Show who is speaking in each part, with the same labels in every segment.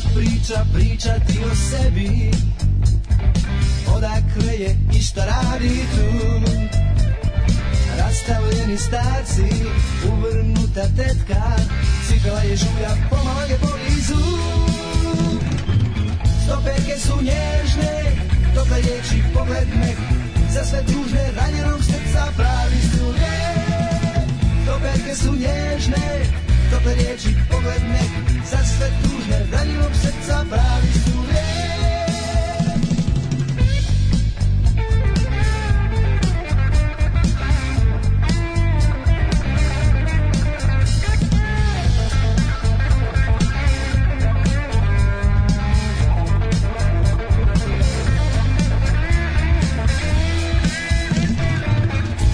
Speaker 1: počeo pričati o sebi Odakle je i šta radi tu Rastavljeni starci, uvrnuta tetka Cipela je žulja, pomala je polizu Stopeke su nježne, dok liječi pogled nek Za sve tužne, ranjenog srca pravi su lijek Stopeke su nježne, tople riječi pogled nek Za sve tužne, ranjenog srca pravi su lijek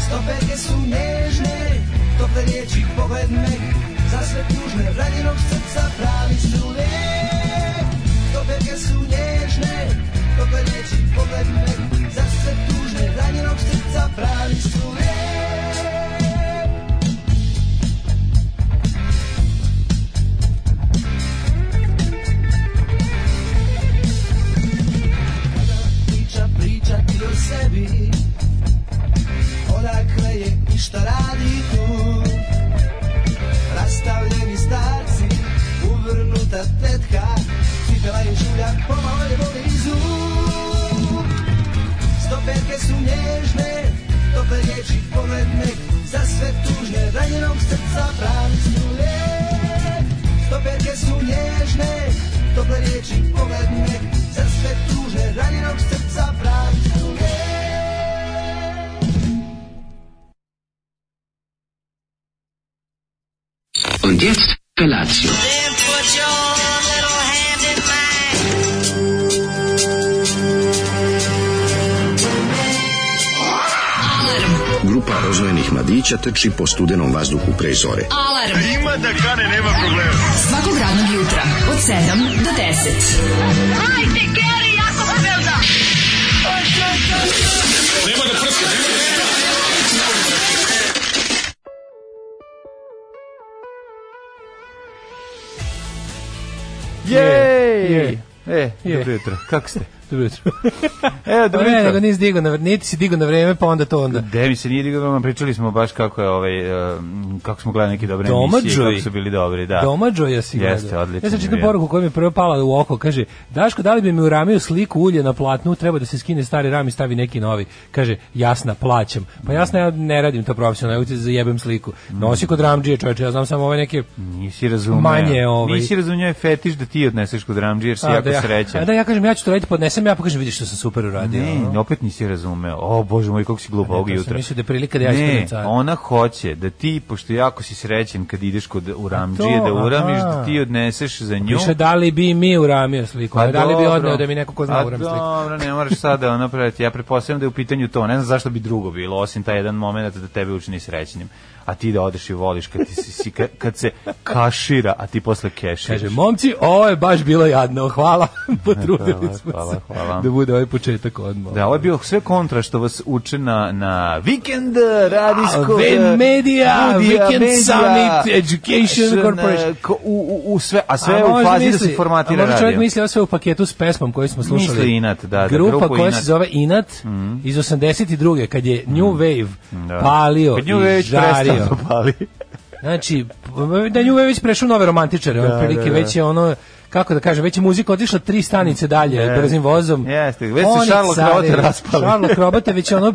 Speaker 1: Stopeke su nježne, tople riječi pogled nek Za sve tužne ranjenog srca pravi su lijek Stopeke su nježne, tople riječi pogled nek Za sve tužne ranjenog srca pravi su lijek Priča pričati o sebi Odakle je i šta radi tu Rastavljeni starci Uvrnuta tetka Cipela je žulja Pomalo je blizu Stoperke su nježne Tople riječi pogled nek Za sve tužne ranjenog srca Pravi su lijek Stoperke su nježne Tople riječi pogled nek Za sve tužne ranjenog srca Pravi su lijek
Speaker 2: Und jetzt Felatio.
Speaker 3: Then put your little hand in mine.
Speaker 4: Grupa rozvojenih mladića trči po studenom vazduhu pre zore.
Speaker 5: Alarm. Ima da kane, nema problema. Svakog radnog jutra, od 7 do 10. Hajde, Geri, jako se velda.
Speaker 6: Jej!
Speaker 7: Jej!
Speaker 6: E,
Speaker 7: Jej.
Speaker 6: dobro jutro. Kako ste?
Speaker 7: Dobro jutro.
Speaker 6: E,
Speaker 7: Pa
Speaker 6: dobro
Speaker 7: ne, nego
Speaker 6: jutro.
Speaker 7: nisi digao na vreme, niti si digao na vreme, pa onda to onda.
Speaker 6: De, mi se nije digao doma, pričali smo baš kako je ovaj, um, kako smo gledali neke dobre emisije,
Speaker 7: Domađoj.
Speaker 6: kako su bili dobri, da.
Speaker 7: Domađoja si gledao.
Speaker 6: Jeste, odlično
Speaker 7: Ja sam
Speaker 6: je
Speaker 7: čitam
Speaker 6: bio.
Speaker 7: poruku koja mi je prvo pala u oko. Kaže, Daško, da li bi mi uramio sliku ulje na platnu, treba da se skine stari ram i stavi neki novi. Kaže, jasna, plaćam. Pa jasna, ja ne radim to profesionalno, ja ti zajebem sliku. Nosi kod ramđije, čovječe, ja znam samo ove neke...
Speaker 6: Nisi razumeo.
Speaker 7: Manje, ovaj.
Speaker 6: Nisi razumeo je fetiš da ti odneseš kod Ramđi jer si jako
Speaker 7: da ja,
Speaker 6: srećan.
Speaker 7: a da ja kažem, ja ću to raditi, podnesem ja, pa kažem, vidiš što sam super uradio. ono.
Speaker 6: Ne, opet nisi razumeo. O, bože moj, kako si glup
Speaker 7: A ne,
Speaker 6: ovog
Speaker 7: to sam
Speaker 6: jutra.
Speaker 7: mislio da je prilika da ja
Speaker 6: Ne,
Speaker 7: ispadnem car.
Speaker 6: ona hoće da ti, pošto jako si srećen kad ideš kod Uramđije,
Speaker 7: to,
Speaker 6: da uramiš,
Speaker 7: aha. Pa
Speaker 6: da ti odneseš za nju.
Speaker 7: Više, da li bi mi uramio sliku, a da li bi
Speaker 6: Pa dobro. Pa
Speaker 7: odneo da mi neko ko zna
Speaker 6: A
Speaker 7: urami sliku.
Speaker 6: Dobro, ne moraš sada ono praviti. Ja pretpostavljam da je u pitanju to. Ne znam zašto bi drugo bilo, osim taj jedan moment da tebe učini srećnim. A ti da odeš i voliš kad, ti si, si- kad, kad se kašira, a ti posle keširaš.
Speaker 7: Kaže, momci, ovo je baš bilo jadno, hvala, potrudili
Speaker 6: Hvala,
Speaker 7: smo
Speaker 6: hvala,
Speaker 7: se
Speaker 6: hvala.
Speaker 7: da bude ovaj početak odmah.
Speaker 6: Da, ovo je bio sve kontra što vas uče na, na vikend eh, radijskog... eh,
Speaker 7: Ven Media,
Speaker 6: studija,
Speaker 7: Weekend
Speaker 6: medija,
Speaker 7: Summit, Education
Speaker 6: eh,
Speaker 7: Corporation.
Speaker 6: ko- U, u, u sve, a sve
Speaker 7: A
Speaker 6: je u
Speaker 7: možda
Speaker 6: fazi da
Speaker 7: misli-
Speaker 6: se formatira
Speaker 7: a možda
Speaker 6: radio.
Speaker 7: čovjek misli ovo sve u paketu s pesmom koju smo slušali.
Speaker 6: Misli Inat, da, da,
Speaker 7: Grupa
Speaker 6: grupu
Speaker 7: koja
Speaker 6: Inat. Mhm.
Speaker 7: se zove Inat iz 82. kad je New Wave
Speaker 6: Da.
Speaker 7: palio
Speaker 6: Kad nju
Speaker 7: i
Speaker 6: već
Speaker 7: žario.
Speaker 6: prestao pali.
Speaker 7: Znači, da New Wave već prešao u nove romantičare, da,
Speaker 6: da, da.
Speaker 7: već je ono kako da kažem, već je muzika otišla tri stanice dalje
Speaker 6: Jeste.
Speaker 7: brzim vozom.
Speaker 6: Jeste, već se
Speaker 7: Oni
Speaker 6: Charles
Speaker 7: carevi.
Speaker 6: Crote raspali.
Speaker 7: Charles Crote vez je ono,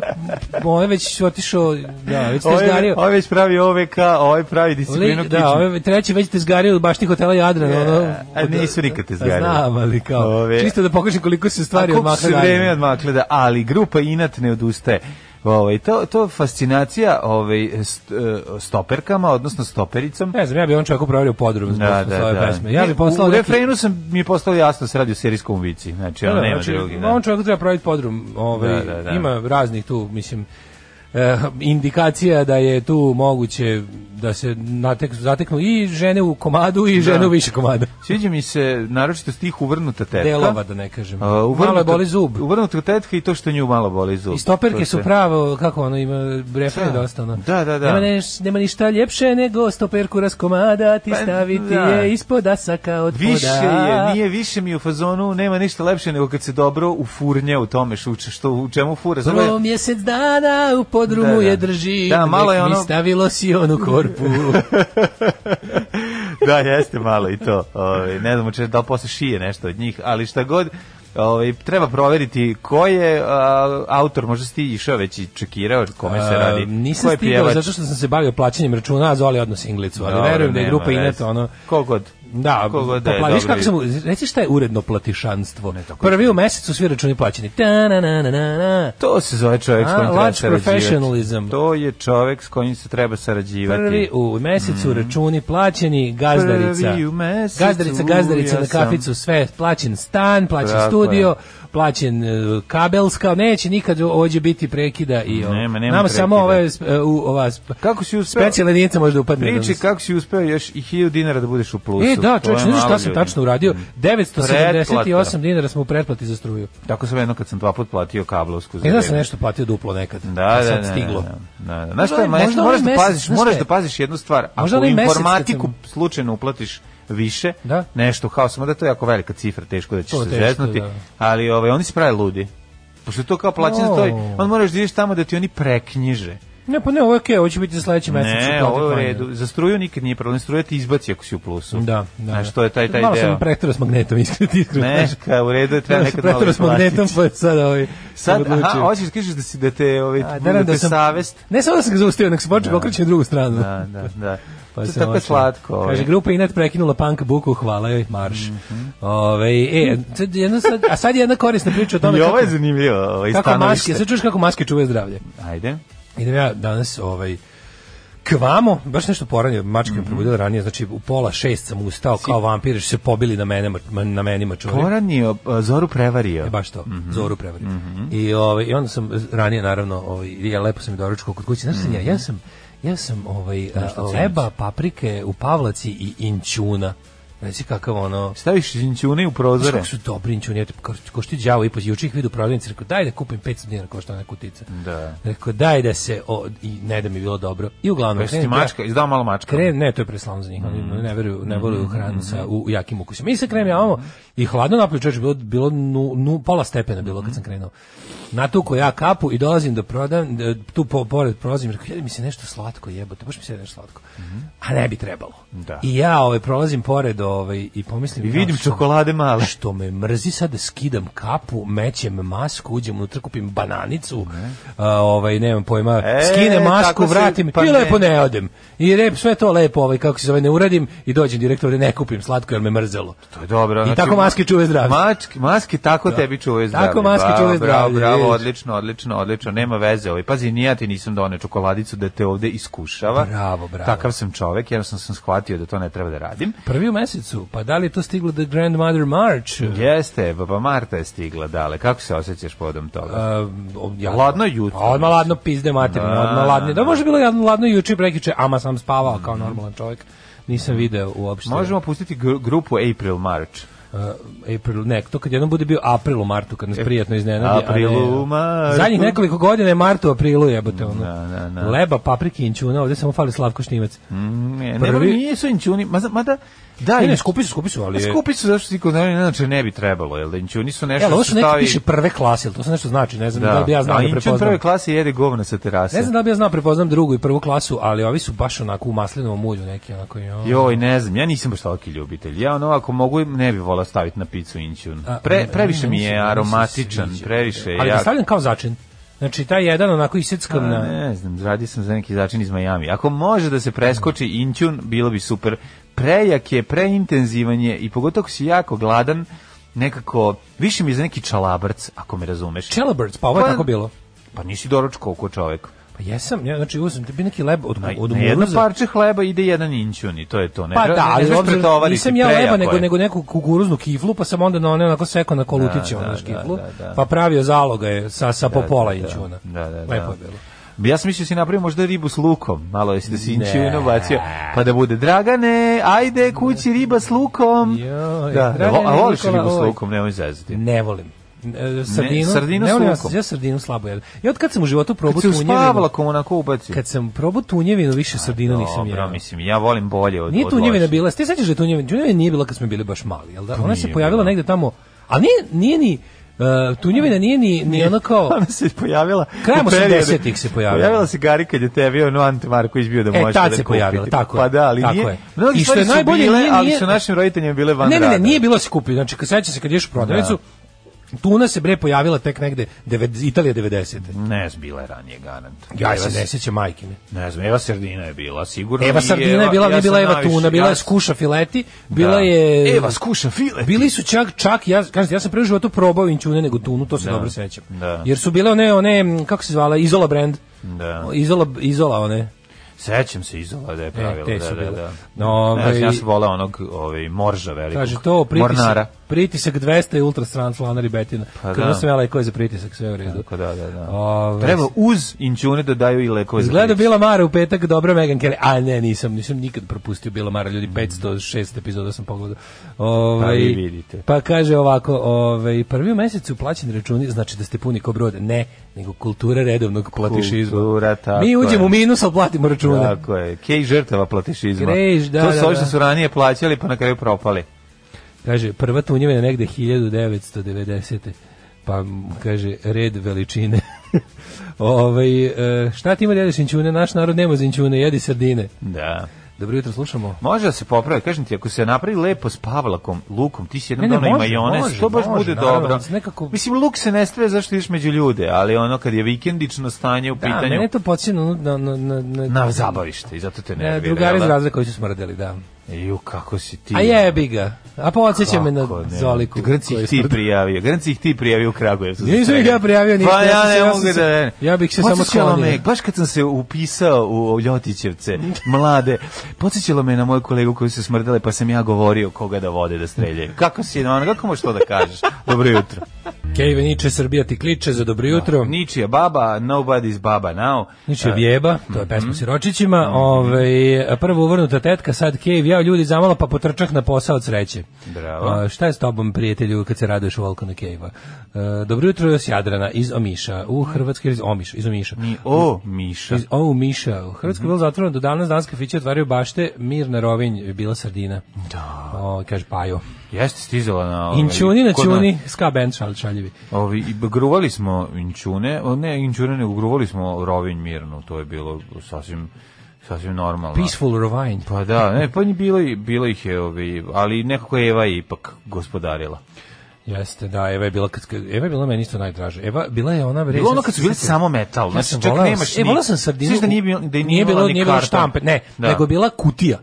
Speaker 7: on je već otišao, da, već te
Speaker 6: Ovo je-
Speaker 7: zgario.
Speaker 6: ovo je Ovaj već pravi OVK, ovo je ovaj pravi disciplinu
Speaker 7: Lik, da,
Speaker 6: kičmu.
Speaker 7: ove treći već te zgario baš ti hotela Jadran, ono.
Speaker 6: a nisu nikad te zgarili.
Speaker 7: Znam, ali kao.
Speaker 6: Ove-
Speaker 7: Čisto da pokažem koliko se stvari
Speaker 6: A koliko
Speaker 7: odmakle.
Speaker 6: se vreme odmakle, da, ali grupa Inat ne odustaje. Ovaj to to fascinacija ovaj st, eh, stoperkama, odnosno stopericom.
Speaker 7: Ne znam, ja bi on čovjeku provjerio podrum zbog svoje pesme. Ja bi poslao
Speaker 6: u
Speaker 7: neki-
Speaker 6: refrenu sam mi je postalo jasno da se radi o serijskom ubici. Znači,
Speaker 7: Da,
Speaker 6: ono
Speaker 7: da,
Speaker 6: nema
Speaker 7: znači,
Speaker 6: drugi. Da.
Speaker 7: On čovjeku treba provjeriti podrum. Ovaj,
Speaker 6: Da, da, da.
Speaker 7: Ima raznih tu, mislim, e, indikacija da je tu moguće da se natek, zateknu i žene u komadu i žene u više komada.
Speaker 6: Sviđa mi se naročito stih uvrnuta tetka.
Speaker 7: Delova, da ne kažem.
Speaker 6: A, uvrnuta-
Speaker 7: Malo je boli zub.
Speaker 6: Uvrnuta tetka i to što nju malo boli zub.
Speaker 7: I stoperke
Speaker 6: To
Speaker 7: su
Speaker 6: se-
Speaker 7: pravo, kako ono, ima refren je
Speaker 6: Da.
Speaker 7: dosta ono.
Speaker 6: Da, da, da.
Speaker 7: Nema, neš, nema ništa ljepše nego stoperku raskomadati,
Speaker 6: Pa,
Speaker 7: staviti
Speaker 6: da.
Speaker 7: je ispod asaka od
Speaker 6: Više
Speaker 7: poda.
Speaker 6: je, nije više mi u fazonu, nema ništa lepše nego kad se dobro ufurnja u tome što, što u čemu fura. Zato je-
Speaker 7: Prvo mjesec dana u podrumu
Speaker 6: Da, da.
Speaker 7: je drži,
Speaker 6: Da, malo
Speaker 7: nek
Speaker 6: je
Speaker 7: mi
Speaker 6: ono-
Speaker 7: stavilo si onu korpu.
Speaker 6: da, jeste malo i to. Ovaj ne znam če da li posle šije nešto od njih, ali šta god, ovaj treba proveriti ko je a, autor, možda si ti išao već i čekirao kome se radi.
Speaker 7: A, E, nisam
Speaker 6: ko je
Speaker 7: stigao
Speaker 6: pjevač?
Speaker 7: zato što sam se bavio plaćanjem računa, a Zoli odnos Inglicu, ali
Speaker 6: Dobro,
Speaker 7: verujem da je
Speaker 6: nema
Speaker 7: grupa
Speaker 6: veze.
Speaker 7: Inet ono...
Speaker 6: Ko god.
Speaker 7: Da,
Speaker 6: Ko god da je,
Speaker 7: popla- viš
Speaker 6: dobro
Speaker 7: kako
Speaker 6: je.
Speaker 7: sam, reci šta je uredno platišanstvo. Prvi u mesecu svi računi plaćeni. Ta na na na na na.
Speaker 6: To se zove čovjek s
Speaker 7: A,
Speaker 6: kojim treba
Speaker 7: large
Speaker 6: sarađivati.
Speaker 7: professionalism.
Speaker 6: To je čovjek s kojim se treba sarađivati.
Speaker 7: Prvi u mesecu računi plaćeni, gazdarica.
Speaker 6: Mhm. Prvi u mesecu,
Speaker 7: Gazdarica, gazdarica
Speaker 6: ja
Speaker 7: na kaficu,
Speaker 6: sam.
Speaker 7: sve, plaćen stan, plaćen
Speaker 6: Tako
Speaker 7: studio, plaćen e, kabelska, neće nikad ovdje biti prekida i ovo.
Speaker 6: Nema, nema
Speaker 7: Nama
Speaker 6: prekida.
Speaker 7: samo ove, sp- e, u, ova sp-
Speaker 6: Kako si uspeo?
Speaker 7: specijalna jedinica može da upadne.
Speaker 6: Priči kako si uspeo još i 1000 dinara da budeš u plusu.
Speaker 7: E, da,
Speaker 6: To je
Speaker 7: čovječ, ne znaš
Speaker 6: malo
Speaker 7: šta sam
Speaker 6: ljudi.
Speaker 7: tačno uradio? 978
Speaker 6: Mm. Pretplata.
Speaker 7: dinara smo u pretplati za struju.
Speaker 6: Tako sam jedno kad sam dva put platio kablovsku. za
Speaker 7: Ne znam E, da sam
Speaker 6: vreme.
Speaker 7: nešto platio duplo nekad.
Speaker 6: Da,
Speaker 7: pa
Speaker 6: da,
Speaker 7: sad
Speaker 6: da, da,
Speaker 7: stiglo.
Speaker 6: Da, da, da. Znaš šta, je,
Speaker 7: Možda
Speaker 6: ma,
Speaker 7: ovaj
Speaker 6: moraš da
Speaker 7: mesec,
Speaker 6: paziš,
Speaker 7: znaš
Speaker 6: moraš
Speaker 7: šta je?
Speaker 6: da paziš jednu stvar.
Speaker 7: Možda
Speaker 6: Ako u
Speaker 7: ovaj mesec kad
Speaker 6: informatiku
Speaker 7: sam-
Speaker 6: slučajno uplatiš više,
Speaker 7: Da.
Speaker 6: nešto kao samo da je to jako velika cifra, teško da ćeš
Speaker 7: To je
Speaker 6: se
Speaker 7: teško,
Speaker 6: zeznuti,
Speaker 7: da.
Speaker 6: ali ovaj, oni se prave ludi. Pošto je to kao plaćanje,
Speaker 7: O.
Speaker 6: to je, on moraš da ideš tamo da ti oni preknjiže.
Speaker 7: Ne, pa ne, ovo je okej, ovo će biti za sledeći mesec. ću
Speaker 6: Ne,
Speaker 7: platiti
Speaker 6: ovo je u
Speaker 7: manje.
Speaker 6: redu. Za struju nikad nije problem, struja ti izbaci ako si u plusu.
Speaker 7: Da, da.
Speaker 6: Znaš, to je taj, taj
Speaker 7: Malo
Speaker 6: deo.
Speaker 7: sam preterao s magnetom, iskreno ti iskreno.
Speaker 6: Ne,
Speaker 7: znaš.
Speaker 6: ka, u redu je, treba
Speaker 7: Malo sam
Speaker 6: nekad malo
Speaker 7: preterao s magnetom,
Speaker 6: isplatiti.
Speaker 7: pa je sad ovaj... sam
Speaker 6: Sad, aha,
Speaker 7: odlučio.
Speaker 6: hoćeš, kažeš da si da te, ovaj,
Speaker 7: A,
Speaker 6: da, te
Speaker 7: sam-
Speaker 6: savest.
Speaker 7: Ne samo da sam ga zaustavio, nek se počeo okreće na drugu stranu.
Speaker 6: Da, da, da.
Speaker 7: Pa
Speaker 6: to je
Speaker 7: sam
Speaker 6: tako
Speaker 7: otišao.
Speaker 6: slatko. ovaj. Mhm.
Speaker 7: Kaže, grupa Inet prekinula punk buku, hvala joj, marš. Ove, e, sad jedna sad, a sad je jedna korisna priča o tome
Speaker 6: I ovo je
Speaker 7: ono kako,
Speaker 6: zanimljivo, ovaj
Speaker 7: kako maske,
Speaker 6: stanovište.
Speaker 7: sad čuješ kako maske čuvaju zdravlje.
Speaker 6: Ajde.
Speaker 7: Idem ja danas ovaj kvamo, baš nešto poranije, mačka me probudila ranije, znači u pola šest sam ustao kao vampir, što su se pobili na mene, ma- na meni mačuri.
Speaker 6: Goran je a, Zoru prevario.
Speaker 7: E, baš to, zoru prevario. I, ovaj, I onda sam ranije, naravno, ovaj, ja lepo sam i doručkao kod kuće. Znaš šta sam ja, ja sam, ja sam ovaj, a, leba, paprike u pavlaci i inćuna. Reci kakav ono...
Speaker 6: Staviš inćune u
Speaker 7: Znaš
Speaker 6: prozore.
Speaker 7: kako su dobri inćuni, ja te- kao, kao što ti đavo i po juče ih vidu u prodavnici, rekao daj da kupim 500 dinara kao što ona kutica.
Speaker 6: Da.
Speaker 7: Rekao daj da se o, i ne da mi je bilo dobro. I uglavnom
Speaker 6: Pa jesi ti
Speaker 7: krenem da-
Speaker 6: mačka, Mm. izdao malo mačka.
Speaker 7: Krem, ne, to je preslavno za njih, oni ne veruju, ne veruju u hranu sa u, u jakim ukusima. I se krem ja ovamo i hladno napolju, čoveče, bilo, bilo nu, nu, pola stepena bilo
Speaker 6: Mm-hmm.
Speaker 7: kad sam krenuo. Natuko ja kapu i dolazim do prodam, d- tu po, pored prolazim, rekao, "Jede mi se nešto slatko jebote, baš mi se jede nešto slatko. A ne bi trebalo.
Speaker 6: Mm-hmm. Da.
Speaker 7: I ja ovaj, prolazim pored ovaj, i pomislim...
Speaker 6: I vidim
Speaker 7: "Znaš šta,
Speaker 6: čokolade male.
Speaker 7: što me mrzi sad da skidam kapu, mećem masku, uđem unutra, kupim bananicu, a, ovaj, nemam pojma,
Speaker 6: E,
Speaker 7: skinem masku,
Speaker 6: tako se-
Speaker 7: vratim
Speaker 6: pa
Speaker 7: i
Speaker 6: ne.
Speaker 7: lepo ne odem. I rep, sve to lepo, ovaj, kako se zove, ne uradim i dođem direktor, ne kupim slatko jer me mrzelo.
Speaker 6: To je dobro. znači,
Speaker 7: I tako maske čuve zdravlje.
Speaker 6: Mačke, maske tako tebi čuvaju zdravlje.
Speaker 7: Tako maske
Speaker 6: Bravo,
Speaker 7: čuvaju
Speaker 6: bravo,
Speaker 7: zdravlje,
Speaker 6: Bravo,
Speaker 7: vidiš.
Speaker 6: odlično, odlično, odlično. Nema veze. Ovaj. Pazi, ni ja ti nisam donio čokoladicu da te ovde iskušava.
Speaker 7: Bravo, bravo.
Speaker 6: Takav sam čovek, jednostavno sam shvatio da to ne treba da radim.
Speaker 7: Prvi u mesecu, pa da li je to stiglo The Grandmother March?
Speaker 6: Jeste, baba Marta je stigla dale. Kako se osjećaš podom toga?
Speaker 7: A, o, jadno.
Speaker 6: Ladno jutro.
Speaker 7: A Odmah ladno pizde materine,
Speaker 6: Da. Mhm.
Speaker 7: odmah ladno. Da može bilo jadno ladno juče, prekiče, ama sam spavao kao normalan čovjek. Nisam video uopšte.
Speaker 6: Možemo pustiti gru- grupu April March.
Speaker 7: Uh, April, ne, to kad jednom bude bio april u martu, kad nas prijatno iznenadi. a
Speaker 6: Aprilu,
Speaker 7: ne-
Speaker 6: E, martu.
Speaker 7: Zadnjih nekoliko godina je martu, aprilu, jebote, ono.
Speaker 6: Da, da, da.
Speaker 7: Leba, paprike, inćuna, ovdje samo fali Slavko Šnimac.
Speaker 6: Ne,
Speaker 7: Prvi-
Speaker 6: ne, nisu inćuni, ma, mada, Mm. da,
Speaker 7: e, Ne, ne,
Speaker 6: inč-
Speaker 7: skupi su, skupi su, ali... je-
Speaker 6: skupi su zašto ti kod ne, inače ne bi trebalo, jel da inćuni su nešto
Speaker 7: Jel, ovo su
Speaker 6: što
Speaker 7: neki
Speaker 6: stavi-
Speaker 7: piše prve klase, jel to se nešto znači, ne znam da,
Speaker 6: da,
Speaker 7: li bi ja znao
Speaker 6: a
Speaker 7: da
Speaker 6: inćun
Speaker 7: prepoznam.
Speaker 6: prve klase jede govna sa terase.
Speaker 7: Ne znam da li bi ja znao da prepoznam drugu i prvu klasu, ali ovi su baš onako u maslinovom ulju neki, onako... ono. Jo.
Speaker 6: Joj, ne znam, ja nisam baš toliki ljubitelj. Ja ono, ako mogu, ne bi volao staviti na picu inćun.
Speaker 7: A,
Speaker 6: Pre,
Speaker 7: ne,
Speaker 6: previše
Speaker 7: ne,
Speaker 6: mi
Speaker 7: ne,
Speaker 6: je
Speaker 7: ne, ne,
Speaker 6: aromatičan,
Speaker 7: ne, ne,
Speaker 6: previše je
Speaker 7: Ali ga
Speaker 6: jak.
Speaker 7: stavljam kao začin. Znači, taj jedan onako
Speaker 6: A,
Speaker 7: iseckam na...
Speaker 6: Ne znam, radio sam za neki začin iz Miami. Ako može da se preskoči inćun, bilo bi super. Prejak je, preintenzivan je i pogotovo ako si jako gladan, nekako, više mi je za neki čalabrc, ako me razumeš.
Speaker 7: Chalabirds, pa ovo je
Speaker 6: Pa-
Speaker 7: tako bilo.
Speaker 6: Pa nisi doručkao ko čovek.
Speaker 7: Pa jesam, ja, znači uzem tebi neki leb od,
Speaker 6: Na,
Speaker 7: od
Speaker 6: na jedno
Speaker 7: kukuruza.
Speaker 6: parče hleba ide jedan inćun i to je to. Ne,
Speaker 7: Pa
Speaker 6: treba-
Speaker 7: da,
Speaker 6: ne
Speaker 7: ali
Speaker 6: smeš
Speaker 7: obzirom-
Speaker 6: pretovariti,
Speaker 7: nisam ja leba,
Speaker 6: prejako
Speaker 7: nego,
Speaker 6: je.
Speaker 7: nego neku kukuruznu kiflu, pa sam onda na one onako seko na kolutiće,
Speaker 6: Da,
Speaker 7: ono
Speaker 6: da,
Speaker 7: naš kiflu,
Speaker 6: da, da, da.
Speaker 7: pa pravio zaloga je sa, sa popola
Speaker 6: da, da.
Speaker 7: inćuna.
Speaker 6: Da, da, da.
Speaker 7: Lepo je bilo.
Speaker 6: Ja sam mislio da si napravio možda ribu s lukom, malo jesi da si
Speaker 7: Ne.
Speaker 6: inčivino bacio, pa da bude Dragane, ajde kući riba s lukom.
Speaker 7: Joj,
Speaker 6: da,
Speaker 7: Dragane,
Speaker 6: a voliš
Speaker 7: Nikola,
Speaker 6: ribu s
Speaker 7: oj.
Speaker 6: lukom, nemoj zezati.
Speaker 7: Ne volim. E, Sardinu,
Speaker 6: sardinu
Speaker 7: ne
Speaker 6: s
Speaker 7: volim,
Speaker 6: lukom.
Speaker 7: ja sardinu slabo jedem. I od kad sam u životu probao
Speaker 6: Kad se uspavila
Speaker 7: tunjevinu,
Speaker 6: kom onako ubaci.
Speaker 7: kad sam probao tunjevinu, više sardinu nisam
Speaker 6: Dobro,
Speaker 7: jeo.
Speaker 6: mislim, ja volim bolje od
Speaker 7: Nije
Speaker 6: od
Speaker 7: tunjevina
Speaker 6: loših.
Speaker 7: bila, ti sećaš da je tunjevina, tunjevina nije bila kad smo bili baš mali, jel da? Ona se
Speaker 6: nije
Speaker 7: pojavila
Speaker 6: bila.
Speaker 7: negde tamo, a nije, nije ni, uh, tunjevina nije ni, ni ono kao,
Speaker 6: Ona se pojavila...
Speaker 7: Krajem
Speaker 6: u periodu-
Speaker 7: 80-ih se pojavila.
Speaker 6: Pojavila se Gari kad je tebi on Ante Marković bio da
Speaker 7: E,
Speaker 6: može da
Speaker 7: tad se
Speaker 6: kupiti.
Speaker 7: pojavila, tako je,
Speaker 6: Pa da, ali
Speaker 7: tako
Speaker 6: nije...
Speaker 7: je.
Speaker 6: Mnogi
Speaker 7: I što
Speaker 6: stvari
Speaker 7: je
Speaker 6: su
Speaker 7: najbolje,
Speaker 6: bile,
Speaker 7: nije-
Speaker 6: ali
Speaker 7: nije-
Speaker 6: su našim roditeljima bile van
Speaker 7: ne, ne, ne,
Speaker 6: rada.
Speaker 7: nije bilo skuplje, znači kad sećaš se kad ješ u prodavnicu, tuna se bre pojavila tek negde, devet, Italija 90.
Speaker 6: Ne znam, bila je ranije garant.
Speaker 7: Ja
Speaker 6: Mm, Eva
Speaker 7: se ne sećam majke mi.
Speaker 6: Ne znam, Eva Sardina je bila, sigurno.
Speaker 7: Eva
Speaker 6: i
Speaker 7: Sardina je bila,
Speaker 6: ja
Speaker 7: nije bila
Speaker 6: sam
Speaker 7: Eva
Speaker 6: najviše-
Speaker 7: Tuna, bila
Speaker 6: ja
Speaker 7: je
Speaker 6: sam-
Speaker 7: Skuša Fileti, bila
Speaker 6: da.
Speaker 7: je...
Speaker 6: Eva skuša file.
Speaker 7: Bili su čak, čak ja, kažete, ja sam prvi u životu probao inćune nego tunu, to se dobro sećam.
Speaker 6: Da.
Speaker 7: Jer su bile one, one, m, kako se zvala, Izola brand.
Speaker 6: Da.
Speaker 7: Izola, Izola one.
Speaker 6: Sećam se izola da je pravila,
Speaker 7: E, te
Speaker 6: da,
Speaker 7: su
Speaker 6: da,
Speaker 7: bile.
Speaker 6: da.
Speaker 7: No,
Speaker 6: Ne znam, ja
Speaker 7: ovaj-
Speaker 6: sam volao onog ovaj, morža velikog.
Speaker 7: Kaže to
Speaker 6: Mornara.
Speaker 7: pritisak, pritisak 200 i ultra stran slanar i betina.
Speaker 6: Pa da.
Speaker 7: Kad da. sam ja lekove za pritisak, sve u redu.
Speaker 6: Tako da, da, da.
Speaker 7: Ovaj,
Speaker 6: Treba uz inćune da daju i lekove za
Speaker 7: Izgleda
Speaker 6: pritisak.
Speaker 7: Bila Mara u petak, dobra Megan Kelly. A ne, nisam, nisam nikad propustio Bila Mara, ljudi, 506 epizoda sam pogledao. Ovaj,
Speaker 6: Pa vi vidite.
Speaker 7: Pa kaže ovako, ovaj, prvi u mesecu plaćeni računi, znači da ste puni ko brod. Ne, nego kultura redovnog platišizma.
Speaker 6: Kultura, tako
Speaker 7: Mi uđemo
Speaker 6: je.
Speaker 7: u minus, ali platimo račune.
Speaker 6: Tako je. Kej žrtava platišizma.
Speaker 7: Greš, da,
Speaker 6: to
Speaker 7: da,
Speaker 6: su ovi što
Speaker 7: da.
Speaker 6: su ranije plaćali pa na kraju propali.
Speaker 7: Kaže, prva tunjevina negde 1990. Pa m, kaže, red veličine. ovaj, e, šta ti ima da jedeš inćune? Naš narod nema za inćune, jedi sardine.
Speaker 6: Da.
Speaker 7: Dobro jutro, slušamo.
Speaker 6: Može da se popravi, kažem ti, ako se napravi lepo s pavlakom, lukom, ti si jednom
Speaker 7: Ne, ne,
Speaker 6: dano i
Speaker 7: može,
Speaker 6: majonez,
Speaker 7: može,
Speaker 6: to baš
Speaker 7: može,
Speaker 6: bude
Speaker 7: naravno,
Speaker 6: dobro.
Speaker 7: ali nekako-
Speaker 6: Mislim, luk se ne stavlja zašto ideš među ljude, ali ono kad je vikendično stanje u
Speaker 7: Da,
Speaker 6: pitanju,
Speaker 7: mene to podsjeća na, na, na, na,
Speaker 6: na zabavište i zato te
Speaker 7: na
Speaker 6: nervira.
Speaker 7: drugare iz
Speaker 6: jel da?
Speaker 7: razreda koji su smrdeli, da.
Speaker 6: Ju, kako si ti...
Speaker 7: A jebi ga. A podsjeća me na
Speaker 6: Kako ne?
Speaker 7: Zoliku.
Speaker 6: Grnci
Speaker 7: koji je
Speaker 6: ih ti
Speaker 7: smrdeo.
Speaker 6: prijavio. Grnci ih ti prijavio u Kragujevcu.
Speaker 7: Ja nisam ih ja prijavio ništa,
Speaker 6: Pa
Speaker 7: ja
Speaker 6: ja
Speaker 7: sam se-
Speaker 6: ne
Speaker 7: ja sam
Speaker 6: mogu
Speaker 7: se-
Speaker 6: da... ne.
Speaker 7: ja bih se samo
Speaker 6: Podsjećalo
Speaker 7: sklonio.
Speaker 6: me, baš kad sam se upisao u Ljotićevce, mlade, podsjećalo me na moju kolegu koji su smrdele, pa sam ja govorio koga da vode da streljaju. Kako si, ono, kako možeš to da kažeš? Dobro jutro.
Speaker 7: Kej Veniče, Srbija ti kliče za dobro jutro.
Speaker 6: Ničija baba, nobody's baba now.
Speaker 7: Niče vjeba, to
Speaker 6: Mhm.
Speaker 7: je pesma siročićima. Ovaj prvo uvrnuta tetka, sad Kejv, ja ljudi zamalo pa potrčah na posao od sreće.
Speaker 6: Bravo.
Speaker 7: A, šta je s tobom, prijatelju, kad se raduješ u Volkanu Kejva? E, dobro jutro je s Jadrana, iz Omiša, u Hrvatskoj, iz Omiša, iz Omiša.
Speaker 6: I, o, Miša.
Speaker 7: Iz o, Miša. U Hrvatskoj je bilo zatvoreno do danas, danas kafiće otvaraju bašte, Mirna Rovinj je bila sardina. Da. O, kaže Pajo.
Speaker 6: Jeste stizala na... ovaj,
Speaker 7: Inčuni na
Speaker 6: kod nas.
Speaker 7: čuni, ska band šal- šaljivi.
Speaker 6: Ovi, i b- gruvali smo inčune, o, ne inčune, nego gruvali smo rovinj mirno, to je bilo sasvim, sasvim normalno.
Speaker 7: Peaceful Rovinj.
Speaker 6: Pa da, ne, pa ni bilo, i- bilo ih je, ovi, ali nekako je Eva ipak gospodarila.
Speaker 7: Jeste, da, Eva je bila, kad, Eva je bila meni isto najdraža. Eva, bila je ona... bre,
Speaker 6: Bilo ono
Speaker 7: sad-
Speaker 6: kad su bili
Speaker 7: sad-
Speaker 6: samo metal,
Speaker 7: Ja
Speaker 6: znači
Speaker 7: sam
Speaker 6: čak
Speaker 7: volao-
Speaker 6: nemaš ni...
Speaker 7: E, volao sam sardinu.
Speaker 6: Sviš da nije, bilo, da
Speaker 7: nije bilo, nije bilo štampe, ne,
Speaker 6: da.
Speaker 7: nego je bila kutija.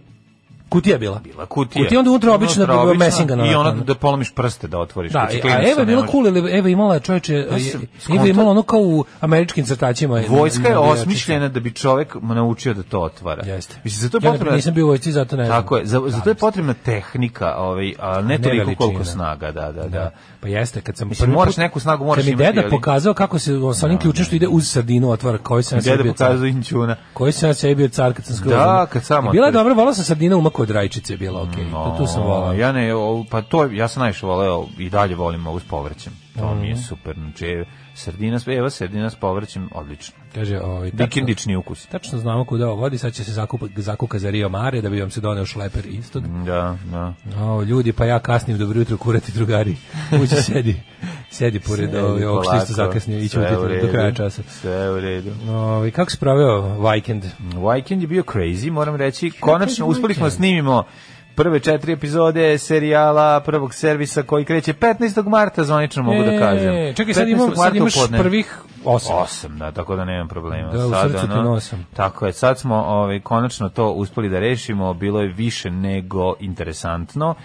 Speaker 7: Kutija je bila.
Speaker 6: Bila kutija.
Speaker 7: Kutija onda unutra
Speaker 6: Unutra
Speaker 7: obična,
Speaker 6: obična
Speaker 7: mesinga.
Speaker 6: I ona
Speaker 7: onako.
Speaker 6: da polomiš prste da otvoriš.
Speaker 7: ono. Da,
Speaker 6: kad si
Speaker 7: i-
Speaker 6: znači klinac,
Speaker 7: a Eva
Speaker 6: to
Speaker 7: je
Speaker 6: ne
Speaker 7: bila
Speaker 6: možeš.
Speaker 7: cool, ili Eva je imala čoveče,
Speaker 6: sam
Speaker 7: je- Eva
Speaker 6: skontao-
Speaker 7: je imala ono kao u američkim crtačima.
Speaker 6: Vojska je
Speaker 7: navijačica.
Speaker 6: osmišljena da bi čovek mu naučio da to otvara.
Speaker 7: Jeste.
Speaker 6: Mislim, za to je
Speaker 7: Ja ne-
Speaker 6: potrebno...
Speaker 7: nisam bio u vojsci, zato ne znam.
Speaker 6: Tako je, za, za to je
Speaker 7: mislim.
Speaker 6: potrebna tehnika, ovaj, a ne
Speaker 7: Ne
Speaker 6: toliko
Speaker 7: veličina.
Speaker 6: koliko snaga, da, da, da.
Speaker 7: Pa jeste, kad sam
Speaker 6: Mislim,
Speaker 7: prvi
Speaker 6: moraš
Speaker 7: put-
Speaker 6: neku snagu, moraš
Speaker 7: kad mi
Speaker 6: imati,
Speaker 7: deda
Speaker 6: ali-
Speaker 7: pokazao kako se on sa onim ključem što ide uz sardinu otvara, koji sam ja
Speaker 6: Gde da
Speaker 7: sebi bio car.
Speaker 6: pokazuje inčuna?
Speaker 7: Koji sam ja sebi bio car kad sam skroz.
Speaker 6: Da,
Speaker 7: ono-
Speaker 6: kad sam
Speaker 7: I Bila je
Speaker 6: otkrio.
Speaker 7: dobro, volao sam sardina umak od rajčice, je bila okej. to tu sam volao.
Speaker 6: Ovaj, Ja ne, o, pa to ja sam najviše voleo i dalje volim ovu s povrćem. To mi je
Speaker 7: Mhm.
Speaker 6: super. Znači, e, sardina, s- evo sardina s povrćem, odlično.
Speaker 7: Kaže, ovaj, tačno-
Speaker 6: Vikendični ukus.
Speaker 7: Tačno znamo kuda ovo vodi, sad će se zakupa, zakuka za Rio Mare da bi vam se doneo šleper istog.
Speaker 6: Da, da.
Speaker 7: O, ljudi, pa ja kasnim, dobro jutro, kurati drugari. Uđi, sedi, sedi pored
Speaker 6: Sedi
Speaker 7: ovaj, ovog što
Speaker 6: polako,
Speaker 7: isto zakasnio i
Speaker 6: sve u
Speaker 7: ćuti do
Speaker 6: redu,
Speaker 7: kraja časa.
Speaker 6: Sve u redu.
Speaker 7: O, i kako se proveo vikend?
Speaker 6: Weekend je bio crazy, moram reći. Konačno, uspeli smo da snimimo prve četiri epizode serijala prvog servisa koji kreće 15. marta, zvanično mogu da kažem.
Speaker 7: E, čekaj, sad,
Speaker 6: 15.
Speaker 7: imam,
Speaker 6: marta
Speaker 7: sad imaš
Speaker 6: u podne.
Speaker 7: prvih osam.
Speaker 6: Osam, da, tako da nemam problema.
Speaker 7: Da, u
Speaker 6: Sad,
Speaker 7: srcu ti
Speaker 6: ono,
Speaker 7: nosam.
Speaker 6: Tako je, sad smo ovaj, konačno to uspeli da rešimo, bilo je više nego interesantno.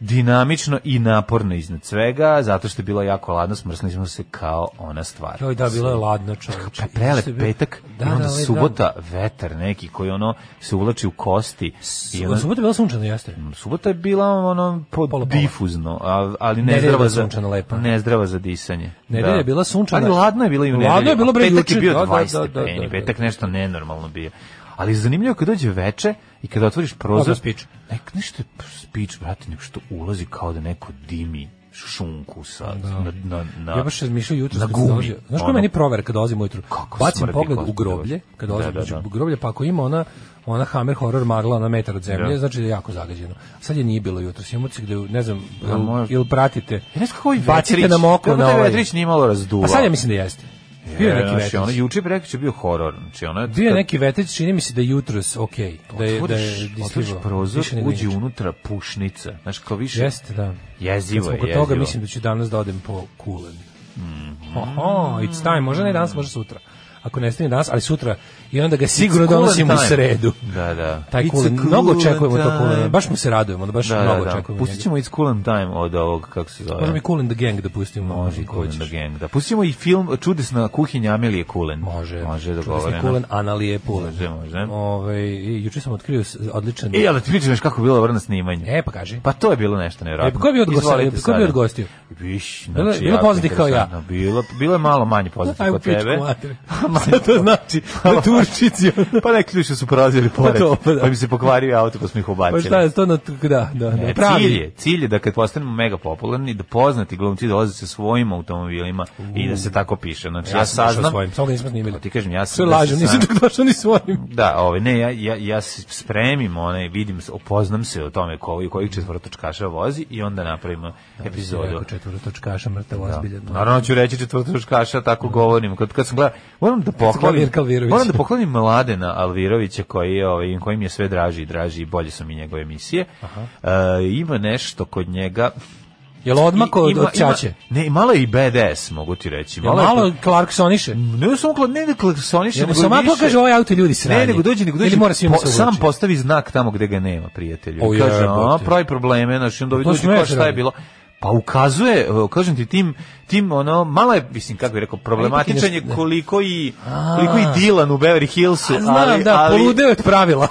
Speaker 6: dinamično i naporno iznad svega, zato što je bilo jako ladno, smrsli smo se kao ona stvar.
Speaker 7: Joj, da, bilo je ladno čovječe.
Speaker 6: Pa prelep
Speaker 7: Što je bilo-
Speaker 6: petak i onda
Speaker 7: ali
Speaker 6: subota vetar neki koji ono se uvlači u kosti. I
Speaker 7: Da.
Speaker 6: onda,
Speaker 7: Subota je bilo sunčano, jeste.
Speaker 6: subota je bila ono po,
Speaker 7: Pola, pola.
Speaker 6: difuzno, a- ali
Speaker 7: Nedelja je
Speaker 6: nezdrava
Speaker 7: bila
Speaker 6: za,
Speaker 7: sunčana, lepa.
Speaker 6: nezdrava za disanje.
Speaker 7: Nedelja
Speaker 6: da.
Speaker 7: je bila sunčana.
Speaker 6: Ali ladno je bilo i u
Speaker 7: Ladno
Speaker 6: nedelju.
Speaker 7: je bilo,
Speaker 6: a
Speaker 7: bre,
Speaker 6: Petak
Speaker 7: juče,
Speaker 6: je bio
Speaker 7: da, da,
Speaker 6: 20
Speaker 7: da, da,
Speaker 6: stepeni,
Speaker 7: da, da.
Speaker 6: petak nešto nenormalno bio. Ali zanimljivo je kad dođe veče i kada otvoriš prozor,
Speaker 7: Odmah spič.
Speaker 6: nek nešto je spič, brate, nek što ulazi kao da neko dimi šunku sad na, na, na,
Speaker 7: Ja baš razmišljam jutro
Speaker 6: na
Speaker 7: kad
Speaker 6: gumi.
Speaker 7: sam dolazio. Znaš koja
Speaker 6: Ono.
Speaker 7: je meni provera kad dolazim ujutru?
Speaker 6: Kako
Speaker 7: Bacim
Speaker 6: smrdi
Speaker 7: pogled
Speaker 6: kost,
Speaker 7: u groblje,
Speaker 6: da.
Speaker 7: kad dolazim
Speaker 6: Da, da,
Speaker 7: da,
Speaker 6: da.
Speaker 7: u groblje, pa ako ima ona ona Hammer horror magla na metar od zemlje,
Speaker 6: Da.
Speaker 7: znači da je jako zagađeno. Sad je nije bilo jutros. Imamo se gde, ne znam, jel,
Speaker 6: možda.
Speaker 7: jel pratite.
Speaker 6: Ja ne znam kako ovaj
Speaker 7: Bacite
Speaker 6: vetrić,
Speaker 7: nam oko
Speaker 6: kako
Speaker 7: na
Speaker 6: taj
Speaker 7: ovaj.
Speaker 6: vetrić nije malo razduvao.
Speaker 7: A sad ja mislim da jeste. Bio je neki
Speaker 6: Znači, ono,
Speaker 7: vetrić.
Speaker 6: juče preko će bio horor. Znači, ono,
Speaker 7: Bio je neki vetrić, čini mi se da je jutros okej. Da je, da je
Speaker 6: Otvoriš, otvoriš
Speaker 7: dislivao.
Speaker 6: prozor,
Speaker 7: Više nego
Speaker 6: uđi
Speaker 7: inače.
Speaker 6: unutra pušnica. Znaš, kao više...
Speaker 7: Jeste, da.
Speaker 6: Jezivo
Speaker 7: Kad
Speaker 6: je,
Speaker 7: smo kod
Speaker 6: jezivo. Mhm.
Speaker 7: toga mislim da ću danas da odem po kulen. Oho, it's time. Možda ne danas, možda sutra. Ako ne stigne danas, ali sutra. I onda ga sigurno
Speaker 6: It's coolen
Speaker 7: donosim u
Speaker 6: time.
Speaker 7: sredu.
Speaker 6: Da, da.
Speaker 7: Taj
Speaker 6: It's
Speaker 7: kulen,
Speaker 6: a
Speaker 7: mnogo
Speaker 6: coolen
Speaker 7: očekujemo to
Speaker 6: time.
Speaker 7: kulen. Baš mu se radujemo, da baš
Speaker 6: Da, da,
Speaker 7: mnogo
Speaker 6: da.
Speaker 7: očekujemo. Ono
Speaker 6: Pustit ćemo It's Cool in Time od ovog, kako se zove.
Speaker 7: Možemo i Cool in the Gang da pustimo.
Speaker 6: Može i
Speaker 7: ako
Speaker 6: Cool in the
Speaker 7: hoćeš.
Speaker 6: Gang, da. Pustit ćemo i film Čudesna kuhinja Amelije Kulen.
Speaker 7: Može.
Speaker 6: Može,
Speaker 7: Čudesni
Speaker 6: dogovoreno.
Speaker 7: Kulen, Analije Pulen.
Speaker 6: Može, može.
Speaker 7: Ove, i juče sam otkrio s- odličan...
Speaker 6: E, ali ti vidiš kako je bilo vrlo na snimanju.
Speaker 7: E, pa kaži.
Speaker 6: Pa to je bilo nešto nevjerojatno.
Speaker 7: E, pa ko je bio od gostiju?
Speaker 6: Izvolite
Speaker 7: Ko je bio od
Speaker 6: sada.
Speaker 7: gostiju?
Speaker 6: Viš, znači,
Speaker 7: Bilo- bilo
Speaker 6: jako
Speaker 7: poznatih kao ja.
Speaker 6: interesantno. Bilo, bilo je malo manje poznatih
Speaker 7: Ajmo
Speaker 6: kod tebe.
Speaker 7: pičku mater. Šta to znači? Na Turčici. ono.
Speaker 6: pa neki ljudi su prolazili pored, pa,
Speaker 7: to, pa da.
Speaker 6: mi se pokvario auto pa smo ih
Speaker 7: Pa
Speaker 6: ubacili.
Speaker 7: šta je to na... Da, da, da.
Speaker 6: E,
Speaker 7: Pravi.
Speaker 6: cilj je, cilj je da kad postanemo mega popularni, da poznati glumci dolaze sa svojim automobilima i da se tako piše. Znači, ja,
Speaker 7: Ja sam došao
Speaker 6: saznam,
Speaker 7: svojim, samo ga nismo snimili.
Speaker 6: Pa ti kažem, ja sam...
Speaker 7: Sve
Speaker 6: da se
Speaker 7: lažem, nisam
Speaker 6: sam-
Speaker 7: čak došao ni svojim.
Speaker 6: Da, ovaj, ne, ja, ja, ja se spremim, onaj, vidim, se, opoznam se o tome koji, kojih četvrtočkaša vozi i onda napravimo epizodu.
Speaker 7: Rekao četvorotočkaša, mrtav ozbiljan.
Speaker 6: Naravno ću reći četvrtoškaša, tako govorim. Kad, kad sam gledao, moram da
Speaker 7: gledao
Speaker 6: pohvalim,
Speaker 7: Mirka Alvirovića.
Speaker 6: moram da pohvalim Mladena Alvirovića koji je, ovaj, kojim je sve draži i draži i bolje su mi njegove emisije. E, ima nešto kod njega.
Speaker 7: Jel odmako od,
Speaker 6: Ima-
Speaker 7: od Čače?
Speaker 6: Ima, ne, malo je i BDS, mogu ti reći.
Speaker 7: Jel
Speaker 6: Malo, je-
Speaker 7: malo Clarksoniše?
Speaker 6: ne samo kla- ne, ne klaksoniše,
Speaker 7: Jel mu
Speaker 6: nego
Speaker 7: sam to
Speaker 6: Mm. više-
Speaker 7: kaže ovaj auto ljudi sranje?
Speaker 6: Ne, nego dođe, nego dođe,
Speaker 7: Ili mora svima
Speaker 6: po-
Speaker 7: se uvući?
Speaker 6: sam postavi znak tamo gde ga nema, prijatelju.
Speaker 7: O,
Speaker 6: I kaže, a,
Speaker 7: jebote.
Speaker 6: pravi probleme, znači, onda ovi
Speaker 7: To
Speaker 6: dođu,
Speaker 7: smeš
Speaker 6: kao šta je
Speaker 7: raditi.
Speaker 6: bilo? Pa ukazuje, e, kažem ti, tim, tim ono, malo je, mislim, kako bih rekao, problematičan je
Speaker 7: ipak i ne-
Speaker 6: koliko i,
Speaker 7: A.
Speaker 6: koliko i Dylan u Beverly Hillsu,
Speaker 7: A, Znam,
Speaker 6: ali,
Speaker 7: da,
Speaker 6: ali,
Speaker 7: poludeo je od pravila.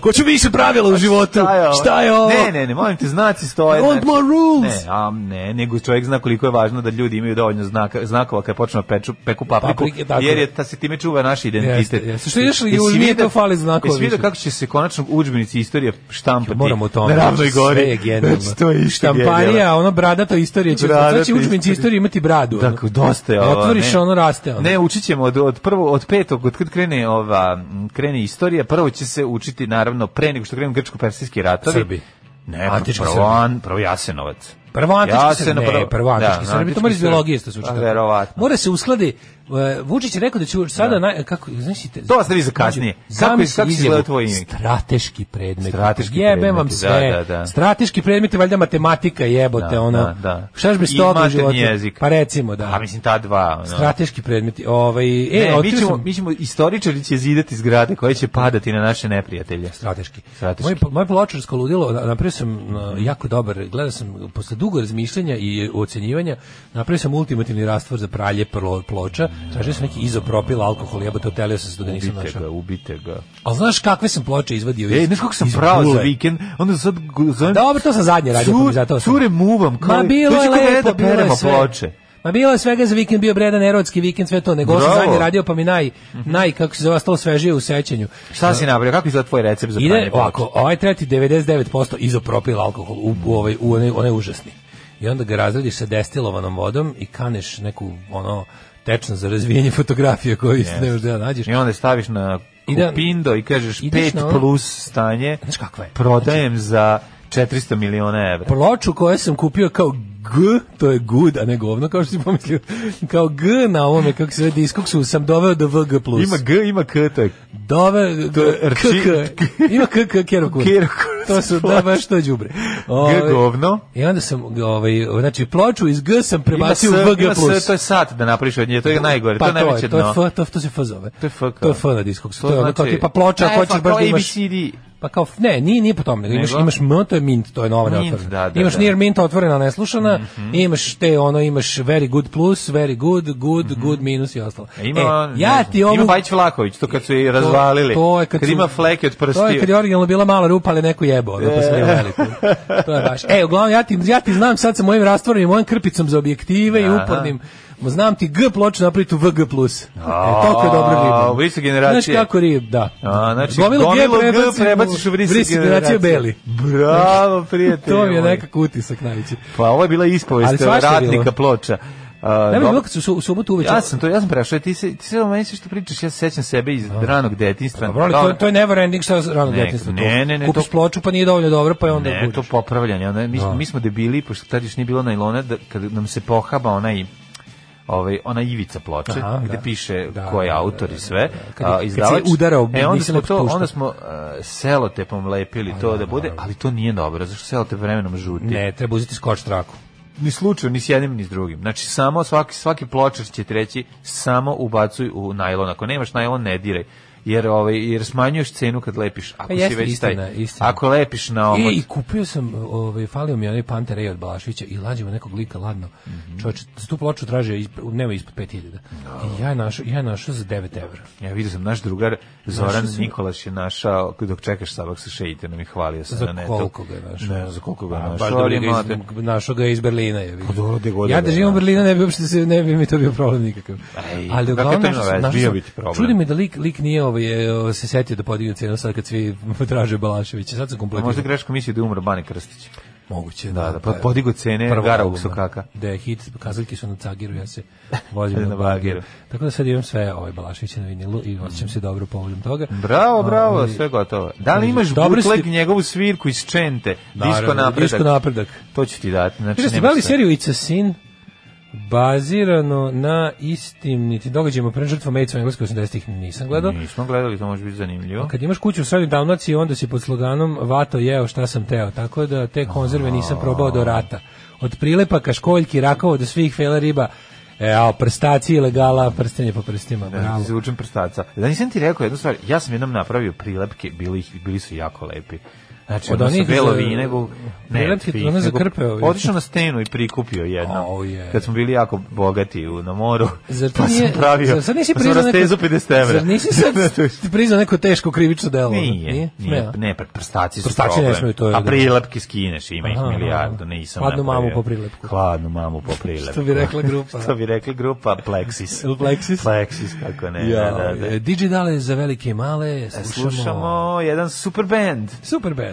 Speaker 7: Ko će više pravila u životu?
Speaker 6: ovo?
Speaker 7: Šta je ovo?
Speaker 6: Ne, ne, ne, molim te, znaci stoje. znači-
Speaker 7: I want more rules.
Speaker 6: Ne, a, ne, nego čovjek zna koliko je važno da ljudi imaju dovoljno znaka, znakova kada počnu da peču, peku papriku,
Speaker 7: Paprike, tako
Speaker 6: jer
Speaker 7: je.
Speaker 6: je ta se time čuva naš identitet.
Speaker 7: Jeste, jeste. Što ideš li
Speaker 6: Jesi
Speaker 7: južnije,
Speaker 6: vidio-
Speaker 7: to fali znakova
Speaker 6: Jesi vidio
Speaker 7: više.
Speaker 6: kako će se konačno udžbenici istorije štampati?
Speaker 7: Moramo o tome.
Speaker 6: Na ravnoj gori.
Speaker 7: Sve je genijalno.
Speaker 6: Znači, to je isto
Speaker 7: Štamparija,
Speaker 6: genijalno.
Speaker 7: ono bradato istorije će.
Speaker 6: Bradato
Speaker 7: Znači učbenici
Speaker 6: istorije.
Speaker 7: istorije imati bradu. ono.
Speaker 6: Dakle, dosta je ovo.
Speaker 7: Otvoriš,
Speaker 6: ne.
Speaker 7: ono raste. ono.
Speaker 6: Ne, učit ćemo od, od, prvo, od petog, od kad krene, ova, m, krene istorija, prvo će se učiti, naravno, pre nego što krenu grčko-persijski ratovi.
Speaker 7: Srbi.
Speaker 6: Ne,
Speaker 7: Antički
Speaker 6: prvo,
Speaker 7: Srbi.
Speaker 6: an, prvo Jasenovac.
Speaker 7: Prvo antički
Speaker 6: Ja
Speaker 7: ja
Speaker 6: se
Speaker 7: Srbi,
Speaker 6: na
Speaker 7: ne,
Speaker 6: prvo-
Speaker 7: prvo,
Speaker 6: da,
Speaker 7: antički Srbi, to
Speaker 6: antički
Speaker 7: mora iz
Speaker 6: Srbi.
Speaker 7: biologije što se uči.
Speaker 6: Pa,
Speaker 7: tako.
Speaker 6: verovatno.
Speaker 7: Mora se uskladi, uh, Vučić je rekao da će sada, naj, e, kako, znaš, te, Znači,
Speaker 6: To ste vi za kasnije. Kako je-
Speaker 7: Zamisli
Speaker 6: kako se
Speaker 7: izjavu,
Speaker 6: izgleda tvoj ime?
Speaker 7: Strateški predmet.
Speaker 6: Strateški
Speaker 7: Jebem
Speaker 6: predmeti,
Speaker 7: vam
Speaker 6: da,
Speaker 7: sve.
Speaker 6: da, da.
Speaker 7: Strateški predmet je valjda matematika, jebote,
Speaker 6: Da,
Speaker 7: ono.
Speaker 6: da, da.
Speaker 7: Šta bi
Speaker 6: I
Speaker 7: stoga u
Speaker 6: maternji
Speaker 7: životu?
Speaker 6: jezik.
Speaker 7: Pa recimo, da.
Speaker 6: A mislim, ta dva. ono.
Speaker 7: Strateški predmeti. Ovaj, e,
Speaker 6: Ne, mi
Speaker 7: otkrio
Speaker 6: ćemo,
Speaker 7: sam-
Speaker 6: mi ćemo, istoričari će zidati zgrade koje će padati na naše neprijatelje.
Speaker 7: strateški.
Speaker 6: Strateški.
Speaker 7: Moje, moje pločarsko ludilo, na- napravio sam na, jako dobar, gledao sam posle dugo razmišljanja i ocenjivanja, napravio sam ultimativni rastvor za pralje plo- ploča, tražio sam neki izopropil alkohol, jebote, otelio sam se da ga nisam
Speaker 6: Ubite ga,
Speaker 7: našao. E,
Speaker 6: ubite ga.
Speaker 7: Ali znaš kakve sam ploče izvadio iz
Speaker 6: Ej, znaš kako sam
Speaker 7: iz
Speaker 6: prao za
Speaker 7: bule?
Speaker 6: vikend, onda sad gu- zovem...
Speaker 7: Dobro, to sam zadnje radio, pa mi
Speaker 6: Cur-
Speaker 7: zato sam.
Speaker 6: Cure muvam, kao
Speaker 7: Ma bilo
Speaker 6: dođi
Speaker 7: je
Speaker 6: kod mene
Speaker 7: lepo,
Speaker 6: da
Speaker 7: bilo
Speaker 6: peremo
Speaker 7: je sve.
Speaker 6: ploče.
Speaker 7: Ma bilo je svega za vikend bio bredan erotski vikend sve to, nego ovo sam
Speaker 6: Bravo. Mhm.
Speaker 7: zadnje radio pa mi naj naj kako se zove ostalo svežije u sećanju.
Speaker 6: Šta si napravio, kako je za tvoj recept za pranje
Speaker 7: Ide
Speaker 6: ploče?
Speaker 7: ovako, ovaj treti 99% izopropil alkohol u, u ovaj u onaj, onaj užasni. I onda ga razradiš sa destilovanom vodom i kaneš neku ono tečno za razvijanje fotografije koju yes. ne možeš da nađeš.
Speaker 6: I onda staviš na
Speaker 7: I da-
Speaker 6: kupindo i kažeš
Speaker 7: ideš
Speaker 6: 5
Speaker 7: na ono-
Speaker 6: plus stanje,
Speaker 7: Znaš kakva je?
Speaker 6: prodajem za 400 miliona evra.
Speaker 7: Ploču koju sam kupio kao G, to je good, a ne govno, kao što si pomislio, kao G na ovome, kako se zove, diskoksu, sam doveo do VG+.
Speaker 6: Ima G, ima K, to je
Speaker 7: Dove,
Speaker 6: To je rči-
Speaker 7: KK, ima KK Kerokun.
Speaker 6: Kerokun.
Speaker 7: To su, da, baš to je đubre.
Speaker 6: G
Speaker 7: Ovaj,
Speaker 6: govno.
Speaker 7: I onda sam, ovaj, znači, ploču iz G sam
Speaker 6: Ima S,
Speaker 7: prebacio u
Speaker 6: ima
Speaker 7: VG+.
Speaker 6: S, to je sat da napraviš od nje, to je najgore, to
Speaker 7: Pa
Speaker 6: je najveće
Speaker 7: to je
Speaker 6: dno.
Speaker 7: F, to, to se F zove.
Speaker 6: To je F kao.
Speaker 7: To je F na diskoksu. To, je ono kao
Speaker 6: znači-
Speaker 7: tipa ploča,
Speaker 6: Da,
Speaker 7: ako
Speaker 6: F,
Speaker 7: hoćeš bar
Speaker 6: kao
Speaker 7: da imaš...
Speaker 6: ABCD.
Speaker 7: Pa kao, ne, nije, nije po tome, nego imaš,
Speaker 6: Nego?
Speaker 7: imaš M, to je mint, to je nova
Speaker 6: Mint,
Speaker 7: neotvorena.
Speaker 6: da, da,
Speaker 7: imaš
Speaker 6: da. Mhm.
Speaker 7: near mint, otvorena, neslušana, imaš te, ono, imaš very good plus, very good, good, good minus i ostalo.
Speaker 6: E, Mhm. Ima,
Speaker 7: E,
Speaker 6: ne
Speaker 7: ja
Speaker 6: znam,
Speaker 7: ti ovu...
Speaker 6: ima Bajić Vlaković, to kad su je razvalili.
Speaker 7: To, to je kad,
Speaker 6: kad
Speaker 7: su-
Speaker 6: ima fleke od prstiju. E.
Speaker 7: To je kad je originalno bila mala rupa, ali neko jebo, da pa smio veliku. To je baš. E, uglavnom, ja ti, ja ti znam sad sa mojim rastvorenim, mojim krpicom za objektive i
Speaker 6: Aha.
Speaker 7: upornim Ma znam ti G ploču napraviti u VG+. plus. E, toliko je dobro
Speaker 6: A,
Speaker 7: riba.
Speaker 6: vrisne generacije.
Speaker 7: Znaš kako rib, da.
Speaker 6: A, znači,
Speaker 7: Gomilu G
Speaker 6: gomilu G
Speaker 7: prebacim u
Speaker 6: prebaciš u vrisne
Speaker 7: vrisne generacije beli.
Speaker 6: Bravo, prijatelj.
Speaker 7: To mi je nekako utisak najveći.
Speaker 6: Pa ovo je bila
Speaker 7: Ali
Speaker 6: ispovest
Speaker 7: svašta je
Speaker 6: ratnika
Speaker 7: bilo.
Speaker 6: ploča. A,
Speaker 7: Ne
Speaker 6: Pa,
Speaker 7: bih
Speaker 6: dobro.
Speaker 7: bilo kad su u subotu uveče.
Speaker 6: Ja sam to, ja sam prešao, ti se ti se o meni sve što pričaš, ja se sećam sebe iz ranog detinjstva.
Speaker 7: Dobro, Pa, ali to, je- to je never ending sa ranog
Speaker 6: Ne,
Speaker 7: djetinjstva.
Speaker 6: ne, ne, ne,
Speaker 7: Kupiš
Speaker 6: to-
Speaker 7: ploču pa nije dovoljno dobro, pa je onda
Speaker 6: Ne, to
Speaker 7: guraš.
Speaker 6: popravljanje. Ona, mi,
Speaker 7: Da.
Speaker 6: mi smo debili, pošto tad još nije bilo najlona, da, kad nam se pohaba onaj ovaj ona ivica ploče
Speaker 7: Aha,
Speaker 6: gde
Speaker 7: da.
Speaker 6: piše
Speaker 7: Da,
Speaker 6: ko je
Speaker 7: da,
Speaker 6: autor
Speaker 7: da,
Speaker 6: i
Speaker 7: da,
Speaker 6: sve
Speaker 7: da, da. Kad je-
Speaker 6: a,
Speaker 7: kad se
Speaker 6: izdavač
Speaker 7: je udarao,
Speaker 6: e onda
Speaker 7: nisi
Speaker 6: smo to
Speaker 7: otpuštao.
Speaker 6: onda smo uh, selotepom lepili to da bude ali to nije dobro zašto selotep vremenom žuti
Speaker 7: Ne, treba uzeti skoč traku.
Speaker 6: ni slučajno ni s jednim ni s drugim znači samo svaki svaki pločar će ti reći samo ubacuj u najlon ako nemaš najlon ne diraj jer ovaj jer smanjuješ cenu kad lepiš ako si
Speaker 7: Pa jeste,
Speaker 6: već taj
Speaker 7: istina, istina.
Speaker 6: ako lepiš na
Speaker 7: E,
Speaker 6: omot
Speaker 7: i kupio sam, ovaj, falio mi je onaj Panter Ej od Balaševića i lađemo nekog lika ladno. Mm
Speaker 6: Mhm.
Speaker 7: za tu ploču traže, isp, nema ispod 5000. I ja je našao, ja je našao za 9 evra.
Speaker 6: Ja vidio sam naš drugar Zoran
Speaker 7: Našao sam-
Speaker 6: Nikolaš je našao dok čekaš sabak sa šeitanom i hvalio sam na
Speaker 7: Za
Speaker 6: netu.
Speaker 7: koliko ga je našao?
Speaker 6: Ne, znam za koliko ga je
Speaker 7: A,
Speaker 6: našao.
Speaker 7: baš
Speaker 6: ali
Speaker 7: dobro ga
Speaker 6: imate- Pa
Speaker 7: iz, našao ga je iz Berlina. Je, vidio.
Speaker 6: dobro, gde god
Speaker 7: ja
Speaker 6: da ga
Speaker 7: da
Speaker 6: je
Speaker 7: živim u
Speaker 6: našao.
Speaker 7: Berlinu ne bi, uopšte se, ne bi mi to bio problem nikakav.
Speaker 6: Ej,
Speaker 7: Ali
Speaker 6: kakve
Speaker 7: uglavnom
Speaker 6: to ima
Speaker 7: našao sam,
Speaker 6: veze?
Speaker 7: našao
Speaker 6: Bio
Speaker 7: sam-
Speaker 6: bi ti problem.
Speaker 7: Čudi me da lik, lik nije ovaj, eh, se setio da podigne cenu sad kad svi traže Balaševića. Sad sam
Speaker 6: A
Speaker 7: kompletno.
Speaker 6: Možda greško mislio da je umro Bani Krstić.
Speaker 7: Moguće,
Speaker 6: Da,
Speaker 7: da.
Speaker 6: da,
Speaker 7: pa
Speaker 6: pa podigo cene
Speaker 7: prvo
Speaker 6: Gara
Speaker 7: album,
Speaker 6: Uksokaka.
Speaker 7: Da je hit, kazaljke su na Cagiru, ja se vozim
Speaker 6: Na
Speaker 7: na, Bagiru.
Speaker 6: Bagiru.
Speaker 7: Tako da sad imam sve ove Balaševiće na vinilu i osjećam se dobro povodom toga.
Speaker 6: Bravo, bravo,
Speaker 7: Ovaj,
Speaker 6: sve gotovo. Da li
Speaker 7: kaže,
Speaker 6: imaš
Speaker 7: dobro
Speaker 6: bootleg
Speaker 7: ste-
Speaker 6: njegovu svirku iz Čente? Disko
Speaker 7: naravno,
Speaker 6: napredak.
Speaker 7: Disko napredak.
Speaker 6: To ću ti dati. Znači,
Speaker 7: Kaže, ste
Speaker 6: nema
Speaker 7: gledali
Speaker 6: šta.
Speaker 7: seriju It's a Sin, bazirano na istiniti događajima pre žrtva Mejca u Engleskoj 80-ih nisam gledao.
Speaker 6: Nismo gledali, to može biti zanimljivo.
Speaker 7: Kad imaš kuću u srednjoj Dalmaciji, onda si pod sloganom vato jeo šta sam teo, tako da te konzerve nisam probao do rata. Od prilepaka, školjki, rakova do svih fela riba, e, a prstaci ilegala, prstenje po prstima,
Speaker 6: Da,
Speaker 7: bravo.
Speaker 6: izvučem prstaca. Da nisam ti rekao jednu stvar, ja sam jednom napravio prilepke, bili, ih- bili su jako lepi. Znači,
Speaker 7: Od
Speaker 6: ono sa
Speaker 7: onih
Speaker 6: belo
Speaker 7: za-
Speaker 6: vino, nego... ne,
Speaker 7: prilepke,
Speaker 6: tih,
Speaker 7: one za
Speaker 6: nego
Speaker 7: krpe ovi.
Speaker 6: Otišao na stenu i prikupio jedno.
Speaker 7: Au, je.
Speaker 6: Kad smo bili jako bogati u, na moru,
Speaker 7: Zar ti
Speaker 6: pa sam
Speaker 7: nije-
Speaker 6: pravio...
Speaker 7: zar sad nisi
Speaker 6: pa sam
Speaker 7: priznao
Speaker 6: rastezu
Speaker 7: neko-
Speaker 6: 50 evra.
Speaker 7: Zar nisi sad priznao neko teško krivično delo?
Speaker 6: Nije, nije,
Speaker 7: Smeo?
Speaker 6: ne, pa prstaci su
Speaker 7: Prstaci ne
Speaker 6: problem.
Speaker 7: smeju, to je
Speaker 6: A
Speaker 7: da.
Speaker 6: prilepke skineš, ima ih
Speaker 7: Aha,
Speaker 6: milijardu,
Speaker 7: aha.
Speaker 6: nisam
Speaker 7: Hladnu mamu
Speaker 6: napravio.
Speaker 7: po prilepku.
Speaker 6: Hladnu mamu po prilepku.
Speaker 7: Što bi rekla grupa.
Speaker 6: Što bi rekla grupa Plexis.
Speaker 7: Jel Plexis?
Speaker 6: Plexis, kako ne.
Speaker 7: Ja,
Speaker 6: da, da, da.
Speaker 7: e, Digidale za velike i male, slušamo.
Speaker 6: slušamo jedan super band.
Speaker 7: Super band.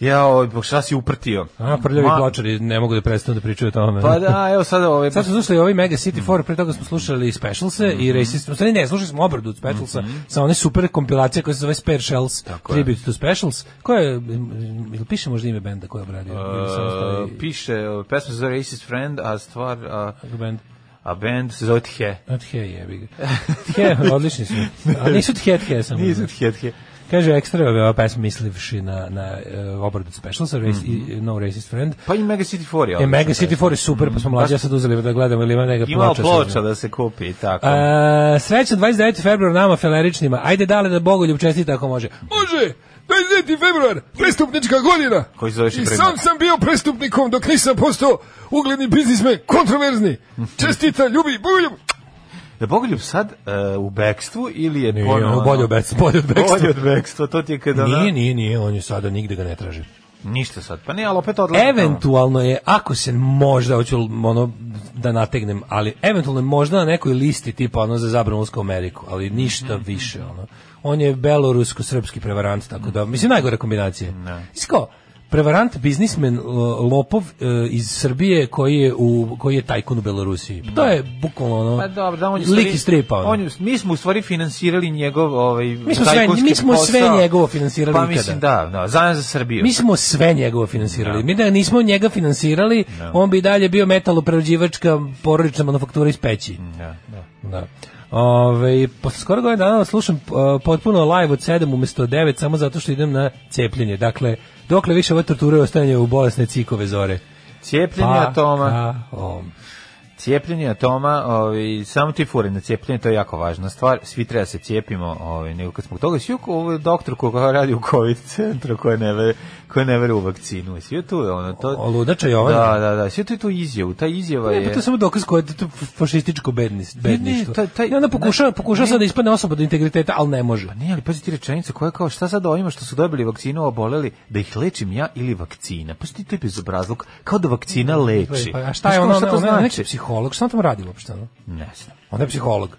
Speaker 6: Ja, ovaj, bog, šta si uprtio?
Speaker 7: A, prljavi
Speaker 6: Ma-
Speaker 7: pločari, ne mogu da prestanu da pričaju o tome.
Speaker 6: Pa da, evo sada ovaj...
Speaker 7: Sad smo slušali ovi Mega
Speaker 6: Mm.
Speaker 7: City 4, pre toga smo slušali Specialse i
Speaker 6: Mm-hmm.
Speaker 7: Racist, u stvari ne, slušali smo obradu od Specialsa sa one super kompilacije koja se zove Spare Shells,
Speaker 6: je.
Speaker 7: Tribute to Specials, koja je, mm, ili piše možda ime benda koja je obradio? ili samo
Speaker 6: Uh,
Speaker 7: stoji
Speaker 6: piše, ovaj, pesma se zove Racist Friend, a stvar, a,
Speaker 7: bend?
Speaker 6: a band se zove The.
Speaker 7: A, The jebi ga. The, odlični su. A nisu The, The samo.
Speaker 6: The, The.
Speaker 7: Kaže ekstra ova pesma mislivši na, na uh, obradu od Specialsa, race, i- No Racist Friend.
Speaker 6: Pa i Mega City 4 je Mm-hmm.
Speaker 7: E,
Speaker 6: odlična
Speaker 7: Mega City
Speaker 6: pesma.
Speaker 7: 4 je super, pa smo mlađe sad uzeli da gledamo ili ima neka
Speaker 6: Imao
Speaker 7: ploča.
Speaker 6: ploča da se kupi, i tako.
Speaker 7: E, srećan 29. februar nama feleričnima. Ajde dale da Bogoljub čestita ako može.
Speaker 8: Može! 29. februar, prestupnička godina!
Speaker 6: Koji se zoveš i
Speaker 8: I
Speaker 6: prema.
Speaker 8: sam sam bio prestupnikom dok nisam postao ugledni biznismen, kontroverzni. Čestita, ljubi, buljub!
Speaker 6: Da Bogoljub sad e, u bekstvu ili je
Speaker 7: Nije,
Speaker 6: ponovo-
Speaker 7: ono, bolje od Bekstva, bolje od Bekstva.
Speaker 6: Bolje od bekstva, to ti je kada...
Speaker 7: Nije, nije, nije, on je sada nigde ga ne traži.
Speaker 6: Ništa sad, pa ne, ali opet odlazi.
Speaker 7: Eventualno je, ako se možda, hoću ono da nategnem, ali eventualno je možda na nekoj listi tipa ono za zabranu ulaska u Ameriku, ali ništa
Speaker 6: Mhm.
Speaker 7: više, ono. On je belorusko-srpski prevarant, tako da, mislim, najgore kombinacije. Isko, prevarant, biznismen, lo- lopov e, iz Srbije koji je, u, koji je tajkun u Belorusiji. Pa To je bukvalno ono,
Speaker 6: Pa dobro, da on je u
Speaker 7: lik
Speaker 6: stvari-
Speaker 7: iz stripa. ono.
Speaker 6: On je, mi smo u stvari finansirali njegov ovaj
Speaker 7: Mi smo sve-
Speaker 6: tajkunski
Speaker 7: mi smo sve
Speaker 6: posao.
Speaker 7: njegovo finansirali
Speaker 6: Pa
Speaker 7: ikada.
Speaker 6: mislim da, da, zajedno za Srbiju.
Speaker 7: Mi smo sve njegovo finansirali. Mi da nismo njega finansirali, on bi i dalje bio metaloprerađivačka porodična manufaktura iz peći.
Speaker 6: Mm, Da, da.
Speaker 7: Da. Ove, posle skoro godinu dana slušam uh, potpuno live od 7 umesto od 9 samo zato što idem na cepljenje. Dakle, dokle više ove torture ostajanje u bolesne cikove zore.
Speaker 6: Cijepljenje atoma. Cijepljenje atoma, ovaj, samo ti fure na cijepljenje, to je jako važna stvar. Svi treba se cijepimo, ovaj, nego kad smo toga, svi ovaj doktor koja radi u COVID centru, koja ne veruje koja ne veruje u vakcinu. Svi tu je ono, to...
Speaker 7: O, ludača
Speaker 6: Da,
Speaker 7: Jovana.
Speaker 6: da, da, svi tu je tu izjavu, ta izjava
Speaker 7: Ne,
Speaker 6: je...
Speaker 7: pa to je samo dokaz koje je to fašističko bednis, bedništvo.
Speaker 6: taj- taj-
Speaker 7: I onda pokušava,
Speaker 6: ne,
Speaker 7: pokušava
Speaker 6: ne.
Speaker 7: sad da ispadne osoba do integriteta, ali ne može.
Speaker 6: Nije, ali pazi ti rečenica koja je kao šta sad ovima što su dobili vakcinu oboleli, da ih lečim ja ili vakcina. Pa ti to je bezobrazluk, kao da vakcina leči.
Speaker 7: Pa, a šta
Speaker 6: Znači. Znaš
Speaker 7: je
Speaker 6: kao,
Speaker 7: ono,
Speaker 6: šta to
Speaker 7: ono, ono, neki
Speaker 6: znači?
Speaker 7: psiholog, šta on tamo radi uopšte? Ono?
Speaker 6: Ne znam.
Speaker 7: Ona je psiholog.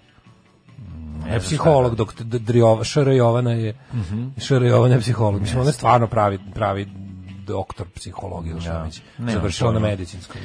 Speaker 7: Ona je
Speaker 6: znam
Speaker 7: psiholog, dok D- Driova, Šr. Jovana je,
Speaker 6: Mhm.
Speaker 7: Šr. Jovana je psiholog. Mislim, ona je stvarno pravi, pravi doktor psihologije, ili šta već.
Speaker 6: Nemam
Speaker 7: Završila na
Speaker 6: pojma.
Speaker 7: medicinskom.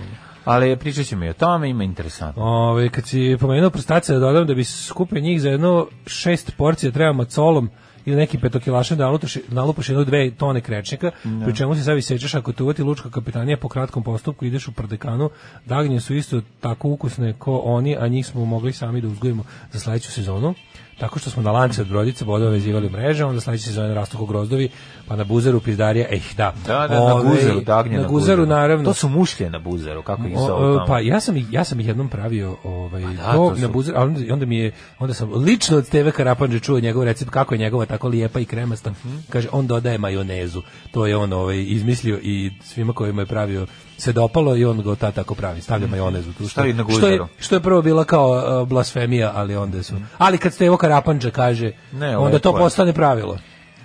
Speaker 6: Ali pričat ćemo i o tome, ima interesantno.
Speaker 7: Ove, Ovaj, kad si pomenuo prostace, da dodam da bi skupio njih za jedno šest porcija treba macolom ili nekim petokilašem da nalutoši- nalupaš jedno dve tone krečnika, pri čemu se savi sečeš ako te uvati lučka kapetanija po kratkom postupku ideš u prdekanu, dagnje su isto tako ukusne ko oni, a njih smo mogli sami da uzgojimo za sledeću sezonu tako što smo na lance od brodice bodove vezivali u mreže, onda sledeće sezone rastu ko grozdovi, pa na buzeru pizdarija, eh da.
Speaker 6: Da, da, na
Speaker 7: Ove,
Speaker 6: guzeru, dagnje
Speaker 7: na guzeru, naravno.
Speaker 6: To su mušlje na guzeru, kako ih
Speaker 7: O,
Speaker 6: zove
Speaker 7: o,
Speaker 6: tamo.
Speaker 7: pa ja sam ih- ja sam ih jednom pravio ovaj
Speaker 6: da,
Speaker 7: to
Speaker 6: to su-
Speaker 7: na buzer, ali onda, onda mi je onda sam lično od Steve Karapandže čuo njegov recept kako je njegova tako lijepa i kremasta.
Speaker 6: Mhm.
Speaker 7: Kaže on dodaje majonezu. To je on ovaj izmislio i svima kojima je pravio se dopalo i on ga ta tako pravi, stavlja majonezu tu što,
Speaker 6: Mhm. Stavi na
Speaker 7: što je
Speaker 6: guzaru.
Speaker 7: što je prvo bila kao e, blasfemija, ali onda su. Ali kad Stevo Karapandže kaže,
Speaker 6: Mhm. Ne,
Speaker 7: onda to
Speaker 6: lepo je.
Speaker 7: postane pravilo.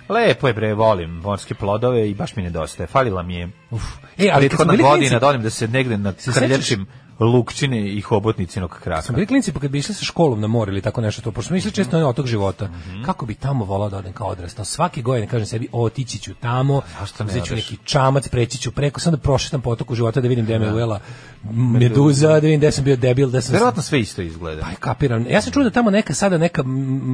Speaker 7: pa-
Speaker 6: Lepo je bre, volim morske plodove i baš mi nedostaje. Falila mi je
Speaker 7: Uf. E, ali kad smo
Speaker 6: prethodna
Speaker 7: bili klinci-
Speaker 6: godina da odem da se negde na
Speaker 7: Se
Speaker 6: krljačim lukčine i hobotnicinog kraka.
Speaker 7: Smo bili klinci pa kad bi išli sa školom na more ili tako nešto to, pošto smo išli često na otok života.
Speaker 6: Mhm.
Speaker 7: Kako bi tamo volao da odem kao odrastao? Svake godine kažem sebi, otići ću tamo,
Speaker 6: zašto ne
Speaker 7: uzet ću
Speaker 6: odeš?
Speaker 7: neki čamac, preći ću preko, sam da prošetam po otoku života da vidim gde me ujela meduza, da vidim gde sam bio debil, da sam...
Speaker 6: Verovatno sve isto izgleda.
Speaker 7: Aj, kapiram. Ja sam čuo da tamo neka sada neka m-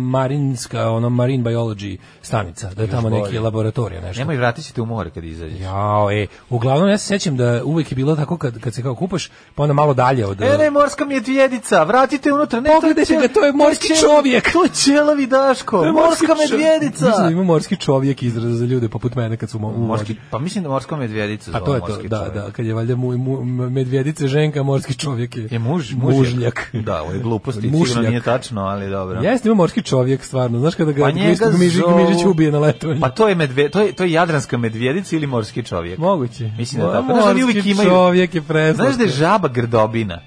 Speaker 7: marinska, ono, marine biology stanica, da je tamo neki
Speaker 6: bolje.
Speaker 7: laboratorija, nešto.
Speaker 6: Nemoj vratit ćete u more kad izađeš.
Speaker 7: Jao, e, uglavnom ja se sećam da uvek je bilo tako kad, kad se kao kupaš, pa onda malo dalje od...
Speaker 6: E, ne, morska mi je dvijedica, vratite unutra. Ne, to je
Speaker 7: Pogledajte
Speaker 6: ćel-
Speaker 7: ga, to je morski
Speaker 6: ćel-
Speaker 7: čovjek.
Speaker 6: To je ćelavi Daško, morska medvjedica.
Speaker 7: Mislim da ima morski čovjek izraz za ljude poput mene kad su mo- u
Speaker 6: Morski,
Speaker 7: vodi.
Speaker 6: pa mislim da morska medvjedica
Speaker 7: Pa
Speaker 6: zove
Speaker 7: to je to,
Speaker 6: morski
Speaker 7: da,
Speaker 6: čovjek.
Speaker 7: da, kad je valjda mu, mu, medvjedice ženka, morski čovjek je,
Speaker 6: Je muž, mužjak.
Speaker 7: mužljak.
Speaker 6: Da, ovo je gluposti, sigurno
Speaker 7: Mušljak.
Speaker 6: nije tačno, ali dobro.
Speaker 7: Jeste, ima morski čovjek, stvarno. Znaš kada ga
Speaker 6: Pa
Speaker 7: pa
Speaker 6: njega
Speaker 7: gmiži,
Speaker 6: zovu-
Speaker 7: Gmižić ubije na letovanju?
Speaker 6: Pa to je medve, to je to je jadranska medvjedica ili morski čovjek.
Speaker 7: Moguće.
Speaker 6: Mislim da je tako.
Speaker 7: Ma,
Speaker 6: Znaš da oni
Speaker 7: morski
Speaker 6: uvijek imaju-
Speaker 7: čovjek je preslatko.
Speaker 6: Znaš da je žaba grdobina.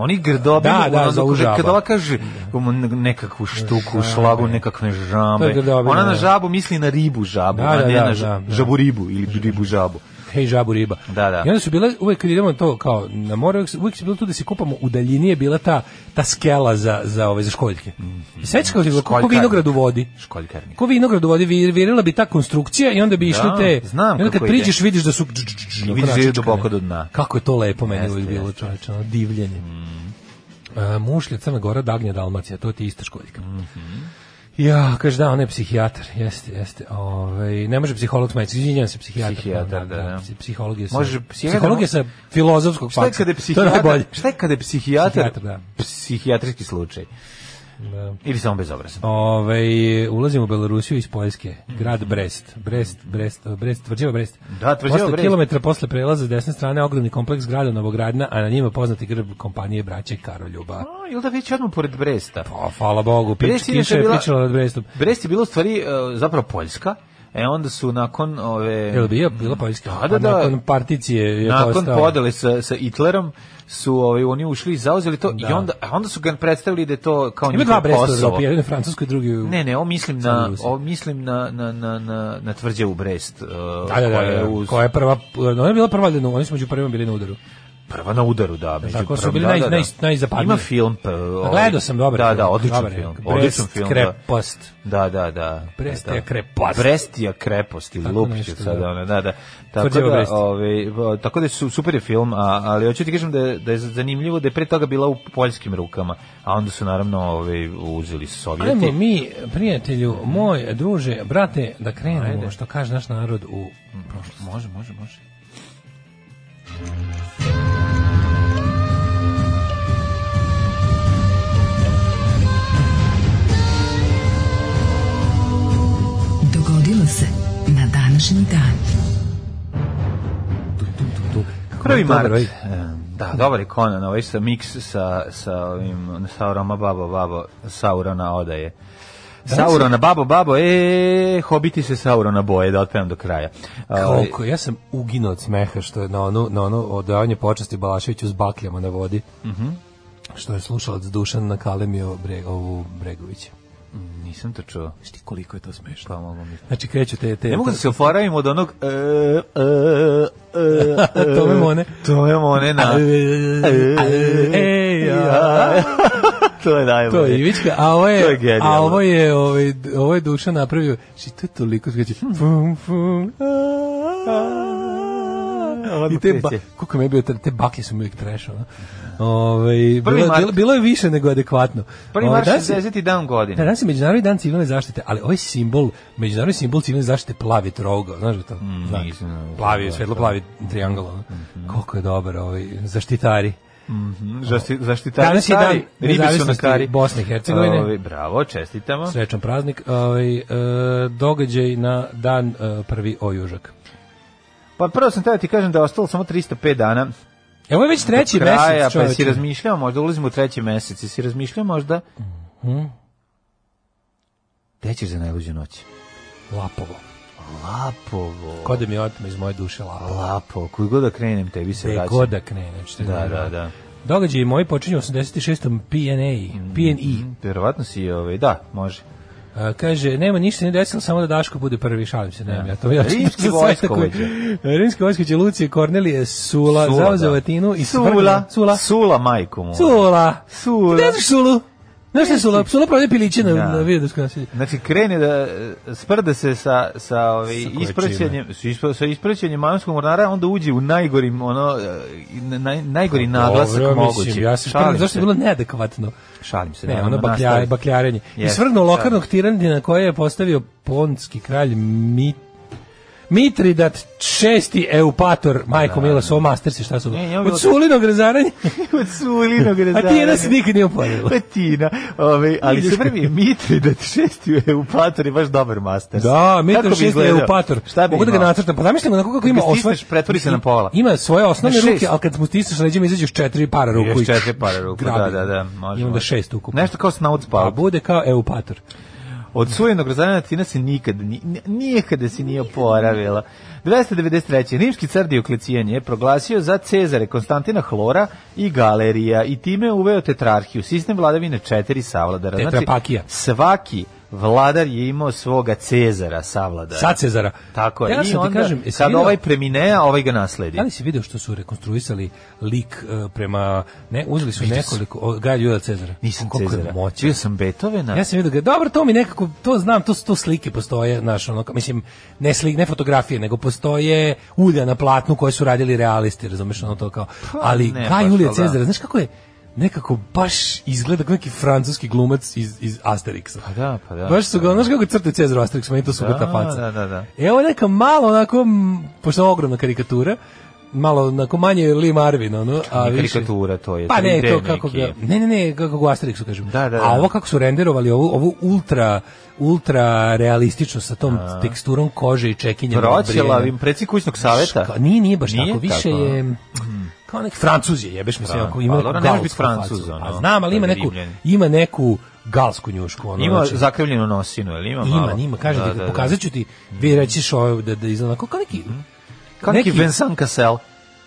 Speaker 6: Oni grdobinu,
Speaker 7: Da, da,
Speaker 6: ono,
Speaker 7: zovu
Speaker 6: kad- kad
Speaker 7: žaba.
Speaker 6: ova kaže um, ne- nekakvu štuku, šlagu, nekakve
Speaker 7: To je
Speaker 6: žambe.
Speaker 7: grdobina,
Speaker 6: Ona na
Speaker 7: da.
Speaker 6: žabu misli na ribu žabu,
Speaker 7: Da,
Speaker 6: a
Speaker 7: da,
Speaker 6: ne
Speaker 7: da,
Speaker 6: na ž-
Speaker 7: da, da.
Speaker 6: žabu ribu ili ribu žabu.
Speaker 7: hej žabu riba.
Speaker 6: Da, da.
Speaker 7: I onda su bile, uvek kad idemo to kao na more, uvek, uvek se bilo tu da se kupamo u daljini je bila ta, ta skela za, za, ove, za školjke.
Speaker 6: Mhm.
Speaker 7: I sećaš kako je bilo, ko
Speaker 6: Školjkarnik.
Speaker 7: vinograd u vodi.
Speaker 6: Školjkarnik.
Speaker 7: Ko vinograd u vodi, vir- virila bi ta konstrukcija i onda bi išli te...
Speaker 6: znam
Speaker 7: i onda kad
Speaker 6: kako ide.
Speaker 7: priđeš vidiš da su... dž- dž- dž-
Speaker 6: I vidiš da je duboko do dna.
Speaker 7: Kako je to lepo meni
Speaker 6: Jeste,
Speaker 7: uvijek bilo,
Speaker 6: jeste. Mm.
Speaker 7: čoveče, ono divljenje. A, mušlje, Crna Gora, Dagnja, Dalmacija, to ti je ista školjka.
Speaker 6: Mhm.
Speaker 7: Ja, kaže da, on je psihijatar, jeste, jeste. Ovaj ne može psiholog smaći, izvinjavam se, psihijatar.
Speaker 6: Psihijatar, da, da.
Speaker 7: psi- Psiholog je sa,
Speaker 6: Može
Speaker 7: može,
Speaker 6: psihijatar-
Speaker 7: psiholog je sa filozofskog
Speaker 6: Šta je
Speaker 7: faksa.
Speaker 6: kada je
Speaker 7: To je najbolje.
Speaker 6: psihijatar? Šta je kada je psihijatar?
Speaker 7: Psihijatar, da.
Speaker 6: Psihijatrijski slučaj. Ili samo bezobrazan.
Speaker 7: Pa- Ovaj ulazimo u Belorusiju iz Poljske, grad Brest. Brest, Brest, Brest, tvrđava Brest.
Speaker 6: Da, tvrđava
Speaker 7: posle
Speaker 6: Brest.
Speaker 7: kilometra posle prelaza s desne strane ogromni kompleks grada Novogradna, a na njima poznati grb kompanije braće Karoljuba.
Speaker 6: A, Ili da već odmah pored Bresta.
Speaker 7: Pa, hvala Bogu, pič,
Speaker 6: Brest je inače
Speaker 7: kiša je
Speaker 6: bila-
Speaker 7: pičala nad Brestom.
Speaker 6: Brest je bilo u stvari e, zapravo Poljska, e onda su nakon ove
Speaker 7: Je li bio, bila Poljska?
Speaker 6: Da, da,
Speaker 7: Pa
Speaker 6: da.
Speaker 7: Nakon particije je
Speaker 6: nakon
Speaker 7: postao-
Speaker 6: podele sa sa Hitlerom su ovaj oni ušli i zauzeli to i onda a onda su ga predstavili da je to kao
Speaker 7: Ima
Speaker 6: njihov
Speaker 7: dva Bresta u
Speaker 6: Kosovo.
Speaker 7: Evropi, jedan je francuski, drugi u...
Speaker 6: Ne, ne, ovo mislim
Speaker 7: Samo
Speaker 6: na
Speaker 7: Rusi.
Speaker 6: ovo mislim na na na na na tvrđavu Brest, e,
Speaker 7: Da, da, da,
Speaker 6: koja je
Speaker 7: da,
Speaker 6: uz-
Speaker 7: koja je prva, ona je bila prva, valjda, no, oni su među prvima bili na udaru.
Speaker 6: prva na udaru, da, među
Speaker 7: Tako su
Speaker 6: prvom,
Speaker 7: bili
Speaker 6: da,
Speaker 7: naj-
Speaker 6: da, da.
Speaker 7: naj- najzapadniji.
Speaker 6: Ima film, pa, ovaj-
Speaker 7: Gledao sam, dobar
Speaker 6: Da,
Speaker 7: film,
Speaker 6: da, odličan
Speaker 7: dobar je.
Speaker 6: film.
Speaker 7: Brest,
Speaker 6: Odličan film. da.
Speaker 7: Krepost.
Speaker 6: Da, da, da.
Speaker 7: Brest
Speaker 6: da.
Speaker 7: je krepost.
Speaker 6: Brest je krepost ili
Speaker 7: Tako
Speaker 6: lupić
Speaker 7: nešto,
Speaker 6: sada,
Speaker 7: da.
Speaker 6: ona, ono, da, da. Tako
Speaker 7: Tvrđava
Speaker 6: da,
Speaker 7: Brest.
Speaker 6: ovaj, o, tako da su super je film, a, ali hoću ti kažem da je, da je zanimljivo da je pre toga bila u poljskim rukama, a onda su naravno ovaj, uzeli Sovjeti.
Speaker 7: Ajmo mi, prijatelju, moj, druže, brate, da krenemo, što kaže naš narod u prošlost.
Speaker 6: Može, može, može.
Speaker 9: Dogodilo se na današnji dan.
Speaker 7: Kako
Speaker 6: Prvi
Speaker 7: Dobar,
Speaker 6: mart.
Speaker 7: ovaj.
Speaker 6: E, Da, dobar je Conan, ovaj sa mix sa, sa ovim Sauroma Babo Babo, Saurona odaje. Saurona Babo Babo, e, hobiti se Saurona boje, da otpevam do kraja. Ovaj,
Speaker 7: Koliko, ja sam uginuo od smeha što je na ono, na ono odavanje počasti Balaševiću s bakljama na vodi. Što je slušalac Dušan nakalemio Bre, ovu Bregovića.
Speaker 6: nisam to čuo.
Speaker 7: Šti koliko je to smešno.
Speaker 6: Pa mogu mi-
Speaker 7: Znači kreću te... te
Speaker 6: Ne mogu da se oporavim od onog e, e, e, e,
Speaker 7: Tome Mone.
Speaker 6: Tome Mone na
Speaker 7: Ej, e, ja.
Speaker 6: to je najbolje.
Speaker 7: To je Ivićka, a ovo
Speaker 6: Ovaj, To je
Speaker 7: je,
Speaker 6: genijalno.
Speaker 7: a ovo je, ovaj, ovo je Dušan napravio, znači to je toliko skače,
Speaker 6: Hmm.
Speaker 7: fum, fum, a, a, a.
Speaker 6: Odmah
Speaker 7: I te, ba,
Speaker 6: kreće.
Speaker 7: kako me je bio, te, te baklje su mi uvijek trash, ono. Ove,
Speaker 6: Prvi
Speaker 7: bilo, je-
Speaker 6: mart.
Speaker 7: bilo, bilo je više nego adekvatno.
Speaker 6: Prvi
Speaker 7: Ovaj,
Speaker 6: marš
Speaker 7: danas je-
Speaker 6: 60. dan
Speaker 7: Da,
Speaker 6: godine.
Speaker 7: danas je Međunarodni dan civilne zaštite, ali ovaj simbol, međunarodni simbol civilne zaštite plavi trougao, znaš da to? Znaš,
Speaker 6: Mm, nisam. Mhm.
Speaker 7: plavi, svetlo plavi triangol, ono. Koliko je dobar ovaj, zaštitari.
Speaker 6: Zašti- Zaštitari
Speaker 7: Danas je dan
Speaker 6: stari, ribi su na
Speaker 7: nezavisnosti
Speaker 6: stari.
Speaker 7: Bosne i Hercegovine.
Speaker 6: Ovi, bravo, čestitamo.
Speaker 7: Srećan praznik. Ovaj, e, događaj na dan e, prvi ojužak.
Speaker 6: Pa prvo sam tada ti kažem da je ostalo samo 305 dana
Speaker 7: Evo E, je već treći
Speaker 6: do kraja,
Speaker 7: mesec,
Speaker 6: pa si
Speaker 7: čoveče.
Speaker 6: razmišljao možda, ulazimo u treći mesec, i si razmišljao možda...
Speaker 7: Mhm.
Speaker 6: Gde ćeš za najluđu noć?
Speaker 7: Lapovo.
Speaker 6: Lapovo.
Speaker 7: Ko da mi otme iz moje duše lapovo.
Speaker 6: Lapovo, koji god da krenem, tebi se
Speaker 7: Gde
Speaker 6: vraćam.
Speaker 7: god da krenem. što je
Speaker 6: Da,
Speaker 7: najbolje.
Speaker 6: da, da.
Speaker 7: Događaj moji počinju u 86. PNA.
Speaker 6: Mhm.
Speaker 7: PNE.
Speaker 6: Verovatno si, ovaj, da, može.
Speaker 7: A, E. kaže, nema ništa ne desilo, samo da Daško bude prvi, šalim se, nemam ja to. Ja
Speaker 6: Rimski
Speaker 7: sam
Speaker 6: vojskovođa.
Speaker 7: tako- Rimski vojskovođa Lucije Kornelije Sula,
Speaker 6: Sula,
Speaker 7: Sula
Speaker 6: da.
Speaker 7: zauzeo Vatinu i
Speaker 6: Sula,
Speaker 7: svrgnuo- Sula.
Speaker 6: Sula, majku mu.
Speaker 7: Sula.
Speaker 6: Sula.
Speaker 7: Ne znaš Sulu? Znaš šta je Sula? Sula prodaje piliće na,
Speaker 6: Da.
Speaker 7: na Vidovskom naselju.
Speaker 6: Znači krene da e, sprda se sa sa ovaj
Speaker 7: Sa koje
Speaker 6: ispraćenjem sa, ispra, sa ispraćenjem manskog mornara onda uđe u najgorim ono e, na, naj, najgori naglasak
Speaker 7: Pa Dobro, mislim,
Speaker 6: mogući.
Speaker 7: Ja se šalim,
Speaker 6: Šalim
Speaker 7: zašto
Speaker 6: se.
Speaker 7: je bilo neadekvatno?
Speaker 6: šalim se.
Speaker 7: Ne,
Speaker 6: naravno,
Speaker 7: ono bakljare,
Speaker 6: nastavi.
Speaker 7: bakljarenje. I
Speaker 6: Jeste,
Speaker 7: svrgnuo
Speaker 6: da.
Speaker 7: lokarnog tirandina koje je postavio ponski kralj Mi, Mitridat šesti eupator, majko mila, svo master si, šta su?
Speaker 6: Ne, ja bi E, bilo-
Speaker 7: Od sulinog razaranja,
Speaker 6: Od sulinog
Speaker 7: a
Speaker 6: rezanja.
Speaker 7: ti jedna se nikad nije upadila.
Speaker 6: Petina, ovaj, ali
Speaker 7: Vidiš
Speaker 6: se prvi Mitri da ti šesti je u patori, baš dobar master.
Speaker 7: Da,
Speaker 6: Kako bi
Speaker 7: Mitridat šesti
Speaker 6: izgledao?
Speaker 7: eupator.
Speaker 6: Šta bi
Speaker 7: Mogu da ga
Speaker 6: imao?
Speaker 7: nacrtam, pa zamislimo na kako ima
Speaker 6: Kad ga
Speaker 7: osvoj...
Speaker 6: stisneš, pretvori se na pola.
Speaker 7: Ima svoje osnovne
Speaker 6: Na šest.
Speaker 7: ruke, ali kad mu stisneš leđima izađeš četiri para ruku.
Speaker 6: Još
Speaker 7: i
Speaker 6: četiri para ruku, da,
Speaker 7: grabi.
Speaker 6: da, da, može.
Speaker 7: I onda
Speaker 6: može.
Speaker 7: šest ukupno.
Speaker 6: Nešto kao Snout
Speaker 7: Pa
Speaker 6: Spout.
Speaker 7: bude kao eupator.
Speaker 6: Od sujenog razdaljena Tina se nikad, ni- ni- nikada se nije oporavila. 293. Rimski car Dioklecijan je proglasio za Cezare Konstantina Hlora i Galerija i time uveo tetrarhiju, sistem vladavine četiri savladara. Znači,
Speaker 7: Tetrapakija.
Speaker 6: svaki vladar je imao svoga Cezara savladara.
Speaker 7: Sa Cezara.
Speaker 6: Tako je.
Speaker 7: Ja
Speaker 6: I
Speaker 7: sam ti
Speaker 6: onda,
Speaker 7: kažem, jesi
Speaker 6: sad
Speaker 7: vidio-
Speaker 6: ovaj premine, a ovaj ga nasledi.
Speaker 7: Da li si video što su rekonstruisali lik e, prema ne uzeli su nekoliko o, Gaj Juda Cezara.
Speaker 6: Nisam
Speaker 7: Koliko je
Speaker 6: Cezara.
Speaker 7: moćan.
Speaker 6: Bio sam Beethovena.
Speaker 7: Ja sam video ga. Dobro, to mi nekako to znam, to su- to slike postoje, znaš, ono, ka- mislim ne slik, ne fotografije, nego postoje ulja na platnu koje su radili realisti, razumeš, ono to kao. Ali
Speaker 6: Pa, ne,
Speaker 7: Gaj
Speaker 6: baš,
Speaker 7: Julija
Speaker 6: ali da.
Speaker 7: Cezara, znaš kako je nekako baš izgleda kao neki francuski glumac iz, iz Asterixa.
Speaker 6: Pa da, pa da.
Speaker 7: Baš su ga, znaš kako crte Cezar u Asterixu, meni to su
Speaker 6: Da,
Speaker 7: ta faca.
Speaker 6: da, da, da.
Speaker 7: E, ovo je neka malo onako, m, pošto je ogromna karikatura, malo onako manje Lee Marvin, ono, a više...
Speaker 6: Karikatura to je.
Speaker 7: Pa ne,
Speaker 6: 3D
Speaker 7: to kako
Speaker 6: neki
Speaker 7: ga...
Speaker 6: je.
Speaker 7: Ne, ne, ne, kako ga u Asterixu kažem.
Speaker 6: Da, da, da.
Speaker 7: A ovo kako su renderovali, ovo, ovo ultra, ultra realistično sa tom teksturom kože i čekinjem.
Speaker 6: Proćelavim, preci kućnog saveta.
Speaker 7: Ka, nije, nije baš
Speaker 6: Nije
Speaker 7: tako, više
Speaker 6: tako,
Speaker 7: je kao neki Francuz je, jebeš mi se,
Speaker 6: Da,
Speaker 7: ako ima
Speaker 6: pa
Speaker 7: neku
Speaker 6: dobro, ne može biti
Speaker 7: galsku facu.
Speaker 6: Francuz, ono,
Speaker 7: A znam, ali ima
Speaker 6: kad je
Speaker 7: neku,
Speaker 6: Rimljanin.
Speaker 7: ima neku galsku njušku. Ono,
Speaker 6: Ima
Speaker 7: znači-
Speaker 6: zakrivljenu nosinu, ili ima Pa malo?
Speaker 7: ima, ima, kažem ti, pokazat ću ti, vi reći šo, da, da izgleda onako kao neki,
Speaker 6: Kako Mhm. neki Vincent Cassel.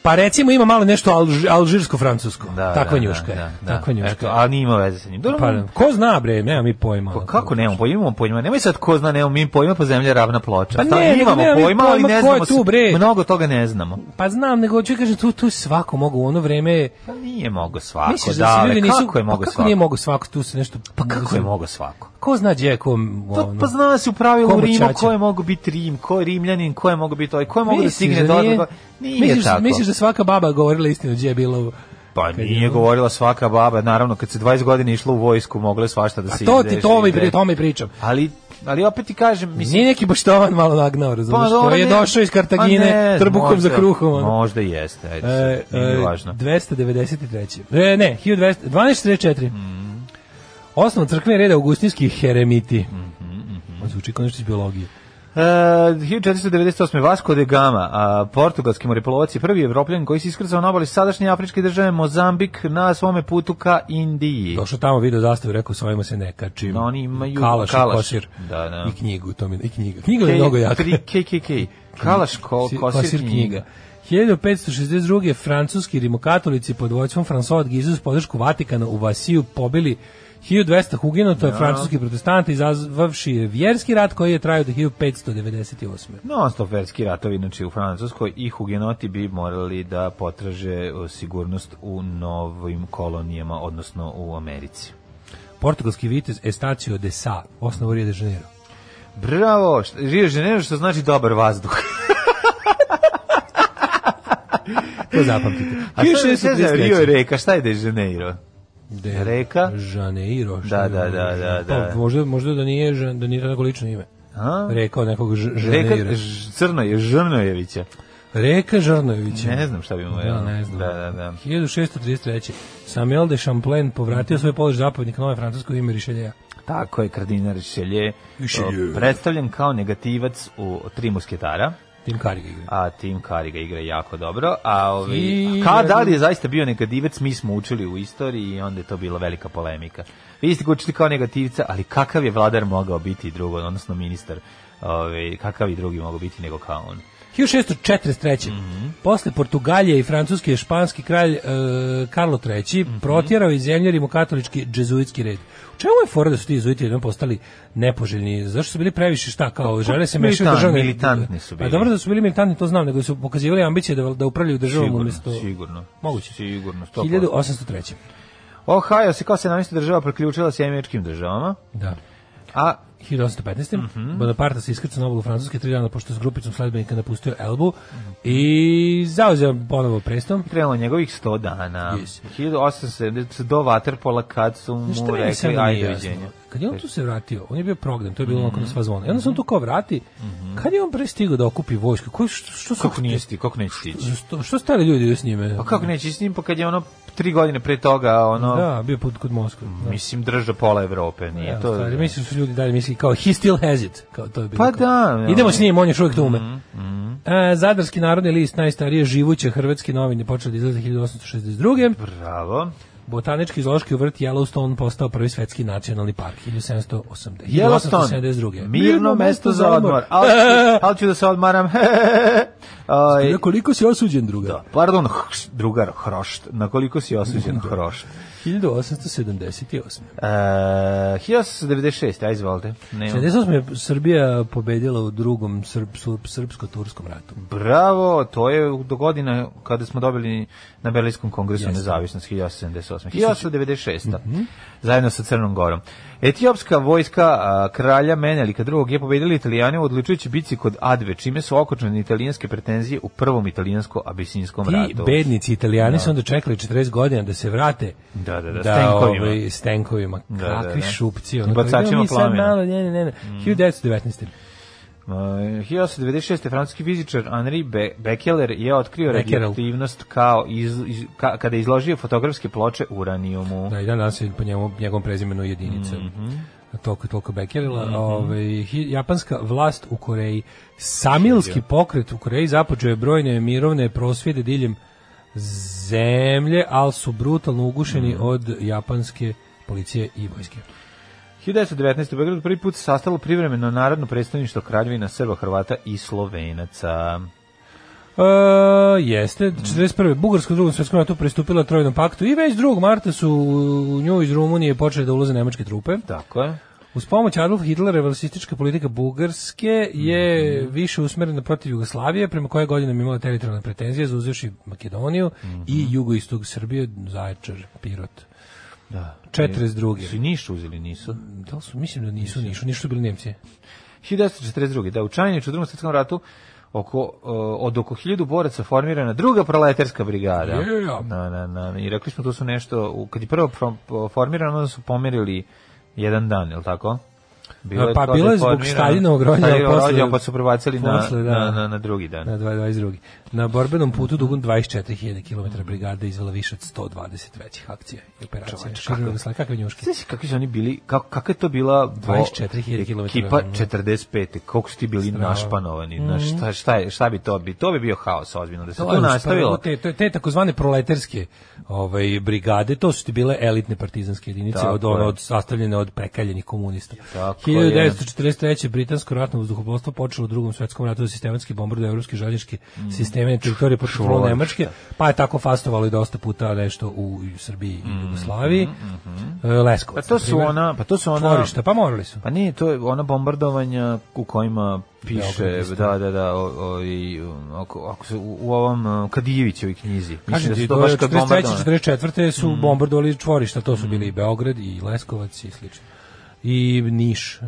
Speaker 7: pa recimo ima malo nešto alž, alžirsko-francusko,
Speaker 6: Da,
Speaker 7: takva
Speaker 6: da,
Speaker 7: njuška je,
Speaker 6: da, da.
Speaker 7: takva njuška
Speaker 6: Eto,
Speaker 7: je.
Speaker 6: ali nije imao veze sa njim. Dobro,
Speaker 7: Pa, ko zna bre, nema mi pojma.
Speaker 6: pa kako nemamo pojma, imamo pojma. Nemoj sad ko zna, nemamo mi pojma, pa zemlja je ravna ploča.
Speaker 7: Pa
Speaker 6: Sad
Speaker 7: ne, nego
Speaker 6: imamo
Speaker 7: nemamo mi
Speaker 6: pojma, ali
Speaker 7: pojma
Speaker 6: ne
Speaker 7: ko je
Speaker 6: znamo,
Speaker 7: tu,
Speaker 6: se-
Speaker 7: bre.
Speaker 6: mnogo toga ne znamo.
Speaker 7: Pa znam, nego ću kažem, tu, tu svako mogu u ono vreme,
Speaker 6: Pa nije mogo svako,
Speaker 7: misliš da
Speaker 6: da,
Speaker 7: se ljudi nisu,
Speaker 6: kako je mogo
Speaker 7: pa kako
Speaker 6: svako?
Speaker 7: nije mogo svako, tu se nešto,
Speaker 6: Pa kako je mogo svako?
Speaker 7: ko zna gdje je ko,
Speaker 6: To,
Speaker 7: ono,
Speaker 6: pa zna se u pravilu
Speaker 7: Ko
Speaker 6: u Rimu
Speaker 7: moćaće?
Speaker 6: ko je mogo biti Rim, ko je Rimljanin, ko je mogo biti ovaj, ko je mogo da
Speaker 7: Misliš
Speaker 6: stigne do
Speaker 7: da nije?
Speaker 6: odloga. Nije
Speaker 7: misliš,
Speaker 6: tako.
Speaker 7: misliš da svaka baba govorila istinu gdje je bila u...
Speaker 6: Pa
Speaker 7: Kad je
Speaker 6: nije
Speaker 7: ono-
Speaker 6: govorila svaka baba, naravno, kad se 20 godina išla u vojsku, mogla je svašta da
Speaker 7: A
Speaker 6: se
Speaker 7: to ovaj
Speaker 6: izdeši
Speaker 7: ti, to mi,
Speaker 6: i
Speaker 7: pri- to mi pričam.
Speaker 6: Ali, ali opet ti kažem, mislim... Pa
Speaker 7: Nije neki baštovan malo nagnao, razumiješ?
Speaker 6: dobro,
Speaker 7: koji je
Speaker 6: ne-
Speaker 7: došao iz Kartagine
Speaker 6: Pa ne,
Speaker 7: trbukom
Speaker 6: možda-
Speaker 7: za kruhom. ono.
Speaker 6: Možda jeste, ajde,
Speaker 7: E,
Speaker 6: sad, nije
Speaker 7: e,
Speaker 6: važno.
Speaker 7: 293. E, ne, 1200 1244.
Speaker 6: Mhm,
Speaker 7: Osnova crkve reda Augustinski heremiti. Mm -hmm, mm -hmm. Zvuči kao nešto iz biologije.
Speaker 6: Uh, 1498. Vasco de Gama, a, portugalski moripolovac je prvi evropljan koji se iskrcao na obali sadašnje afričke države Mozambik na svome putu ka Indiji.
Speaker 7: Došao tamo video zastavu, rekao sa ovima se ne kačim.
Speaker 6: No, oni imaju
Speaker 7: kalaš, i
Speaker 6: kalaš.
Speaker 7: kosir.
Speaker 6: Da, da.
Speaker 7: I knjigu, to mi, i knjiga. Knjiga je mnogo jaka.
Speaker 6: KKK. Kalaš ko,
Speaker 7: Si-
Speaker 6: kosir knjiga.
Speaker 7: 1562. francuski rimokatolici pod vođstvom François de Guise uz podršku Vatikana u Vasiju pobili 1200 hugenota francuskih protestanta izazvavši je vjerski rat koji je trajao do 1598.
Speaker 6: Non stop verski ratovi, znači u Francuskoj i hugenoti bi morali da potraže uh, sigurnost u novim kolonijama, odnosno u Americi.
Speaker 7: Portugalski vitez Estacio de Sá, osnovu Rio de Janeiro.
Speaker 6: Bravo! Šta- Rio de Janeiro što znači dobar vazduh.
Speaker 7: To zapamtite.
Speaker 6: A šta je šta je
Speaker 7: 1633.
Speaker 6: Rio je reka, šta je de Janeiro?
Speaker 7: De
Speaker 6: Reka?
Speaker 7: Janeiro. šta
Speaker 6: Da,
Speaker 7: je
Speaker 6: da,
Speaker 7: ono?
Speaker 6: da, da,
Speaker 7: Pa,
Speaker 6: da.
Speaker 7: možda, možda da nije, Žan- da nije to neko lično ime.
Speaker 6: A?
Speaker 7: Reka od nekog Ž-
Speaker 6: Reka
Speaker 7: Janeira.
Speaker 6: E, Ž- Crnoje, Žrnojevića.
Speaker 7: Reka Žarnojevića.
Speaker 6: Ne znam šta bi mu
Speaker 7: Pa Ja
Speaker 6: rekao.
Speaker 7: ne znam.
Speaker 6: Da, da, da.
Speaker 7: 1633. Samuel de Champlain povratio svoj polož zapovjednik nove francusko ime Richelieu.
Speaker 6: Tako je kardinal Richelieu
Speaker 7: Richelieu.
Speaker 6: o, predstavljen kao negativac u Tri musketara,
Speaker 7: Tim Carrick igra.
Speaker 6: a Tim Curry ga igra jako dobro, a ovi,
Speaker 7: I-
Speaker 6: ka da li je zaista bio negativac, mi smo učili u istoriji i onda je to bila velika polemika. Vi ste ga učili kao negativca, ali kakav je vladar mogao biti drugo, odnosno ministar, ove, kakav i drugi mogao biti nego kao on.
Speaker 7: 1643.
Speaker 6: Mhm.
Speaker 7: Posle Portugalije i Francuske, španski kralj e, Karlo III
Speaker 6: Mhm.
Speaker 7: protjerao iz zemlje rimokatolički džezuitski red. U čemu je fora da su ti jezuiti jednom postali nepoželjni? Zašto su bili previše šta kao žele se mešati u
Speaker 6: militant-
Speaker 7: državne?
Speaker 6: Pa, militantni su bili.
Speaker 7: A dobro da su bili militantni, to znam, nego su pokazivali ambicije da, da upravljaju državom
Speaker 6: Sigurno,
Speaker 7: umjesto...
Speaker 6: sigurno.
Speaker 7: Moguće.
Speaker 6: Sigurno, 100%.
Speaker 7: 1803.
Speaker 6: Ohio se kao 17. država priključila se američkim državama,
Speaker 7: Da.
Speaker 6: a
Speaker 7: 1815.
Speaker 6: Mhm.
Speaker 7: Mm -hmm. Bonaparte se iskrcao na obalu Francuske tri dana pošto je s grupicom sledbenika napustio Elbu
Speaker 6: Mhm.
Speaker 7: i zauzeo ponovo prestom.
Speaker 6: krenulo njegovih 100 dana.
Speaker 7: Yes.
Speaker 6: 1870 do Waterpola kad su mu
Speaker 7: Znaš šta meni sad
Speaker 6: rekli
Speaker 7: nije
Speaker 6: ajde
Speaker 7: jasno?
Speaker 6: viđenja.
Speaker 7: Kad je on tu se vratio, on je bio prognan, to je bilo
Speaker 6: Mhm.
Speaker 7: mm -hmm. onako na sva zvona. I onda se on tu kao vrati, kad je on prestigao da okupi vojsku? Koji, što, što su,
Speaker 6: Kako nije sti, kako neće stići?
Speaker 7: Što, što stari ljudi s njime?
Speaker 6: Pa kako neće s njim, pa kad je ono tri godine pre toga, ono,
Speaker 7: Da, bio pod, kod Moskve. Da.
Speaker 6: mislim, držao pola Evrope, nije
Speaker 7: Ja,
Speaker 6: to...
Speaker 7: stvari, mislim su ljudi dalje mislili kao he still has it. Kao to je bilo
Speaker 6: Pa
Speaker 7: kao,
Speaker 6: da, Mhm, ja.
Speaker 7: Idemo s njim, on još uvijek tu ume. E, Zadarski narodni list, najstarije živuće hrvatske novine, počeo da izlaze 1862.
Speaker 6: Bravo.
Speaker 7: Botanički zoološki vrt Yellowstone postao prvi svetski nacionalni park 1780.
Speaker 6: Yellowstone,
Speaker 7: 1872.
Speaker 6: mirno mesto za odmor. Ali ću, ali ću da se odmaram. Aj, Ovaj-
Speaker 7: Na E, koliko si osuđen druga? Da.
Speaker 6: pardon, hš, drugar, hrošt. Na koliko si osuđen hrošt?
Speaker 7: 1878.
Speaker 6: E, 1896, aj izvolite. Nemam
Speaker 7: 78. je Srbija pobedila u drugom srp, srp- srpsko-turskom ratu.
Speaker 6: Bravo, to je do godina kada smo dobili na Berlinskom kongresu nezavisnost 1878. 1896.
Speaker 7: Mhm.
Speaker 6: Zajedno sa Crnom Gorom. Etiopska vojska a, kralja Menelika II. je pobedila Italijane u odlučujući bici kod Adve, čime su okočene italijanske pretenzije u prvom italijansko-abisinskom
Speaker 7: Ti
Speaker 6: ratu.
Speaker 7: bednici italijani su onda čekali 40 godina da se vrate
Speaker 6: Da, da, da, s
Speaker 7: da
Speaker 6: tenkovima.
Speaker 7: ovaj, s tenkovima.
Speaker 6: Da, da,
Speaker 7: Kakvi
Speaker 6: da.
Speaker 7: šupci.
Speaker 6: I
Speaker 7: Ono, kao,
Speaker 6: bacačima
Speaker 7: idemo mi sad
Speaker 6: plamena. Mm.
Speaker 7: Malo, ne, ne, ne, ne. 1919.
Speaker 6: Uh, 1896. francuski fizičar Henri Be Becquerel je otkrio
Speaker 7: Becquerel.
Speaker 6: radioaktivnost kao iz, iz, ka, kada je izložio fotografske ploče uranijumu.
Speaker 7: Da, i dan danas je po njemu, njegovom prezimenu jedinica. Mm
Speaker 6: Mhm.
Speaker 7: toliko i toliko Bekerila. Ovaj, hi- japanska vlast u Koreji. Samilski pokret u Koreji započeo je brojne mirovne prosvjede diljem zemlje, ali su brutalno ugušeni
Speaker 6: Mhm.
Speaker 7: od japanske policije i vojske.
Speaker 6: 1919. u Beogradu prvi put se sastalo privremeno narodno predstavništvo kraljevina Srba, Hrvata i Slovenaca.
Speaker 7: E, jeste, 41. Bugarska u drugom svjetskom ratu pristupila Trojnom paktu i već 2. marta su u nju iz Rumunije počeli da ulaze nemačke trupe.
Speaker 6: Tako je.
Speaker 7: Uz pomoć Adolf Hitlera rasistička politika Bugarske je
Speaker 6: Mhm.
Speaker 7: više usmerena protiv Jugoslavije, prema koje godinom imala teritorijalne pretenzije, zauzevši Makedoniju
Speaker 6: Mhm.
Speaker 7: i jugoistog Srbije, Zaječar, Pirot.
Speaker 6: Da.
Speaker 7: 42.
Speaker 6: Su i Niš uzeli, nisu.
Speaker 7: Da li su, mislim da nisu Nišu, Nišu su bili Nemci.
Speaker 6: 1942. Da, u Čajniću u drugom svjetskom ratu oko, uh, od oko hiljadu boraca formirana druga proletarska brigada.
Speaker 7: Yeah.
Speaker 6: Na, na, na. I rekli smo to su nešto, u- kad je prvo pro- po- formirano, onda su pomerili jedan dan, je li tako? Bilo je
Speaker 7: pa
Speaker 6: to
Speaker 7: bilo je zbog
Speaker 6: deformirano.
Speaker 7: Stalinovog rođena,
Speaker 6: Stalinovog
Speaker 7: posle-
Speaker 6: rođena, pa su prebacili na-
Speaker 7: posle, da.
Speaker 6: na- na- na drugi dan.
Speaker 7: Na 22. Na borbenom putu dugom 24.000 km brigada izvela više od 120 većih akcija i operacija. Širili slav, kakve njuške.
Speaker 6: Znaš kakvi su oni bili, kako, kako je to bila bo-
Speaker 7: 24.000 km.
Speaker 6: ekipa 45. Koliko su ti bili našpanovani, znaš, šta, šta, je, šta bi to bi? To bi bio haos ozbiljno, da se to,
Speaker 7: Mhm. je pa
Speaker 6: nastavilo.
Speaker 7: Te, te, te takozvane proleterske ovaj, brigade, to su ti bile elitne partizanske jedinice,
Speaker 6: Tako
Speaker 7: od, ono,
Speaker 6: je.
Speaker 7: od, sastavljene od prekaljenih komunista.
Speaker 6: Tako je.
Speaker 7: 1943. britansko ratno vazduhoplovstvo počelo u drugom svetskom ratu da sistematski bombarduje evropske željezničke
Speaker 6: Mm.
Speaker 7: sisteme na teritoriji pod kontrolom
Speaker 6: Čuvar,
Speaker 7: Nemačke, pa je tako fastovalo i dosta puta nešto u Srbiji
Speaker 6: Mm,
Speaker 7: i Jugoslaviji. E,
Speaker 6: Pa
Speaker 7: Leskovac.
Speaker 6: to
Speaker 7: na
Speaker 6: su
Speaker 7: primjer.
Speaker 6: ona, pa to su ona...
Speaker 7: Tvorišta, pa morali su.
Speaker 6: Pa nije, to je ona bombardovanja u kojima piše,
Speaker 7: Beograd, isto.
Speaker 6: da, da, da, o, o, i, um, ako, ako su u, u ovom um, Kadijevićevoj knjizi. Mislim
Speaker 7: Kažem
Speaker 6: da
Speaker 7: ti,
Speaker 6: su
Speaker 7: do
Speaker 6: to baš Mm. kad
Speaker 7: 43.
Speaker 6: bombardovanja.
Speaker 7: 44. su bombardovali čvorišta, to su bili i Beograd i Leskovac i slično. I Niš. E,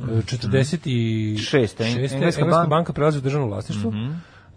Speaker 7: 46.
Speaker 6: Mhm. Šeste, Eng-
Speaker 7: Engleska,
Speaker 6: Engleska
Speaker 7: banka,
Speaker 6: banka- Mhm.
Speaker 7: prelazi u državno vlasništvo.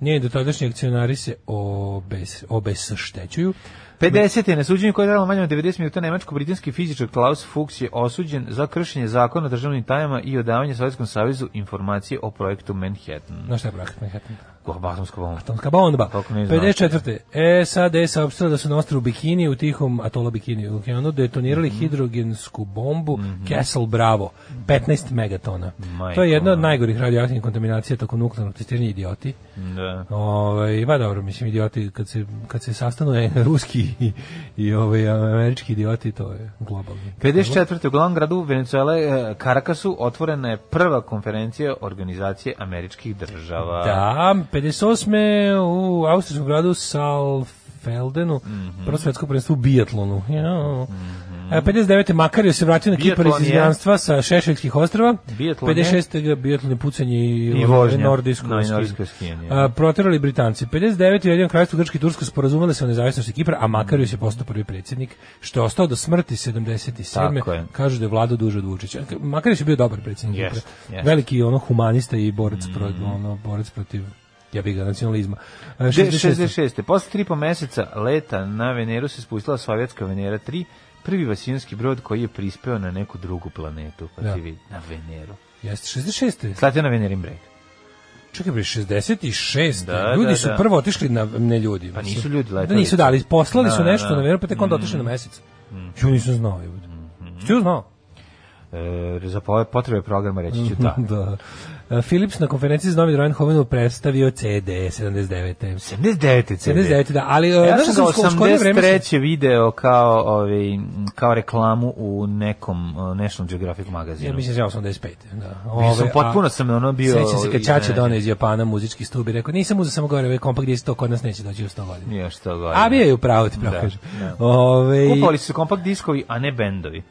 Speaker 7: Njeni dotadašnji akcionari se obes, obesštećuju.
Speaker 6: 50. je na suđenju koje je trajalo manje od 90 minuta nemačko-britanski fizičar Klaus Fuchs je osuđen za kršenje zakona o državnim tajama i odavanje Sovjetskom savezu informacije o projektu Manhattan.
Speaker 7: Znaš šta je projekt Manhattan?
Speaker 6: Atomska bomba.
Speaker 7: Atomska bomba.
Speaker 6: Kako ne znaš.
Speaker 7: 54. E, sad je saopštila da su na ostrvu Bikini u tihom atola Bikini u okeanu detonirali
Speaker 6: Mhm.
Speaker 7: hidrogensku bombu Castle Bravo, 15 megatona.
Speaker 6: Majko
Speaker 7: to je jedna od
Speaker 6: moja.
Speaker 7: najgorih radioaktivnih kontaminacija tokom nuklearnog testiranja idioti.
Speaker 6: Da.
Speaker 7: Ovaj ba dobro, mislim idioti kad se kad se sastanu e, ruski i, i ovaj američki idioti to je globalni.
Speaker 6: 54. u glavnom gradu Venezuela, Karakasu, otvorena je prva konferencija organizacije američkih država.
Speaker 7: Da, 58. u austrijskom gradu Salfeldenu,
Speaker 6: Mhm.
Speaker 7: prvo svetsko prvenstvo u bijatlonu. Ja. E, 59. Makario se vratio na Kipar iz
Speaker 6: Bijatlon Mhm. je-
Speaker 7: izgnanstva sa Šešeljskih ostrava.
Speaker 6: Bijatlon je-
Speaker 7: 56. bijatlon je pucanje i, ono,
Speaker 6: I vožnja.
Speaker 7: nordijsko
Speaker 6: No, i
Speaker 7: skijanje.
Speaker 6: nordijsko skijanje.
Speaker 7: A, proterali Britanci. 59. u jednom kraljstvu Grčki i Tursko sporazumali se o nezavisnosti Kipra, a Makario se postao prvi predsjednik, što je ostao do smrti 77.
Speaker 6: Tako je.
Speaker 7: Kažu da je vladao duže od Vučića. Makario je bio dobar predsjednik.
Speaker 6: Jeste,
Speaker 7: Kipra.
Speaker 6: jeste.
Speaker 7: Veliki ono humanista i
Speaker 6: Mm.
Speaker 7: borac protiv ono borac protiv ja bih ga nacionalizma. E, 66.
Speaker 6: 66. Posle tri i po meseca leta na Veneru se spustila sovjetska Venera 3, prvi vasijanski brod koji je prispeo na neku drugu planetu, pa
Speaker 7: Da.
Speaker 6: ti vidi, na Veneru.
Speaker 7: Jeste 66.
Speaker 6: Slati na Venerin breg.
Speaker 7: Čekaj bre 66.
Speaker 6: Da,
Speaker 7: ljudi
Speaker 6: da,
Speaker 7: su
Speaker 6: da.
Speaker 7: prvo otišli na ne ljudi.
Speaker 6: Pa
Speaker 7: mislim.
Speaker 6: nisu ljudi
Speaker 7: Da
Speaker 6: letali.
Speaker 7: nisu dali, poslali
Speaker 6: Da,
Speaker 7: su
Speaker 6: da,
Speaker 7: nešto
Speaker 6: da. Mm.
Speaker 7: na veru, pa tek onda otišli na mesec. Jo nisam znao, jebote.
Speaker 6: Mm-hmm.
Speaker 7: Što je znao?
Speaker 6: E, za po- potrebe programa reći ću tako.
Speaker 7: da. E, Philips na konferenciji za novi Hovinu predstavio CD 79.
Speaker 6: 79. CD.
Speaker 7: 79, da, ali e,
Speaker 6: Ja
Speaker 7: znaš
Speaker 6: sam
Speaker 7: da
Speaker 6: ga
Speaker 7: sam u skorije vreme sam-
Speaker 6: 83. video kao, ovaj, m, kao reklamu u nekom uh, National Geographic magazinu.
Speaker 7: Ja mislim da je 85. Da.
Speaker 6: Mislim, potpuno sam, ono, bio
Speaker 7: Sećam se kad Čače
Speaker 6: iznenađen.
Speaker 7: doneo iz Japana muzički stubi, rekao, nisam uzeo samo gore, ovaj kompakt disk, to kod nas neće doći u 100 godina.
Speaker 6: Nije što gore.
Speaker 7: A bio je u pravu, ti pravo kažem.
Speaker 6: da.
Speaker 7: Ove,
Speaker 6: Kupovali su kompakt diskovi, a ne bendovi.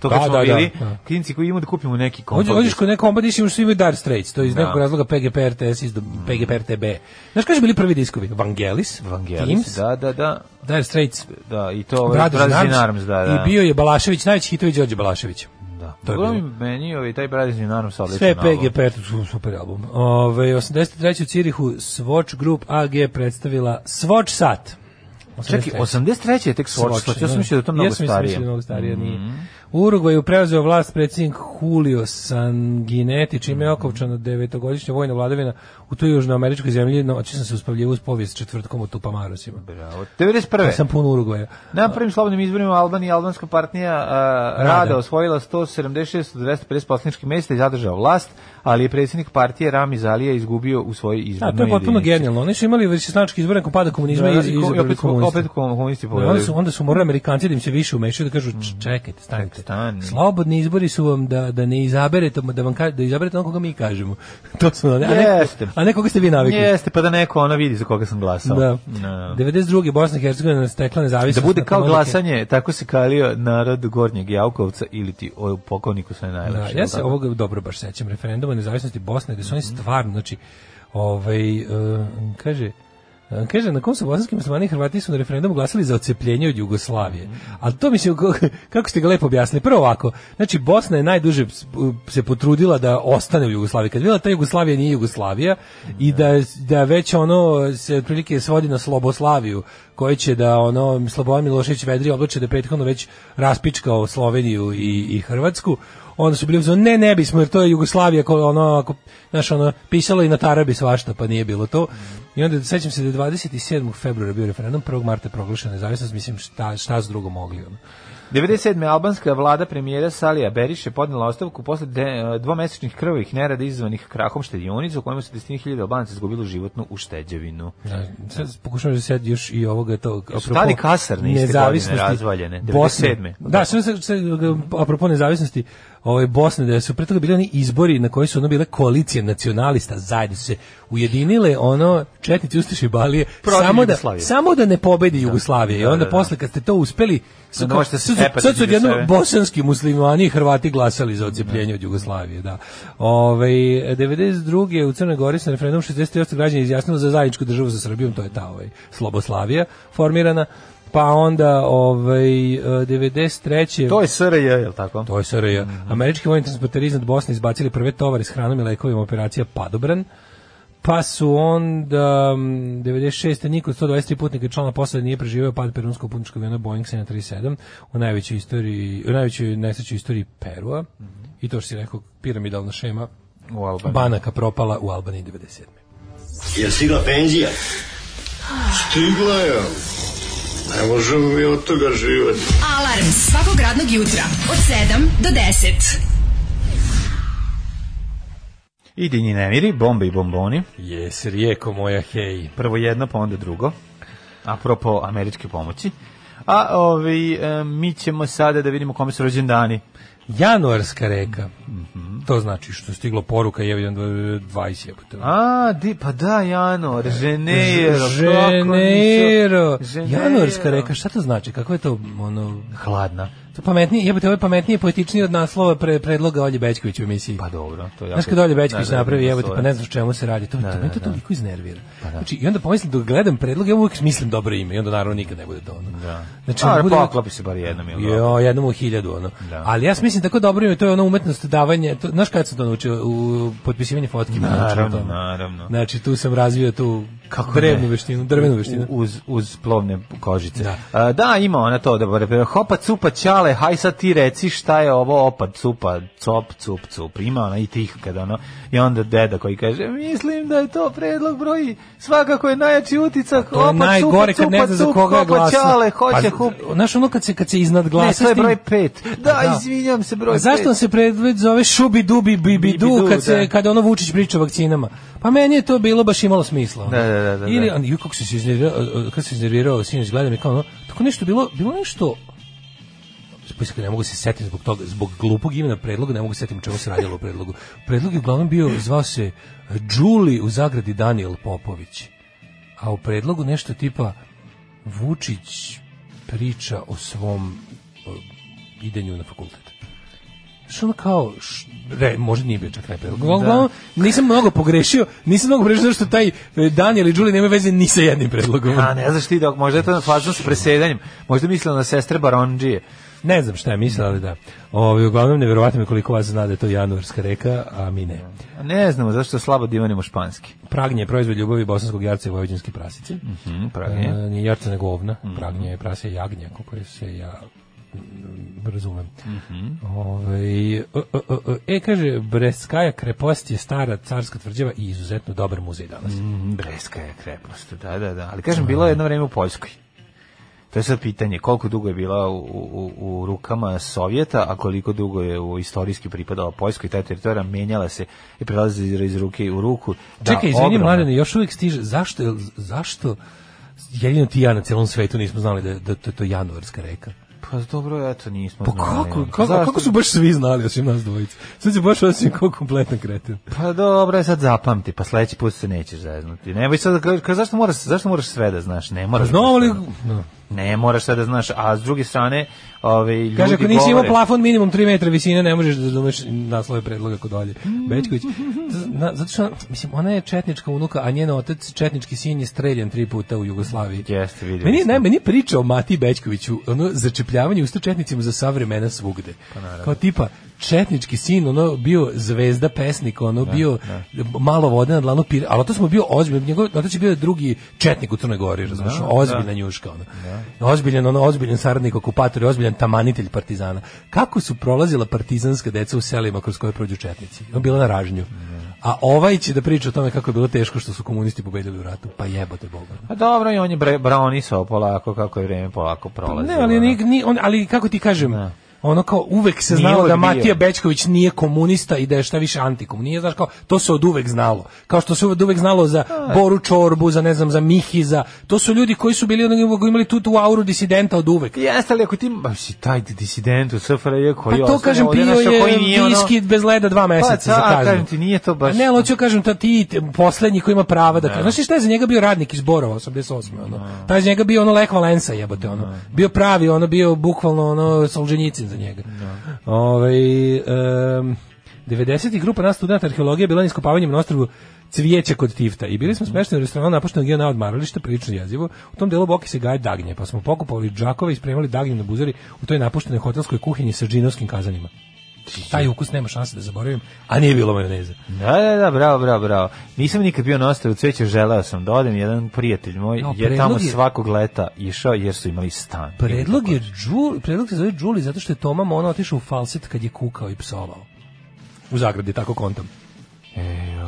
Speaker 6: To kad
Speaker 7: Da,
Speaker 6: smo
Speaker 7: da, da,
Speaker 6: bili,
Speaker 7: da.
Speaker 6: klinci koji imamo da kupimo neki kompakt
Speaker 7: Hođe, hođeš
Speaker 6: disk.
Speaker 7: kod neko komba diš imaš svi imaju Dire Straits, to je iz
Speaker 6: Da. Mm.
Speaker 7: nekog razloga PGP RTS iz PGP RTB. Znaš kaži bili prvi diskovi? Vangelis,
Speaker 6: Vangelis,
Speaker 7: Teams,
Speaker 6: da, da, da,
Speaker 7: Dire Straits,
Speaker 6: da, i to ovaj
Speaker 7: Brothers in Arms,
Speaker 6: Arms, da, da.
Speaker 7: i bio je Balašević, najveći hitovi Đorđe Balašević.
Speaker 6: Da.
Speaker 7: To je
Speaker 6: Uglavnom, meni ovaj taj Brothers in Arms odličan
Speaker 7: Sve
Speaker 6: album.
Speaker 7: PGP, to su super album. Ove, 83. u Cirihu Swatch Group AG predstavila Swatch Sat.
Speaker 6: Čekaj, 83. je tek Swatch, Swatch. Ja sam mislio da je to mnogo
Speaker 7: Jesam mislio
Speaker 6: starije. Mhm.
Speaker 7: da je mnogo starije, nije. U Urugvaju preuzeo vlast predsjednik Julio Sanguinetti, čime
Speaker 6: Mhm.
Speaker 7: je okovčana devetogodišnja vojna vladavina u toj južnoameričkoj zemlji, no oči sam se uspavljivao uz povijest četvrtkom u Tupamarosima.
Speaker 6: Bravo. 91.
Speaker 7: Ja sam pun Urugvaja.
Speaker 6: Na prvim slobodnim izborima Albanija i albanska partija a, Rada.
Speaker 7: Rada.
Speaker 6: osvojila 176 od 250 poslaničkih mesta i zadržao vlast, ali je predsjednik partije Ramiz Alija izgubio u svojoj
Speaker 7: Da,
Speaker 6: izbornoj
Speaker 7: to je potpuno
Speaker 6: jedinici.
Speaker 7: genijalno. Oni su imali višesnački izbor nakon pada komunizma i
Speaker 6: Da, i ko- i
Speaker 7: izabrali
Speaker 6: opet,
Speaker 7: komunista.
Speaker 6: opet komunisti
Speaker 7: Da, onda
Speaker 6: povedali.
Speaker 7: su onda su morali Amerikanci da im se više umešaju da kažu "Č- čekajte, stanite.
Speaker 6: Mm. Stani.
Speaker 7: Slobodni izbori su vam da da ne izaberete da vam ka- da izaberete onoga koga mi kažemo. to su one, a ne,
Speaker 6: Jeste.
Speaker 7: a ne koga ste vi navikli.
Speaker 6: Jeste, pa da neko ona vidi za koga sam glasao.
Speaker 7: Da.
Speaker 6: Da.
Speaker 7: 92. Bosna i Hercegovina stekla
Speaker 6: Da
Speaker 7: nezavisnost.
Speaker 6: bude
Speaker 7: nakon
Speaker 6: kao
Speaker 7: odluke-
Speaker 6: glasanje, tako se kalio narod Gornjeg Javkovca ili ti o pokojniku sve
Speaker 7: Da,
Speaker 6: najlepše.
Speaker 7: ja se ovog dobro baš sećam referenduma o nezavisnosti Bosne, gde su oni stvarno, znači, ovaj, e, kaže, e, kaže, na kom su bosanski muslimani i Hrvati su na referendumu glasali za ocepljenje od Jugoslavije. Ali to mislim, ko- kako ste ga lepo objasnili. Prvo ovako, znači Bosna je najduže s- se potrudila da ostane u Jugoslaviji. Kad je bila ta Jugoslavija nije Jugoslavija i da, da već ono se otprilike svodi na Sloboslaviju koji će da ono Slobodan Milošević Vedri oblače da je prethodno već raspičkao Sloveniju i, i Hrvatsku onda su bili uzmano, ne, ne bismo, jer to je Jugoslavija, ko, ono, ako, znaš, ono, pisalo i na Tarabi svašta, pa nije bilo to. I onda, sećam se da je 27. februara bio referendum, 1. marta je proglašena nezavisnost, mislim, šta, šta s drugo mogli, ono.
Speaker 6: 97. albanska vlada premijera Salija Beriš je podnela ostavku posle de, e, dvomesečnih krvih nerada izazvanih krahom štedionica u kojima su desetine hiljada Albanaca izgubili životnu ušteđevinu.
Speaker 7: Da, sad pokušavam da sad još i ovoga to
Speaker 6: Su tali kasarne iste godine
Speaker 7: nezavisnosti
Speaker 6: razvaljene,
Speaker 7: Bosne.
Speaker 6: 97.
Speaker 7: Da, sve se se- apropo nezavisnosti ovaj Bosne da su pre toga bili oni izbori na koji su ono bile koalicije nacionalista zajedno su se ujedinile ono četnici ustaše i balije
Speaker 6: Protiv
Speaker 7: samo da
Speaker 6: Jugoslavije.
Speaker 7: samo da ne pobedi Jugoslavija i onda
Speaker 6: da.
Speaker 7: posle kad ste to uspeli su
Speaker 6: Onda
Speaker 7: kao-
Speaker 6: možete se
Speaker 7: sad su-
Speaker 6: cepati
Speaker 7: sad su
Speaker 6: među
Speaker 7: odjednom
Speaker 6: sebe.
Speaker 7: bosanski muslimani i Hrvati glasali za odcepljenje od Jugoslavije, da. Ove, 92. u Crnoj Gori se na referendum 63% građana izjasnilo za zajedničku državu sa Srbijom, to je ta ovaj, Sloboslavija formirana, pa onda ovaj, e, 93.
Speaker 6: To je SRJ, je li tako?
Speaker 7: To je SRJ. Američki vojni transporteri iznad Bosne izbacili prve tovare s hranom i lekovima operacija Padobran. Pa su onda mm, 96. niko od 123 putnika i člana posade nije preživio pad perunskog putničkog aviona Boeing 737 u najvećoj istoriji, u najvećoj nesreći u istoriji Perua. I to što si rekao, piramidalna šema
Speaker 6: U Albaniji.
Speaker 7: banaka propala u Albaniji 97.
Speaker 9: Je stigla penzija?
Speaker 8: Stigla je. Ne možemo mi od toga živati.
Speaker 5: Alarm svakog radnog jutra od 7 do 10.
Speaker 6: Idi nji nemiri, bombe i bomboni.
Speaker 7: Jes, rijeko moja, hej.
Speaker 6: Prvo jedno, pa onda drugo. Apropo američke pomoći. A ovi, e, mi ćemo sada da vidimo kome su rođendani.
Speaker 7: Januarska reka. To znači što je stiglo poruka, je vidim 20 jebote.
Speaker 6: A, di, pa da, Jano, Ženeiro. kako nisu-
Speaker 7: E, Ženeiro.
Speaker 6: Ženeiro.
Speaker 7: Januarska reka, šta to znači? Kako je to ono
Speaker 6: Hladna.
Speaker 7: To pametnije, jebote, ovo je pametnije i poetičnije od naslova pre, predloga Olje Bećković u emisiji.
Speaker 6: Pa dobro, to je jako...
Speaker 7: Znaš kad Olje Bećković
Speaker 6: Da, da,
Speaker 7: napravi,
Speaker 6: ima
Speaker 7: jebote,
Speaker 6: svoje.
Speaker 7: pa ne znaš čemu se radi. To, to,
Speaker 6: da,
Speaker 7: me to
Speaker 6: da.
Speaker 7: toliko iznervira. Znači, i onda pomislim dok gledam predlog, ja uvijek mislim dobro ime i onda naravno nikad ne bude to ono. Da. Znači,
Speaker 6: A,
Speaker 7: onda bude-
Speaker 6: poklopi se bar jednom, jel da?
Speaker 7: Jo, jednom u hiljadu, ono.
Speaker 6: Da.
Speaker 7: Ali ja mislim tako dobro ime, to je ono umetnost davanje, to, znaš kad sam to naučio? U potpisivanje fotki. me naučio
Speaker 6: Naravno,
Speaker 7: tome.
Speaker 6: naravno.
Speaker 7: Znači, tu sam razvio tu Kako drevnu veštinu, drvenu veštinu.
Speaker 6: U- Uz, uz plovne kožice.
Speaker 7: Da.
Speaker 6: Da, da ima ona to da bare hopa cupa ćale, haj sad ti reci šta je ovo opad cupa, cop cup cup. Ima ona i tih kad ono i onda deda koji kaže mislim da je to predlog broji svakako je najjači uticak
Speaker 7: To je
Speaker 6: opa
Speaker 7: najgore
Speaker 6: cupa,
Speaker 7: kad ne
Speaker 6: cupa,
Speaker 7: zna za
Speaker 6: cup,
Speaker 7: koga je
Speaker 6: hopa
Speaker 7: glasno.
Speaker 6: ćale, hoće
Speaker 7: Pa,
Speaker 6: hup.
Speaker 7: Znaš ono kad se, kad se iznad
Speaker 6: Ne,
Speaker 7: glasa...
Speaker 6: to je
Speaker 7: s tim-
Speaker 6: broj pet. Da,
Speaker 7: Da.
Speaker 6: izvinjam se, broj
Speaker 7: A zašto on
Speaker 6: pet.
Speaker 7: se predved zove šubi dubi bibi du
Speaker 6: Bibidu,
Speaker 7: kad se
Speaker 6: da.
Speaker 7: kad ono Vučić priča o vakcinama? Pa meni je to bilo baš imalo smisla. ono.
Speaker 6: Da, da, da, da,
Speaker 7: Ili
Speaker 6: da.
Speaker 7: on ju kako se se iznervirao, kako se iznervirao sinoć gledam i kao ono, tako nešto bilo, bilo nešto Poslije kad ne mogu se setiti zbog toga, zbog glupog imena predloga, ne mogu se setiti o čemu se radilo u predlogu. Predlog je uglavnom bio, zvao se eh, Đuli u zagradi Daniel Popović. A u predlogu nešto tipa Vučić priča o svom eh, idenju na fakultet. Što ono kao, š, re, možda nije bio čak taj predlog. Uglavnom, nisam mnogo pogrešio, nisam mnogo pogrešio zato što taj eh, Daniel i Đuli nema veze ni sa jednim predlogom.
Speaker 6: A ne znaš ti da možda je to na fazonu s presedanjem. Možda je mislila na sestre Barondžije.
Speaker 7: Ne znam šta je mislila, ali da. Ovi, uglavnom, nevjerovatno mi koliko vas zna da je to januarska reka, a mi ne.
Speaker 6: Ne znamo zašto slabo divanimo španski.
Speaker 7: Pragnje je proizvod ljubavi bosanskog jarca i vojvođanske prasice.
Speaker 6: Mhm, pravi.
Speaker 7: E, nije jarca nego ovna. Pragnje je prase jagnja, kako se ja mm, razumem. Ovaj, e, e, e, e, kaže, Breskaja krepost je stara carska tvrđava i izuzetno dobar muzej danas.
Speaker 6: Mm, Breska je krepost, da, da, da. Ali kažem, bilo je jedno vreme u Poljskoj. To je sad pitanje, koliko dugo je bila u, u, u rukama Sovjeta, a koliko dugo je u istorijski pripadala Poljskoj, ta teritorija menjala se i prelazi iz, iz ruke u ruku. Da,
Speaker 7: Čekaj, izvini
Speaker 6: ogromna-
Speaker 7: mladene, još uvijek stiže, zašto, je- zašto jedino ti i ja na celom svetu nismo znali da, da to je to januarska reka?
Speaker 6: Pa dobro, eto, nismo
Speaker 7: Pa
Speaker 6: znali,
Speaker 7: kako,
Speaker 6: ono.
Speaker 7: kako,
Speaker 6: Zašto?
Speaker 7: kako su baš svi znali osim nas dvojice? Sad se baš osim kao kompletan kreten.
Speaker 6: Pa dobro, je sad zapamti, pa sledeći put se nećeš zeznuti. Nemoj sad, da kažeš, ka, zašto, moraš, zašto moraš sve da znaš? Ne moraš.
Speaker 7: Znamo li... No.
Speaker 6: Ne moraš sve da znaš, a s druge strane, ove, ljudi
Speaker 7: Kaže, ako nisi imao
Speaker 6: govore-
Speaker 7: plafon minimum 3 metra visine, ne možeš da razumeš naslove predloga kod Olje Bećković. Zna- Zato što, mislim, ona je četnička unuka, a njen otac, četnički sin, je streljan tri puta u Jugoslaviji.
Speaker 6: Jeste, vidjeli
Speaker 7: Meni,
Speaker 6: smo.
Speaker 7: ne, meni
Speaker 6: Pa
Speaker 7: priča o Mati Bećkoviću, ono, začepljavanje usta četnicima za sva vremena svugde. Kao tipa, četnički sin, ono bio zvezda pesnik, ono bio malo vode na dlanu pire, ali to smo bio ozbiljan, njegov otac je bio drugi četnik u Crnoj Gori, razumeš, ozbiljna njuška ono. Ozbiljan, ono ozbiljan saradnik okupatora, ozbiljan tamanitelj partizana. Kako su prolazila partizanska deca u selima kroz koje prođu četnici? Ono bila na ražnju. A ovaj će da priča o tome kako je bilo teško što su komunisti pobedili u ratu. Pa jebote Boga.
Speaker 6: A dobro, i on je bre- braunisao polako, kako je vreme polako ono. prolazi.
Speaker 7: Pa Ne, ali, ni, ni, on, ali kako ti kažem, ono kao uvek se
Speaker 6: Nije
Speaker 7: znalo
Speaker 6: uvek
Speaker 7: da
Speaker 6: bio.
Speaker 7: Matija Bećković nije komunista i da je šta više antikom. Nije, znaš, kao, to se od uvek znalo. Kao što se od uvek znalo za Boru Čorbu, za, ne znam, za Mihiza. To su ljudi koji su bili, ono, imali tu, tu auru disidenta od uvek.
Speaker 6: Jeste li ako ti baš si taj disident u SFRJ
Speaker 7: Pa
Speaker 6: koji
Speaker 7: to
Speaker 6: ostaje
Speaker 7: kažem,
Speaker 6: ovdje,
Speaker 7: pio
Speaker 6: znaš,
Speaker 7: je
Speaker 6: koji nije ono-
Speaker 7: viski bez leda dva meseca
Speaker 6: Pa,
Speaker 7: za
Speaker 6: da,
Speaker 7: kaznu.
Speaker 6: kažem ti, nije to baš-
Speaker 7: A ne, ali hoću da kažem, ta ti te- poslednji koji ima prava da kaže. Znaš ti šta je za njega bio radnik iz Borova 88. Ono. Taj je za njega bio ono Lech Valensa jebote. Ono. Bio pravi, ono bio bukvalno ono Solženjicin za njega. Ovaj em, 90. grupa nas studenta arheologije bila na iskopavanjem na ostrvu cvijeće kod Tifta i bili smo
Speaker 6: Mhm.
Speaker 7: smešteni u restoranu napuštenog gena odmarališta, prilično jezivo. U tom delu boki se gaje dagnje, pa smo pokupovali džakove i spremali dagnje na buzari u toj napuštenoj hotelskoj kuhinji sa džinovskim kazanima. Taj ukus nema šanse da zaboravim, a nije bilo majoneze.
Speaker 6: Da, da, da, bravo, bravo, bravo. Nisam nikad bio na ostavu cveće, želeo sam da odem, jedan prijatelj moj
Speaker 7: No,
Speaker 6: je
Speaker 7: predlog
Speaker 6: tamo
Speaker 7: je-
Speaker 6: svakog leta išao jer su imali stan.
Speaker 7: Predlog je Đuli, predlog se zove Đuli zato što je Toma Mona otišao u falset kad je kukao i psovao. U zagradi, tako kontam.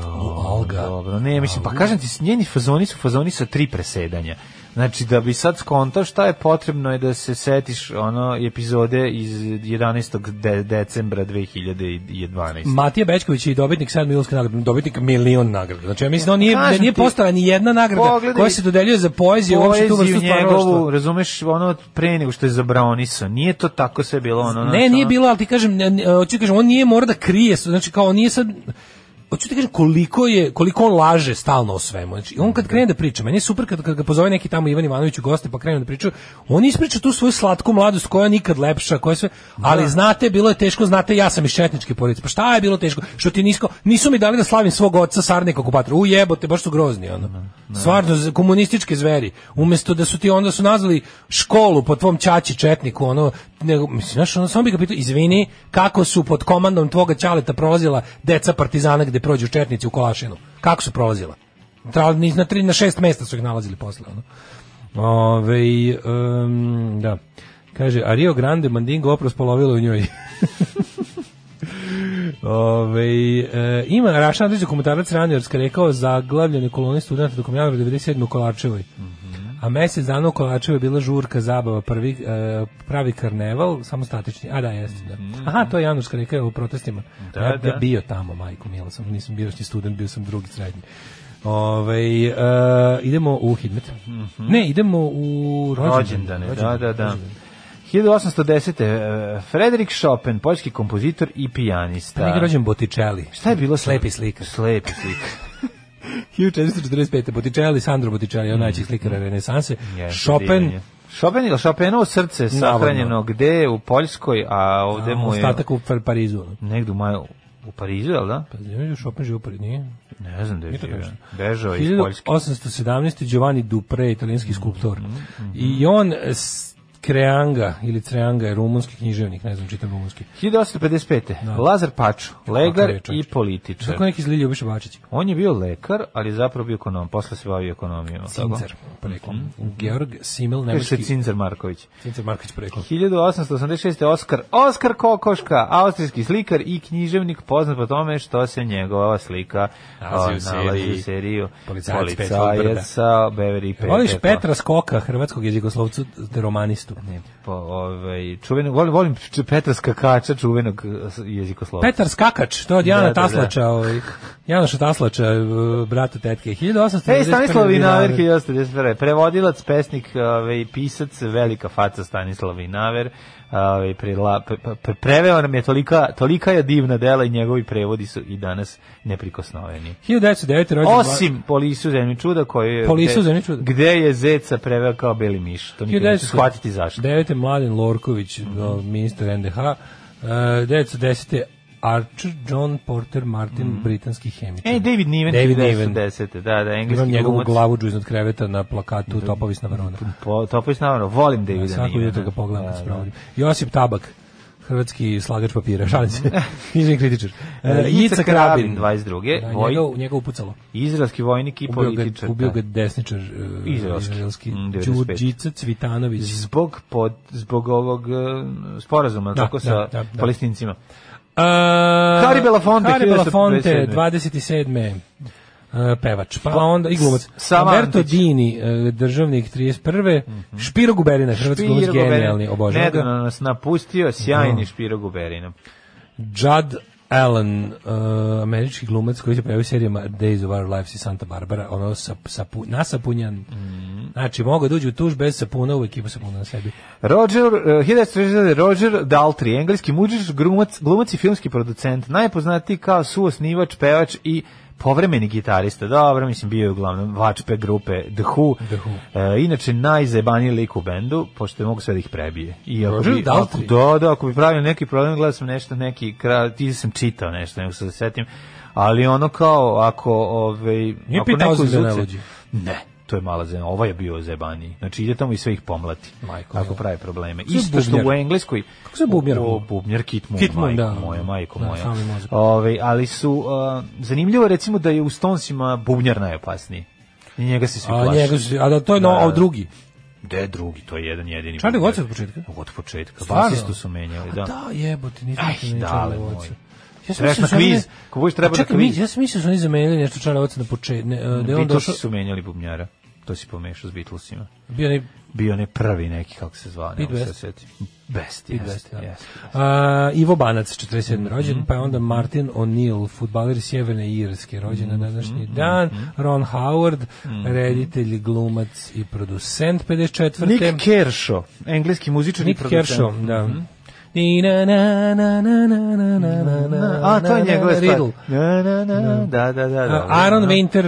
Speaker 7: U Alga.
Speaker 6: E, Dobro, ne, mislim, pa kažem ti, njeni fazoni su fazoni sa tri presedanja. Znači, da bi sad skontao šta je potrebno je da se setiš ono epizode iz 11. De decembra 2012.
Speaker 7: Matija Bečković je i dobitnik 7 milionske nagrade, dobitnik milion nagrada. Znači ja mislim da on nije, da
Speaker 6: Kažem
Speaker 7: nije
Speaker 6: ti,
Speaker 7: postala ni jedna nagrada
Speaker 6: pogledaj
Speaker 7: koja se dodeljuje za poeziju, uopšte tu vrstu
Speaker 6: Poeziju njegovu,
Speaker 7: stvaralaštva.
Speaker 6: razumeš, ono pre nego što je zabraoniso. Nije to tako sve bilo ono.
Speaker 7: Ne,
Speaker 6: znaš,
Speaker 7: nije
Speaker 6: ono-
Speaker 7: bilo, ali ti kažem, ne, ne, hoću ti kažem, on nije mora da krije, znači kao on nije sad hoću ti kažem koliko je koliko on laže stalno o svemu. Znači on kad krene da priča, meni je super kad, kad ga pozove neki tamo Ivan Ivanović u goste pa krene da priča, on ispriča tu svoju slatku mladost koja je nikad lepša, koja je sve, ali znate bilo je teško, znate ja sam iz četničke porodice. Pa šta je bilo teško? Što ti nisko, nisu mi dali da slavim svog oca sarnika okupatora. U jebote, baš su grozni ono. Stvarno z- komunističke zveri. Umesto da su ti onda su nazvali školu po tvom ćaći četniku, ono nego mislim znaš, ono, samo bi ga pitao, izvini, kako su pod komandom tvoga ćaleta prolazila deca partizana gde prođu četnici u Kolašinu? Kako su prolazila? Tra- ni- Na, tri, na šest mesta su ih nalazili posle. Ono. Ove, em, da. Kaže, a Rio Grande Mandingo oprost polovilo u njoj. Ove, e, ima Rašan Andrić komentarac ranjarska rekao zaglavljeni koloni studenta tokom januara 97. u Kolarčevoj. A mesec dana u Kolarčevoj je bila žurka zabava, prvi, e, pravi karneval, samo statični. A da, jeste. Da. Aha, to je januarska rekao u protestima.
Speaker 6: Mhm. Da,
Speaker 7: ja,
Speaker 6: da.
Speaker 7: ja bio tamo, majko, mila sam, nisam bio ni student, bio sam drugi srednji. Ove, e, idemo u Hidmet. Ne, idemo u rođendane.
Speaker 6: Mhm. rođendane. Da, da, da. 1810. eh, Frederik Chopin, poljski kompozitor i
Speaker 7: Da.
Speaker 6: pijanista.
Speaker 7: Neki rođen Botticelli.
Speaker 6: Šta je bilo? sa-
Speaker 7: Slepi slikar.
Speaker 6: Slepi slikar.
Speaker 7: 1445. Botticelli, Sandro Botticelli, on najčih slikara renesanse.
Speaker 6: Mm. Jeste,
Speaker 7: Chopin,
Speaker 6: divanje. Chopin ili Chopinovo srce sahranjeno gde u Poljskoj, a ovde mu je
Speaker 7: ostatak u Par- Parizu. ono.
Speaker 6: negde u maju u Parizu, jel da?
Speaker 7: Pa ne vidiš, Chopin živo pred nije.
Speaker 6: Ne znam da je
Speaker 7: to
Speaker 6: živio.
Speaker 7: tačno.
Speaker 6: Bežao je iz Poljske. Mhm,
Speaker 7: 1817. Giovanni Dupre, italijanski skulptor. I on eh, s- Creanga ili Creanga je rumunski književnik, ne znam čitam rumunski.
Speaker 6: 1855. Lazar Paču, legar
Speaker 7: je, čovječe?
Speaker 6: i političar.
Speaker 7: Tako neki zli Ljubiša Bačić.
Speaker 6: On je bio lekar, ali je zapravo bio ekonom, posle se bavio ekonomijom. tako?
Speaker 7: Cincer, poreklom. Georg Simmel,
Speaker 6: Mhm, Kaže se
Speaker 7: nemački.
Speaker 6: Cinzer Marković.
Speaker 7: Cincer Marković, poreklom.
Speaker 6: 1886. Oskar, Oskar Kokoška, austrijski slikar i književnik poznat po tome što se njegova slika
Speaker 7: Nalazi u
Speaker 6: o,
Speaker 7: seriji.
Speaker 6: u seriju
Speaker 7: Policajac Petrov
Speaker 6: policajaca Beverly Petrov.
Speaker 7: Voliš Petra Skoka, hrvatskog jezikoslovcu, te romanistu.
Speaker 6: Po, ovaj, čuvenog, volim, volim Č- Petra Skakača, čuvenog eh, s- jezikoslova.
Speaker 7: Petar Skakač, to je od Jana
Speaker 6: Da, da, da.
Speaker 7: Taslača, ovaj, Janoša Taslača, eh, brata tetke. 1891.
Speaker 6: Ej, Stanislav Vinaver,
Speaker 7: Vinaver.
Speaker 6: 1991. Prevodilac, pesnik, ovaj, pisac, velika faca Stanislav Vinaver. Ovaj, prela- pre- pre- preveo nam je tolika, tolika je divna dela i njegovi prevodi su i danas neprikosnoveni.
Speaker 7: 1909. rođen
Speaker 6: Osim Polisu zemlji čuda koji je...
Speaker 7: Polisu
Speaker 6: gde-
Speaker 7: zemlji čuda.
Speaker 6: Gde je Zeca preveo kao beli miš. To nikad neću
Speaker 7: 1909.
Speaker 6: shvatiti zašto.
Speaker 7: 9. Mladen Lorković, do- ministar NDH. Uh, 910. Archer John Porter Martin, britanski hemičar.
Speaker 6: Mm. Ej, E, David Niven,
Speaker 7: David
Speaker 6: David
Speaker 7: Niven.
Speaker 6: da, da, engleski
Speaker 7: Imam njegovu
Speaker 6: glumac.
Speaker 7: glavu džu iznad kreveta na plakatu Topovi s Navarona.
Speaker 6: Po, to povijesno, volim Davida
Speaker 7: Svako
Speaker 6: Nivena.
Speaker 7: jutro ga pogledam kad se
Speaker 6: Da, da.
Speaker 7: provodim. Josip Tabak, hrvatski slagač papira, šalim se, knjižni kritičar. E,
Speaker 6: Ica Krabin, 22.
Speaker 7: Da,
Speaker 6: Voj-
Speaker 7: njega, njega upucalo.
Speaker 6: Izraelski vojnik i
Speaker 7: Ubio ga,
Speaker 6: političar.
Speaker 7: ubio
Speaker 6: da.
Speaker 7: ga desničar e,
Speaker 6: Izraelski.
Speaker 7: izraelski.
Speaker 6: Mm, 95.
Speaker 7: Đurđica Cvitanović.
Speaker 6: zbog pod, zbog ovog e, sporazuma
Speaker 7: Da,
Speaker 6: tako sa
Speaker 7: da, da, da.
Speaker 6: palestincima.
Speaker 7: Kari
Speaker 6: Belafonte,
Speaker 7: Kari E, Belafonte,
Speaker 6: 1957.
Speaker 7: 27. Uh, pevač, pa onda i glumac.
Speaker 6: Sava
Speaker 7: Umberto
Speaker 6: Antić.
Speaker 7: Dini, e, državnik 31. Špiro Guberina, hrvatski glumac,
Speaker 6: Mhm. Špiro Guberina.
Speaker 7: genijalni, obožavam ga.
Speaker 6: Nedavno nas napustio sjajni Špiro Guberina.
Speaker 7: Judd Allen, uh, američki glumac koji se pojavio u serijama Days of Our Lives i Santa Barbara, ono sa, sapu, nasapunjan.
Speaker 6: Mhm.
Speaker 7: Znači, mogu da uđe u tuž bez sapuna, uvek ima sapuna na sebi.
Speaker 6: Roger, uh, 1940 Roger Daltrey, engleski muđiš, glumac, glumac i filmski producent, najpoznatiji kao suosnivač, pevač i povremeni gitarista. Dobro, mislim, bio je uglavnom vačpe grupe The Who.
Speaker 7: The Who.
Speaker 6: E, inače, najzajebaniji lik u bendu, pošto je mogu sve da ih prebije. I ako
Speaker 7: Roger
Speaker 6: bi,
Speaker 7: Daltrey?
Speaker 6: Ako, da, da, ako bi pravio neki problem, gledao sam nešto, neki kraj, ti sam čitao nešto, nego se da setim, ali ono kao, ako, ovaj, ako
Speaker 7: pitao
Speaker 6: neko
Speaker 7: za
Speaker 6: izuce-
Speaker 7: Zelenluđu?
Speaker 6: Ne, to je mala zemlja, ovaj je bio zajebaniji. Znači, ide tamo i sve ih pomlati.
Speaker 7: Majko
Speaker 6: ako
Speaker 7: mila.
Speaker 6: pravi probleme.
Speaker 7: je
Speaker 6: Isto što
Speaker 7: bubnjar?
Speaker 6: u Engleskoj.
Speaker 7: Kako se bubnjar?
Speaker 6: O, bubnjar Kit Moon,
Speaker 7: Kit Moon,
Speaker 6: majko
Speaker 7: da.
Speaker 6: moja, majko
Speaker 7: Da,
Speaker 6: moja.
Speaker 7: sami mozak.
Speaker 6: Ove, ali su, uh, zanimljivo je recimo da je u Stonesima bubnjar najopasniji. I njega se svi
Speaker 7: A,
Speaker 6: plaše.
Speaker 7: njega, su- a da, to je no,
Speaker 6: Da.
Speaker 7: a drugi.
Speaker 6: Gde drugi, to je jedan jedini.
Speaker 7: Charlie
Speaker 6: bubnjar.
Speaker 7: Watts od početka?
Speaker 6: Od početka.
Speaker 7: Stvarno?
Speaker 6: Basistu su menjali, da.
Speaker 7: Da, jebote, nisam
Speaker 6: Aj,
Speaker 7: se ni
Speaker 6: dale
Speaker 7: čarao oca.
Speaker 6: moj.
Speaker 7: Ja sam
Speaker 6: Trebaš
Speaker 7: mislio
Speaker 6: na
Speaker 7: su oni-
Speaker 6: kviz, ako budeš trebao
Speaker 7: A
Speaker 6: na
Speaker 7: čekaj,
Speaker 6: kviz.
Speaker 7: mi- ja sam mislio su oni zamenili nešto čarao oca na početku, ne, e, da je on
Speaker 6: Beatlesi
Speaker 7: došao,
Speaker 6: su menjali bubnjara. To si pomešao s Beatlesima.
Speaker 7: bio onaj
Speaker 6: Bio ne prvi neki, kako se zvao, ne
Speaker 7: Pete
Speaker 6: mogu se
Speaker 7: Best.
Speaker 6: sjetiti. Best,
Speaker 7: Pete
Speaker 6: jeste,
Speaker 7: Best, da.
Speaker 6: jeste. Mhm,
Speaker 7: A, Ivo Banac, 47. rođen, pa je onda Martin O'Neill, futbaler Sjeverne Irske, rođen
Speaker 6: Mhm,
Speaker 7: na današnji dan, Ron Howard, reditelj, glumac i producent, 54.
Speaker 6: Nick Kershaw, Mhm. engleski muzičar i
Speaker 7: Nick
Speaker 6: producent.
Speaker 7: Kershaw, da. Ni na na na na na na na na na
Speaker 6: Mhm. A, to je
Speaker 7: na
Speaker 6: njegove
Speaker 7: na
Speaker 6: stvari.
Speaker 7: Riddle.
Speaker 6: Da, da, da, da, da, da, da.
Speaker 7: Aaron
Speaker 6: Da. Mhm.
Speaker 7: Winter,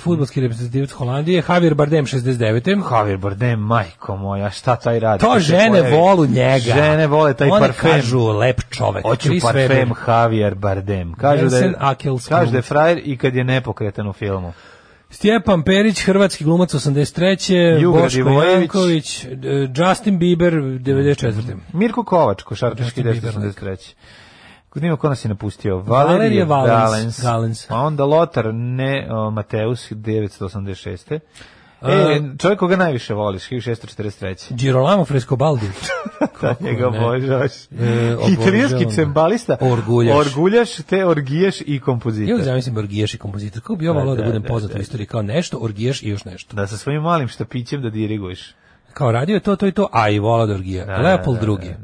Speaker 7: futbolski reprezentativac Holandije, Javier Bardem, 69.
Speaker 6: Javier Bardem, majko moja, šta taj radi?
Speaker 7: To
Speaker 6: Kad se
Speaker 7: žene
Speaker 6: pojavi-
Speaker 7: volu njega.
Speaker 6: Žene vole taj
Speaker 7: One
Speaker 6: parfem.
Speaker 7: kažu lep čovek.
Speaker 6: Hoću
Speaker 7: Chris
Speaker 6: parfem
Speaker 7: Webber.
Speaker 6: Javier Bardem. Kažu da, je,
Speaker 7: Jensen Ackles
Speaker 6: kažu da je frajer i kad je nepokretan u filmu.
Speaker 7: Stjepan Perić, hrvatski glumac 83.
Speaker 6: Juga
Speaker 7: Boško
Speaker 6: Divojević.
Speaker 7: Janković, e, Justin Bieber 94.
Speaker 6: Mirko Kovač, košarkaški
Speaker 7: Justin Bieber,
Speaker 6: 1983. Kod njima ko nas je napustio? Valerije
Speaker 7: Valerije Valens,
Speaker 6: Valens.
Speaker 7: Valens.
Speaker 6: A onda Lotar, ne o, Mateus, 986. E, čovjek koga najviše voliš, 1643.
Speaker 7: Girolamo Frescobaldi.
Speaker 6: Da, njega
Speaker 7: ne? E,
Speaker 6: obožavaš.
Speaker 7: obožavam
Speaker 6: Italijanski
Speaker 7: ga.
Speaker 6: cembalista.
Speaker 7: Orguljaš.
Speaker 6: Orguljaš, te orgijaš i kompozitor.
Speaker 7: Ja uvijek zamislim orgijaš i kompozitor. Kako bi ja
Speaker 6: Da,
Speaker 7: volao da
Speaker 6: da,
Speaker 7: budem
Speaker 6: da,
Speaker 7: poznat
Speaker 6: da.
Speaker 7: u istoriji kao nešto, orgijaš i još nešto.
Speaker 6: Da, sa svojim malim štapićem da diriguješ.
Speaker 7: Kao radio je to, to i to, a i volao da orgija.
Speaker 6: Da,
Speaker 7: Leopold
Speaker 6: da, Mhm. da,
Speaker 7: II.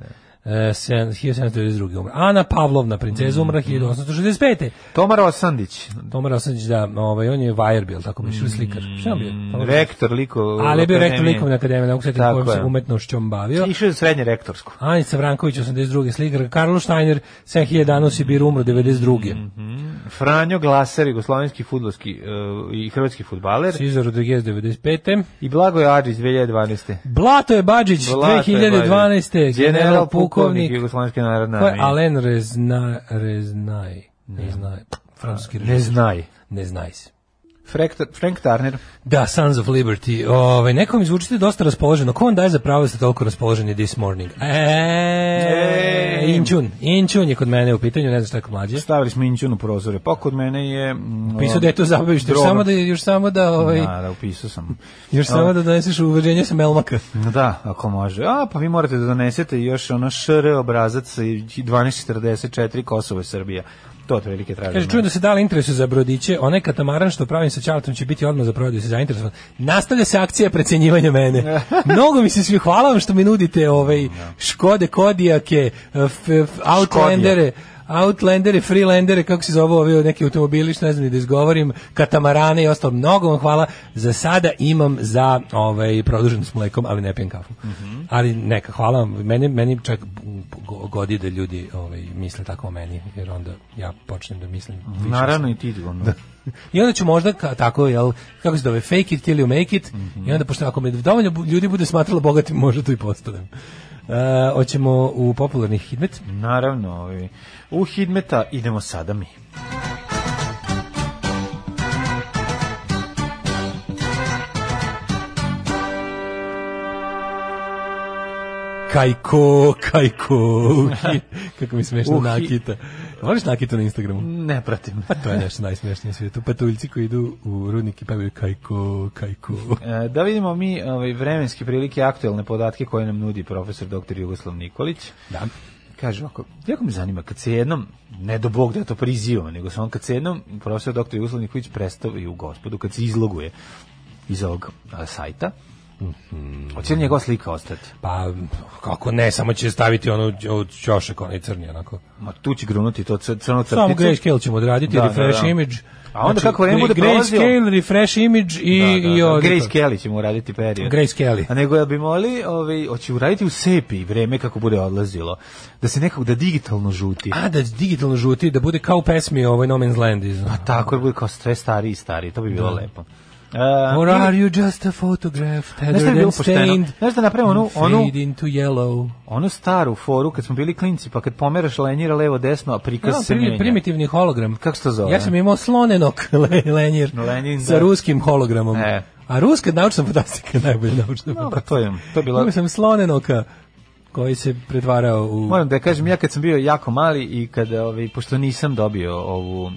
Speaker 7: E, sen- 1792. umre. Ana Pavlovna, princeza, umra 1865.
Speaker 6: Tomar Osandić,
Speaker 7: Tomar Osanđić, da, ovaj, on je vajer bio, tako bi šli slikar. Šta je on bio? Tomar Osandić.
Speaker 6: Mhm. rektor liko...
Speaker 7: Ali je bio rektor
Speaker 6: akademije.
Speaker 7: likovne akademije, ne mogu se
Speaker 6: Tako
Speaker 7: kojom se
Speaker 6: je.
Speaker 7: umetnošćom bavio.
Speaker 6: Išao je u srednje rektorsko.
Speaker 7: Anica Vranković, 82. slikar, Karlo Steiner, 7000 dana u Sibiru umro, 92.
Speaker 6: Mhm. Franjo Glaser, jugoslovenski futbolski uh, i hrvatski futbaler.
Speaker 7: Cizar Rodriguez, 95.
Speaker 6: I Blago je Adžić 2012.
Speaker 7: Blato je Bađić,
Speaker 6: Blato je
Speaker 7: 2012.
Speaker 6: Bađić.
Speaker 7: General pukovnik,
Speaker 6: Jugoslovenske narodne
Speaker 7: ko je
Speaker 6: armije.
Speaker 7: Alen Rezna, Reznaj, ne znaj, francuski
Speaker 6: Ne
Speaker 7: režim,
Speaker 6: znaj.
Speaker 7: ne znaj se.
Speaker 6: Frank, Frank Turner.
Speaker 7: Da, Sons of Liberty. Ovaj neko mi zvučite dosta raspoloženo. Ko vam daje za pravo da ste toliko raspoloženi this morning? E,
Speaker 6: Ej.
Speaker 7: Inčun, Inčun je kod mene u pitanju, ne znam šta je kod mlađe.
Speaker 6: Stavili smo inćun u prozore. Pa kod mene je... mm,
Speaker 7: Pisao da je to zabavište, još
Speaker 6: droga.
Speaker 7: samo da još samo da ovaj
Speaker 6: Da, da, upisao sam.
Speaker 7: još samo da doneseš uveđenje sa melmaka.
Speaker 6: Da, ako može. A, pa vi morate da donesete još ono šr obrazac i 1244 Kosovo i Srbija. To otprilike tražimo.
Speaker 7: Kaže čujem da se dali interesu za brodiće, onaj katamaran što pravim sa ćalatom će biti odmah za prodaju, se zainteresovan. Nastavlja se akcija precenjivanja mene. Mnogo mi se svi hvala vam što mi nudite ovaj Škode Kodijake, f, f, Outlandere, Outlandere, Freelandere, kako se zove ovi neki automobili, što ne znam ni da izgovorim, katamarane i ostalo. Mnogo vam hvala. Za sada imam za ovaj produžen s mlekom, ali ne pijem kafu. Ali neka, hvala vam. Meni, meni čak go- godi da ljudi ovaj, misle tako o meni, jer onda ja počnem da mislim više.
Speaker 6: Naravno i ti, ono.
Speaker 7: I onda ću možda ka- tako, jel, kako se zove, fake it till you make it, i onda pošto ako me dovoljno bu- ljudi bude smatralo bogatim, možda to i postanem. Uh, hoćemo u popularni hitmet.
Speaker 6: Naravno, ovaj. u Hidmeta idemo sada mi.
Speaker 7: Kajko, Kajko, kako mi smešno
Speaker 6: Uhi.
Speaker 7: Nakita. Voliš Nakitu na Instagramu?
Speaker 6: Ne pratim.
Speaker 7: Pa to je nešto najsmešnije na svijetu. Patuljci koji idu u rudnik i pevaju Kajko, Kajko.
Speaker 6: E, Da vidimo mi ovaj, vremenske prilike, aktuelne podatke koje nam nudi profesor dr. Jugoslav Nikolić.
Speaker 7: Da.
Speaker 6: Kaže ovako, jako me zanima, kad se jednom, ne do Bog da ja to prizivam, nego samo kad se jednom profesor dr. Jugoslav Nikolić predstavi u gospodu, kad se izloguje iz ovog a, sajta,
Speaker 7: Mhm.
Speaker 6: hoće li njegova slika ostati?
Speaker 7: Pa, kako ne, samo će staviti ono od ćošak, onaj crni, onako.
Speaker 6: Ma tu će grunuti to cr- crno crtice.
Speaker 7: Samo grayscale ćemo odraditi,
Speaker 6: Da, da,
Speaker 7: refresh
Speaker 6: da.
Speaker 7: image. Znači,
Speaker 6: A onda kako vreme bude prolazilo-
Speaker 7: Grayscale, refresh image i...
Speaker 6: Da, da,
Speaker 7: i
Speaker 6: da.
Speaker 7: ovdje
Speaker 6: Grace
Speaker 7: to.
Speaker 6: Kelly ćemo uraditi period.
Speaker 7: Grace Kelly.
Speaker 6: A nego ja bi moli, ovaj, hoće uraditi u sepi vreme kako bude odlazilo. Da se nekako, da digitalno žuti.
Speaker 7: A, da digitalno žuti, da bude kao u pesmi ovoj No Man's Land iz...
Speaker 6: Pa tako je, bude kao sve stariji i stariji, to bi bilo lepo. Uh,
Speaker 7: Or are you just a photograph
Speaker 6: Znaš šta
Speaker 7: tethered
Speaker 6: bi bilo
Speaker 7: and
Speaker 6: pošteno?
Speaker 7: stained?
Speaker 6: Znaš da
Speaker 7: E,
Speaker 6: napravimo onu, onu,
Speaker 7: Fade into yellow.
Speaker 6: onu Ono staru foru kad smo bili klinci, pa kad pomeraš lenjira levo desno, a prikaz
Speaker 7: No,
Speaker 6: se
Speaker 7: primi-
Speaker 6: menja.
Speaker 7: primitivni hologram.
Speaker 6: Kako se to zove?
Speaker 7: Ja sam imao slonenog le- lenjer
Speaker 6: Lenin,
Speaker 7: sa
Speaker 6: da.
Speaker 7: ruskim hologramom.
Speaker 6: E.
Speaker 7: A ruska naučna fantastika je najbolja naučna
Speaker 6: Dobro,
Speaker 7: fantastika.
Speaker 6: pa to je, to je bilo...
Speaker 7: Imao sam slonenoka koji se pretvarao u...
Speaker 6: Moram da kažem, ja kad sam bio jako mali i kada, ovaj, pošto nisam dobio ovu mm,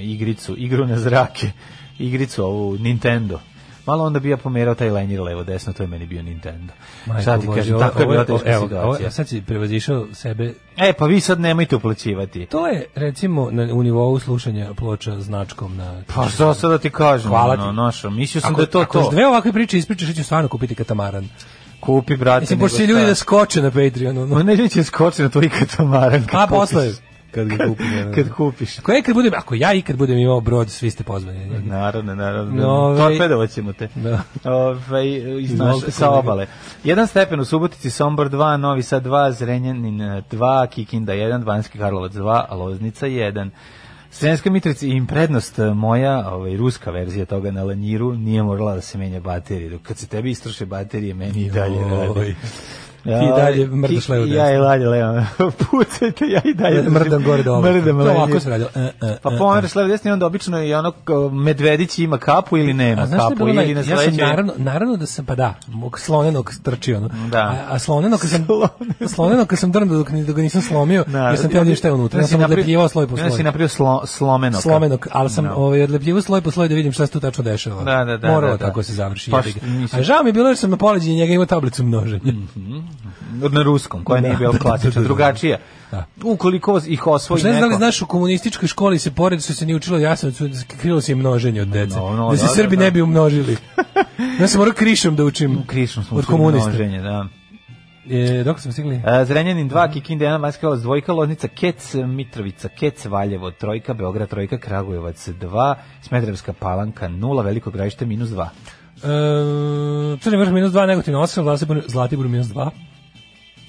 Speaker 6: igricu, igru na zrake, igricu ovu Nintendo, malo onda bi ja pomerao taj lenjir levo desno, to je meni bio Nintendo.
Speaker 7: Majko
Speaker 6: Šta ti
Speaker 7: Bože,
Speaker 6: kažem,
Speaker 7: ovo-
Speaker 6: tako je
Speaker 7: ovo-
Speaker 6: bila teška
Speaker 7: evo, ovo-
Speaker 6: situacija.
Speaker 7: Sad si prevazišao sebe.
Speaker 6: E, pa vi sad nemojte uplaćivati.
Speaker 7: To je, recimo, na, u nivou slušanja ploča značkom na...
Speaker 6: Pa što sad da ti kažem?
Speaker 7: Hvala ti.
Speaker 6: ono, našo, mislio sam
Speaker 7: Ako,
Speaker 6: da je to
Speaker 7: ako
Speaker 6: to.
Speaker 7: još dve ovakve priče ispričaš, ja ću stvarno kupiti katamaran.
Speaker 6: Kupi, brate,
Speaker 7: Mislim,
Speaker 6: nego
Speaker 7: pošto će ljudi
Speaker 6: šta.
Speaker 7: da skoče na Patreon. Ono.
Speaker 6: Ma ne ljudi će skoči na tvoj katamaran. kad
Speaker 7: A
Speaker 6: kupiš.
Speaker 7: posle, kad ga
Speaker 6: Kad-
Speaker 7: kupim, da, da.
Speaker 6: Kad kupiš.
Speaker 7: Ako ja ikad budem, ako ja ikad budem imao brod, svi ste
Speaker 6: Mhm.
Speaker 7: pozvani.
Speaker 6: Naravno, naravno.
Speaker 7: No, ovaj-
Speaker 6: Torpedovat ćemo te.
Speaker 7: Da.
Speaker 6: Ovaj, iz naš,
Speaker 7: Izvolite,
Speaker 6: sa
Speaker 7: kolega.
Speaker 6: obale. Jedan stepen u Subotici, Sombor 2, Novi Sad 2, Zrenjanin 2, Kikinda 1, Banski Karlovac 2, a Loznica 1. Srenska Mitrovica im prednost eh, moja, ovaj, ruska verzija toga na lanjiru, nije morala da se menja baterije. Dok kad se tebi istroše baterije, meni i dalje radi.
Speaker 7: Oj. Ti dalje mrdaš
Speaker 6: Ki-
Speaker 7: levo desno.
Speaker 6: Ja i dalje levo. Pucajte, ja i dalje.
Speaker 7: Mrdam gore dole.
Speaker 6: Mrdam
Speaker 7: To
Speaker 6: levo.
Speaker 7: ovako se radilo. E, e,
Speaker 6: Pa
Speaker 7: e,
Speaker 6: pomeraš levo desno i onda obično je ono kao medvedić ima kapu ili nema
Speaker 7: A znaš šta je
Speaker 6: kapu.
Speaker 7: bilo naj...
Speaker 6: Ili na
Speaker 7: Ja sam
Speaker 6: sledećoj-
Speaker 7: naravno, naravno da sam, pa da, mog slonenog trčio. No.
Speaker 6: Da.
Speaker 7: A, a slonenog kad sam, slonenog kad sam drndao dok, ni- dok ga nisam slomio,
Speaker 6: Da,
Speaker 7: jer sam teo vidjeti šta je unutra. Ja
Speaker 6: si
Speaker 7: sam
Speaker 6: napravio-
Speaker 7: odlepljivao sloj po
Speaker 6: Ja si
Speaker 7: sloj.
Speaker 6: napravio slo, slomenoka.
Speaker 7: Slomenog, ali sam
Speaker 6: Da.
Speaker 7: ovaj, odlepljivao sloj po sloj da vidim šta se tu tačno dešava.
Speaker 6: Da, da, da, da,
Speaker 7: Moralo
Speaker 6: da.
Speaker 7: tako se završi.
Speaker 6: Pa
Speaker 7: jebi ga.
Speaker 6: što- mislim-
Speaker 7: a žao mi je bilo jer sam na poleđenju njega imao tablicu množenja.
Speaker 6: Na ruskom, koja nije
Speaker 7: Da,
Speaker 6: bila
Speaker 7: da, da,
Speaker 6: klasična,
Speaker 7: da, da.
Speaker 6: drugačija.
Speaker 7: Da. Pa
Speaker 6: Ukoliko vas- ih osvoji
Speaker 7: Šta ne znam da li
Speaker 6: neko-
Speaker 7: znaš, u komunističkoj školi se pored što se nije učilo Jasenovcu, krilo se i množenje od dece.
Speaker 6: No, no,
Speaker 7: da se
Speaker 6: da, da,
Speaker 7: Srbi
Speaker 6: da.
Speaker 7: ne bi umnožili. ja sam morao krišom da učim.
Speaker 6: Krišom smo
Speaker 7: od
Speaker 6: učili
Speaker 7: komunista.
Speaker 6: množenje, da.
Speaker 7: E, dok smo stigli?
Speaker 6: E, Zrenjanin 2, Kikinda 1, Vanjska Karlovac 2, Loznica, Kec, Mitrovica, Kec, Valjevo, Trojka, Beograd, Trojka, Kragujevac 2, Smedrevska palanka 0, Veliko gravište minus 2.
Speaker 7: E, Crni vrh minus 2, Negotin 8, Zlatibor, Zlatibor minus 2.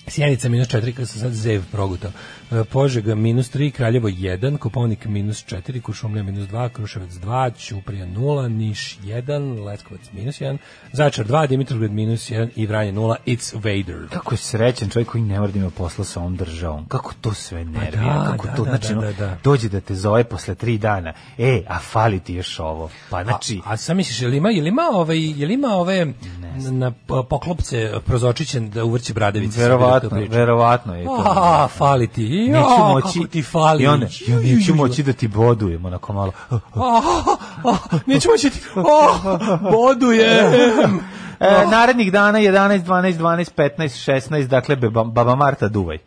Speaker 7: Sjenica minus 4, kada sam sad Zev progutao. E, Požega minus 3, Kraljevo 1, Koponik minus 4, Kuršumlija minus 2, Kruševac 2, Ćuprija 0, Niš 1, Leskovac minus 1, Začar 2, Dimitrovgrad minus 1 i Vranje 0, It's Vader.
Speaker 6: Kako je srećan čovjek koji ne mora da ima posla sa ovom državom. Kako to sve nervira,
Speaker 7: Pa da,
Speaker 6: kako
Speaker 7: da,
Speaker 6: to,
Speaker 7: da,
Speaker 6: znači,
Speaker 7: da,
Speaker 6: ono,
Speaker 7: da, da.
Speaker 6: dođe da te zove posle tri dana, e, a fali ti još ovo. Pa znači,
Speaker 7: A, a sam misliš, je li ima, je li ima, ovaj, je li ima ove na p- poklopce prozočiće da uvrće bradavice?
Speaker 6: verovatno, verovatno je to.
Speaker 7: A, fali ti. Jo,
Speaker 6: neću moći,
Speaker 7: kako ti fali.
Speaker 6: I onda, ja neću moći da ti bodujem, onako malo. E,
Speaker 7: A, a, neću moći ti. A, bodujem. Oh.
Speaker 6: E, narednih dana 11, 12, 12, 15, 16, dakle, beba, baba Marta duvaj.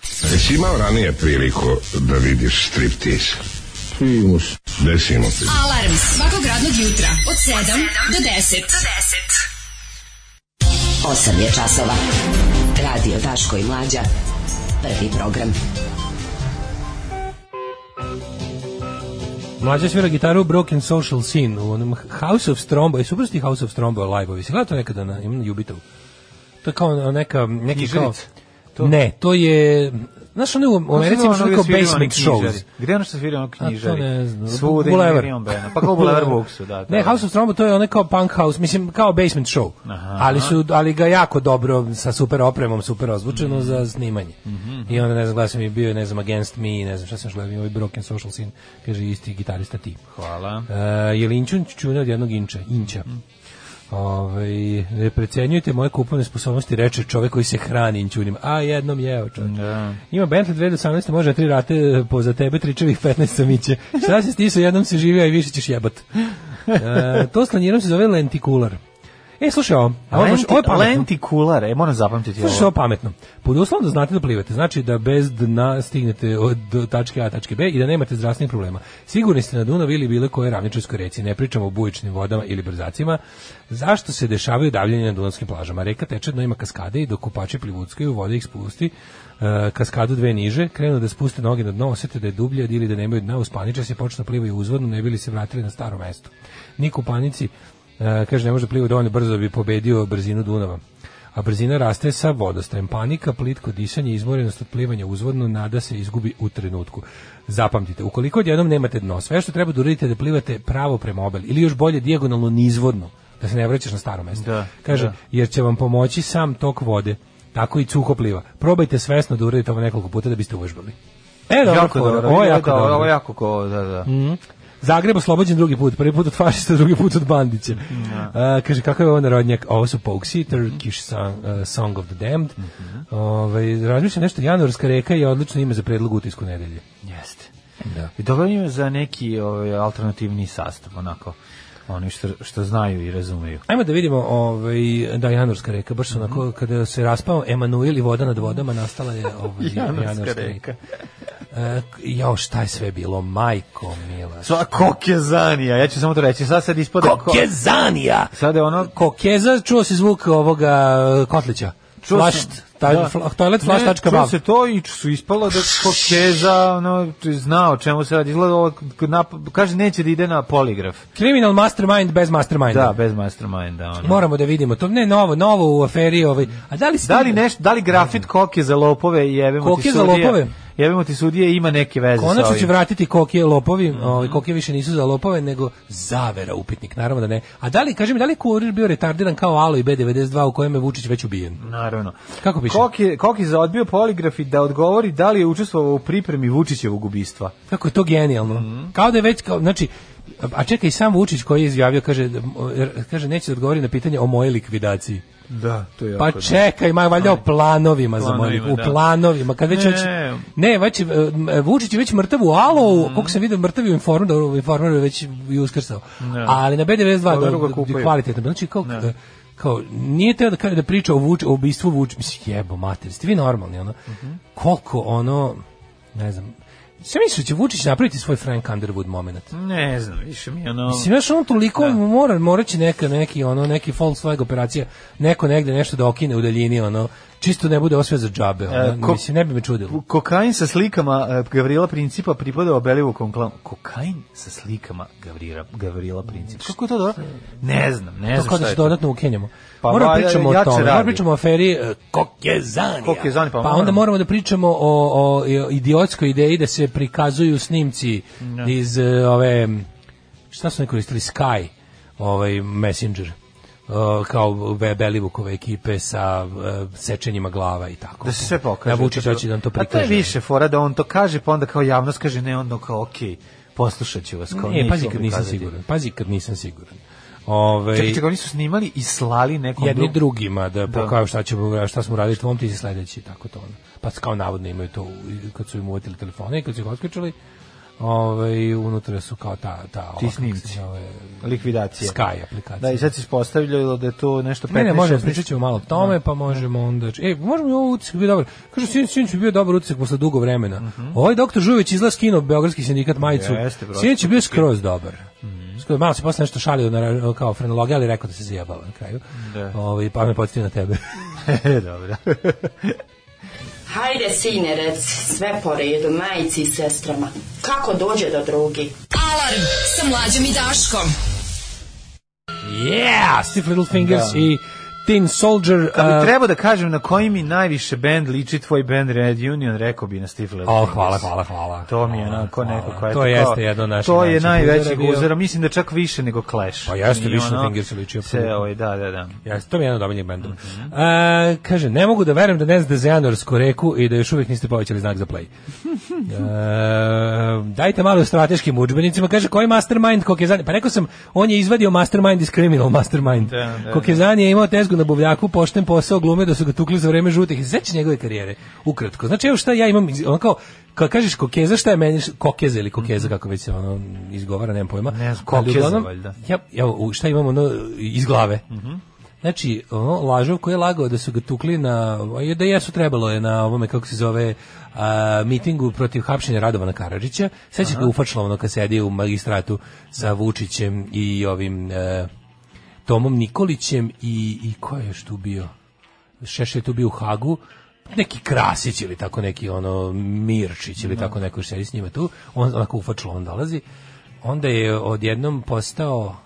Speaker 7: Pa
Speaker 10: Jesi imao ranije priliku da vidiš striptiz? Primus. Desimo se.
Speaker 5: Alarm svakog radnog jutra od 7 do 10. Do
Speaker 11: 8 je časova. Radio Daško i Mlađa. Prvi program.
Speaker 7: Mlađa svira gitaru u Broken Social Scene u onom House of Strombo. Je suprosti House of Strombo live-ovi. Si gledao to nekada na, imam na Jubitovu? To je kao neka... Neki kao,
Speaker 6: Knjižarica?
Speaker 7: Ne, to je... Znaš, ono u Americi imaš ono kao basement shows.
Speaker 6: Gde je ono što svira ono knjižari?
Speaker 7: A to ne znam.
Speaker 6: Svude i
Speaker 7: Bulevar.
Speaker 6: Miriam Bena. Pa kao Bulevar Buksu, da. ono.
Speaker 7: Ne, House of Trombo to je onaj kao punk house, mislim kao basement show.
Speaker 6: Aha.
Speaker 7: ali su ali ga jako dobro sa super opremom, super ozvučeno za snimanje. I onda ne znam glasam je bio ne znam Against Me, ne znam šta sam gledao, i ovaj Broken Social Scene, kaže isti gitarista ti.
Speaker 6: Hvala.
Speaker 7: Uh, je li Inčun čune od jednog Inča? Inča. Ove, ne precenjujte moje kupovne sposobnosti, reče čovjek koji se hrani inćunima. A, jednom jeo čovjek.
Speaker 6: Da.
Speaker 7: Ima Bentley 2018, može na tri rate e, po za tebe, tričevih 15 samiće. Šta se stiso, jednom se živi, a i više ćeš jebat. E, to slanirom se zove lentikular. E, slušaj ovo. Ovo, je baš-
Speaker 6: Lenti,
Speaker 7: ovo je pametno.
Speaker 6: lentikulare, e, moram zapamtiti
Speaker 7: Slušaj, ovo
Speaker 6: ovo.
Speaker 7: je pametno. Pod uslovom da znate da plivate, znači da bez dna stignete od do tačke A tačke B i da nemate zdravstvenih problema. Sigurni ste na Dunav ili bilo koje ravničarskoj reci, ne pričamo o bujičnim vodama ili brzacima. Zašto se dešavaju davljenje na dunavskim plažama? Reka teče, dno ima kaskade i dok kupači plivuckaju, voda ih spusti, e, kaskadu dve niže, krenu da spuste noge na dno, osete da je dublje ili da nemaju dna, uspaniče se počnu da plivaju uzvodno, ne bili se vratili na staro mesto. Niko u panici, e, kaže, ne može da pliva dovoljno brzo da bi pobedio brzinu Dunava a brzina raste sa vodostajem. Panika, plitko disanje, izmorenost od plivanja uzvodno, nada se izgubi u trenutku. Zapamtite, ukoliko odjednom nemate dno, sve što treba da uradite je da plivate pravo prema obali, ili još bolje dijagonalno nizvodno, da se ne vraćaš na staro mesto.
Speaker 6: Da,
Speaker 7: Kaže,
Speaker 6: da.
Speaker 7: jer će vam pomoći sam tok vode, tako i cuho pliva. Probajte svesno da uradite ovo nekoliko puta da biste uvežbali. E, dobro,
Speaker 6: Jako dobro, Mm.
Speaker 7: ovo je jako dobro.
Speaker 6: Ovo je jako ko, da, da.
Speaker 7: Mhm. Zagreb oslobođen drugi put, prvi put od fašista, drugi put od bandića. A, kaže, kakav je ovo narodnjak? Ovo su Poguesi, Turkish song, uh, song of the Damned. Ovaj, razmišljam nešto, Januarska reka je odlično ime za predlog utisku nedelje.
Speaker 6: Jeste.
Speaker 7: Da.
Speaker 6: I dobro ime za neki ovaj, alternativni sastav, onako, oni što, što znaju i razumeju.
Speaker 7: Ajmo da vidimo, ovaj, da, Januarska reka, baš onako, kada se raspao Emanuel i voda nad vodama, nastala je ovaj,
Speaker 6: Januarska
Speaker 7: Januarska, reka. E, jao, šta je sve bilo, majko mila.
Speaker 6: Sva kokezanija, ja ću samo to reći, sad sad ispada... ko-
Speaker 7: Kokezanija!
Speaker 6: Sad je ono...
Speaker 7: Kokeza, čuo si zvuk ovoga e, kotlića.
Speaker 6: Čuo
Speaker 7: Flash,
Speaker 6: sam,
Speaker 7: taj,
Speaker 6: da.
Speaker 7: fla- toilet
Speaker 6: Ne,
Speaker 7: flash tačka
Speaker 6: čuo
Speaker 7: bav.
Speaker 6: se to i su ispalo da kokeza, ono, zna o čemu se radi. Izgleda ovo, kad nap- kaže, neće da ide na poligraf.
Speaker 7: Criminal mastermind bez masterminda.
Speaker 6: Da, bez masterminda. Ono.
Speaker 7: Moramo da vidimo to. Ne, novo, novo u aferi. Ovaj. A da li, ste-
Speaker 6: Da li, neš, da li grafit koke za lopove i jebemo
Speaker 7: Koke
Speaker 6: ti
Speaker 7: za
Speaker 6: sudije?
Speaker 7: lopove?
Speaker 6: Jebemo ti sudije ima neke veze sa
Speaker 7: Konačno
Speaker 6: ovim. Mhm.
Speaker 7: će vratiti kokije lopovi, ovaj, kokije više nisu za lopove, nego zavera upitnik, naravno da ne. A da li, kaži mi, da li je kurir bio retardiran kao Alo i B92 u kojem je Vučić već ubijen?
Speaker 6: Naravno.
Speaker 7: Kako piše?
Speaker 6: Koki, Koki za odbio poligraf i da odgovori da li je učestvovao u pripremi Vučićevog ubistva.
Speaker 7: Kako je to genijalno.
Speaker 6: Mhm.
Speaker 7: Kao da je već kao znači a- a čekaj sam Vučić koji je izjavio kaže da- r- kaže neće da odgovori na pitanje o mojoj likvidaciji.
Speaker 6: Da, to je
Speaker 7: Pa čekaj, ma valjda o planovima za moju,
Speaker 6: Planovima,
Speaker 7: u
Speaker 6: da.
Speaker 7: planovima, kad već
Speaker 6: Ne.
Speaker 7: hoće- ne, već je, e, Vučić je već mrtav u Alo,
Speaker 6: Mm.
Speaker 7: koliko sam vidio mrtav je u informu, da u informeru je već i uskrsao.
Speaker 6: Ne.
Speaker 7: Ali na B92
Speaker 6: Overu ga
Speaker 7: da, da,
Speaker 6: kupaju.
Speaker 7: kvalitetno, znači kao e, kao nije teo da kaže da priča o Vuč, o ubistvu Vuč, mislim jebo mater, jeste vi normalni ono.
Speaker 6: Mhm.
Speaker 7: Koliko ono ne znam. Sve mislim da će Vučić napraviti svoj Frank Underwood moment.
Speaker 6: Ne znam, više mi je ono...
Speaker 7: Mislim, znaš, ono toliko mora, mora će neka, neki, ono, neki Volkswagen operacija, neko negde nešto da okine u daljini, ono, čisto ne bude osve za džabe, ono,
Speaker 6: E, ko-
Speaker 7: mislim, ne bi me čudilo.
Speaker 6: Kokain sa slikama e, Gavrila Principa pripadao Belivukom klanu. Kokain sa slikama Gavrila, Gavrila Principa. Kako je to dobro? Ne znam, ne
Speaker 7: To
Speaker 6: znam
Speaker 7: kao
Speaker 6: šta
Speaker 7: da
Speaker 6: je
Speaker 7: se
Speaker 6: to.
Speaker 7: dodatno ukenjamo.
Speaker 6: Pa
Speaker 7: moramo
Speaker 6: valja,
Speaker 7: pričamo o
Speaker 6: jače
Speaker 7: tome, moramo
Speaker 6: radi.
Speaker 7: pričamo o aferi e, Kokezanija.
Speaker 6: Kokezani, pa moramo.
Speaker 7: onda moramo da pričamo o, o i- o idiotskoj ideji da se prikazuju snimci iz e, ove, šta su oni koristili, Sky, ovaj Messenger e, kao Be- Belivukove ekipe sa e, sečenjima glava i tako.
Speaker 6: Da se sve pokaže.
Speaker 7: Da Vučić hoće da nam to
Speaker 6: A to je
Speaker 7: prikaže.
Speaker 6: više fora da on to kaže, pa onda kao javnost kaže ne, onda kao okej, poslušat ću vas. Kao,
Speaker 7: Ne,
Speaker 6: neću
Speaker 7: E, pazi
Speaker 6: vam
Speaker 7: kad nisam
Speaker 6: ukazati.
Speaker 7: siguran. Pazi kad nisam siguran. Ovaj
Speaker 6: Čekaj, čekaj, oni su snimali i slali nekom
Speaker 7: jedni
Speaker 6: drugom.
Speaker 7: drugima da pokažu šta ćemo šta smo radili tvom ti si sledeći i tako to ono. pa s- kao navodno imaju to u- kad su im uvatili telefone i kad su ih otključili ovaj unutra su kao ta ta ova, kako se
Speaker 6: snimci.
Speaker 7: zove,
Speaker 6: likvidacija.
Speaker 7: Sky aplikacija
Speaker 6: Da, i sad se ispostavljalo da je to nešto 15
Speaker 7: Ne, ne, možemo,
Speaker 6: 16.
Speaker 7: pričat ćemo malo o tome, pa možemo onda... E, možemo i ovo utisak bio dobar. Kažu, sin, sinoć je bio dobar utisak posle dugo vremena. Ovaj doktor Žuvić izla skinuo Beogradski sindikat majicu.
Speaker 6: Mhm. Jeste, Mhm. brate.
Speaker 7: Sinoć je bio skroz dobar. Skroz, malo se posle nešto šalio na, ra- kao frenologija, ali rekao da se zajebala na kraju.
Speaker 6: Da.
Speaker 7: Ovaj, pa me podsjetio na tebe.
Speaker 6: E, Dobro.
Speaker 12: Hajde, sinerec, sve po redu, majici i sestrama. Kako dođe do drugi?
Speaker 11: Alarm sa mlađom i Daškom.
Speaker 7: Yeah! Stiff Little Fingers
Speaker 6: Da.
Speaker 7: i Tin Soldier.
Speaker 6: Kad
Speaker 7: uh,
Speaker 6: bi trebao da kažem na koji mi najviše bend liči tvoj bend Red Union, rekao bi na Stifle.
Speaker 7: O, Oh, hvala, hvala, hvala.
Speaker 6: To mi je onako neko koja je
Speaker 7: To
Speaker 6: tako-
Speaker 7: jeste jedno od naših
Speaker 6: To je
Speaker 7: najvećih
Speaker 6: najveći
Speaker 7: uzora bio.
Speaker 6: uzor, mislim da čak više nego Clash.
Speaker 7: Pa jeste,
Speaker 6: I
Speaker 7: više na
Speaker 6: ono,
Speaker 7: Fingersu liči,
Speaker 6: Se,
Speaker 7: apsolutno.
Speaker 6: ovaj, da, da, da.
Speaker 7: Jeste, to mi je jedan od omiljenih bendova. E, kaže, ne mogu da verujem da ne znate za januarsku reku i da još uvijek niste povećali znak za play. E, dajte malo o strateškim udžbenicima. Kaže, koji mastermind Kokezani? Pa rekao sam, on je izvadio mastermind iz criminal mastermind.
Speaker 6: Da, da,
Speaker 7: Kokezani je imao tezgu na buvljaku, pošten posao, glume da su ga tukli za vreme žutih. I Sećaš njegove karijere, ukratko. Znači, evo šta ja imam, iz- ono kao, kad kažeš kokeza, šta je meni, kokeza ili kokeza, kako već se ono izgovara, nemam pojma.
Speaker 6: Ne znam,
Speaker 7: Ali
Speaker 6: kokeza
Speaker 7: uglavnom,
Speaker 6: valjda. Mhm.
Speaker 7: Ja, ja, u- šta imamo ono, iz glave. Znači, ono, lažov koji je lagao da su ga tukli na, da jesu trebalo je na ovome, kako se zove, a, mitingu protiv hapšenja Radovana Karadžića. Sećaš ga ufačilo ono kad sedi u magistratu sa Vučićem i ovim e, Tomom Nikolićem i, i ko je još tu bio? Šeš je tu bio u Hagu neki Krasić ili tako neki ono Mirčić ili tako neko još sedi s njima tu on onako ufačilo on dolazi onda je odjednom postao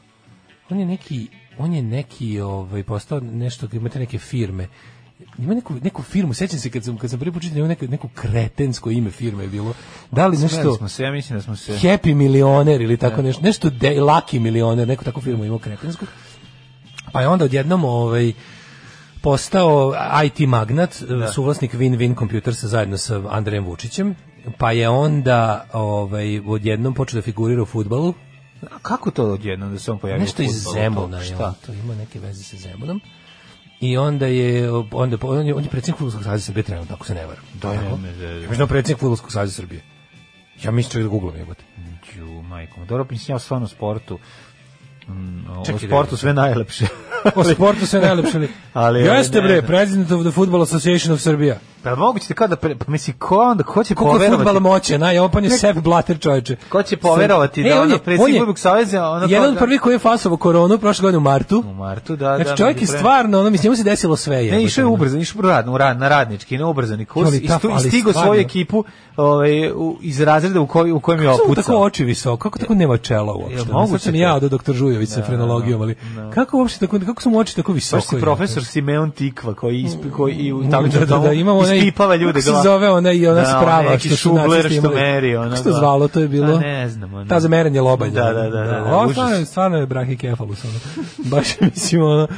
Speaker 7: on je neki on je neki ovaj postao nešto imate neke firme ima neku, neku firmu, sećam se kad sam, kad sam prvi put čitao, ima neko, neko kretensko ime firme je bilo. Da li
Speaker 6: Gledali
Speaker 7: nešto
Speaker 6: smo se, ja mislim da smo se...
Speaker 7: Happy milioner ili tako nešto, nešto de, Lucky milioner, neku takvu firmu imao kretensku. Pa je onda odjednom ovaj, postao IT magnat, suvlasnik Win-Win Computersa zajedno sa Andrejem Vučićem, pa je onda ovaj, odjednom počeo da figurira u futbalu,
Speaker 6: A kako to odjednom da se on pojavio
Speaker 7: nešto
Speaker 6: u
Speaker 7: iz
Speaker 6: fudbalu?
Speaker 7: Zemuna je on,
Speaker 6: Šta?
Speaker 7: to ima neke veze sa Zemunom. I onda je, onda, on je, on je predsjednik Futbolskog savjeza Srbije trenutno, ako se ne varam. Da,
Speaker 6: je,
Speaker 7: Tako?
Speaker 6: ne, ne, ne.
Speaker 7: Ja mislim da je predsjednik Futbolskog savjeza Srbije. Ja mislim čovjek da googlam jebote.
Speaker 6: Ju, majko. moja. Dobro, pa mislim ja stvarno o sportu. Mm, o
Speaker 7: Čekaj da
Speaker 6: sportu
Speaker 7: vidim.
Speaker 6: sve najlepše.
Speaker 7: O sportu se najlepše li.
Speaker 6: Ali,
Speaker 7: Jeste
Speaker 6: ne
Speaker 7: bre,
Speaker 6: znam.
Speaker 7: president of the Football Association of Srbija.
Speaker 6: Pa moguće kao da pre, pa mislim ko onda ko će
Speaker 7: Koliko je
Speaker 6: poverovati?
Speaker 7: fudbala moće, naj, on pa je Sepp Blatter čoveče.
Speaker 6: Ko će poverovati
Speaker 7: E,
Speaker 6: da
Speaker 7: on
Speaker 6: ono
Speaker 7: je- on
Speaker 6: predsjednik
Speaker 7: je
Speaker 6: Futbolskog saveza ono
Speaker 7: Jedan
Speaker 6: kao
Speaker 7: od
Speaker 6: da-
Speaker 7: prvih koji je fasovo koronu prošle godine u martu.
Speaker 6: u martu, da, da.
Speaker 7: Znači čovjek je
Speaker 6: među pre-
Speaker 7: stvarno, ono, mislim, njemu se desilo sve.
Speaker 6: Ne,
Speaker 7: jebote,
Speaker 6: išao je
Speaker 7: ono.
Speaker 6: ubrzan, išao u rad, u rad, na radnički, na ubrzani kurs
Speaker 7: Ali
Speaker 6: i
Speaker 7: taf,
Speaker 6: stu- i
Speaker 7: ali
Speaker 6: stigao svoju
Speaker 7: stvarno.
Speaker 6: ekipu ovaj, u- iz razreda u, koj, u kojem je
Speaker 7: Kako su mu tako
Speaker 6: opucao.
Speaker 7: oči visoko? Kako tako nema čela uopšte?
Speaker 6: Jel
Speaker 7: Sad
Speaker 6: moguće
Speaker 7: sam
Speaker 6: to?
Speaker 7: ja do doktor Žujović sa frenologijom, ali kako uopšte tako, kako su mu oči tako visoko?
Speaker 6: Baš si profesor Simeon Tikva koji ispi, koji i u
Speaker 7: Da,
Speaker 6: tako
Speaker 7: da, da, da, imamo onaj,
Speaker 6: ispipava ljude
Speaker 7: kako
Speaker 6: glava.
Speaker 7: se zove ona i ona
Speaker 6: Da, onaj
Speaker 7: sprava
Speaker 6: neki
Speaker 7: što su
Speaker 6: šubler
Speaker 7: nacisti
Speaker 6: što
Speaker 7: imali.
Speaker 6: meri, ona
Speaker 7: Kako se to
Speaker 6: glava.
Speaker 7: zvalo, to je bilo?
Speaker 6: Pa ne znam, ono.
Speaker 7: Ta za merenje lobanja.
Speaker 6: Da, da, da, da, da,
Speaker 7: Ovo
Speaker 6: užas.
Speaker 7: stvarno, je- stvarno je brahikefalus. Ono. Baš mislim, ono,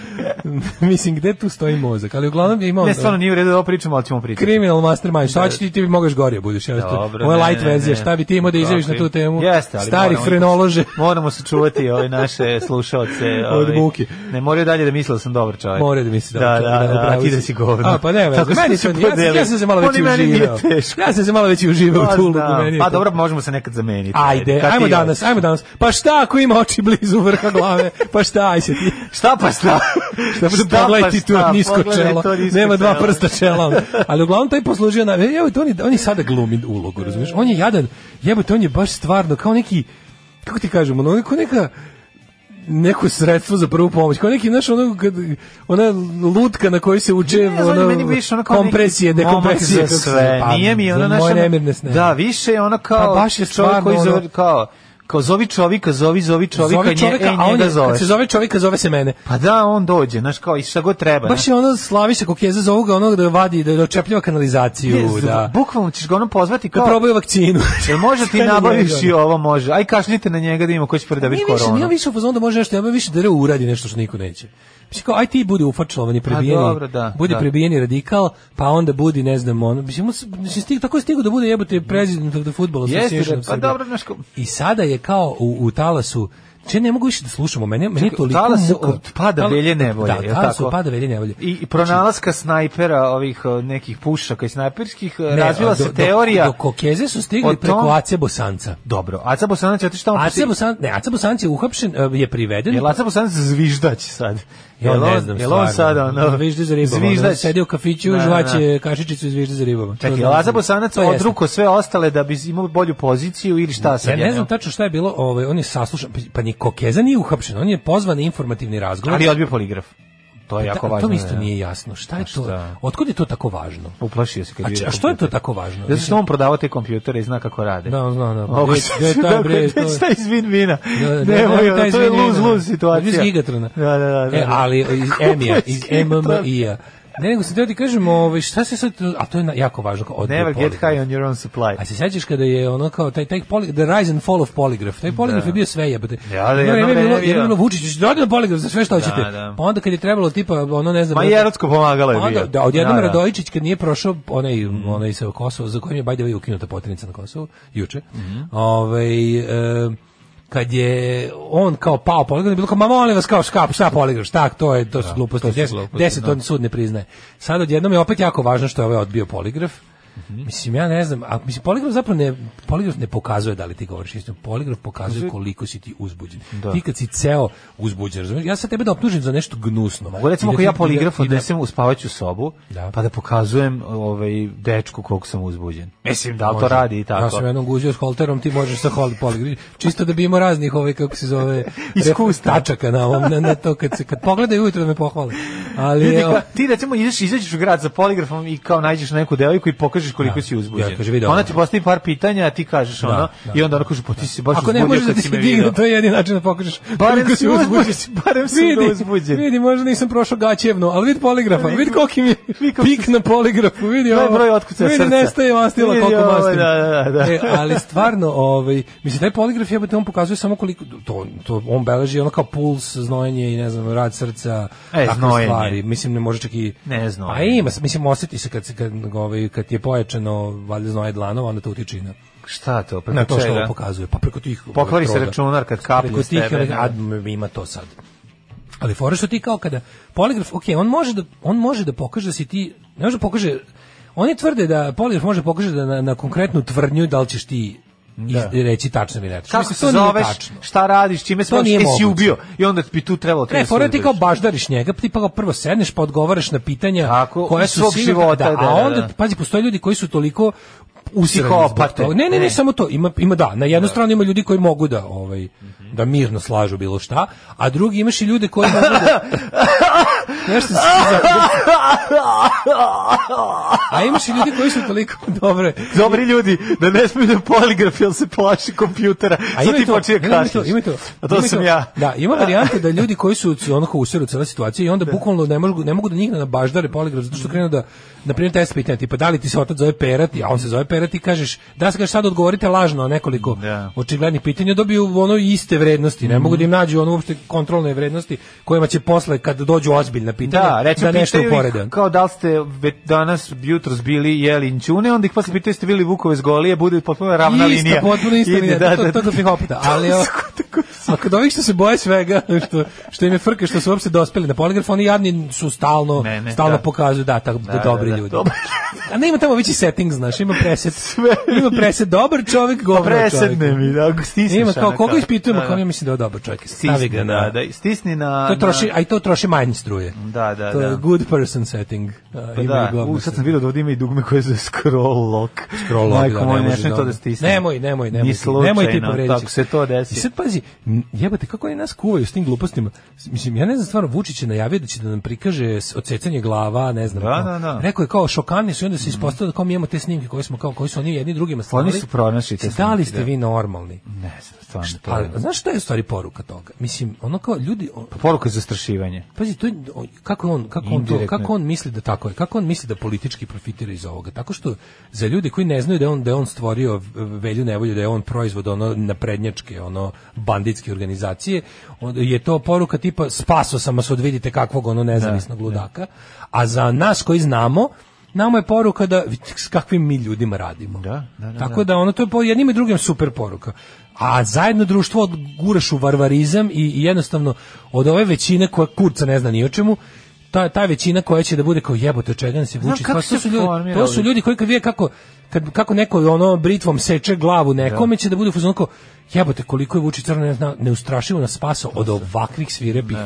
Speaker 7: mislim, gde tu stoji mozak? Ali uglavnom je imao... ono
Speaker 6: Ne, stvarno nije u redu da ovo pričamo, ali ćemo pričati.
Speaker 7: Criminal Mastermind, šta ćeš ti, ti bi mogao još gorije budeš. Ja,
Speaker 6: Dobro,
Speaker 7: Moja
Speaker 6: ne,
Speaker 7: light
Speaker 6: ne,
Speaker 7: verzija,
Speaker 6: ne.
Speaker 7: šta bi ti imao da izjaviš na tu temu?
Speaker 6: Jeste, ali
Speaker 7: Stari
Speaker 6: moramo-
Speaker 7: frenolože.
Speaker 6: Moramo sačuvati ove naše slušaoce.
Speaker 7: Od
Speaker 6: ovaj,
Speaker 7: buke.
Speaker 6: Ne moraju dalje da misle da sam dobar čovjek.
Speaker 7: More da mi se
Speaker 6: da, da, da,
Speaker 7: upravo
Speaker 6: a ti da si govno.
Speaker 7: A, pa ne,
Speaker 6: Tako
Speaker 7: Tako
Speaker 6: smo
Speaker 7: meni
Speaker 6: se
Speaker 7: sam, ja, sam- ja sam se malo
Speaker 6: Oni
Speaker 7: već i
Speaker 6: meni nije
Speaker 7: uživao.
Speaker 6: teško.
Speaker 7: Ja sam se malo već i uživao
Speaker 6: Pa
Speaker 7: u tu ulogu.
Speaker 6: znam.
Speaker 7: meni je
Speaker 6: Pa
Speaker 7: to-
Speaker 6: dobro, možemo se nekad zameniti.
Speaker 7: Ajde,
Speaker 6: Kad
Speaker 7: ajmo
Speaker 6: ti-
Speaker 7: danas, ajmo danas. Pa šta ako ima oči blizu vrha glave? Pa šta, aj se ti.
Speaker 6: Šta pa šta?
Speaker 7: Šta, pa pogledaj ti tu
Speaker 6: šta,
Speaker 7: nisko
Speaker 6: pogledaj
Speaker 7: čelo.
Speaker 6: to nisko
Speaker 7: Nema dva
Speaker 6: čelo.
Speaker 7: prsta čela. ono. Ali uglavnom taj poslužio na... E, Evo, to on, je- on je sada glumi ulogu, razumiješ? On je jadan. Jebote, on je baš stvarno kao neki... Kako ti kažem, ono, kao neka neko sredstvo za prvu pomoć. Kao neki, znaš, ono, kad, ona lutka na kojoj se uče
Speaker 6: Ne, zvoni
Speaker 7: ono,
Speaker 6: meni više ono kao neki
Speaker 7: kompresije,
Speaker 6: momak
Speaker 7: dekompresije.
Speaker 6: za
Speaker 7: kako se
Speaker 6: sve.
Speaker 7: zove, pa,
Speaker 6: Nije mi
Speaker 7: za
Speaker 6: ono naš...
Speaker 7: Moje
Speaker 6: ono-
Speaker 7: nemirne sne.
Speaker 6: Da, više je ono kao
Speaker 7: Pa baš je
Speaker 6: čovjek koji
Speaker 7: stvarno ono-
Speaker 6: zove, kao, kao zovi čovjeka, zovi, zovi čovjeka,
Speaker 7: Zove čoveka,
Speaker 6: nje, e,
Speaker 7: a on
Speaker 6: njega
Speaker 7: je, kad
Speaker 6: zoveš.
Speaker 7: se zove čovjeka, zove se mene.
Speaker 6: Pa da, on dođe, znaš, kao i šta god treba.
Speaker 7: Baš je ono Slaviša Kokeza za ovoga onog da vadi, da, da očepljava kanalizaciju,
Speaker 6: znaš.
Speaker 7: da,
Speaker 6: Bukvalno ćeš ga ono pozvati
Speaker 7: da
Speaker 6: kao...
Speaker 7: probaju vakcinu.
Speaker 6: Jel može ti
Speaker 7: Sve na
Speaker 6: nabaviš i
Speaker 7: njega, ono.
Speaker 6: ovo može? Aj kašnite na njega da ima ko će predaviti
Speaker 7: Nije više,
Speaker 6: koronu.
Speaker 7: nije više u fazonu da može nešto, ja bih više da re uradi nešto što niko neće. Mislim kao, aj ti budi ufačlovan i prebijeni,
Speaker 6: dobro, da,
Speaker 7: budi
Speaker 6: da.
Speaker 7: prebijeni radikal, pa onda budi, ne znam, ono, mislim, mu se- mislim stig, tako je stigu da bude jebote president of the football
Speaker 6: Jeste,
Speaker 7: association.
Speaker 6: da,
Speaker 7: of
Speaker 6: pa
Speaker 7: Serbia.
Speaker 6: dobro, znaš, kao-
Speaker 7: I sada je kao u, u talasu, Če ne mogu više da slušamo, meni, meni je toliko
Speaker 6: talas
Speaker 7: muka.
Speaker 6: od pada
Speaker 7: Tal-
Speaker 6: velje nevolje,
Speaker 7: Da,
Speaker 6: jel
Speaker 7: talas od
Speaker 6: tako?
Speaker 7: pada velje nevolje.
Speaker 6: I, i pronalaska snajpera ovih o, nekih pušaka i snajperskih e,
Speaker 7: Ne,
Speaker 6: razvila
Speaker 7: do-
Speaker 6: se
Speaker 7: do-
Speaker 6: teorija
Speaker 7: Do, kokeze su
Speaker 6: o tom-
Speaker 7: stigli preko Ace Bosanca.
Speaker 6: Dobro, Aca Bosanac je otišao tamo.
Speaker 7: Ace Bosanc, ne, Ace Bosanc je uhapšen, e, je priveden.
Speaker 6: Jel Aca Bosanac zviždać sad?
Speaker 7: Ja
Speaker 6: Jel
Speaker 7: ne
Speaker 6: on-
Speaker 7: znam
Speaker 6: Jel on sad ono?
Speaker 7: Zvižde za ribom. Zvižde.
Speaker 6: Zviždać.
Speaker 7: Sedi u kafiću,
Speaker 6: Da, da, da.
Speaker 7: žvaće kašičicu i zvižde za ribom. To
Speaker 6: Čekaj,
Speaker 7: znam.
Speaker 6: jel Aca Bosanac
Speaker 7: To jeste.
Speaker 6: odruko sve ostale da bi imao bolju poziciju ili šta sad?
Speaker 7: Ja ne znam tačno šta je pa bilo, ovaj, on je saslušan, pa ni Kokeza nije uhapšen, on je pozvan na informativni razgovor.
Speaker 6: Ali je odbio poligraf. To je
Speaker 7: Pa
Speaker 6: jako
Speaker 7: ta-
Speaker 6: važno.
Speaker 7: To mi isto
Speaker 6: da.
Speaker 7: nije jasno. Šta je
Speaker 6: A
Speaker 7: to?
Speaker 6: šta? Pa
Speaker 7: Otkud je to tako važno?
Speaker 6: Uplašio se kad
Speaker 7: A,
Speaker 6: je
Speaker 7: če-
Speaker 6: vidio
Speaker 7: a što je to
Speaker 6: kompjuter.
Speaker 7: tako važno?
Speaker 6: Zato što on prodavao te kompjutere i zna kako rade.
Speaker 7: Da, on zna, da.
Speaker 6: Mogu
Speaker 7: Gde-
Speaker 6: se-
Speaker 7: gde je ta,
Speaker 6: dakle,
Speaker 7: bre,
Speaker 6: gde
Speaker 7: to je-
Speaker 6: šta iz Win-Wina?
Speaker 7: Da,
Speaker 6: Nemoj,
Speaker 7: da, nemoj
Speaker 6: ono,
Speaker 7: taj
Speaker 6: to je
Speaker 7: izvinjenje, da.
Speaker 6: lose-lose situacija.
Speaker 7: Iz Gigatrona.
Speaker 6: Da, da, da,
Speaker 7: E,
Speaker 6: da.
Speaker 7: ali iz
Speaker 6: Kako
Speaker 7: EMI-a,
Speaker 6: je
Speaker 7: iz
Speaker 6: Gigatron?
Speaker 7: MMI-a. Ne, nego sam teo ti kažem, ovaj, šta se sad, a to je na- jako važno. kao odbor
Speaker 6: Never get
Speaker 7: poligrafa.
Speaker 6: high on your own supply.
Speaker 7: A se sećaš kada je ono kao taj taj poli, the rise and fall of poligraf. Taj poligraf
Speaker 6: Da.
Speaker 7: je bio sve jebote.
Speaker 6: Ja, da, jedno
Speaker 7: Jedno vreme je
Speaker 6: vreme
Speaker 7: bilo,
Speaker 6: je bio.
Speaker 7: jedno vreme Vučić ćeš dođi na poligraf za sve što hoćete.
Speaker 6: da.
Speaker 7: Pa onda kad je trebalo tipa ono ne znam.
Speaker 6: Ma i erotsko pomagalo je bio.
Speaker 7: Onda, da, odjednom
Speaker 6: Da, da.
Speaker 7: Radojičić kad nije prošao onaj onaj sa Kosova za kojim je by the way ukinuta potrenica na Kosovu juče.
Speaker 6: Mhm.
Speaker 7: Ovaj e, kad je on kao pao poligraf, bilo kao, ma molim vas, kao škap, šta poligraf, šta, to je, to su gluposti, deset, deset on sud ne priznaje. Sad odjednom je opet jako važno što je ovaj odbio poligraf,
Speaker 6: Mhm.
Speaker 7: Mislim, ja ne znam, a mislim, poligraf zapravo ne, poligraf ne pokazuje da li ti govoriš istinu, poligraf pokazuje koliko si ti uzbuđen.
Speaker 6: Da.
Speaker 7: Ti kad si ceo uzbuđen, razumiješ, ja sad tebe da optužim za nešto gnusno.
Speaker 6: Mogu recimo
Speaker 7: I da
Speaker 6: ako
Speaker 7: ti-
Speaker 6: ja
Speaker 7: i da-
Speaker 6: poligraf
Speaker 7: i da-
Speaker 6: odnesem u spavaću sobu,
Speaker 7: Da.
Speaker 6: pa da pokazujem ovaj dečku koliko sam uzbuđen. Mislim da li to
Speaker 7: Može.
Speaker 6: radi i tako.
Speaker 7: Ja sam jednom guzio s holterom, ti možeš sa hol poligraf. Čisto da bi imao raznih ove kako se zove
Speaker 6: Iskustva.
Speaker 7: ref- tačaka na ovom na, na to kad se kad pogledaju ujutro da me pohvale. Ali
Speaker 6: Ljudi,
Speaker 7: evo,
Speaker 6: ka- ti recimo ideš, izađeš u grad za poligrafom i kao nađeš neku devojku i pokažeš koliko
Speaker 7: Da.
Speaker 6: si uzbuđen.
Speaker 7: Ja, kaže, vidi
Speaker 6: ona
Speaker 7: ovo.
Speaker 6: ti postavi par pitanja, a ti kažeš
Speaker 7: Da,
Speaker 6: ono,
Speaker 7: da.
Speaker 6: i onda ona kaže, pa ti si baš
Speaker 7: ako ne
Speaker 6: uzbudio
Speaker 7: možeš da
Speaker 6: kad
Speaker 7: ti
Speaker 6: si
Speaker 7: se
Speaker 6: me
Speaker 7: digne,
Speaker 6: vidio.
Speaker 7: to je jedini način da pokažeš.
Speaker 6: Barem
Speaker 7: koliko
Speaker 6: si uzbuđen, barem si onda uzbuđen.
Speaker 7: Vidi, možda nisam prošao gaćevno, ali vidi poligrafa,
Speaker 6: Vidi-
Speaker 7: vidi koliki mi je pik na poligrafu, vidi
Speaker 6: To je
Speaker 7: ovo.
Speaker 6: broj otkucaja
Speaker 7: Vidi,
Speaker 6: srca.
Speaker 7: nestaje mastila
Speaker 6: Vidi
Speaker 7: koliko
Speaker 6: ovo,
Speaker 7: mastim.
Speaker 6: da, da, da.
Speaker 7: E, ali stvarno, ovaj, mislim, taj poligraf jebote, on pokazuje samo koliko, to, to, on beleži ono kao puls, znojenje i ne znam, rad srca,
Speaker 6: E,
Speaker 7: takve
Speaker 6: znojenje.
Speaker 7: stvari. Mislim, ne može čak i...
Speaker 6: Ne, znojenje.
Speaker 7: A ima, mislim, osjeti se kad, se- kad, ovaj, kad je pojačano, valjda znoje dlanova, onda to utiče i na
Speaker 6: Šta to? Preko
Speaker 7: na to što
Speaker 6: čega?
Speaker 7: ovo pokazuje. Pa preko tih
Speaker 6: Pokvari se
Speaker 7: elektroda.
Speaker 6: računar kad kapne
Speaker 7: Preko
Speaker 6: s
Speaker 7: tih
Speaker 6: tebe,
Speaker 7: elek-
Speaker 6: da.
Speaker 7: a, m, ima to sad. Ali fora što ti kao kada poligraf, ok, on može da on može da pokaže da si ti, ne može da pokaže oni tvrde da poligraf može da pokaže da na, na konkretnu tvrdnju da li ćeš ti iz- reći tačno ili netačno.
Speaker 6: Kako
Speaker 7: Mislim,
Speaker 6: se
Speaker 7: to nije
Speaker 6: zoveš,
Speaker 7: tačno.
Speaker 6: šta radiš, čime se
Speaker 7: nije
Speaker 6: jesi
Speaker 7: moguće.
Speaker 6: ubio i onda bi tu trebalo ti
Speaker 7: Ne,
Speaker 6: da se
Speaker 7: fora je ti kao
Speaker 6: uzbudeš.
Speaker 7: baždariš njega, pa ti pa kao prvo sedneš pa odgovaraš na pitanja
Speaker 6: Tako,
Speaker 7: koja
Speaker 6: iz
Speaker 7: su
Speaker 6: svog
Speaker 7: sigurno-
Speaker 6: života, da,
Speaker 7: a
Speaker 6: da,
Speaker 7: onda,
Speaker 6: da.
Speaker 7: pazi, postoje ljudi koji su toliko usrani zbog
Speaker 6: Psihopate.
Speaker 7: toga. Ne, ne, ne,
Speaker 6: Ne.
Speaker 7: samo to, ima, ima da, na jednu stranu ima ljudi koji mogu da, ovaj, da mirno slažu bilo šta, a drugi imaš i ljude koji mogu da... Nešto se A imaš i ljudi koji su toliko dobre.
Speaker 6: Dobri ljudi, da ne smiju da poligraf, jer se plaši kompjutera.
Speaker 7: A
Speaker 6: Sad
Speaker 7: ima i
Speaker 6: ti
Speaker 7: to,
Speaker 6: počinje
Speaker 7: ima i to,
Speaker 6: kašljaš.
Speaker 7: ima i to.
Speaker 6: A to
Speaker 7: Ima i
Speaker 6: sam ja.
Speaker 7: Da, ima varijante da ljudi koji su onako u siru cele situacije i onda bukvalno ne mogu ne mogu da njih na baždare poligraf zato što krenu da na primjer test pitanja tipa da li ti se otac zove Perati, a on se zove Perati i kažeš da se kaže sad odgovorite lažno na nekoliko
Speaker 6: Da.
Speaker 7: očiglednih pitanja dobiju ono iste vrednosti, ne mogu da im nađu ono uopšte kontrolne vrednosti kojima će posle kad dođu ozbiljna pitanja
Speaker 6: Da, recimo
Speaker 7: da nešto
Speaker 6: pitaju ih
Speaker 7: uporede.
Speaker 6: Kao da li ste ve- danas jutro zbili jeli inćune, onda ih posle pitaju ste bili vukove s golije, bude potpuno ravna
Speaker 7: Ista,
Speaker 6: linija.
Speaker 7: potpuno ista
Speaker 6: Ide,
Speaker 7: linija, to- to kod psihopata, ali, o- A kod ovih što se boje svega, što, što im je frka, što su uopšte dospeli na poligraf, oni jadni su stalno,
Speaker 6: Ne, ne,
Speaker 7: stalno
Speaker 6: da.
Speaker 7: pokazuju da, tako,
Speaker 6: da,
Speaker 7: dobri
Speaker 6: da,
Speaker 7: ljudi.
Speaker 6: dobro.
Speaker 7: A ne ima tamo veći setting, znaš, ima preset. Ima preset, dobar
Speaker 6: Pa
Speaker 7: čovjek, govno čovjek.
Speaker 6: Presedne mi, da, ako stisneš.
Speaker 7: Ima kao,
Speaker 6: ono,
Speaker 7: koga ispitujemo,
Speaker 6: da,
Speaker 7: kao
Speaker 6: da.
Speaker 7: ja mislim da je dobar čovjek. Stavi
Speaker 6: Stisni,
Speaker 7: ga
Speaker 6: da,
Speaker 7: na...
Speaker 6: da, stisni na...
Speaker 7: To troši,
Speaker 6: na-
Speaker 7: a i to troši manje struje.
Speaker 6: Da, da,
Speaker 7: To je
Speaker 6: da.
Speaker 7: good person setting. a,
Speaker 6: Pa
Speaker 7: ima i
Speaker 6: da,
Speaker 7: govno
Speaker 6: u, sad sam
Speaker 7: setting.
Speaker 6: vidio da ovdje ima i dugme koje se zove scroll lock.
Speaker 7: scroll lock,
Speaker 6: Majko
Speaker 7: da,
Speaker 6: moj,
Speaker 7: ne
Speaker 6: ne
Speaker 7: može
Speaker 6: smije to da stisne.
Speaker 7: Nemoj, nemoj, nemoj.
Speaker 6: Ni
Speaker 7: ti, nemoj ti
Speaker 6: slučajno,
Speaker 7: povrediti.
Speaker 6: tako se to desi.
Speaker 7: I sad pazi, m, jebote, kako oni nas kuvaju s tim glupostima. S- Mislim, ja ne znam, stvarno, Vučić je najavio da će da nam prikaže s- odsecanje glava, ne znam.
Speaker 6: Da,
Speaker 7: kao.
Speaker 6: da, da.
Speaker 7: Rekao je kao šokantni su i onda se ispostavilo da kao mi imamo te snimke koje smo kao, koji su oni jedni drugima slali.
Speaker 6: Oni su pronašli te
Speaker 7: Da li
Speaker 6: snimke,
Speaker 7: ste
Speaker 6: da.
Speaker 7: vi normalni?
Speaker 6: Ne znam, stvarno. to
Speaker 7: Ali,
Speaker 6: je- Pa
Speaker 7: znaš šta je u stvari poruka toga? Mislim, ono kao ljudi, o-
Speaker 6: Poruka je zastrašivanje.
Speaker 7: Pazi, to je, o- kako on kako on to,
Speaker 6: Indirektno.
Speaker 7: kako on misli da tako je, kako on misli da politički profitira iz ovoga, tako što za ljude koji ne znaju da je on da je on stvorio velju nevolju, da je on proizvod ono naprednjačke, ono banditske organizacije, on- je to poruka tipa spaso sam vas od vidite kakvog ono nezavisnog ludaka, a za nas koji znamo Nama je poruka da vidite s kakvim mi ljudima radimo.
Speaker 6: Da, da, da,
Speaker 7: Tako da ono to je po jednim i drugim super poruka. A zajedno društvo od- guraš u varvarizam i, i jednostavno od ove većine koja kurca ne zna ni o čemu, ta, ta većina koja će da bude kao jebote od čega nas je
Speaker 6: Znam
Speaker 7: vuči.
Speaker 6: kako
Speaker 7: Pa To
Speaker 6: se
Speaker 7: su, ljudi,
Speaker 6: formira
Speaker 7: to su
Speaker 6: ovdje.
Speaker 7: ljudi koji kad vide kako, kad, kako neko ono britvom seče glavu nekome će da bude u fazonu kao jebote koliko je Vučić crno ne zna, neustrašivo nas spasao od ovakvih svirepih,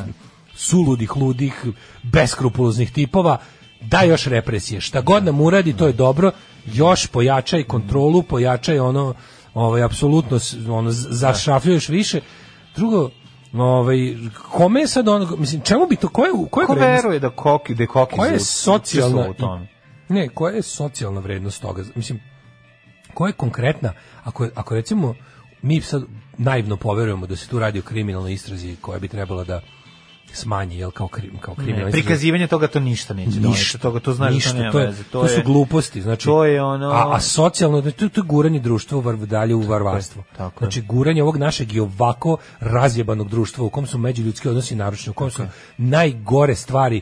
Speaker 7: suludih, ludih, beskrupuloznih tipova da još represije. Šta god nam uradi, to je dobro, još pojačaj kontrolu, pojačaj ono, ovaj, apsolutno, s- ono, z- zašrafljuješ više. Drugo, Ovaj kome je sad on mislim čemu bi to koje koje
Speaker 6: Ko veruje da koki da koki
Speaker 7: koja je
Speaker 6: su-
Speaker 7: socijalna
Speaker 6: su u tome?
Speaker 7: i- ne koja je socijalna vrednost toga mislim koja je konkretna ako je- ako recimo mi sad naivno poverujemo da se tu radi o kriminalnoj istrazi koja bi trebala da smanji jel kao krim, kao kriminalna
Speaker 6: Ne,
Speaker 7: istraga.
Speaker 6: prikazivanje toga to ništa neće doneti. Toga to znaš
Speaker 7: ništa,
Speaker 6: da nema
Speaker 7: to, je,
Speaker 6: veze.
Speaker 7: to, su gluposti, znači.
Speaker 6: to je ono-
Speaker 7: A, a socijalno to, to je guranje društva u var, dalje u varvarstvo.
Speaker 6: tako je.
Speaker 7: znači guranje ovog našeg i ovako razjebanog društva u kom su međuljudski odnosi narušeni, u kom su najgore stvari.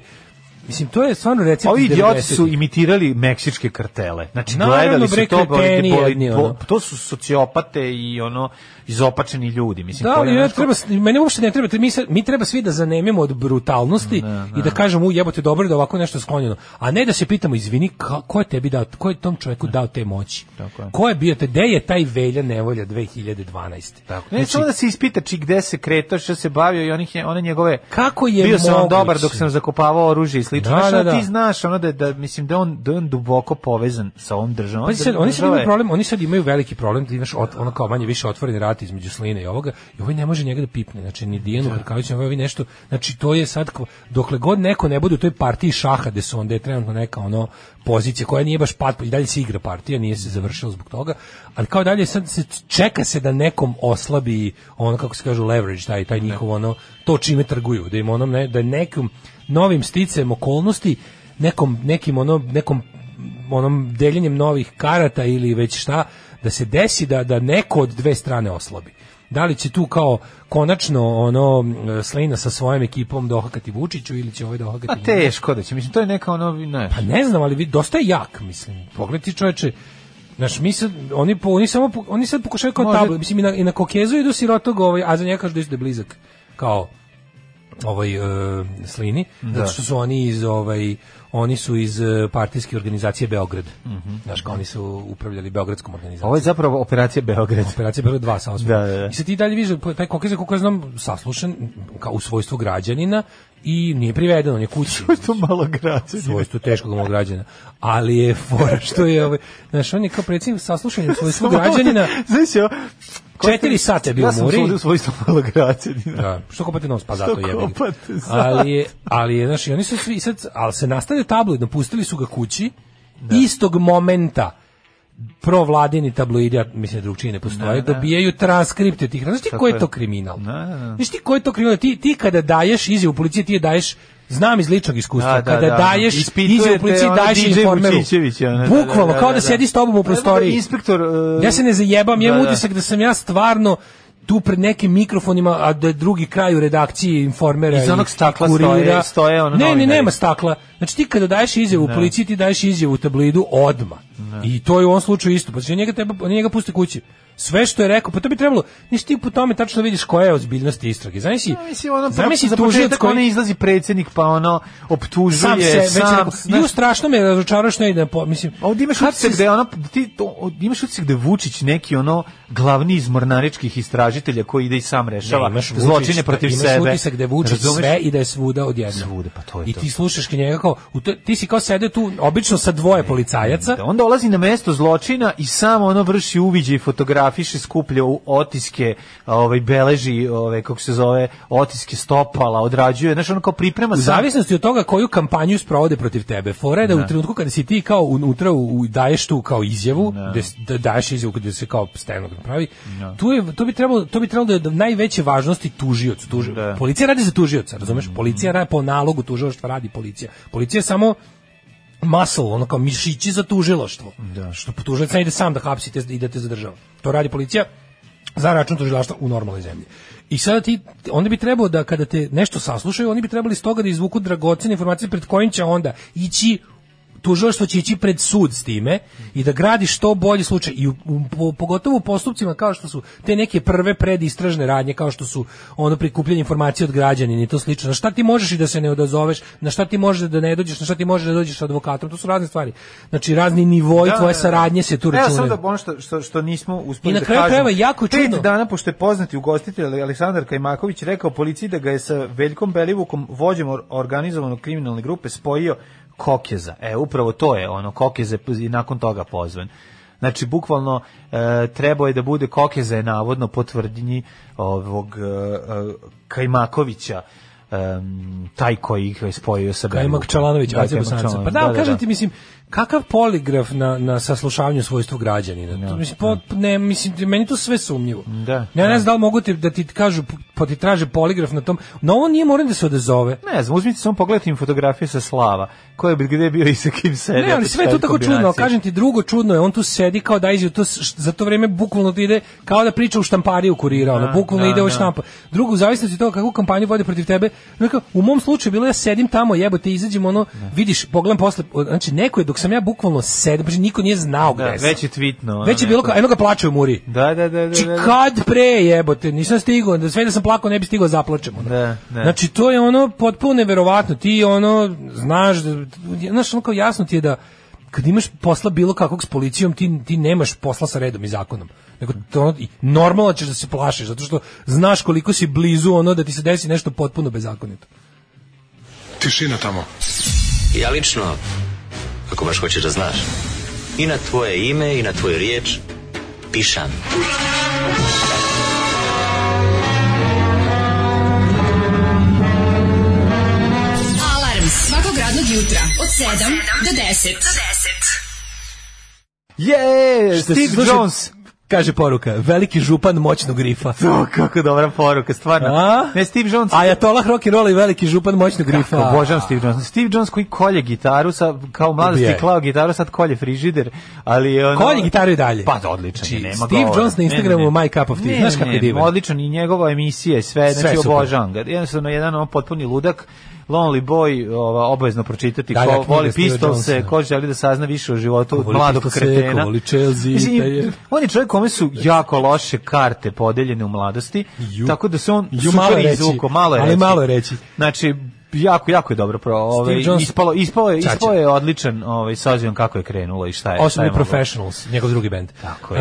Speaker 7: Mislim to je stvarno recept
Speaker 6: Ovi
Speaker 7: iz
Speaker 6: idioti
Speaker 7: 90-ih.
Speaker 6: su imitirali meksičke kartele. Znači,
Speaker 7: Naravno,
Speaker 6: gledali su
Speaker 7: bre,
Speaker 6: to, boli-
Speaker 7: kreteni
Speaker 6: boli-
Speaker 7: jedni,
Speaker 6: bo-
Speaker 7: ono.
Speaker 6: to su sociopate i ono, izopačeni ljudi. Mislim,
Speaker 7: Da,
Speaker 6: to je
Speaker 7: ali
Speaker 6: ono
Speaker 7: ne
Speaker 6: što-
Speaker 7: treba, meni uopšte ne treba, mi, se- mi treba svi da zanemimo od brutalnosti i da kažemo, u jebote, dobro je da ovako nešto sklonjeno, a ne da se pitamo, izvini, ka, ko je tebi dao, ko je tom čovjeku dao te moći?
Speaker 6: Tako je.
Speaker 7: Ko je bio te, gde je taj velja nevolja 2012.
Speaker 6: Ne,
Speaker 7: znači-
Speaker 6: samo da se ispita či gde se kretao, što se bavio i onih, nje- one njegove...
Speaker 7: Kako je
Speaker 6: Bio sam vam
Speaker 7: moguće?
Speaker 6: dobar dok sam zakopavao oružje i slično.
Speaker 7: Da,
Speaker 6: Znaš, ono,
Speaker 7: da, da.
Speaker 6: Ti znaš ono da, da, mislim, da je on, da je on duboko povezan sa ovom državom.
Speaker 7: Pazi Pa sad,
Speaker 6: Država
Speaker 7: oni sad
Speaker 6: je-
Speaker 7: imaju problem, oni sad imaju veliki problem, da imaš ot- ono kao manje više otvoreni rat između sline i ovoga, i ovaj ne može njega da pipne, znači ni Dijanu Hrkaviću, ovaj nešto, znači to je sad, kao- dokle god neko ne bude u toj partiji šaha, gde su onda je trenutno neka ono pozicija koja nije baš pat, i dalje se igra partija, nije se završila zbog toga, ali kao dalje sad se čeka se da nekom oslabi ono kako se kažu leverage, taj, taj njihov ono, to čime trguju, da im onom, ne, da nekim novim sticajem okolnosti, nekom, nekim ono, nekom onom deljenjem novih karata ili već šta, da se desi da, da neko od dve strane oslabi. Da li će tu kao konačno ono e, Slina sa svojom ekipom dohakati Vučiću ili će ovaj dohakati
Speaker 6: Pa
Speaker 7: njega?
Speaker 6: teško da će, mislim, to je neka ono... Ne.
Speaker 7: Pa ne znam, ali vi dosta je jak, mislim. Pogledaj ti čoveče, Znaš, mi sad, oni, po, oni, samo, po- oni sad pokušaju kao
Speaker 6: Može-
Speaker 7: tablo, mislim, i na, i na kokezu idu sirotog, ovaj, a za njega kažu da isto da je blizak, kao ovaj e, slini, zato što su oni iz ovaj oni su iz e, partijske organizacije Beograd. Znaš, kao oni su upravljali Beogradskom organizacijom.
Speaker 6: Mhm. Ovo je zapravo operacija Beograd.
Speaker 7: Operacija Beograd 2 sa osmim.
Speaker 6: Da, da, da.
Speaker 7: I sad ti dalje vidiš, da taj kokez je, koliko ja znam, saslušan kao u svojstvu građanina i nije priveden, on je kući
Speaker 6: To malo građe.
Speaker 7: svojstvu teškog mog građana. Ali je fora što je, ovaj, znaš, on je kao predsjednik saslušanja svojstvu građanina,
Speaker 6: Znaš, jo,
Speaker 7: četiri sata je bio
Speaker 6: ja
Speaker 7: u
Speaker 6: sam
Speaker 7: Muri.
Speaker 6: svoj- u svojstvu malo građanina.
Speaker 7: Da, što kopate nos, pa zato
Speaker 6: Što
Speaker 7: je.
Speaker 6: kopate zato.
Speaker 7: Ali je, ali je, znaš, i oni su svi sad, ali se nastavlja tabloidno, pustili su ga kući, istog momenta, provladini tabloidi, a mislim da drugčije ne postoje, dobijaju transkripte tih. Znaš ti
Speaker 6: Tako
Speaker 7: koji
Speaker 6: je.
Speaker 7: je to kriminal?
Speaker 6: Da, da, da.
Speaker 7: Znaš ti koji je to kriminal? Ti, ti kada daješ izjavu policiji, ti je daješ Znam iz ličnog
Speaker 6: Da,
Speaker 7: iskustva,
Speaker 6: da,
Speaker 7: kada
Speaker 6: da.
Speaker 7: daješ
Speaker 6: Ispitujete
Speaker 7: izjavu policiji,
Speaker 6: ono
Speaker 7: daješ
Speaker 6: DJ
Speaker 7: informeru.
Speaker 6: Vučićević, ono, da, da,
Speaker 7: Bukvalno,
Speaker 6: da,
Speaker 7: kao
Speaker 6: da, da.
Speaker 7: da sjedi s tobom u
Speaker 6: Pa,
Speaker 7: prostoriji.
Speaker 6: inspektor, e,
Speaker 7: Ja se ne zajebam, ja imam
Speaker 6: da, da.
Speaker 7: utisak da sam ja stvarno tu pred nekim mikrofonima, a da je drugi kraj u redakciji informera
Speaker 6: Iz
Speaker 7: i-
Speaker 6: onog stakla
Speaker 7: i kurira.
Speaker 6: stoje- stoje ono
Speaker 7: Ne, ne,
Speaker 6: novinari.
Speaker 7: nema stakla. Znači ti kada daješ izjavu u policiji, ti daješ izjavu u tabloidu odma. I to je u ovom slučaju isto. Pa znači, njega treba, oni njega puste kući. Sve što je rekao, pa to bi trebalo, nisi ti po tome tačno vidiš koja je ozbiljnost istrage. Znaš si,
Speaker 6: Ja mislim, ono,
Speaker 7: zamisli
Speaker 6: za
Speaker 7: tužilac
Speaker 6: početak
Speaker 7: koji-
Speaker 6: ono izlazi predsjednik, pa ono, optužuje,
Speaker 7: sam
Speaker 6: sam,
Speaker 7: se, već je rekao,
Speaker 6: znaš,
Speaker 7: ju strašno me razočaraš ne idem po, mislim,
Speaker 6: Ovdje imaš
Speaker 7: kad
Speaker 6: utisak
Speaker 7: se-
Speaker 6: da je ono, ti, to- o- imaš utisak da je Vučić neki ono glavni iz mornaričkih istražitelja koji ide i sam rešava
Speaker 7: Ne, imaš Vučić,
Speaker 6: zločine protiv
Speaker 7: imaš
Speaker 6: sebe.
Speaker 7: utisak da je Vučić
Speaker 6: Razumeš?
Speaker 7: sve i da je svuda odjednom.
Speaker 6: Svuda, pa to je
Speaker 7: I
Speaker 6: to.
Speaker 7: ti slušaš ka njega kao, u to- ti si kao sede tu obično sa dvoje policajaca,
Speaker 6: Da, onda dolazi na mesto zločina i samo ono vrši uviđaj, fotografiše, skuplja u- otiske, ovaj beleži, ovaj kako se zove, otiske stopala, odrađuje, znači ono kao priprema
Speaker 7: u
Speaker 6: sam-
Speaker 7: zavisnosti od toga koju kampanju sprovode protiv tebe. Fora je da u trenutku kada si ti kao unutra u, u- daješ tu kao izjavu, gde s- da daješ izjavu kada se kao stenogram pravi, tu je, to bi trebalo, to bi trebalo da je od najveće važnosti tužioc. tuži-
Speaker 6: Da.
Speaker 7: Policija radi za tužioca, razumeš? Policija radi po nalogu tužilaštva radi policija. Policija je samo muscle, ono kao mišići za tužilaštvo. Da. Što tužilac ne ide sam da hapsi te i da te zadržava. To radi policija za račun tužilaštva u normalnoj zemlji. I sada ti, onda bi trebao da kada te nešto saslušaju, oni bi trebali iz toga da izvuku dragocene informacije pred kojim će onda ići tužilaštvo će ići pred sud s time i da gradi što bolji slučaj i u, u- po- pogotovo u postupcima kao što su te neke prve predistražne radnje kao što su ono prikupljanje informacije od građanina i to slično. Na šta ti možeš i da se ne odazoveš, na šta ti možeš da ne dođeš, na šta ti možeš da dođeš sa advokatom, to su razne stvari. Znači razni nivoi
Speaker 6: Da,
Speaker 7: tvoje
Speaker 6: da, da.
Speaker 7: saradnje se tu
Speaker 6: Ne, Ja
Speaker 7: računaju.
Speaker 6: samo da ono što, što, što nismo uspeli
Speaker 7: I na
Speaker 6: da
Speaker 7: kraju
Speaker 6: kažemo.
Speaker 7: krajeva jako čudno.
Speaker 6: Pet dana, pošto je poznati ugostitelj Aleksandar Kajmaković rekao policiji da ga je sa Veljkom Belivukom, vođem or- organizovanog kriminalne grupe, spojio Kokeza. E, upravo to je ono, Kokeze i nakon toga pozvan. Znači, bukvalno e, trebao je da bude Kokeza je navodno po tvrdnji ovog e, e, Kajmakovića em, taj koji ih je spojio sa Belivukom.
Speaker 7: Kajmak Čalanović,
Speaker 6: Da,
Speaker 7: Aca
Speaker 6: Kajmak
Speaker 7: Bosanca. Pa
Speaker 6: Čalanović,
Speaker 7: da, kažem ti, mislim, kakav poligraf na, na saslušavanju svojstvu građanina. To, mislim, po, ne, mislim, meni je to sve sumnjivo.
Speaker 6: Da.
Speaker 7: Ja ne znam da li mogu ti, da ti kažu, pa ti traže poligraf na tom, no on nije moram da se odazove.
Speaker 6: Ne znam, uzmite samo pogledajte im fotografije sa Slava, ko je gde je bio i sa kim sede.
Speaker 7: Ne, ali sve je to tako čudno, ali kažem ti, drugo čudno je, on tu sedi kao da izio, to, s- za to vreme bukvalno ti ide kao da priča u štampariju kurira, ono,
Speaker 6: Da,
Speaker 7: bukvalno
Speaker 6: da,
Speaker 7: ide u
Speaker 6: da.
Speaker 7: štampa. Drugo, u zavisnosti od toga kakvu kampanju vodi protiv tebe, onako, u mom slučaju bilo je, ja sedim tamo, jebote, izađem, ono, vidiš, pogledam posle, o, znači, neko je, dok sam ja bukvalno sedim, znači, niko nije znao gde
Speaker 6: Da,
Speaker 7: sam.
Speaker 6: već je tweetno. ono,
Speaker 7: Već je bilo
Speaker 6: neko.
Speaker 7: kao, Znači, eno ga plače u muri.
Speaker 6: Da, da, da, da.
Speaker 7: Či
Speaker 6: da, da.
Speaker 7: kad pre jebote, nisam stigao, da sve da sam plakao ne bi stigao zaplačem. Ono.
Speaker 6: Da, da.
Speaker 7: Znači to je ono potpuno neverovatno. Ti ono znaš da znaš ono kao jasno ti je da kad imaš posla bilo kakvog s policijom, ti, ti nemaš posla sa redom i zakonom. Nego to ono, i normalno ćeš da se plašiš, zato što znaš koliko si blizu ono da ti se desi nešto potpuno bezakonito.
Speaker 13: Tišina tamo. Ja lično, ako baš hoćeš da znaš, i na tvoje ime i na tvoju riječ pišam.
Speaker 5: Alarm svakog radnog jutra od 7 do 10.
Speaker 6: Je,
Speaker 7: Što
Speaker 6: Steve
Speaker 7: se sluša-
Speaker 6: Jones.
Speaker 7: Kaže poruka, veliki župan moćnog grifa.
Speaker 6: To, kako dobra poruka, stvarno.
Speaker 7: A?
Speaker 6: Ne, Steve Jones.
Speaker 7: A ja tolah rock and roll i veliki župan moćnog grifa.
Speaker 6: Kako obožavam Steve Jones. Steve Jones koji kolje gitaru, sa, kao mladosti
Speaker 7: Ubijaj.
Speaker 6: je klao gitaru, sad kolje frižider, ali... je Ono,
Speaker 7: Kolje gitaru i dalje. Znači,
Speaker 6: Pa da, odličan je, nema
Speaker 7: Steve
Speaker 6: govora.
Speaker 7: Jones na
Speaker 6: Ne, ne,
Speaker 7: Instagramu
Speaker 6: ne.
Speaker 7: My Cup of Tea.
Speaker 6: Ne,
Speaker 7: Znaš
Speaker 6: ne,
Speaker 7: kako je
Speaker 6: ne,
Speaker 7: divan.
Speaker 6: Odličan i njegova emisija i sve,
Speaker 7: Sve
Speaker 6: znači
Speaker 7: super.
Speaker 6: obožavam ga. Jednostavno, jedan on potpuni ludak, Lonely Boy, ova, obavezno pročitati,
Speaker 7: Da, da,
Speaker 6: ko
Speaker 7: knjiga
Speaker 6: voli
Speaker 7: Steve
Speaker 6: pistolse,
Speaker 7: Jonesa.
Speaker 6: ko želi da sazna više o životu
Speaker 7: voli
Speaker 6: mladog
Speaker 7: Pistolse,
Speaker 6: kretena.
Speaker 7: ko voli Chelsea,
Speaker 6: Mislim,
Speaker 7: taj je-
Speaker 6: on je čovjek kome su jako loše karte podeljene u mladosti, tako da se on
Speaker 7: Ju, malo je
Speaker 6: super
Speaker 7: reći,
Speaker 6: izvuko, malo je
Speaker 7: ali
Speaker 6: reći.
Speaker 7: malo je reći.
Speaker 6: Znači, jako, jako je dobro. Pro, ovaj,
Speaker 7: Jones-
Speaker 6: ispalo, ispalo, je,
Speaker 7: Čača.
Speaker 6: ispao je odličan ovaj, s obzirom kako je krenulo i šta je. šta je
Speaker 7: Osobni
Speaker 6: moglo.
Speaker 7: Professionals, njegov drugi bend.
Speaker 6: Tako je.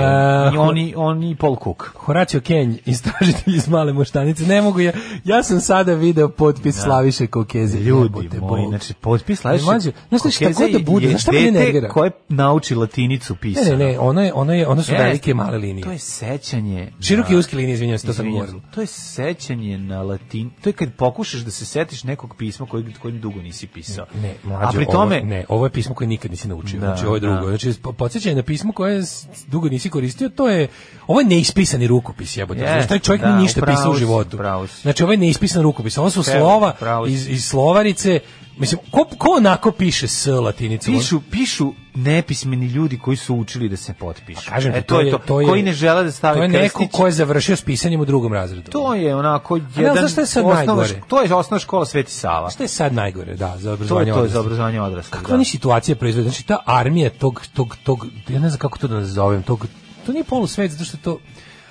Speaker 6: I oni, oni Paul Cook.
Speaker 7: Horacio Kenj, istražitelj iz male moštanice, ne mogu ja, ja sam sada video potpis Slaviše Kokeze.
Speaker 6: Ljudi
Speaker 7: Jebote,
Speaker 6: moji,
Speaker 7: Bog.
Speaker 6: znači, potpis Slaviše
Speaker 7: Ne, mlađe, znaš šta, šta
Speaker 6: Kokeze
Speaker 7: god da bude,
Speaker 6: je
Speaker 7: znaš šta mene
Speaker 6: dete
Speaker 7: nervira?
Speaker 6: koje nauči latinicu
Speaker 7: Ne,
Speaker 6: pisano.
Speaker 7: ne, ne, ono, je, ono, je, ono su
Speaker 6: Jeste.
Speaker 7: velike male linije.
Speaker 6: To je sećanje.
Speaker 7: Široke i
Speaker 6: na-
Speaker 7: uske linije, izvinjavam se, to sam
Speaker 6: Izvinjam
Speaker 7: govorila.
Speaker 6: To je sećanje na latin. To je kad pokušaš da se setiš nekog pisma kojeg, kojim dugo nisi pisao.
Speaker 7: Ne, mlađo,
Speaker 6: A pri
Speaker 7: ovo,
Speaker 6: tome,
Speaker 7: ne, ovo je pismo koje nikad nisi naučio.
Speaker 6: Da,
Speaker 7: znači ovo je drugo.
Speaker 6: da.
Speaker 7: Znači po- podsjećanje na pismo koje s- dugo nisi koristio, to je ovo je neispisani rukopis, jebote.
Speaker 6: Jeste,
Speaker 7: Znači taj čovjek
Speaker 6: da,
Speaker 7: nije ništa
Speaker 6: upravo
Speaker 7: pisao u
Speaker 6: si,
Speaker 7: životu.
Speaker 6: upravo si.
Speaker 7: Znači ovo je neispisani rukopis. Ovo su
Speaker 6: Evo,
Speaker 7: slova
Speaker 6: upravo si.
Speaker 7: iz, iz slovarice. Mislim, ko, ko onako piše s latinicom?
Speaker 6: pišu, pišu nepismeni ljudi koji su učili da se potpišu.
Speaker 7: Pa Kažem, ti,
Speaker 6: e, to, je to. koji ne žele da stave
Speaker 7: To je neko
Speaker 6: krstić.
Speaker 7: ko je završio s pisanjem u drugom razredu.
Speaker 6: To je onako
Speaker 7: ne,
Speaker 6: jedan...
Speaker 7: znaš šta je sad
Speaker 6: osnovna
Speaker 7: najgore?
Speaker 6: ško- To je osnovna škola Sveti Sava.
Speaker 7: Šta je sad najgore, da, za
Speaker 6: To
Speaker 7: obrazovanje
Speaker 6: je to za
Speaker 7: odraslih?
Speaker 6: obrazovanje odraslih.
Speaker 7: Kakva oni situacija proizvode? Znači, ta armija tog, tog, tog, ja ne znam kako to da nazovem, tog, to nije polusvet, zato što je to,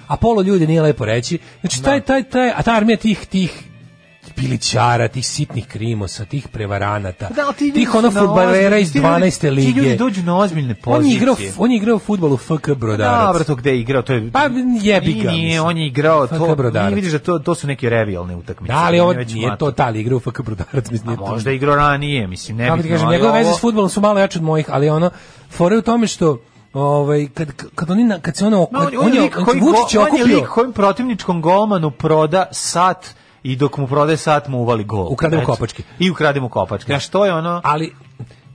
Speaker 7: a polo ljudi nije lepo reći. Znači, taj, taj, taj, a ta armija tih, tih, pilićara, tih sitnih krimosa, tih prevaranata,
Speaker 6: Da, ali ti ljudi
Speaker 7: tih ono
Speaker 6: su na
Speaker 7: fudbalera
Speaker 6: ozbiljni-
Speaker 7: iz
Speaker 6: ti ljudi-
Speaker 7: 12. lige.
Speaker 6: Ti ljudi dođu na ozbiljne
Speaker 7: on je igrao,
Speaker 6: pozicije.
Speaker 7: on je igrao fudbal u FK Brodarac.
Speaker 6: Dobro, to gde je igrao, to je...
Speaker 7: Pa, jebi ga,
Speaker 6: Nije,
Speaker 7: mislim.
Speaker 6: on je igrao,
Speaker 7: FK
Speaker 6: to,
Speaker 7: Brodarac.
Speaker 6: nije vidiš da to, to su neke revijalne utakmice.
Speaker 7: Da, ali
Speaker 6: on
Speaker 7: ovo
Speaker 6: je već
Speaker 7: nije
Speaker 6: mator.
Speaker 7: to ta igra u FK Brodarac, mislim,
Speaker 6: A
Speaker 7: nije to.
Speaker 6: možda je igrao ranije, mislim, ne
Speaker 7: Kako ti
Speaker 6: bitno,
Speaker 7: kažem,
Speaker 6: ali
Speaker 7: njegove veze
Speaker 6: ovo-
Speaker 7: s fudbalom su malo jače od mojih, ali ono fore u tome što ovaj kad kad oni na, kad se ono
Speaker 6: Ma,
Speaker 7: kad, on, je
Speaker 6: lik
Speaker 7: on-
Speaker 6: koji
Speaker 7: Vučić je
Speaker 6: go- on je
Speaker 7: okupio
Speaker 6: lik kojim protivničkom golmanu proda sat i dok mu prode sat mu uvali gol.
Speaker 7: Ukrade mu
Speaker 6: Eto.
Speaker 7: kopačke.
Speaker 6: I ukrade mu kopačke. Znaš, to je ono...
Speaker 7: ali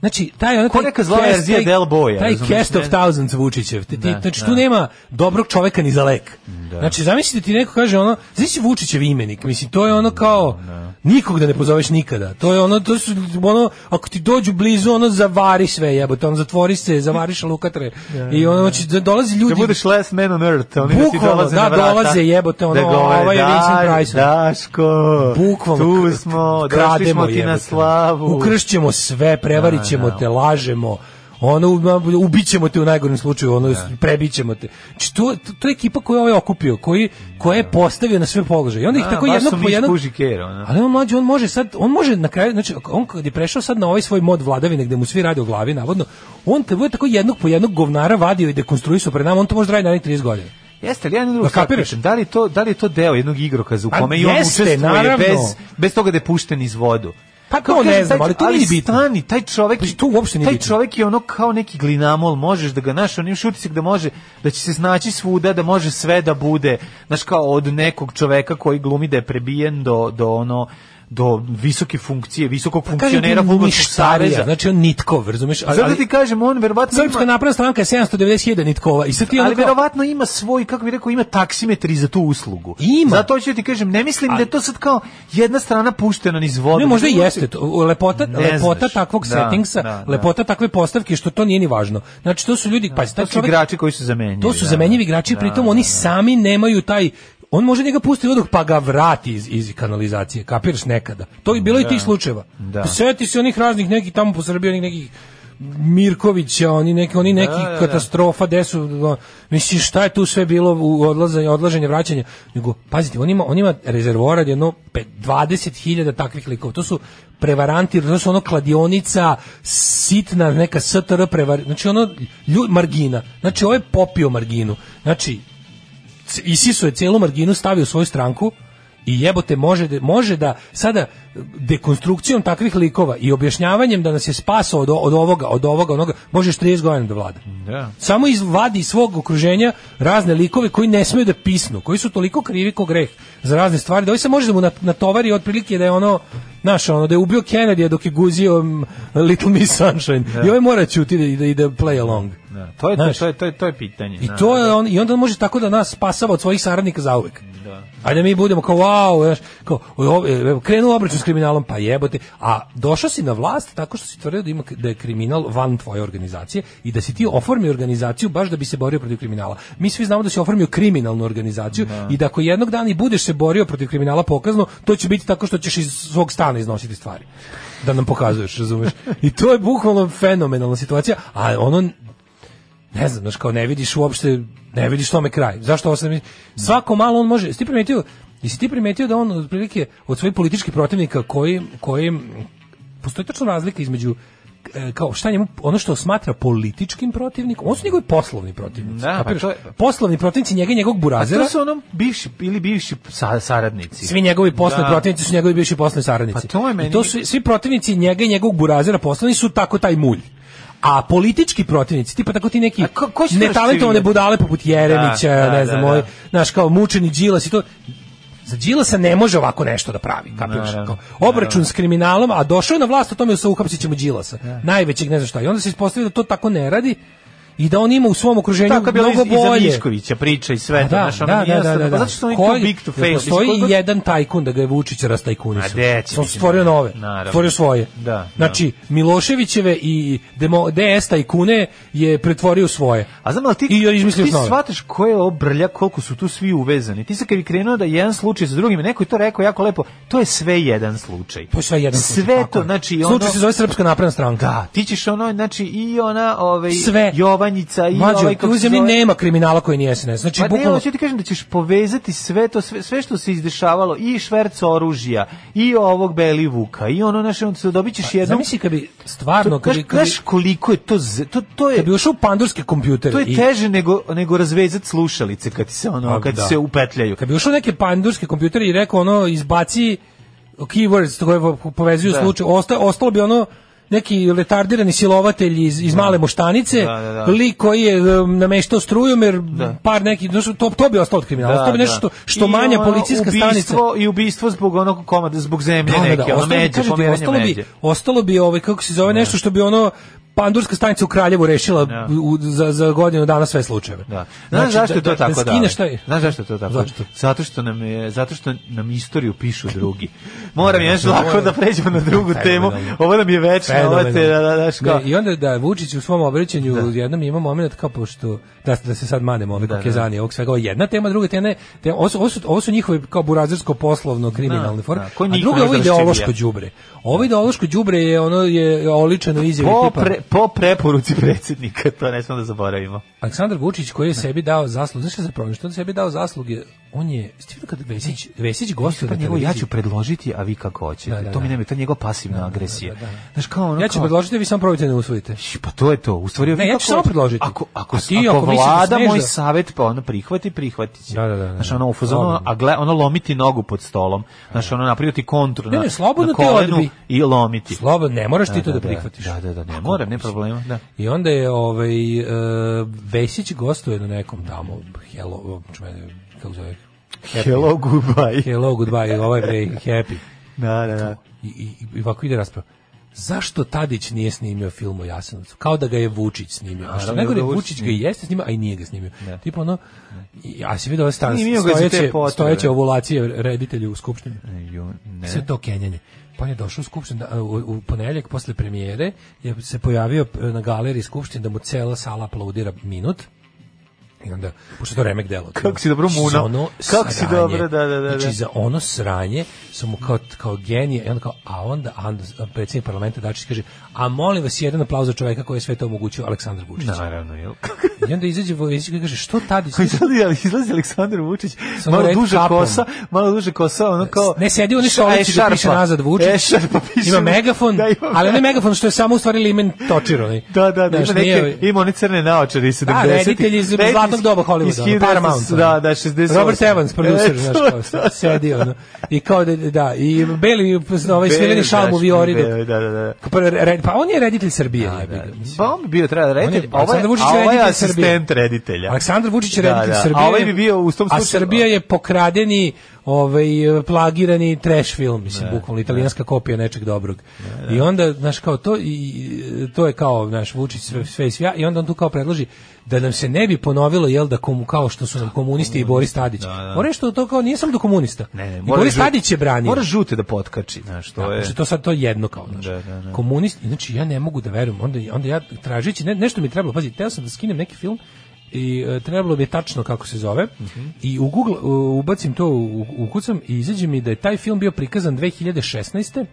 Speaker 7: Znači, taj ono...
Speaker 6: Ko
Speaker 7: taj
Speaker 6: neka zla
Speaker 7: cast-
Speaker 6: verzija
Speaker 7: taj-
Speaker 6: Del Boya,
Speaker 7: Taj
Speaker 6: razumeš,
Speaker 7: cast of
Speaker 6: ne?
Speaker 7: thousands Vučićev. Ti, ti,
Speaker 6: Da,
Speaker 7: znači,
Speaker 6: da.
Speaker 7: tu nema dobrog čoveka ni za lek. Znači, zamislite ti neko kaže ono... Znači, Vučićev imenik. Mislim, to je ono kao... Nikog da ne pozoveš nikada. To je ono, to su ono, ako ti dođu blizu, ono zavari sve jebote, ono zatvori se, zavariš lukatre. I ono, znači, da dolazi ljudi...
Speaker 6: Da budeš last man on earth, oni da ti
Speaker 7: Bukvalno,
Speaker 6: dolaze
Speaker 7: da,
Speaker 6: na vrata.
Speaker 7: dolaze, jebote, ono,
Speaker 6: Da govore,
Speaker 7: ovaj je
Speaker 6: "Daj,
Speaker 7: Vincent Price."
Speaker 6: Daško,
Speaker 7: Bukvalno
Speaker 6: tu
Speaker 7: k-
Speaker 6: smo, došli
Speaker 7: krademo
Speaker 6: smo ti na
Speaker 7: jebote. ono.
Speaker 6: slavu.
Speaker 7: Ukršćemo sve, prevarićemo te, lažemo. Ono u- ubićemo te u najgorem slučaju, ono prebićemo te. Znači to to je ekipa koju je ovaj okupio, koji koja je postavio na sve položaje. I onda ih
Speaker 6: A,
Speaker 7: tako
Speaker 6: baš
Speaker 7: jedno
Speaker 6: su
Speaker 7: po
Speaker 6: Miš
Speaker 7: jedno
Speaker 6: Kužiker, ono.
Speaker 7: Ali on mlađi, on može sad, on može na kraju, znači on kad je prešao sad na ovaj svoj mod vladavine gde mu svi rade o glavi navodno, on te bude tako jednog po jednog govnara vadio i dekonstruisao pred nama, on to može raditi narednih 30 godina.
Speaker 6: Jeste li ja jednu drugu
Speaker 7: Da
Speaker 6: stvar
Speaker 7: Pa kapiraš?
Speaker 6: pitam, da li je to da li je to deo jednog igrokaza u
Speaker 7: Pa
Speaker 6: kome i on
Speaker 7: jeste,
Speaker 6: učestvuje
Speaker 7: naravno.
Speaker 6: bez bez toga da je pušten iz vodu.
Speaker 7: Pa to ne znam, ali to nije bitno.
Speaker 6: stani, taj čovek,
Speaker 7: Pa to uopšte nije
Speaker 6: taj
Speaker 7: bitno.
Speaker 6: čovek je ono kao neki glinamol, možeš da ga naš, on imaš utisak da može, da će se snaći svuda, da može sve da bude, znaš kao od nekog čoveka koji glumi da je prebijen do, do ono, do visoke funkcije,
Speaker 7: Pa
Speaker 6: visokog funkcionera fudbalskog saveza. Pa
Speaker 7: znači on nitkov, razumeš? Ali,
Speaker 6: Zato ti kažem, on verovatno ima-
Speaker 7: Srpska ono napredna stranka je 790.000 nitkova i sad ti
Speaker 6: ali
Speaker 7: onako-
Speaker 6: verovatno ima svoj, kako bih rekao, ima taksimetri za tu uslugu.
Speaker 7: Ima.
Speaker 6: Zato ću ti kažem, ne mislim da je to sad kao jedna strana puštena niz vode.
Speaker 7: Ne, možda i
Speaker 6: Nego
Speaker 7: jeste to. U- Lepota,
Speaker 6: Ne
Speaker 7: lepota
Speaker 6: znaš.
Speaker 7: takvog
Speaker 6: Da,
Speaker 7: settingsa,
Speaker 6: da, da.
Speaker 7: lepota takve postavke što to nije ni važno. Znači to su ljudi, pa
Speaker 6: To
Speaker 7: taj
Speaker 6: su
Speaker 7: čovjek-
Speaker 6: igrači koji su zamenjivi.
Speaker 7: to su
Speaker 6: da.
Speaker 7: zamenjivi igrači,
Speaker 6: Da,
Speaker 7: pritom oni sami nemaju taj on može njega pustiti u vodu pa ga vrati iz, iz kanalizacije, kapiraš nekada. To je bilo i
Speaker 6: Da.
Speaker 7: tih slučajeva.
Speaker 6: Da.
Speaker 7: Seti se onih raznih nekih tamo po Srbiji, onih nekih Mirkovića, oni neki oni neki
Speaker 6: da, da.
Speaker 7: katastrofa gde su no, mislim šta je tu sve bilo u odlaženje, odlaženje, vraćanje. Nego pazite, on ima on ima rezervoar od jedno pe- 20.000 takvih likova. To su prevaranti, to su ono kladionica, sitna neka STR prevar, znači ono lju- margina. Znači ovo je popio marginu. Znači c- isiso je celu marginu, stavio u svoju stranku i jebote može da, može da sada dekonstrukcijom takvih likova i objašnjavanjem da nas je spasao od, o- od ovoga, od ovoga, onoga, može još 30 godina da vlada.
Speaker 6: Da.
Speaker 7: Samo izvadi iz svog okruženja razne likove koji ne smeju da pisnu, koji su toliko krivi ko greh za razne stvari, da ovaj se može da mu na- natovari otprilike da je ono, znaš, ono, da je ubio Kennedy dok je guzio mm, Little Miss Sunshine. I ovaj mora ćuti da, da, i da play along.
Speaker 6: Da, to je to,
Speaker 7: Znaš.
Speaker 6: to je to je to je pitanje.
Speaker 7: I
Speaker 6: da.
Speaker 7: to je on i onda on može tako da nas spasava od svojih saradnika zauvek. Da. A da mi budemo kao wow, znaš, kao o, o, evo, krenuo obračun s kriminalom, pa jebote. A došao si na vlast tako što si tvrdio da ima da je kriminal van tvoje organizacije i da si ti oformio organizaciju baš da bi se borio protiv kriminala. Mi svi znamo da si oformio kriminalnu organizaciju i da ako jednog dana i budeš se borio protiv kriminala pokazno, to će biti tako što ćeš iz svog stana iznositi stvari da nam pokazuješ, razumeš? I to je bukvalno fenomenalna situacija, a ono ne znam, znaš, kao ne vidiš uopšte, ne vidiš tome kraj. Zašto ovo sad mi- Svako malo on može, jesi ti primetio, jesi ti primetio da on otprilike od svojih političkih protivnika koji, koji postoji tačno razlika između e, kao šta njemu ono što smatra političkim protivnikom, on su njegovi poslovni protivnici.
Speaker 6: Da, pa
Speaker 7: kapiraš?
Speaker 6: to je-
Speaker 7: Poslovni protivnici njega i njegovog
Speaker 6: A
Speaker 7: burazera.
Speaker 6: to su ono bivši ili bivši sa, saradnici.
Speaker 7: Svi njegovi poslovni
Speaker 6: Da.
Speaker 7: protivnici su njegovi bivši poslovni saradnici.
Speaker 6: Pa to je meni-
Speaker 7: I to su, svi protivnici njega i njegovog burazera poslovni su tako taj mulj. A politički protivnici, tipa tako ti neki
Speaker 6: A ko- ko će to
Speaker 7: netalentovane
Speaker 6: rascivljati?
Speaker 7: budale poput Jeremića,
Speaker 6: Da, da,
Speaker 7: ne znam,
Speaker 6: da,
Speaker 7: ovaj,
Speaker 6: da.
Speaker 7: znaš, kao mučeni Đilas i to. Za Đilasa ne može ovako nešto da pravi, kapiraš?
Speaker 6: Naravno,
Speaker 7: Kao, obračun s kriminalom, a došao je na vlast, o tome se uhapsit ćemo Đilasa. Najvećeg ne znam šta. I onda se ispostavio da to tako ne radi i da on ima u svom okruženju
Speaker 6: Tako je bilo iz,
Speaker 7: mnogo
Speaker 6: iza
Speaker 7: bolje.
Speaker 6: Miškovića priča i sve to,
Speaker 7: Pa
Speaker 6: znaš, ono nije jednostavno, pa zato što oni
Speaker 7: Koji-
Speaker 6: too big to
Speaker 7: jel
Speaker 6: fail.
Speaker 7: Postoji
Speaker 6: Mislim, koliko-
Speaker 7: jedan tajkun da ga je Vučić rastajkunisao.
Speaker 6: A gde će
Speaker 7: On
Speaker 6: biti,
Speaker 7: stvorio nove,
Speaker 6: naravno.
Speaker 7: stvorio svoje.
Speaker 6: Da, da.
Speaker 7: Znači, Miloševićeve i demo, DS tajkune je pretvorio u svoje.
Speaker 6: A znam ali ti,
Speaker 7: I joj izmislio
Speaker 6: ti
Speaker 7: nove.
Speaker 6: shvataš ko je ovo brlja, koliko su tu svi uvezani. Ti sad kad bi krenuo da je jedan slučaj sa drugim, neko je to rekao jako lepo, to je sve jedan slučaj.
Speaker 7: To je Pa sve jedan
Speaker 6: Sve
Speaker 7: slučaj, tako
Speaker 6: to,
Speaker 7: je.
Speaker 6: znači, ono-
Speaker 7: Slučaj se zove Srpska napredna stranka.
Speaker 6: Da, ti ćeš ono, znači i ona, ovaj,
Speaker 7: Sve.
Speaker 6: Jovanjica i
Speaker 7: Mlađo,
Speaker 6: ovaj, kako
Speaker 7: u
Speaker 6: se
Speaker 7: zemlji
Speaker 6: zove-
Speaker 7: nema kriminala koji nije SNS. Znači,
Speaker 6: Pa ne,
Speaker 7: bukvalno...
Speaker 6: hoću ti kažem da ćeš povezati sve to, sve, sve što se izdešavalo, i šverc oružja, i ovog Beli Vuka, i ono naše, onda se dobit ćeš jednom...
Speaker 7: Pa, Zamisli kad bi stvarno, kad bi,
Speaker 6: Znaš-
Speaker 7: kad bi,
Speaker 6: znaš koliko je to, z- to, to je...
Speaker 7: kad bi ušao u pandurske kompjutere
Speaker 6: To je
Speaker 7: i-
Speaker 6: teže nego nego razvezati slušalice kad ti se ono
Speaker 7: Pa
Speaker 6: kad ti
Speaker 7: da.
Speaker 6: se upetljaju.
Speaker 7: Kad bi ušao u neke pandurske kompjutere i rekao ono izbaci keywords to koje po- povezuju
Speaker 6: Da.
Speaker 7: slučaj, osta, ostalo bi ono neki retardirani silovatelj iz, iz male moštanice,
Speaker 6: Da, da, da.
Speaker 7: lik koji je um, nameštao strujom jer
Speaker 6: Da.
Speaker 7: par neki, znaš, to, to bi ostalo od kriminala, to bi nešto što, što
Speaker 6: I
Speaker 7: manja
Speaker 6: ono,
Speaker 7: policijska
Speaker 6: ubistvo,
Speaker 7: stanica.
Speaker 6: I ubistvo zbog onog komada, zbog zemlje
Speaker 7: Da, da,
Speaker 6: neke,
Speaker 7: da,
Speaker 6: ono
Speaker 7: ostalo bi,
Speaker 6: međe,
Speaker 7: kažete,
Speaker 6: pomeranje
Speaker 7: ostalo bi,
Speaker 6: međe.
Speaker 7: ostalo bi ovaj, kako se zove, nešto što bi ono pandurska stanica u Kraljevu rešila
Speaker 6: Da.
Speaker 7: u- za, za godinu dana sve slučajeve. Znači,
Speaker 6: Da. Znaš zašto je to tako
Speaker 7: da?
Speaker 6: da?
Speaker 7: skineš taj-
Speaker 6: Znaš zašto je to tako?
Speaker 7: Zašto?
Speaker 6: Zato što nam je zato što nam istoriju pišu drugi. Moram još lako da pređemo na drugu temu. Ovo nam je večno, ovo te da, da, daš kao-
Speaker 7: Ne, I onda da Vučić u svom obraćanju jednom ima moment kao pošto da, da se sad manemo ove kokezanije, ovog svega, ovo je jedna tema, druga tema, je- te, ovo, su, ovo, su, ovo su njihove kao burazersko poslovno kriminalne
Speaker 6: Da,
Speaker 7: forme,
Speaker 6: da, ko
Speaker 7: a
Speaker 6: njih
Speaker 7: druga
Speaker 6: ne
Speaker 7: ovo
Speaker 6: zdraščivija.
Speaker 7: ideološko đubre. Ovo ideološko đubre je ono je oličeno izjavi
Speaker 6: Po,
Speaker 7: tipa
Speaker 6: pre- po preporuci predsjednika, to ne smemo da zaboravimo.
Speaker 7: Aleksandar Vučić koji je sebi dao zasluge, znaš šta se problem, što je on sebi dao zasluge on je stigao kad Vesić Vesić gostuje
Speaker 6: Pa njegov, ja ću predložiti, a vi kako hoćete.
Speaker 7: Da, da,
Speaker 6: to mi
Speaker 7: da.
Speaker 6: nema, to je njegova pasivna agresija. Znaš, kao ono,
Speaker 7: Ja ću
Speaker 6: kao-
Speaker 7: predložiti, vi samo probajte da ne usvojite.
Speaker 6: Pa to je to. U stvari,
Speaker 7: Ne,
Speaker 6: vi
Speaker 7: ja ću
Speaker 6: kako-
Speaker 7: samo predložiti.
Speaker 6: Ako, ako,
Speaker 7: A ti,
Speaker 6: ako,
Speaker 7: ako misliš da
Speaker 6: vlada
Speaker 7: smeš
Speaker 6: moj
Speaker 7: da-
Speaker 6: savjet, pa ono prihvati, prihvati će. Da, da, da. Znaš, ono, u fazonu,
Speaker 7: Slobodno.
Speaker 6: a gle, ono lomiti nogu pod stolom. Znaš, ono, napraviti kontru
Speaker 7: Ne,
Speaker 6: na,
Speaker 7: ne, slobodno
Speaker 6: na
Speaker 7: te
Speaker 6: kolenu
Speaker 7: odbi.
Speaker 6: i lomiti.
Speaker 7: Slobodno, ne moraš ti to da
Speaker 6: da.
Speaker 7: prihvatiš.
Speaker 6: Da, da, da, ne moram, ne problema, da.
Speaker 7: I onda je ovaj e, Vesić gostuje na nekom tamo hello, čuvene, kako zove?
Speaker 6: Hello, goodbye.
Speaker 7: Hello, goodbye, ovaj bre, happy.
Speaker 6: Da, da, da.
Speaker 7: I, i, i ovako ide rasprava. Zašto Tadić nije snimio film o Jasenovcu? Kao da ga je Vučić snimio. A što
Speaker 6: Naravno,
Speaker 7: nego
Speaker 6: da
Speaker 7: da
Speaker 6: ga Vučić
Speaker 7: Vučić ga i
Speaker 6: snimio.
Speaker 7: jeste snimio, a i nije ga snimio. Tipo ono, i- a si vidio ove stan,
Speaker 6: Snimio ga za te
Speaker 7: stojeće,
Speaker 6: potrebe.
Speaker 7: stojeće ovulacije reditelju u Skupštini?
Speaker 6: Ju, ne.
Speaker 7: Sve to kenjanje. Pa on je došao u Skupštinu da, u, u ponedeljak posle premijere, je se pojavio e, na galeriji Skupštine da mu cela sala aplaudira minut. I onda, pošto je to remek delo.
Speaker 6: Kako si dobro
Speaker 7: Za
Speaker 6: munao.
Speaker 7: ono
Speaker 6: Kako si
Speaker 7: sranje.
Speaker 6: dobro, da, da, da, da.
Speaker 7: Znači, za ono sranje sam mu kao, kao genije, i onda kao, a onda, a onda predsjednik parlamenta Dačić kaže, a molim vas jedan aplauz za čoveka koji je sve to omogućio, Aleksandar Vučić.
Speaker 6: Naravno, jel?
Speaker 7: I onda izađe Vojesić i kaže, što Tadić?
Speaker 6: Izlazi, izlazi Aleksandar Vučić,
Speaker 7: Samo
Speaker 6: malo
Speaker 7: red
Speaker 6: duža
Speaker 7: kapom.
Speaker 6: kosa, malo duže kosa, ono kao...
Speaker 7: Ne sedi oni
Speaker 6: Ša- e,
Speaker 7: stolici da piše
Speaker 6: ešarpa.
Speaker 7: nazad Vučić.
Speaker 6: Ešarpa E, piše.
Speaker 7: Ima megafon,
Speaker 6: Da, ima
Speaker 7: ali ne megafon što je samo u stvari limen točirani.
Speaker 6: Da, da, da,
Speaker 7: Znaš,
Speaker 6: ima, neke,
Speaker 7: nije-
Speaker 6: ima one crne naočare iz 70.
Speaker 7: Da, reditelj iz
Speaker 6: Reditelj
Speaker 7: zlatnog doba
Speaker 6: iz
Speaker 7: Hollywooda, ono,
Speaker 6: 1900,
Speaker 7: Paramount. ono.
Speaker 6: Da, da, 60.
Speaker 7: Robert Evans, producer,
Speaker 6: E,
Speaker 7: znaš,
Speaker 6: to,
Speaker 7: kao
Speaker 6: to,
Speaker 7: sedi, ono. I kao da, da, i beli, ovaj
Speaker 6: Beli,
Speaker 7: svileni šalm u
Speaker 6: znaš,
Speaker 7: Viori. dok-
Speaker 6: Beli, Da, da, da.
Speaker 7: Pa, re- pa on je reditelj Srbije, jebi ga.
Speaker 6: Pa on bi bio treba da reditelj,
Speaker 7: On je-
Speaker 6: a ovaj,
Speaker 7: Aleksandar Vučić je
Speaker 6: a ovaj je
Speaker 7: reditelj Srbije.
Speaker 6: asistent reditelja.
Speaker 7: Aleksandar Vučić je
Speaker 6: Da,
Speaker 7: reditelj
Speaker 6: da, a
Speaker 7: Srbije.
Speaker 6: ovaj bi bio u tom
Speaker 7: A
Speaker 6: slučaju-
Speaker 7: Srbija je pokradeni, ovaj plagirani trash film, mislim, bukvalno italijanska kopija nečeg dobrog. I onda, znaš, kao to i to je kao, znaš, Vučić sve sve i svja i onda on tu kao predloži da nam se ne bi ponovilo jel da komu, kao što su nam komunisti i Boris Tadić. Mora što to kao nije samo do komunista.
Speaker 6: Ne, ne,
Speaker 7: I
Speaker 6: mora
Speaker 7: Boris
Speaker 6: žut-
Speaker 7: Tadić je branio.
Speaker 6: Mora žute da potkači, znaš, to
Speaker 7: Da,
Speaker 6: je...
Speaker 7: znači to sad to je jedno kao znači.
Speaker 6: Da, da, da.
Speaker 7: Komunisti, znači ja ne mogu da verujem. Onda onda ja tražeći ne, nešto mi je trebalo, pazi, teo sam da skinem neki film i e, trebalo mi je tačno kako se zove i u Google e, ubacim to u, ukucam i izađe mi da je taj film bio prikazan 2016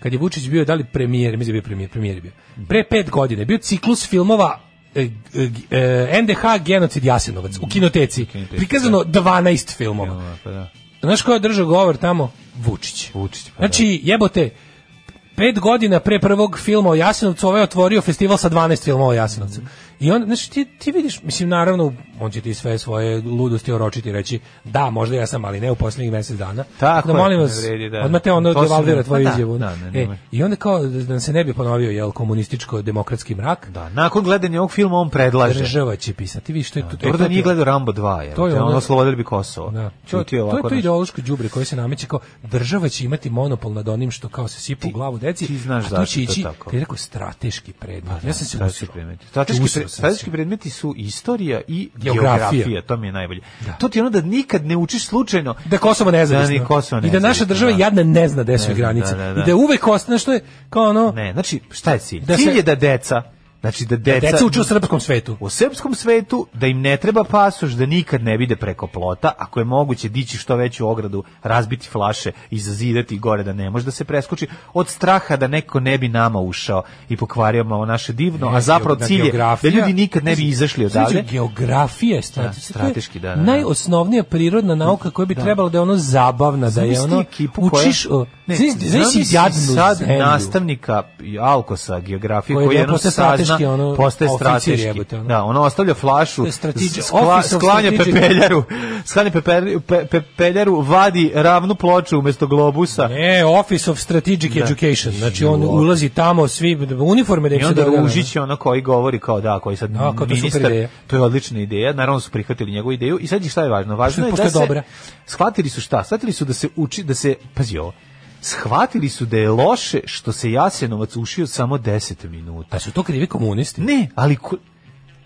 Speaker 7: kad je Vučić bio da li premijer, mislim da je bio premijer, premijer je bio. Pre pet godina je bio ciklus filmova e, g- e, NDH genocid Jasenovac u kinoteci.
Speaker 6: kinoteci,
Speaker 7: Prikazano 12 filmova.
Speaker 6: Pa da.
Speaker 7: Znaš ko je držao govor tamo? Vučić.
Speaker 6: Vučić, pa da.
Speaker 7: Znači, jebote, pet godina pre prvog filma o Jasenovcu ovaj je otvorio festival sa 12 filmova o Jasenovcu. I on, znači, ti, ti vidiš, mislim, naravno, on će ti sve svoje ludosti oročiti i reći, da, možda ja sam, ali ne u posljednjih mjesec dana.
Speaker 6: Tako
Speaker 7: da,
Speaker 6: je,
Speaker 7: molim
Speaker 6: ne
Speaker 7: vas,
Speaker 6: vredi, da.
Speaker 7: odmah te
Speaker 6: To
Speaker 7: ono
Speaker 6: se ne-
Speaker 7: devalvira
Speaker 6: pa
Speaker 7: tvoju
Speaker 6: da,
Speaker 7: izjavu.
Speaker 6: da, ne,
Speaker 7: E,
Speaker 6: nemoj.
Speaker 7: I onda kao, da nam se ne bi ponovio, jel, komunističko-demokratski mrak,
Speaker 6: Da, nakon gledanja ovog filma on predlaže.
Speaker 7: država će pisati. Vi što je tu, to je
Speaker 6: Dobro
Speaker 7: E, to
Speaker 6: da E, nije
Speaker 7: ti-
Speaker 6: gledao Rambo 2, jer
Speaker 7: To
Speaker 6: to
Speaker 7: je
Speaker 6: je ono,
Speaker 7: ono-
Speaker 6: oslobodili bi Kosovo.
Speaker 7: Da. To,
Speaker 6: Čuti
Speaker 7: to je
Speaker 6: ovako,
Speaker 7: to
Speaker 6: znaš,
Speaker 7: ideološko đubre koje se nameće kao država će imati monopol nad onim što kao se sipa u glavu deci.
Speaker 6: ti znaš
Speaker 7: a to
Speaker 6: zašto
Speaker 7: će
Speaker 6: je
Speaker 7: ići,
Speaker 6: to tako.
Speaker 7: Ti je rekao strateški predmet.
Speaker 6: Pa da,
Speaker 7: ja sam se
Speaker 6: strateški
Speaker 7: usro.
Speaker 6: predmeti. Strateški,
Speaker 7: Usro
Speaker 6: pre-
Speaker 7: sam se.
Speaker 6: strateški predmeti su istorija i
Speaker 7: Geografija.
Speaker 6: geografija. to mi je najbolje. To ti je ono da nikad ne učiš slučajno.
Speaker 7: Da Kosovo nezavisno.
Speaker 6: Da, ni Kosovo
Speaker 7: I da naša
Speaker 6: nezavisno,
Speaker 7: država
Speaker 6: da.
Speaker 7: jadna ne zna gde su
Speaker 6: Ne
Speaker 7: joj
Speaker 6: zna,
Speaker 7: granice.
Speaker 6: da, da, da.
Speaker 7: I da je uvek ostane što je kao ono
Speaker 6: Ne, znači, šta je cilj?
Speaker 7: Da
Speaker 6: cilj
Speaker 7: se-
Speaker 6: je da deca, znači da deca...
Speaker 7: deca uče u srpskom svetu.
Speaker 6: u srpskom svetu da im ne treba pasoš da nikad ne vide preko plota ako je moguće dići što veću ogradu razbiti flaše i zazidati gore da ne može da se preskoči od straha da neko ne bi nama ušao i pokvario malo naše divno a zapravo
Speaker 7: Da
Speaker 6: cilj je da
Speaker 7: geografija-
Speaker 6: ljudi nikad ne bi izašli odavde
Speaker 7: Znači, geografija je strate-
Speaker 6: Da, strateški, da, da, da.
Speaker 7: Najosnovnija prirodna nauka koja bi trebala da je ono zabavna, da je
Speaker 6: Zamisli
Speaker 7: ono
Speaker 6: ekipu koja-
Speaker 7: učiš o-
Speaker 6: Ne,
Speaker 7: znaš- znaš
Speaker 6: zamisli
Speaker 7: jadnu
Speaker 6: sad
Speaker 7: zemlju.
Speaker 6: nastavnika i Alkosa geografije
Speaker 7: Koji
Speaker 6: koji,
Speaker 7: je
Speaker 6: jednom
Speaker 7: postaje
Speaker 6: sazna,
Speaker 7: strateški, ono,
Speaker 6: postaje
Speaker 7: oficir
Speaker 6: strateški.
Speaker 7: jebote, ono.
Speaker 6: Da, ono ostavlja flašu,
Speaker 7: To je strategi-
Speaker 6: skla,
Speaker 7: officer
Speaker 6: sklanja
Speaker 7: strategic-
Speaker 6: pepeljaru, sklanja pepeljaru, pe, pepeljaru, vadi ravnu ploču umesto globusa.
Speaker 7: Ne, E, Office of Strategic Education. Znači on
Speaker 6: Ju,
Speaker 7: ulazi tamo svi uniforme da im
Speaker 6: I
Speaker 7: se
Speaker 6: onda
Speaker 7: događa.
Speaker 6: Ružić je ono koji govori kao da, koji sad
Speaker 7: Da, kao to je super
Speaker 6: ministar,
Speaker 7: ideja.
Speaker 6: to je odlična ideja, naravno su prihvatili njegovu ideju i sad je šta je važno? Važno je
Speaker 7: Pošto je
Speaker 6: da se,
Speaker 7: dobra.
Speaker 6: shvatili su šta? Shvatili su da se uči, da se, pazi ovo, shvatili su da je loše što se Jasenovac ušio samo 10 minuta.
Speaker 7: Da su to krivi komunisti.
Speaker 6: Ne, ali ko-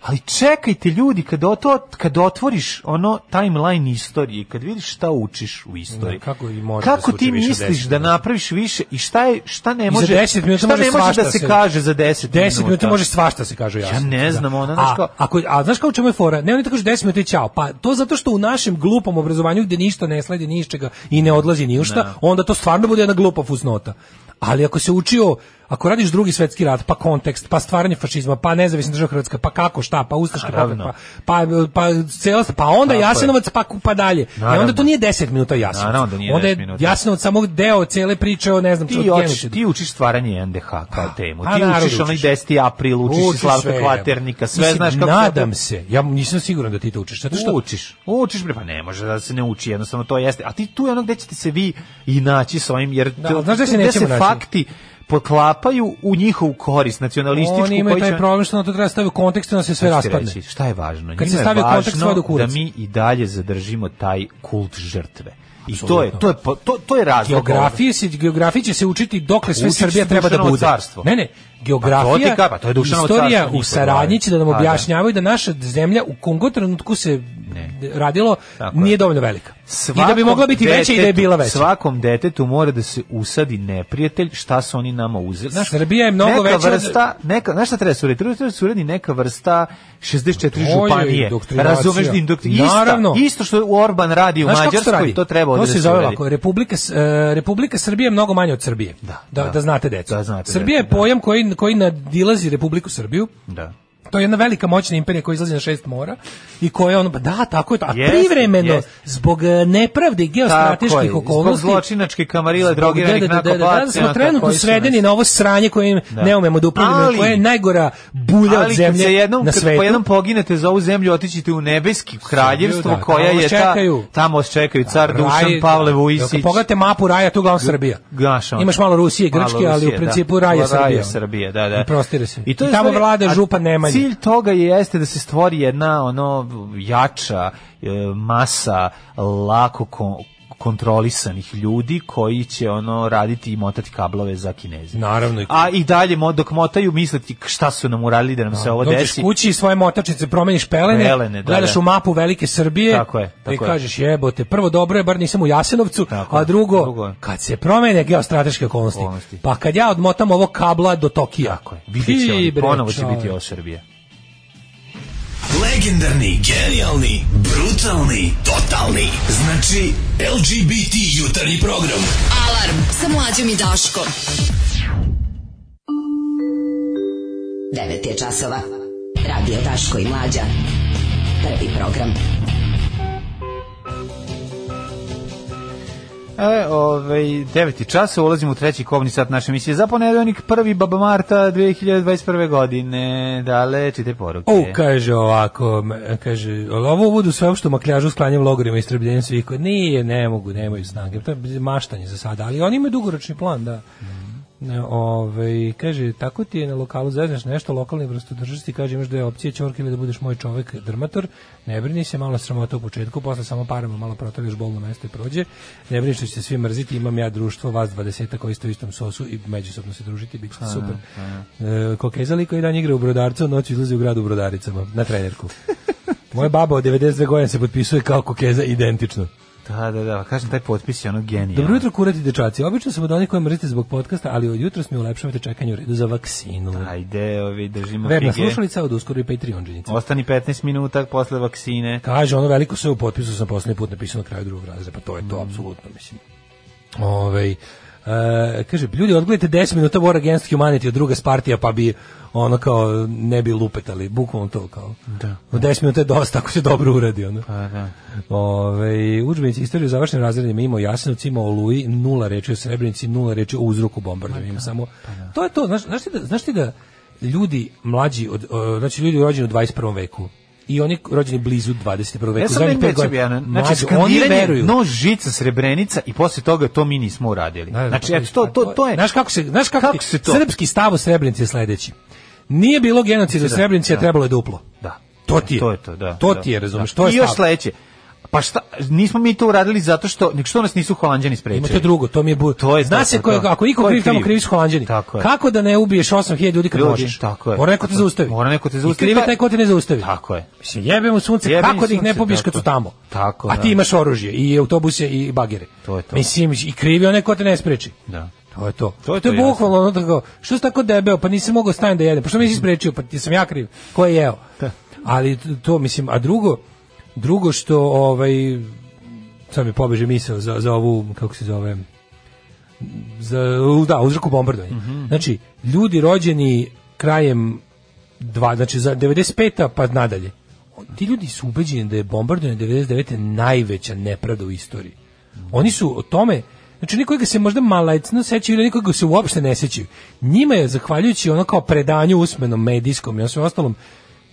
Speaker 6: ali čekajte ljudi kad oto kad otvoriš ono timeline istorije kad vidiš šta učiš u istoriji
Speaker 7: Da, kako i može da
Speaker 6: kako
Speaker 7: se uči
Speaker 6: ti
Speaker 7: više od
Speaker 6: misliš
Speaker 7: 10
Speaker 6: da
Speaker 7: minuta?
Speaker 6: napraviš više i šta je šta ne
Speaker 7: za
Speaker 6: može
Speaker 7: 10 minuta
Speaker 6: šta
Speaker 7: može
Speaker 6: ne može
Speaker 7: svašta
Speaker 6: da se,
Speaker 7: se-
Speaker 6: kaže za 10
Speaker 7: 10 minuta može svašta se kaže jasno.
Speaker 6: ne znam, ono, znaš
Speaker 7: a,
Speaker 6: kao-
Speaker 7: ako, a znaš kao u čemu je fora? Ne, oni tako kažu 10 minuta i ćao. Pa to zato što u našem glupom obrazovanju gdje ništa ne sledi ni iz čega i ne odlazi ni u šta, onda to stvarno bude jedna glupa fusnota. Ali ako se učio ako radiš drugi svetski rat, pa kontekst, pa stvaranje fašizma, pa nezavisna država Hrvatska, pa kako šta, pa ustaški pokret, pa pa pa cela pa onda
Speaker 6: Tako je.
Speaker 7: Jasenovac pa pa dalje. I
Speaker 6: Naravno.
Speaker 7: onda to nije 10 minuta Jasenovac.
Speaker 6: Naravno da nije
Speaker 7: onda
Speaker 6: 10
Speaker 7: je
Speaker 6: minuta.
Speaker 7: Jasenovac samo deo cele priče o ne znam
Speaker 6: ti,
Speaker 7: čemu.
Speaker 6: oči, ti učiš stvaranje NDH kao temu.
Speaker 7: a
Speaker 6: Ti
Speaker 7: Pa naravno
Speaker 6: učiš onaj
Speaker 7: učiš.
Speaker 6: 10. april, učiš, i
Speaker 7: Učiš
Speaker 6: Slavka
Speaker 7: sve.
Speaker 6: Kvaternika, sve
Speaker 7: Mislim,
Speaker 6: znaš kako...
Speaker 7: nadam se. Ja nisam siguran da ti to učiš. Zato što
Speaker 6: Učiš, učiš, bre, pa ne može da se ne uči, jednostavno to jeste. A ti tu je ono gde ćete se vi i naći s ovim, jer
Speaker 7: Da,
Speaker 6: to-
Speaker 7: ali znaš gde se
Speaker 6: gde
Speaker 7: nećemo naći?
Speaker 6: fakti poklapaju u njihovu korist, nacionalističku.
Speaker 7: Oni imaju
Speaker 6: koji
Speaker 7: taj
Speaker 6: će-
Speaker 7: problem što na to treba staviti u kontekst i onda se sve
Speaker 6: Šta ću ti
Speaker 7: raspadne.
Speaker 6: reći, šta je važno?
Speaker 7: Kad se
Speaker 6: Njima je
Speaker 7: stavi u kontekst, sve
Speaker 6: važno
Speaker 7: do kurac.
Speaker 6: Da mi i dalje zadržimo taj kult žrtve. I to je,
Speaker 7: Apsolutno.
Speaker 6: to je, po- to, to je razlog.
Speaker 7: Geografije se geografije će se učiti dokle sve
Speaker 6: Učit će
Speaker 7: Srbija
Speaker 6: se
Speaker 7: treba da
Speaker 6: Dušanovo
Speaker 7: bude.
Speaker 6: carstvo.
Speaker 7: Ne, ne,
Speaker 6: Pa to
Speaker 7: geografija,
Speaker 6: ti ka- pa to je Dušanovo
Speaker 7: istorija
Speaker 6: carstvo
Speaker 7: u
Speaker 6: njihovo,
Speaker 7: saradnji će da nam
Speaker 6: Pa da.
Speaker 7: objašnjavaju da naša zemlja u kom god trenutku se radilo nije dovoljno velika. I da bi
Speaker 6: Svakom
Speaker 7: mogla biti veća i da je
Speaker 6: detetu-
Speaker 7: bila veća.
Speaker 6: Svakom detetu mora da se usadi neprijatelj, šta su oni nama uzeli. Znaš,
Speaker 7: Srbija je mnogo
Speaker 6: neka
Speaker 7: veća od-
Speaker 6: Vrsta, neka, znaš šta treba suredi? Treba treba suredi neka vrsta 64
Speaker 7: To je
Speaker 6: županije.
Speaker 7: indoktrinacija.
Speaker 6: Razumeš da indoktri...
Speaker 7: Naravno.
Speaker 6: Isto, isto što Orban radi u
Speaker 7: Znaš kako se
Speaker 6: Mađarskoj, to,
Speaker 7: radi?
Speaker 6: treba
Speaker 7: To
Speaker 6: ovde
Speaker 7: se
Speaker 6: da se
Speaker 7: zove
Speaker 6: uredi.
Speaker 7: ovako, Republika, S- e, Republika Srbije je mnogo manje od Srbije. Da, da,
Speaker 6: da.
Speaker 7: znate deco.
Speaker 6: Da znate
Speaker 7: Srbija
Speaker 6: deco,
Speaker 7: je pojam koji, koji nadilazi Republiku Srbiju.
Speaker 6: Da.
Speaker 7: To je jedna velika moćna imperija koja izlazi na šest mora i koja ono, ba da, tako je to. A
Speaker 6: Jeste,
Speaker 7: privremeno,
Speaker 6: jeste.
Speaker 7: zbog e, nepravde i
Speaker 6: Tako je,
Speaker 7: geostrateških
Speaker 6: Zbog
Speaker 7: okolnosti,
Speaker 6: zločinačke kamarile,
Speaker 7: zbog-
Speaker 6: drogiranih
Speaker 7: da, da, da, da, da, da,
Speaker 6: narkopacija.
Speaker 7: smo trenutno svedeni na ovo sranje kojim ne umemo da upravljamo,
Speaker 6: Ali-
Speaker 7: koje je najgora bulja od
Speaker 6: ali kad se
Speaker 7: zemlje
Speaker 6: jednom,
Speaker 7: na
Speaker 6: kad
Speaker 7: svetu.
Speaker 6: po jednom poginete za ovu zemlju, otićete u nebeski kraljevstvo
Speaker 7: da,
Speaker 6: koja
Speaker 7: tamo
Speaker 6: je
Speaker 7: vas
Speaker 6: ta,
Speaker 7: čekaju.
Speaker 6: tamo vas čekaju car Dušan,
Speaker 7: Raj-
Speaker 6: Pavle
Speaker 7: Kad
Speaker 6: Vujisić.
Speaker 7: pogledate mapu raja, tu je uglavnom Srbija.
Speaker 6: Gaša.
Speaker 7: Imaš malo Rusije i Grčke, ali u principu raj je Srbija.
Speaker 6: Srbije, da, da.
Speaker 7: I prostire se.
Speaker 6: I, to je
Speaker 7: I tamo
Speaker 6: stvari-
Speaker 7: vlada
Speaker 6: a
Speaker 7: župan Nemanja.
Speaker 6: Cilj toga je jeste da se stvori jedna ono jača e, masa lako kon- kontrolisanih ljudi koji će ono raditi i motati kablove za Kineze.
Speaker 7: Naravno. i-
Speaker 6: A i dalje mo- dok motaju misliti k- šta su nam uradili da nam se ovo
Speaker 7: Dođeš
Speaker 6: desi.
Speaker 7: kući i svoje motačice promeniš pelene,
Speaker 6: Pelene, da,
Speaker 7: gledaš
Speaker 6: da.
Speaker 7: u mapu velike Srbije
Speaker 6: Tako je, tako
Speaker 7: i
Speaker 6: je.
Speaker 7: kažeš jebote, prvo dobro je, bar nisam u Jasenovcu, a drugo, kad se promene geostrateške okolnosti,
Speaker 6: Okolnosti.
Speaker 7: pa kad ja odmotam ovo kabla do Tokija, tako je,
Speaker 6: Vidjet će oni, ponovo će biti ovo Srbija.
Speaker 14: Legendarni, genijalni, brutalni, totalni. Znači, LGBT jutarnji program.
Speaker 11: Alarm sa mlađom i Daškom. 9 je časova. Radio Daško i Mlađa. Prvi program.
Speaker 6: E, ovaj, 9. časa, ulazimo u treći kovni sat naše emisije za ponedeljnik, 1. baba Marta 2021. godine. Dale, čite poruke.
Speaker 7: O, kaže ovako, m- kaže, "Ali ovo budu sveopšto makljažu sklanjem logorima i strbljenjem svih koji nije, ne mogu, nemaju snage, to je maštanje za sada, ali oni imaju dugoročni plan, da. Ne, ovaj, kaže, tako ti je na lokalu zezneš nešto, lokalni vlastodržac ti kaže imaš dve opcije, ćork ili da budeš moj čovek drmator, ne brini se, malo sramota u početku, posle samo parama malo protrljaš bolno mesto i prođe, ne brini što će se svi mrziti, imam ja društvo, vas dvadeseta koji ste u istom sosu i međusobno se družiti, bit ćete
Speaker 6: Pa da,
Speaker 7: super.
Speaker 6: pa da.
Speaker 7: E, Kokeza liko i dan igra u Brodarcu, noću izlazi u grad u Brodaricama, na trenerku. Moja baba od 92 godina se potpisuje kao Kokeza identično.
Speaker 6: Da, da, da, kažem, taj potpis je ono genijalno.
Speaker 7: Dobro jutro, kurati dečaci. Obično sam od onih koje mrzite zbog podcasta, ali od jutros mi ulepšavate čekanje u redu za vaksinu.
Speaker 6: Ajde, ovi, držimo
Speaker 7: Verna
Speaker 6: fige.
Speaker 7: slušalica od uskoro i Patreonđenica.
Speaker 6: Ostani 15 minuta posle vaksine.
Speaker 7: Kaže, ono veliko sve u potpisu sam poslednji put napisao na kraju drugog razreda, pa to je to,
Speaker 6: Mm.
Speaker 7: apsolutno, mislim. Ovaj, e, kaže, ljudi, odgledajte 10 minuta War Against Humanity od druga Spartija, pa bi ono kao, ne bi lupetali, bukvalno to kao.
Speaker 6: Da.
Speaker 7: Od 10 minuta je dosta ako se dobro uradi. Ono.
Speaker 6: Pa, da.
Speaker 7: Ove, udžbenici istorije u završenim razredima ima o Jasenovcu, ima o Oluji, nula reči o Srebrenici, nula reči o uzroku bombardovanja. Ima samo,
Speaker 6: pa
Speaker 7: to je to. Znaš, znaš, ti da, znaš ti da ljudi mlađi, od, e, znači ljudi rođeni u 21. veku, i oni rođeni blizu 21. veku.
Speaker 6: Ja sam
Speaker 7: zadnjih
Speaker 6: ne
Speaker 7: pet
Speaker 6: većem
Speaker 7: godina,
Speaker 6: jedan. Znači,
Speaker 7: mlađi, oni
Speaker 6: skandiranje,
Speaker 7: veruju.
Speaker 6: nož, žica, srebrenica i posle toga to mi nismo uradili.
Speaker 7: Da, da,
Speaker 6: Znači,
Speaker 7: pa
Speaker 6: eto, to, to, to je...
Speaker 7: Znaš kako se, znaš kako,
Speaker 6: Kako se to-
Speaker 7: Srpski stav u Srebrenici je sledeći. Nije bilo genocida u
Speaker 6: Da,
Speaker 7: Srebrenici, a
Speaker 6: da.
Speaker 7: trebalo je duplo.
Speaker 6: Da.
Speaker 7: To ti je.
Speaker 6: To je to, da.
Speaker 7: To
Speaker 6: da,
Speaker 7: ti je, razumeš,
Speaker 6: da.
Speaker 7: to je
Speaker 6: I još
Speaker 7: stav.
Speaker 6: sledeće. Pa šta, nismo mi to uradili zato što, nek što nas nisu holanđani sprečili.
Speaker 7: Ima to drugo, to mi je bu...
Speaker 6: To je
Speaker 7: Zna se
Speaker 6: to,
Speaker 7: ko je,
Speaker 6: to.
Speaker 7: ako iko
Speaker 6: Ko je
Speaker 7: kriv, tamo
Speaker 6: kriv?
Speaker 7: krivi su Holanđani.
Speaker 6: Tako je.
Speaker 7: Kako da ne ubiješ 8000 ljudi kad
Speaker 6: Ljudi,
Speaker 7: možeš?
Speaker 6: tako je.
Speaker 7: Mora neko te
Speaker 6: Tako je.
Speaker 7: zaustavi.
Speaker 6: Mora neko te zaustavi,
Speaker 7: I krivi
Speaker 6: pa-
Speaker 7: taj ko te ne zaustavi.
Speaker 6: Tako je.
Speaker 7: Mislim, jebe mu sunce,
Speaker 6: Jebe im
Speaker 7: kako da ih ne
Speaker 6: sunce,
Speaker 7: pobiješ kad
Speaker 6: tako
Speaker 7: su
Speaker 6: je.
Speaker 7: tamo?
Speaker 6: Tako,
Speaker 7: A ti
Speaker 6: da.
Speaker 7: imaš oružje i autobuse i bagere.
Speaker 6: To je to.
Speaker 7: Mislim, i krivi onaj ko te ne spreči.
Speaker 6: Da.
Speaker 7: To je to.
Speaker 6: To je
Speaker 7: to je
Speaker 6: to, jasno.
Speaker 7: bukvalno ono tako, što si tako debeo, pa nisam mogao stavim da jedem, pa što mi si sprečio, pa ti sam ja kriv, ko je jeo? Ali t- to, mislim, a drugo, drugo što, ovaj, sad mi pobeže misao za, za ovu, kako se zove, za, da, uzroku bombardovanja. Mm
Speaker 6: Mhm.
Speaker 7: -hmm. Znači, ljudi rođeni krajem dva, znači za 95. pa nadalje, ti ljudi su ubeđeni da je bombardovanje 99. najveća nepravda u istoriji. Oni su o tome, znači nikoga se možda malajcno sećaju ili nikoga se uopšte ne sećaju. Njima je, zahvaljujući ono kao predanju usmenom, medijskom i sve ostalom,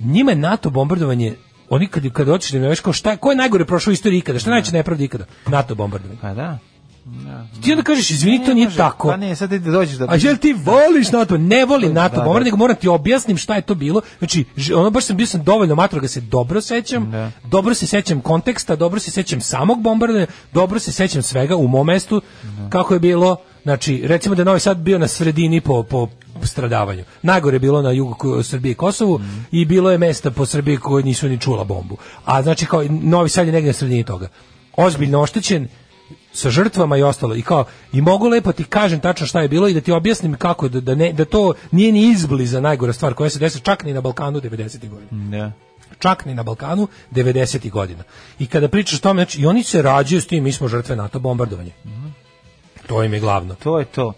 Speaker 7: njima je NATO bombardovanje oni kad kad hoćeš da mi kažeš kao šta ko je najgore prošao u istoriji ikada, šta najče nepravda ikada? NATO bombardovanje.
Speaker 6: Pa da.
Speaker 7: Da. Ti onda kažeš, izvini, to nije
Speaker 6: može,
Speaker 7: tako.
Speaker 6: Pa ne, sad ti dođeš da...
Speaker 7: A jel ti voliš NATO? Ne volim NATO da, bombardovanje, nego moram ti objasnim šta je to bilo. Znači, ž- ono baš sam bio sam dovoljno matro ga se dobro sećam,
Speaker 6: Da.
Speaker 7: dobro se sećam konteksta, dobro se sećam samog bombardovanja, dobro se sećam svega u mom mestu, kako je bilo, znači, recimo da je Novi Sad bio na sredini po, po stradavanju. Najgore je bilo na jugu Ko- Srbije i Kosovu i bilo je mesta po Srbiji koje nisu ni čula bombu. A znači kao Novi Sad je negdje na sredini toga. Ozbiljno oštećen, sa žrtvama i ostalo i kao i mogu lepo ti kažem tačno šta je bilo i da ti objasnim kako da, da, ne, da to nije ni izbliza najgora stvar koja se desila čak ni na Balkanu 90. godina
Speaker 6: Da.
Speaker 7: čak ni na Balkanu 90. godina i kada pričaš o tome znači, i oni se rađaju s tim mi smo žrtve NATO bombardovanja to im je glavno
Speaker 6: To je to.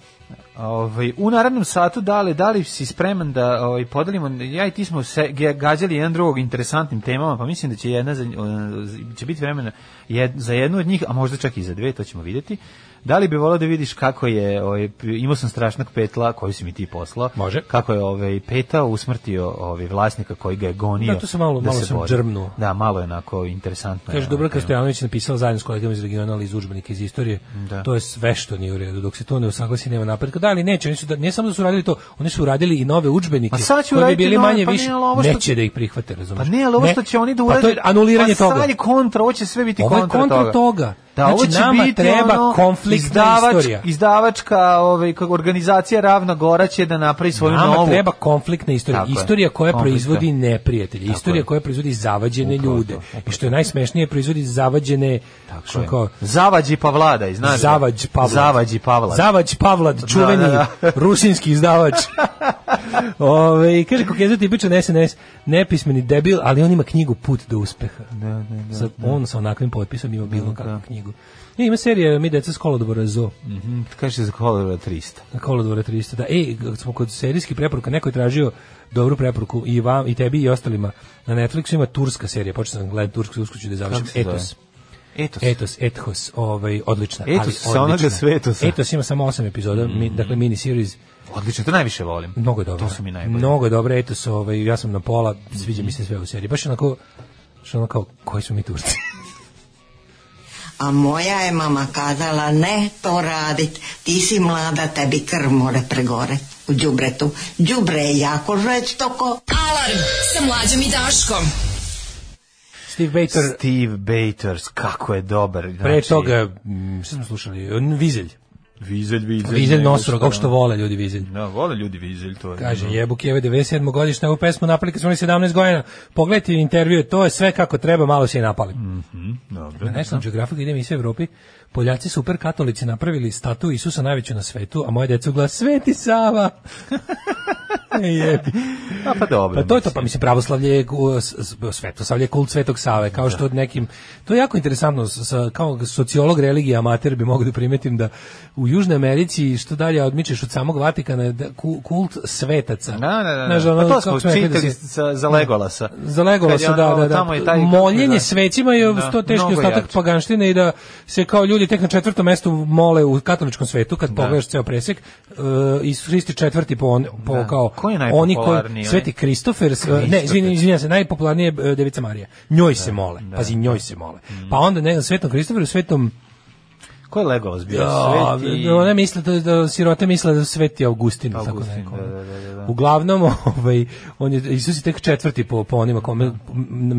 Speaker 6: Ovaj, u narednom satu dale, da li si spreman da ovaj, podelimo, ja i ti smo se ge- gađali jedan drugog interesantnim temama, pa mislim da će, jedna za, o, će biti vremena jed- za jednu od njih, a možda čak i za dve, to ćemo vidjeti. Da li bi volao da vidiš kako je, ovaj, p- imao sam strašnog petla koju si mi ti poslao,
Speaker 7: Može.
Speaker 6: kako je ovaj, peta usmrtio ovaj, vlasnika koji ga je gonio.
Speaker 7: Da, to sam malo- malo
Speaker 6: se
Speaker 7: sam
Speaker 6: bori.
Speaker 7: džrmnuo.
Speaker 6: Da, malo je onako interesantno.
Speaker 7: Kaže Dubravka Stojanović napisala zajedno s kolegama iz regiona ali iz udžbenika iz istorije.
Speaker 6: Da.
Speaker 7: To je sve što nije u redu. Dok se to ne usaglasi nema napretka. Da, ali neće, oni su da, ne samo da su radili to, oni su radili i nove udžbenike.
Speaker 6: A Pa sad će
Speaker 7: koji bi
Speaker 6: uraditi
Speaker 7: bili
Speaker 6: nove,
Speaker 7: manje
Speaker 6: pa
Speaker 7: više
Speaker 6: nije, ali ovo što-
Speaker 7: neće da ih prihvate, razumeš?
Speaker 6: Pa ne, ali ovo
Speaker 7: Ne.
Speaker 6: što će oni da
Speaker 7: Pa
Speaker 6: urade...
Speaker 7: to je anuliranje
Speaker 6: pa
Speaker 7: toga.
Speaker 6: sad je kontra, ovo će sve biti
Speaker 7: Ovo je
Speaker 6: kontra,
Speaker 7: kontra toga. Znači, nama treba konfliktna istorija.
Speaker 6: ono Izdavačka ovaj, kako organizacija Ravna Gora će da napravi svoju
Speaker 7: Nama
Speaker 6: novu.
Speaker 7: treba konfliktna istorija.
Speaker 6: Tako je.
Speaker 7: istorija koja
Speaker 6: Konfliktna.
Speaker 7: proizvodi neprijatelje.
Speaker 6: Tako
Speaker 7: istorija
Speaker 6: je.
Speaker 7: koja proizvodi zavađene ljude. I što je najsmešnije, proizvodi zavađene... što
Speaker 6: Tako je.
Speaker 7: kao-
Speaker 6: Zavađi pa vladaj, znaš. da?
Speaker 7: Zavađ Pavlad.
Speaker 6: Zavađi Pavlad.
Speaker 7: Zavađ Pavlad, čuveni
Speaker 6: Da,
Speaker 7: rusinski izdavač. Ove, i kaže, Kokeza tipičan SNS, nepismeni debil, ali on ima knjigu Put do uspeha.
Speaker 6: Da, da, da.
Speaker 7: Sa, on sa onakvim potpisom ima bilo
Speaker 6: Da,
Speaker 7: kakvu
Speaker 6: da.
Speaker 7: knjigu. I ima serija Mi deca s kolodvora Zo.
Speaker 6: Mhm, Kaže za kolora 300.
Speaker 7: Na kolodvora 300. Da, e, kad smo kod serijskih preporuka, neko je tražio dobru preporuku i vam, i tebi i ostalima. Na Netflixu ima turska serija, počeo sam gledati tursku, uskuću da je završim.
Speaker 6: Kako se zove?
Speaker 7: Etos.
Speaker 6: Etos.
Speaker 7: Ethos, Ethos, ovaj, odlična.
Speaker 6: Ethos
Speaker 7: ali
Speaker 6: sa
Speaker 7: odlična.
Speaker 6: onoga svetosa.
Speaker 7: Ethos ima samo osam epizoda, mi, dakle mini series.
Speaker 6: Odlično, to najviše volim.
Speaker 7: Mnogo je dobro.
Speaker 6: To su mi najbolje.
Speaker 7: Mnogo je dobro, Ethos, ovaj, ja sam na pola, sviđa mi se sve u seriji. Baš onako, što ono kao, koji su mi Turci?
Speaker 15: A moja je mama kazala ne to radit, ti si mlada, tebi krv more pregore u đubretu. Đubre je jako žveć toko.
Speaker 11: Alarm sa mlađom i Daškom.
Speaker 7: Steve Bater,
Speaker 6: Steve Bators, kako je dobar. Znači,
Speaker 7: pre toga, mm, šta smo slušali, On, Vizelj.
Speaker 6: Vizelj, Vizelj.
Speaker 7: Vizelj
Speaker 6: nego
Speaker 7: Nosorog,
Speaker 6: šta.
Speaker 7: ovo što vole ljudi Vizelj.
Speaker 6: Da, vole ljudi Vizelj, to je.
Speaker 7: Kaže, jebuk jeve 97. godišnja, ovu pesmu napali kad smo imali 17 godina. Pogledajte intervju, to je sve kako treba, malo se i napali.
Speaker 6: Mhm, dobro.
Speaker 7: Na National Geographic idem iz Evropi. Poljaci super katolici napravili statu Isusa najveću na svetu, a moje deca u glas Sveti Sava. E, jebi.
Speaker 6: A pa dobro.
Speaker 7: Pa to je to, pa mislim pravoslavlje je u, s- s- svetosavlje je kult Svetog Save, kao što od nekim to je jako interesantno s- sa kao sociolog religije amater bi mogao da primetim da u Južnoj Americi što dalje odmičeš od samog Vatikana je da ku- kult svetaca.
Speaker 6: Da, da, da.
Speaker 7: Znaš,
Speaker 6: da.
Speaker 7: ono,
Speaker 6: Pa to
Speaker 7: kako
Speaker 6: smo
Speaker 7: smo rekli da
Speaker 6: čitali
Speaker 7: se-
Speaker 6: sa, za Legolasa.
Speaker 7: za Legola
Speaker 6: Kad je
Speaker 7: se da,
Speaker 6: ono,
Speaker 7: da, da.
Speaker 6: tamo je taj-
Speaker 7: Moljenje
Speaker 6: da.
Speaker 7: svecima je
Speaker 6: Da,
Speaker 7: to teški
Speaker 6: mnogo
Speaker 7: ostatak
Speaker 6: jače.
Speaker 7: paganštine i da se kao ljudi tek na četvrtom mestu mole u katoličkom svetu kad pogledaš ceo presek uh, Isus Hrist je četvrti po on, po
Speaker 6: Da.
Speaker 7: kao
Speaker 6: Ko je
Speaker 7: oni
Speaker 6: najpopularniji,
Speaker 7: koji Sveti
Speaker 6: oni?
Speaker 7: Kristofer, s- e, ne izvini izvinjavam se najpopularnije je e, Devica Marija njoj se mole pazi njoj se mole
Speaker 6: Mm.
Speaker 7: pa onda ne znam, Svetom Kristoferu Svetom
Speaker 6: Ko je Legolas bio?
Speaker 7: ja,
Speaker 6: Sveti...
Speaker 7: one misle da, da sirote misle da sveti Augustin, ili tako
Speaker 6: Augustin,
Speaker 7: neko. ono.
Speaker 6: da, da, da, da.
Speaker 7: Uglavnom, ovaj, on je, Isus je tek četvrti po, po onima, kome, m-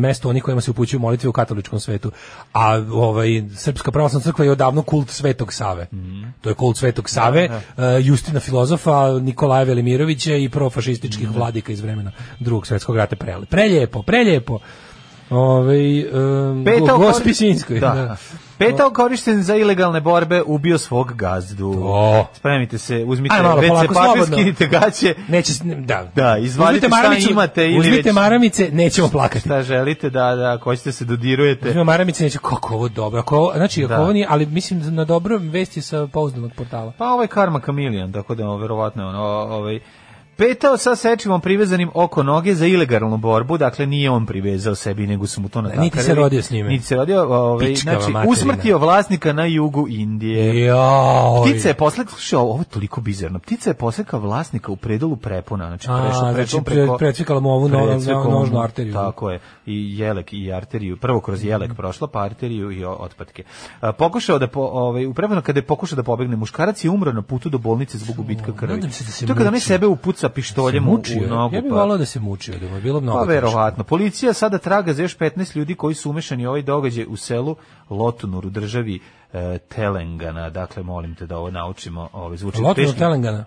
Speaker 7: mesto onih kojima se upućuju molitve u katoličkom svetu. A ovaj, Srpska pravoslavna crkva je odavno kult Svetog Save.
Speaker 6: Mhm.
Speaker 7: To je kult Svetog Save, eh, Justina filozofa, Nikolaja Velimirovića i profašističkih vladika iz vremena drugog svetskog rata. Prele- Preljepo, preljepo. Ovaj, em,
Speaker 6: Peta
Speaker 7: Go-
Speaker 6: okolnost-
Speaker 7: Gospićinskoj,
Speaker 6: Da.
Speaker 7: da.
Speaker 6: Petao korišten za ilegalne borbe, ubio svog gazdu.
Speaker 7: To.
Speaker 6: Spremite se, uzmite
Speaker 7: Ajde malo,
Speaker 6: WC
Speaker 7: polako,
Speaker 6: papir,
Speaker 7: slobodno.
Speaker 6: skinite gaće.
Speaker 7: Neće, s- ne- da.
Speaker 6: Da, izvadite
Speaker 7: Uzmite
Speaker 6: šta
Speaker 7: maramicu,
Speaker 6: imate ili
Speaker 7: uzmite
Speaker 6: već-
Speaker 7: maramice, nećemo plakati.
Speaker 6: Šta želite, da, da, ako hoćete se dodirujete.
Speaker 7: Uzmimo maramice, neće, kako ovo dobro, ako ovo, znači, ako
Speaker 6: Da.
Speaker 7: ovo nije, ali mislim na dobro vesti sa pouzdanog portala.
Speaker 6: Pa ovaj Karma Kamilijan, tako da verovatno je ono, o- ovaj, Petao sa sečivom privezanim oko noge za ilegalnu borbu, dakle nije on privezao sebi, nego su mu to natakarili.
Speaker 7: niti se rodio s njime.
Speaker 6: Niti se rodio, ovaj,
Speaker 7: Pičkava
Speaker 6: znači,
Speaker 7: materina.
Speaker 6: usmrtio vlasnika na jugu Indije.
Speaker 7: Joj.
Speaker 6: Ptica je posle, slušaj, ovo je toliko bizarno, ptica je posleka vlasnika u predelu prepona, znači
Speaker 7: A,
Speaker 6: prešla
Speaker 7: znači,
Speaker 6: prepon
Speaker 7: pre- precvikala mu ovu no-
Speaker 6: precvikala
Speaker 7: no- nožnu
Speaker 6: mu,
Speaker 7: arteriju. Mhm.
Speaker 6: Tako je, i jelek i arteriju, prvo kroz jelek prošla, pa arteriju i o- otpatke. A, pokušao da, po, ovaj, upravo kada je pokušao da pobegne, muškarac je umro na putu do bolnice zbog gubitka krvi.
Speaker 7: nadam se da se
Speaker 6: to je kada ne
Speaker 7: mučio.
Speaker 6: sebe upuca pištoljem
Speaker 7: Se
Speaker 6: u-
Speaker 7: mučio je.
Speaker 6: u nogu.
Speaker 7: Ja bih
Speaker 6: pa-
Speaker 7: volao da se mučio, da mu je bilo mnogo.
Speaker 6: pa
Speaker 7: teško.
Speaker 6: verovatno. Policija sada traga za još 15 ljudi koji su umešani u ovaj događaj u selu Lotunur u državi e, Telengana. Dakle, molim te da ovo naučimo. Ovo zvuči
Speaker 7: Lotunur,
Speaker 6: teški-
Speaker 7: Telengana.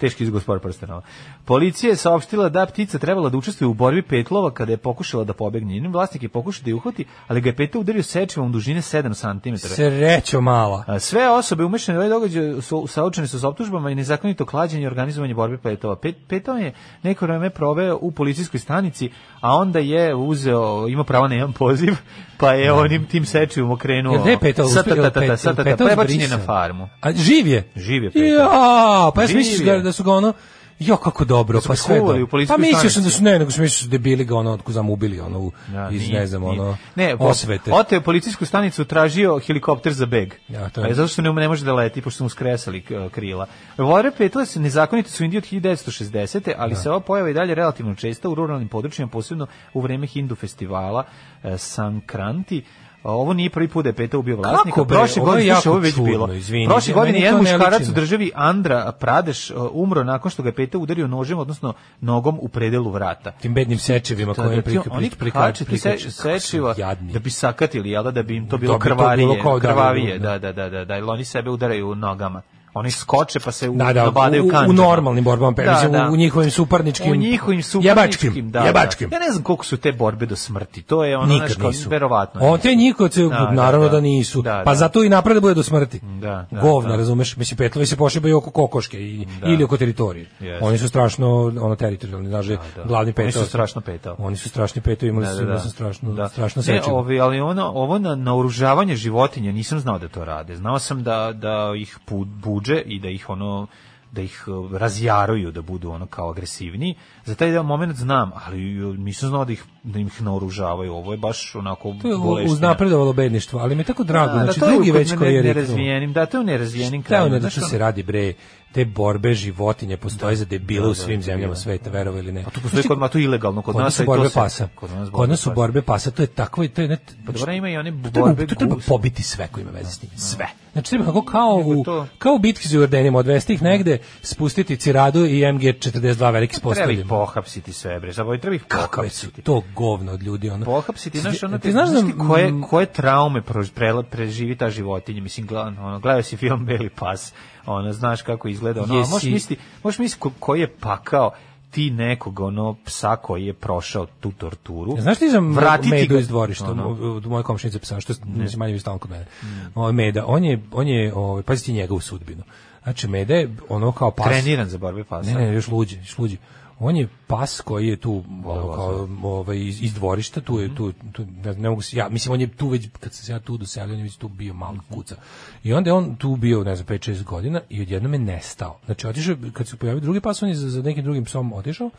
Speaker 6: Teški iz gospodar prstenova. Policija je saopštila da ptica trebala da učestvuje u borbi petlova kada je pokušala da pobegne. Njen vlasnik je pokušao da je uhvati, ali ga je peta udario sečivom dužine 7 cm.
Speaker 7: Srećo mala.
Speaker 6: A, Sve osobe umešane u ovaj događaj su saučene su s optužbama i nezakonito klađenje i organizovanje borbe petova. Pet, petao je neko vreme proveo u policijskoj stanici, a onda je uzeo, ima pravo na jedan poziv, pa je onim tim sečivom okrenuo.
Speaker 7: Jel gde je petao?
Speaker 6: Sa, ta, ta, ta, ta,
Speaker 7: Jel
Speaker 6: sa, ta, ta,
Speaker 7: petao
Speaker 6: prebačen je
Speaker 7: zbrisan?
Speaker 6: na farmu.
Speaker 7: A živ je?
Speaker 6: Živ je petao.
Speaker 7: Ja, pa ja sam
Speaker 6: Živ
Speaker 7: mislio
Speaker 6: je.
Speaker 7: da su ga ono Jo kako dobro,
Speaker 6: Da su
Speaker 7: pa
Speaker 6: ga
Speaker 7: sve.
Speaker 6: skuvali
Speaker 7: dobro.
Speaker 6: u policijskoj
Speaker 7: Pa mislio sam
Speaker 6: stanici.
Speaker 7: da su ne, nego sam mislio da su debili ga ono otkuzam ubili ono u-
Speaker 6: Ja,
Speaker 7: iz
Speaker 6: nije,
Speaker 7: ne znam
Speaker 6: nije.
Speaker 7: ono
Speaker 6: ne, po-
Speaker 7: osvete.
Speaker 6: Oteo je policijsku stanicu, tražio helikopter za beg.
Speaker 7: Ja, to je-
Speaker 6: Pa je zato što ne, ne može da leti, pošto su mu skresali k- krila. Vore petile se nezakonite su u Indiji od 1960. ali se ova pojava i dalje relativno česta u ruralnim područjima, posebno u vreme Hindu festivala e, Sankranti. A Ovo nije prvi put da je peta ubio vlasnika.
Speaker 7: Kako bre,
Speaker 6: Prošle
Speaker 7: ovo je
Speaker 6: godine,
Speaker 7: jako
Speaker 6: slušaj, ovo je već
Speaker 7: čudno,
Speaker 6: bilo.
Speaker 7: izvini,
Speaker 6: Prošle
Speaker 7: ja-
Speaker 6: godine
Speaker 7: meni
Speaker 6: jedan
Speaker 7: to ne
Speaker 6: muškarac
Speaker 7: liči
Speaker 6: u
Speaker 7: na-
Speaker 6: državi Andra Pradeš e, umro nakon što ga je peta udario nožem, odnosno nogom u predelu vrata
Speaker 7: tim bednim sečevima
Speaker 6: to
Speaker 7: koje
Speaker 6: da
Speaker 7: je
Speaker 6: ti oni kače,
Speaker 7: prikače
Speaker 6: ti se- sečiva da bi sakatili, jel da, da bi im to bilo
Speaker 7: bi to
Speaker 6: krvarije,
Speaker 7: bilo kao da,
Speaker 6: krvavije, da,
Speaker 7: da,
Speaker 6: da, da, da, da, jel oni sebe udaraju nogama. Oni skoče pa se u,
Speaker 7: Da, da,
Speaker 6: nabadaju
Speaker 7: u- u
Speaker 6: kandžama.
Speaker 7: normalnim borbama, pa mislim, u njihovim suparničkim-
Speaker 6: u njihovim suparničkim,
Speaker 7: jebačkim,
Speaker 6: da, da.
Speaker 7: jebačkim.
Speaker 6: Ja ne znam koliko su te borbe do smrti, to je ono,
Speaker 7: Nikad
Speaker 6: znaš, kao,
Speaker 7: nisu.
Speaker 6: verovatno.
Speaker 7: On te njihovce,
Speaker 6: Da, da,
Speaker 7: naravno da,
Speaker 6: da.
Speaker 7: nisu.
Speaker 6: Da,
Speaker 7: pa
Speaker 6: da.
Speaker 7: zato i naprave da bude do smrti.
Speaker 6: Da, da,
Speaker 7: Govna,
Speaker 6: da.
Speaker 7: razumeš? Mislim, petlovi se pošibaju oko kokoške i, ili oko teritorije.
Speaker 6: Jeste.
Speaker 7: Oni su strašno, ono, teritorijalni, znaš,
Speaker 6: da.
Speaker 7: glavni
Speaker 6: Oni
Speaker 7: petao.
Speaker 6: su strašno petao.
Speaker 7: Oni su strašni petao, imali
Speaker 6: Da,
Speaker 7: su
Speaker 6: da, da.
Speaker 7: su strašno,
Speaker 6: Da.
Speaker 7: strašno
Speaker 6: Ne,
Speaker 7: sečivo.
Speaker 6: ovi, ali ono, ovo na, naoružavanje životinja, nisam znao da to rade. Znao sam da, da ih pu- buđe i da ih ono da ih eh, razjaruju da budu ono kao agresivniji. Za taj jedan moment znam, ali eh, nisam znao da ih da ih naoružavaju. Ovo je baš onako
Speaker 7: To je u-
Speaker 6: boleština.
Speaker 7: uznapredovalo bedništvo, ali mi je tako drago.
Speaker 6: Da, da,
Speaker 7: znači,
Speaker 6: to je
Speaker 7: drugi
Speaker 6: u- kod
Speaker 7: već
Speaker 6: ne-
Speaker 7: koji je riknuo.
Speaker 6: nerazvijenim, da, to je u nerazvijenim
Speaker 7: Šta je ono
Speaker 6: krajevima,
Speaker 7: da
Speaker 6: znaš
Speaker 7: što
Speaker 6: ono?
Speaker 7: se radi bre, te borbe životinje postoje za debile u svim
Speaker 6: da,
Speaker 7: zemljama
Speaker 6: debile.
Speaker 7: sveta, verovali ili ne.
Speaker 6: A tu ono, pa postoji kod, ma, tu ilegalno, kod,
Speaker 7: Kod nas
Speaker 6: nas,
Speaker 7: su
Speaker 6: a i to
Speaker 7: borbe
Speaker 6: se-
Speaker 7: pasa.
Speaker 6: Kod nas,
Speaker 7: Kod nas su
Speaker 6: pasa.
Speaker 7: borbe pasa, to je tako i to je... ne-
Speaker 6: Pa dobro, ima i one
Speaker 7: To treba-
Speaker 6: borbe
Speaker 7: to treba
Speaker 6: gusa.
Speaker 7: pobiti sve ko ima veze s tim. Sve. Znači treba kako kao u, kao u bitki za Jordanima odvesti ih negde, spustiti Ciradu i MG42 veliki
Speaker 6: Treba ih
Speaker 7: spostavljeni.
Speaker 6: pohapsiti sve, bre. Zabovi, treba ih
Speaker 7: Kakve su
Speaker 6: pohapsiti.
Speaker 7: to govno od ljudi. Ono.
Speaker 6: pohapsiti, znaš, ono,
Speaker 7: ti znaš da,
Speaker 6: ti koje,
Speaker 7: mm,
Speaker 6: koje traume prož- prela- preživi ta životinja, mislim, gla- ono, gledao si film Beli pas, ono, znaš kako izgleda, ono, a možeš
Speaker 7: Jesi.
Speaker 6: misliti, možeš misliti ko- koji je pakao ti nekog, ono, psa koji je prošao tu torturu,
Speaker 7: Znaš ti za m-
Speaker 6: vratiti
Speaker 7: medu
Speaker 6: ga-
Speaker 7: iz dvorišta,
Speaker 6: ono, Mm.
Speaker 7: u- u- u moje komšinice psa, što ne. manje više stalno kod mene. O, meda, on je, on je ovaj, pazi ti njegovu sudbinu. Znači, Meda je ono kao pas.
Speaker 6: treniran za borbe pasa.
Speaker 7: Ne, ne, još luđe, još luđe. On je pas koji je tu ono, kao, ovaj, iz, iz dvorišta, tu je tu, tu ne, ne mogu se, ja, mislim on je tu već kad sam se ja tu doselio, on je već tu bio mali kuca. I onda je on tu bio, ne znam, 5-6 godina i odjednom je nestao. Znači otišao je- kad se pojavio drugi pas, on je za, za nekim drugim psom otišao.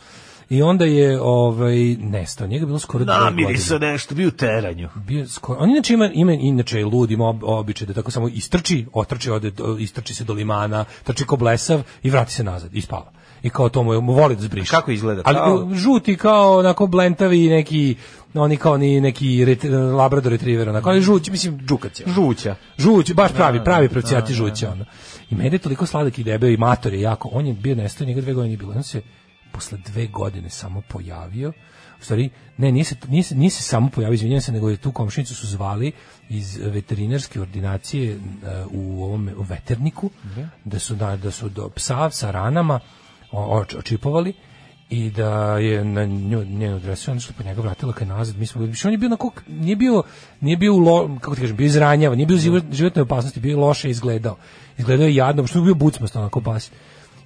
Speaker 7: I onda je ovaj nestao. Njega je bilo skoro dve godine.
Speaker 6: se nešto, bi u teranju.
Speaker 7: Bio skoro. On inače ima, ima inače je lud, ima ob- običaj da tako samo istrči, otrči, ode, do- istrči se do limana, trči ko blesav i vrati se nazad i spava. I kao to mu, je- mu voli da zbriše.
Speaker 6: Kako izgleda?
Speaker 7: Ali
Speaker 6: Kao-
Speaker 7: u- žuti kao onako blentavi neki oni kao ni neki ret, labrador retriever onako, ali žući, mislim džukac je. ono.
Speaker 6: Žuća.
Speaker 7: Žuć, baš pravi,
Speaker 6: Da,
Speaker 7: pravi
Speaker 6: da,
Speaker 7: pravcijati
Speaker 6: da,
Speaker 7: žuća.
Speaker 6: da.
Speaker 7: ono. I mene je toliko sladak i debeo i mator je jako. On je bio nestao, njega dve godine nije bilo. On se posle dve godine samo pojavio. U stvari, ne, nije se, nije se, nije se samo pojavio, izvinjam se, nego je tu komšinicu su zvali iz veterinarske ordinacije e, u ovom u veterniku, da su, da, da su do psa sa ranama o- oč- očipovali i da je na nju njenu dresu nešto po njega vratila ka nazad mi smo što on je bio na kuk nije bio nije bio u lo, kako ti kažem bio izranjavan nije bio u život, životnoj opasnosti bio je loše izgledao izgledao je jadno što je bio bucmast onako bas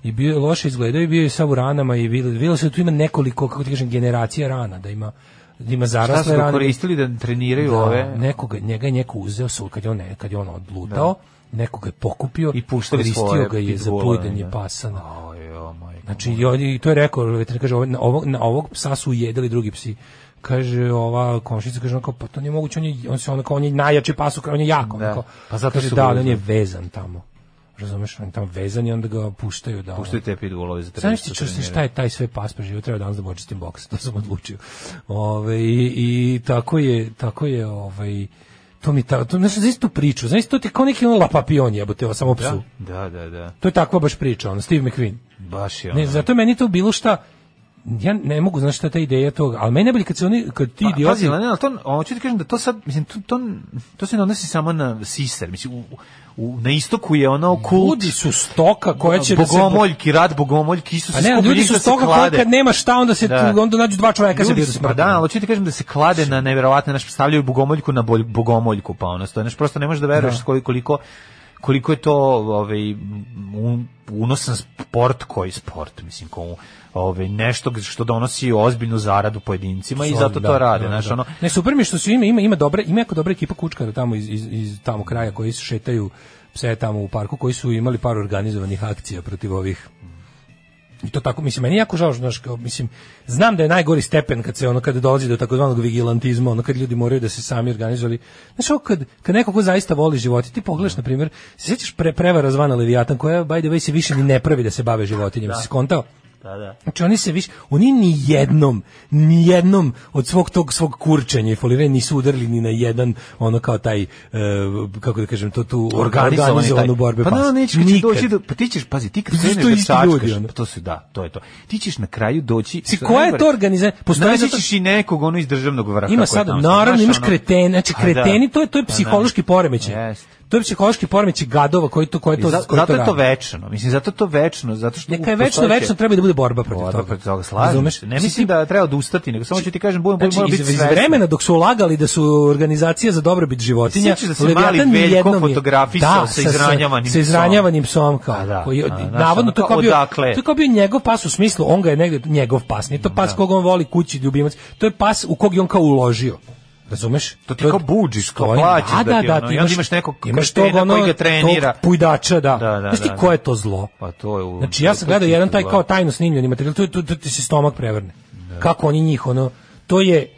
Speaker 7: i bio je loše izgledao i bio je sa u ranama i videlo, videlo se da tu ima nekoliko kako ti kažem generacija rana da ima da ima
Speaker 6: Šta su
Speaker 7: zarasle
Speaker 6: ga
Speaker 7: rane
Speaker 6: koristili da treniraju
Speaker 7: da,
Speaker 6: ove?
Speaker 7: Nekoga, njega je neko uzeo su, kad je on, kad je on odlutao, nekoga je pokupio i
Speaker 6: puštali svoje
Speaker 7: koristio ga je za
Speaker 6: pitbulle,
Speaker 7: pojedanje
Speaker 6: da.
Speaker 7: pasa. na-
Speaker 6: O, moj.
Speaker 7: Znači, i on je- i to je rekao, veterinar kaže, ovo- na ovog, na ovog psa su ujedili drugi psi. Kaže, ova komšinica, kaže, onako, pa to nije moguće, on, je, on, se, onako, on je najjači pas, u kraju, on je jako. onako.
Speaker 6: Pa zato
Speaker 7: kaže,
Speaker 6: su
Speaker 7: da,
Speaker 6: ga
Speaker 7: ali on je
Speaker 6: uzeli.
Speaker 7: vezan tamo. Razumeš, on je tamo vezan i onda ga puštaju da... ono-
Speaker 6: Puštaju te pitbullove za
Speaker 7: Znaš
Speaker 6: trenicu
Speaker 7: ti čusti
Speaker 6: treniraju.
Speaker 7: šta je taj sve pas preživio, treba danas da počistim boks, to sam odlučio. Ove, i, i tako je, tako je, ovaj, to mi ta, to, znaš, znaš tu priču, znaš, to ti je kao neki ono la papion jebote, ovo, samo psu.
Speaker 6: Da, da, da.
Speaker 7: To je takva baš priča, ono, Steve McQueen.
Speaker 6: Baš je ono.
Speaker 7: Ne, zato je meni to bilo šta, ja ne mogu, znaš šta je ta ideja toga, ali meni najbolje kad se oni, kad ti
Speaker 6: Pa,
Speaker 7: idioti...
Speaker 6: Pazi, Lene, ali to, ono, ću ti kažem da to sad, mislim, to, to, to se ne odnosi samo na Siser, mislim, u, u, na istoku je ono kult.
Speaker 7: Ljudi su stoka koja će da se-
Speaker 6: Bogomoljki, rad bogomoljki, isto se
Speaker 7: A ne,
Speaker 6: skupi
Speaker 7: ljudi
Speaker 6: njih
Speaker 7: su
Speaker 6: da se
Speaker 7: stoka koja
Speaker 6: klade.
Speaker 7: kad nema šta, onda se
Speaker 6: Da.
Speaker 7: onda nađu dva čoveka se
Speaker 6: Ljudi
Speaker 7: biju da
Speaker 6: su,
Speaker 7: se
Speaker 6: pa da, ali hoću ti kažem da se klade na neverovatne, naš stavljaju bogomoljku na bolj, bogomoljku, pa ono, stoje, znaš, prosto ne možeš da veruješ
Speaker 7: Da.
Speaker 6: koliko, koliko, koliko je to ovaj, un- unosan sport koji sport, mislim, ko, ovaj, nešto što donosi ozbiljnu zaradu pojedincima i
Speaker 7: Solid,
Speaker 6: zato to
Speaker 7: da,
Speaker 6: rade,
Speaker 7: da,
Speaker 6: znaš,
Speaker 7: da.
Speaker 6: ono,
Speaker 7: Ne, super mi je što su ima, ima, ima dobre, ima jako dobra ekipa kučkara tamo iz, iz, iz tamo kraja koji se šetaju pse tamo u parku, koji su imali par organizovanih akcija protiv ovih I to tako, mislim, meni je jako žao, znaš, kao, mislim, znam da je najgori stepen kad se ono, kada dolazi do takozvanog vigilantizma, ono, kad ljudi moraju da se sami organizovali. Znaš, ovo kad, kad neko ko zaista voli životinje, ti pogledaš, na primjer, se sjećaš pre, prevara zvana Leviatan, koja, by the way, se više ni ne pravi da se bave životinjama,
Speaker 6: Da.
Speaker 7: si skontao?
Speaker 6: da, da.
Speaker 7: Znači oni se više, oni ni jednom, ni jednom od svog tog svog kurčenja i foliranja nisu udarili ni na jedan ono kao taj, e, kako da kažem, to tu
Speaker 6: Organizovani
Speaker 7: organizovanu
Speaker 6: taj-
Speaker 7: borbe
Speaker 6: pa
Speaker 7: pasa.
Speaker 6: da, neće kad će
Speaker 7: Nikad.
Speaker 6: doći do, pa ti ćeš pazi ti kad
Speaker 7: Zato što
Speaker 6: kreneš
Speaker 7: to
Speaker 6: da
Speaker 7: isti
Speaker 6: čačkaš
Speaker 7: ljudi, ono.
Speaker 6: pa to su da to je to ti ćeš na kraju doći
Speaker 7: Si,
Speaker 6: što
Speaker 7: koja je
Speaker 6: najgore,
Speaker 7: to organiza- postoji
Speaker 6: naći
Speaker 7: zato-
Speaker 6: ćeš i nekog ono iz državnog vrha
Speaker 7: Ima
Speaker 6: koji
Speaker 7: sad,
Speaker 6: tamo
Speaker 7: naravno
Speaker 6: stoji,
Speaker 7: imaš
Speaker 6: znaš, ono-
Speaker 7: kretene, znači
Speaker 6: Pa da.
Speaker 7: kreteni, to je to je
Speaker 6: Pa da.
Speaker 7: psihološki poremećaj. To je psihološki poremećaj gadova koji to koji
Speaker 6: I
Speaker 7: to
Speaker 6: za-
Speaker 7: koji
Speaker 6: zato
Speaker 7: to
Speaker 6: je to
Speaker 7: radi.
Speaker 6: večno mislim zato je to večno zato što
Speaker 7: Neka je
Speaker 6: u-
Speaker 7: večno,
Speaker 6: postojeće-
Speaker 7: večno treba da bude borba protiv
Speaker 6: Borba
Speaker 7: toga.
Speaker 6: protiv toga slažem
Speaker 7: Razumeš?
Speaker 6: se ne
Speaker 7: Mislim,
Speaker 6: mislim da treba odustati nego samo ću ti kažem budem
Speaker 7: Znači,
Speaker 6: budem
Speaker 7: iz,
Speaker 6: biti
Speaker 7: iz
Speaker 6: svestan.
Speaker 7: vremena dok su ulagali da su organizacije za dobrobit životinja,
Speaker 6: Sjećaš da se
Speaker 7: Leviatan
Speaker 6: mali Veljko
Speaker 7: nijednom je-
Speaker 6: fotografisao
Speaker 7: da,
Speaker 6: sa izranjavanim
Speaker 7: sa izranjavanim psom kao.
Speaker 6: A da,
Speaker 7: koji,
Speaker 6: a da, znaš,
Speaker 7: navodno
Speaker 6: ono
Speaker 7: to
Speaker 6: kao,
Speaker 7: kao bio,
Speaker 6: odakle?
Speaker 7: to kao bio njegov pas u smislu, on ga je negde njegov pas, nije to pas kog on voli kući, ljubimac, to je pas u kog je on kao uložio. Razumeš?
Speaker 6: To ti
Speaker 7: je-
Speaker 6: kao budžiš, kao
Speaker 7: to je-
Speaker 6: plaćaš
Speaker 7: a,
Speaker 6: da ti ono, i onda imaš nekog kretena
Speaker 7: tog ono,
Speaker 6: koji ga trenira.
Speaker 7: tog pujdača, da.
Speaker 6: Da, da,
Speaker 7: Znaš ti
Speaker 6: da,
Speaker 7: ko
Speaker 6: da.
Speaker 7: je to zlo?
Speaker 6: pa to je u-
Speaker 7: Znači ja
Speaker 6: to
Speaker 7: sam
Speaker 6: je
Speaker 7: gledao
Speaker 6: čisto
Speaker 7: jedan taj
Speaker 6: zlo.
Speaker 7: kao tajno snimljeni materijal, tu, tu, tu ti se stomak prevrne. Kako oni njih, ono, to je,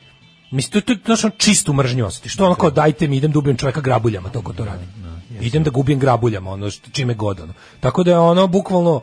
Speaker 7: mislim, to, to, to, znaš, ono, čistu mržnju osjetiš. Što ono kao, dajte mi, idem da ubijem čoveka grabuljama, to ko to radi. Idem da gubijem grabuljama, ono, što- čime god, ono. Tako da je ono, bukvalno,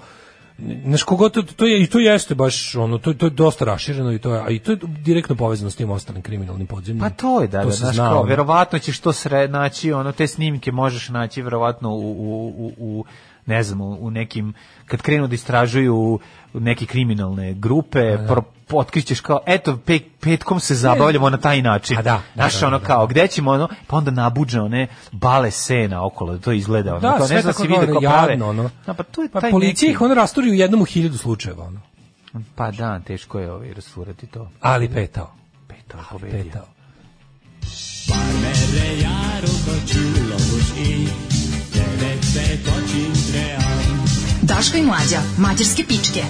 Speaker 7: znaš, kogo to, to je, i to jeste baš, ono, to, to je dosta rašireno i to je, a i to je direktno povezano s tim ostalim kriminalnim podzemljima.
Speaker 6: Pa to je, da, da,
Speaker 7: Mm. se
Speaker 6: znaš,
Speaker 7: zna,
Speaker 6: kao,
Speaker 7: ono.
Speaker 6: verovatno ćeš to sre, naći, ono, te snimke možeš naći verovatno u, u, u, u ne znam, u, u nekim, kad krenu da istražuju neke kriminalne grupe, pro, otkrićeš kao, eto, pe, petkom se zabavljamo na taj način.
Speaker 7: A da, da,
Speaker 6: Znaš,
Speaker 7: da,
Speaker 6: ono,
Speaker 7: da.
Speaker 6: kao, gde ćemo, ono, pa onda nabuđe one bale sena okolo, to izgleda, ono,
Speaker 7: Da,
Speaker 6: kao,
Speaker 7: sve
Speaker 6: ne znam
Speaker 7: tako
Speaker 6: si vidio
Speaker 7: ono,
Speaker 6: kao prave.
Speaker 7: jadno, ono.
Speaker 6: Da, pa to je
Speaker 7: Pa
Speaker 6: taj
Speaker 7: policija
Speaker 6: neki-
Speaker 7: ih, ono, rasturi u jednom u hiljadu slučajeva, ono.
Speaker 6: Pa da, teško je ovaj, rasturati to. ovaj,
Speaker 7: Ali petao.
Speaker 6: Petao,
Speaker 7: Ali
Speaker 6: pobedio.
Speaker 7: petao.
Speaker 5: Daško i mlađa, mađarske pičke.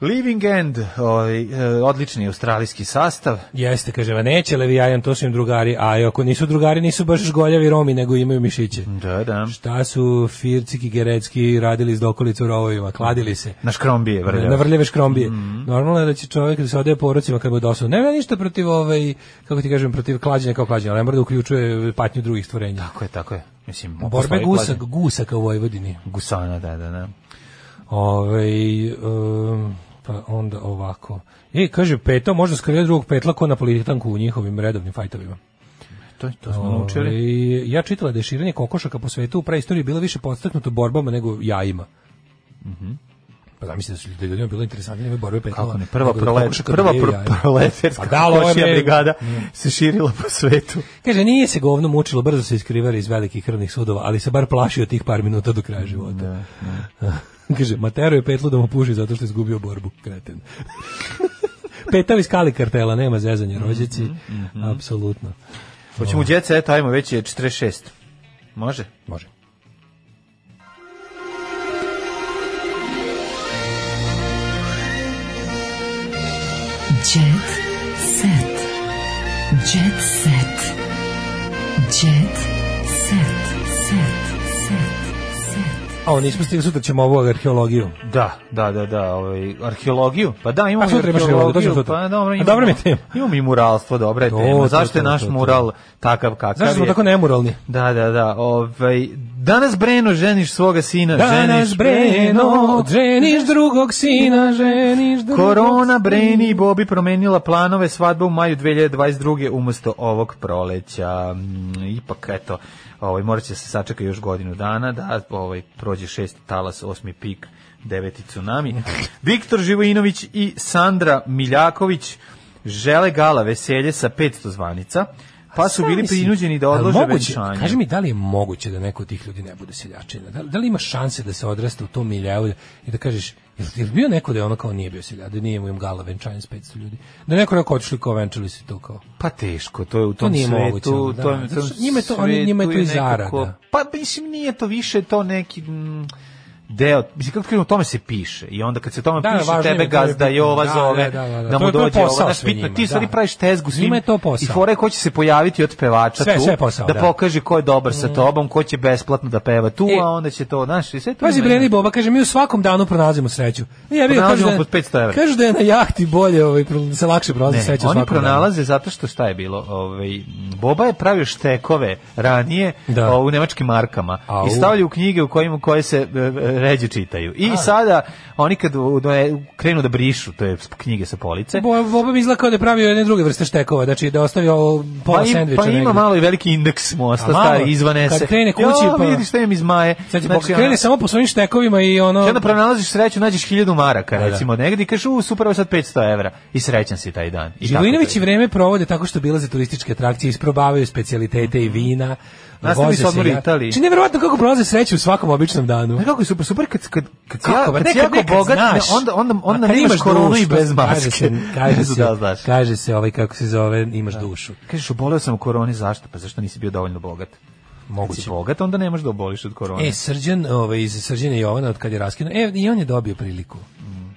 Speaker 6: Living End, ovaj, e, odlični australijski sastav,
Speaker 7: Jeste, kaže, va neće Levijan, to su im drugari, a ako nisu drugari, nisu baš žgoljavi Romi, nego imaju mišiće.
Speaker 6: da, da.
Speaker 7: Šta su Fircik i Gerecki radili iz dokolicu u rovovima, kladili se.
Speaker 6: Naš krombije, vrljava.
Speaker 7: Na vrljave škrombije.
Speaker 6: Mm-hmm.
Speaker 7: Normalno je da će čovjek da se odeje porocima kad bude dosadno. Nema ništa protiv ovaj, kako ti kažem, protiv klađenja kao klađenja, ali ne mora da uključuje patnju drugih stvorenja.
Speaker 6: Tako je, tako je. Mislim,
Speaker 7: Borbe
Speaker 6: postoji
Speaker 7: gusa,
Speaker 6: klađenje.
Speaker 7: gusaka u Vojvodini.
Speaker 6: Gusana, da, da, da.
Speaker 7: Ovaj um, pa onda ovako. E, kaže, peto, možda skrije drugog petla ko na politikanku u njihovim redovnim fajtovima.
Speaker 6: To, to smo naučili.
Speaker 7: Ovaj, ja čitala da je širenje kokošaka po svetu u preistoriji bilo više podstaknuto borbama nego jajima. Pa zamislite da su da je ljudima bilo interesantno ime borbe petala.
Speaker 6: Mhm. Kako ne, prva prolet, prva pro, proletarska
Speaker 7: Pa da, ali ovo je
Speaker 6: košija
Speaker 7: meni-
Speaker 6: brigada se širila po svetu.
Speaker 7: Kaže, nije se govno mučilo, brzo se iskrivali iz velikih krvnih sudova, ali se bar plašio tih par minuta do kraja života. Kaže, Matero je petlu da mu puši zato što je izgubio borbu, kreten. Petav iz Kali kartela, nema zezanja rođici,
Speaker 6: Mhm,
Speaker 7: apsolutno.
Speaker 6: Hoćemo u Jet Set, ajmo, već je 46. Može?
Speaker 7: Može.
Speaker 5: Jet set. Jet set. Jet set. Set. Set. Set.
Speaker 7: A ovo nismo stigli, sutra ćemo ovu arheologiju.
Speaker 6: Da, da, da, da, ovaj, arheologiju. Pa da, imamo
Speaker 7: A sutra imaš arheologiju, to ćemo sutra.
Speaker 6: Pa dobro,
Speaker 7: A
Speaker 6: imamo,
Speaker 7: dobra mi je tema.
Speaker 6: Imamo i muralstvo, dobra je
Speaker 7: To,
Speaker 6: tema.
Speaker 7: to,
Speaker 6: Zašto je
Speaker 7: to,
Speaker 6: naš
Speaker 7: to, to.
Speaker 6: mural takav kakav
Speaker 7: Zašto smo
Speaker 6: je?
Speaker 7: tako nemoralni?
Speaker 6: Da, da, da. Ovaj, danas Breno ženiš svoga sina.
Speaker 7: Danas
Speaker 6: ženiš
Speaker 7: Breno, ženiš drugog sina, ženiš drugog
Speaker 6: Korona,
Speaker 7: sina.
Speaker 6: Breni i Bobi promenila planove svadbe u maju 2022. umesto ovog proleća. Mm, Ipak, eto, ovaj, morat će se sačekati još godinu dana, da ovaj, prođe šest talas, osmi pik, deveti tsunami. Viktor Živojinović i Sandra Miljaković žele gala veselje sa 500 zvanica, pa su bili
Speaker 7: Mislim,
Speaker 6: prinuđeni da
Speaker 7: ali
Speaker 6: odlože
Speaker 7: moguće-
Speaker 6: venčanje.
Speaker 7: Kaži mi, da li je moguće da neko od tih ljudi ne bude seljačina? Da, li- da li ima šanse da se odraste u tom miljeu i da kažeš, jel, jel bio neko da je ono kao nije bio seljak, da nije mu im gala venčanje s 500 ljudi? Da je neko rekao otišli kao venčali se to kao.
Speaker 6: Pa teško, to je u
Speaker 7: To
Speaker 6: tom
Speaker 7: nije
Speaker 6: svetu,
Speaker 7: moguće, ono, da.
Speaker 6: to je u
Speaker 7: Zato
Speaker 6: tom
Speaker 7: što njima je to- oni- njima je
Speaker 6: svetu
Speaker 7: to i
Speaker 6: nekako-
Speaker 7: zarada.
Speaker 6: Pa mislim nije to više to neki mm, deo, mislim kako ti kažem, o tome se piše i onda kad se o tome
Speaker 7: Da,
Speaker 6: piše
Speaker 7: važno im
Speaker 6: tebe
Speaker 7: je, to je
Speaker 6: gazda
Speaker 7: bitno.
Speaker 6: i ova
Speaker 7: Da,
Speaker 6: zove
Speaker 7: da, da, da, da.
Speaker 6: da
Speaker 7: To
Speaker 6: mu
Speaker 7: je- to je
Speaker 6: dođe ovo,
Speaker 7: posao
Speaker 6: znaš,
Speaker 7: sve
Speaker 6: bitno,
Speaker 7: njima,
Speaker 6: ti u stvari
Speaker 7: da.
Speaker 6: praviš tezgu s
Speaker 7: Njima je to
Speaker 6: i
Speaker 7: posao.
Speaker 6: fore ko će se pojaviti od pevača
Speaker 7: Sve-
Speaker 6: tu,
Speaker 7: sve je posao,
Speaker 6: da,
Speaker 7: da. Mm.
Speaker 6: pokaže ko je dobar sa tobom, ko će besplatno da peva tu, a onda će to, znaš, i sve to
Speaker 7: E, Pazi
Speaker 6: Pa ima-
Speaker 7: Breni Boba, kaže, mi u svakom danu pronalazimo sreću. Ja bih
Speaker 6: Pronalazimo
Speaker 7: kažu da,
Speaker 6: pod 500 evra.
Speaker 7: kažu da je na jahti bolje, ovaj, pro- se lakše pronalazi
Speaker 6: Ne,
Speaker 7: sreća
Speaker 6: oni
Speaker 7: svakom danu.
Speaker 6: pronalaze zato što šta je bilo, ovaj Boba je pravio štekove ranije
Speaker 7: Da.
Speaker 6: o, u nemačkim markama
Speaker 7: Au.
Speaker 6: i stavljaju u knjige u kojima koje se e, e, ređe čitaju. I sada oni kad u- do- e, krenu da brišu te knjige sa police,
Speaker 7: Bo, Boba mi izgleda kao da je pravio jedne druge vrste štekova, znači da ostavi ovo pola
Speaker 6: pa, im-
Speaker 7: sendviča
Speaker 6: pa ima
Speaker 7: negde.
Speaker 6: malo i veliki indeks mosta,
Speaker 7: A malo,
Speaker 6: stari izvanese.
Speaker 7: kad krene kući,
Speaker 6: Jo,
Speaker 7: pa-
Speaker 6: vidi šta im iz Maje.
Speaker 7: Sad će
Speaker 6: Znači,
Speaker 7: pokrene
Speaker 6: ono-
Speaker 7: samo po svojim štekovima i ono...
Speaker 6: I onda pronalaziš sreću, nađeš hiljadu maraka,
Speaker 7: Da, da.
Speaker 6: recimo, negdje i kažeš, u, super, evo sad 500 evra. I srećan si taj dan. I tako to
Speaker 7: Živojinovići
Speaker 6: ide.
Speaker 7: vreme provode tako što bilaze turističke atrakcije, isprobavaju specijalitete i vina.
Speaker 6: Nastavi
Speaker 7: voze
Speaker 6: se odmor
Speaker 7: ja-
Speaker 6: Italiji.
Speaker 7: Znači, nevjerovatno kako prolaze sreću u svakom običnom danu.
Speaker 6: Ne Pa kako je super, super kad kad kad si
Speaker 7: Kako,
Speaker 6: ja,
Speaker 7: bre,
Speaker 6: kad si
Speaker 7: nekad-
Speaker 6: jako
Speaker 7: nekad
Speaker 6: bogat,
Speaker 7: znaš.
Speaker 6: ne, onda onda onda
Speaker 7: A kad
Speaker 6: nemaš
Speaker 7: imaš
Speaker 6: koronu i
Speaker 7: dušu,
Speaker 6: bez maske.
Speaker 7: Kaže se, kaže se,
Speaker 6: da, znaš.
Speaker 7: kaže se ovaj kako se zove, imaš dušu.
Speaker 6: Kažeš oboleo sam od korone, zašto? Pa zašto nisi bio dovoljno bogat? Moguće. Kad si bogat, onda nemaš da oboliš od korone.
Speaker 7: E, Srđan, ovaj, iz Srđana Jovana, od kad je raskinuo, e, i on je dobio priliku.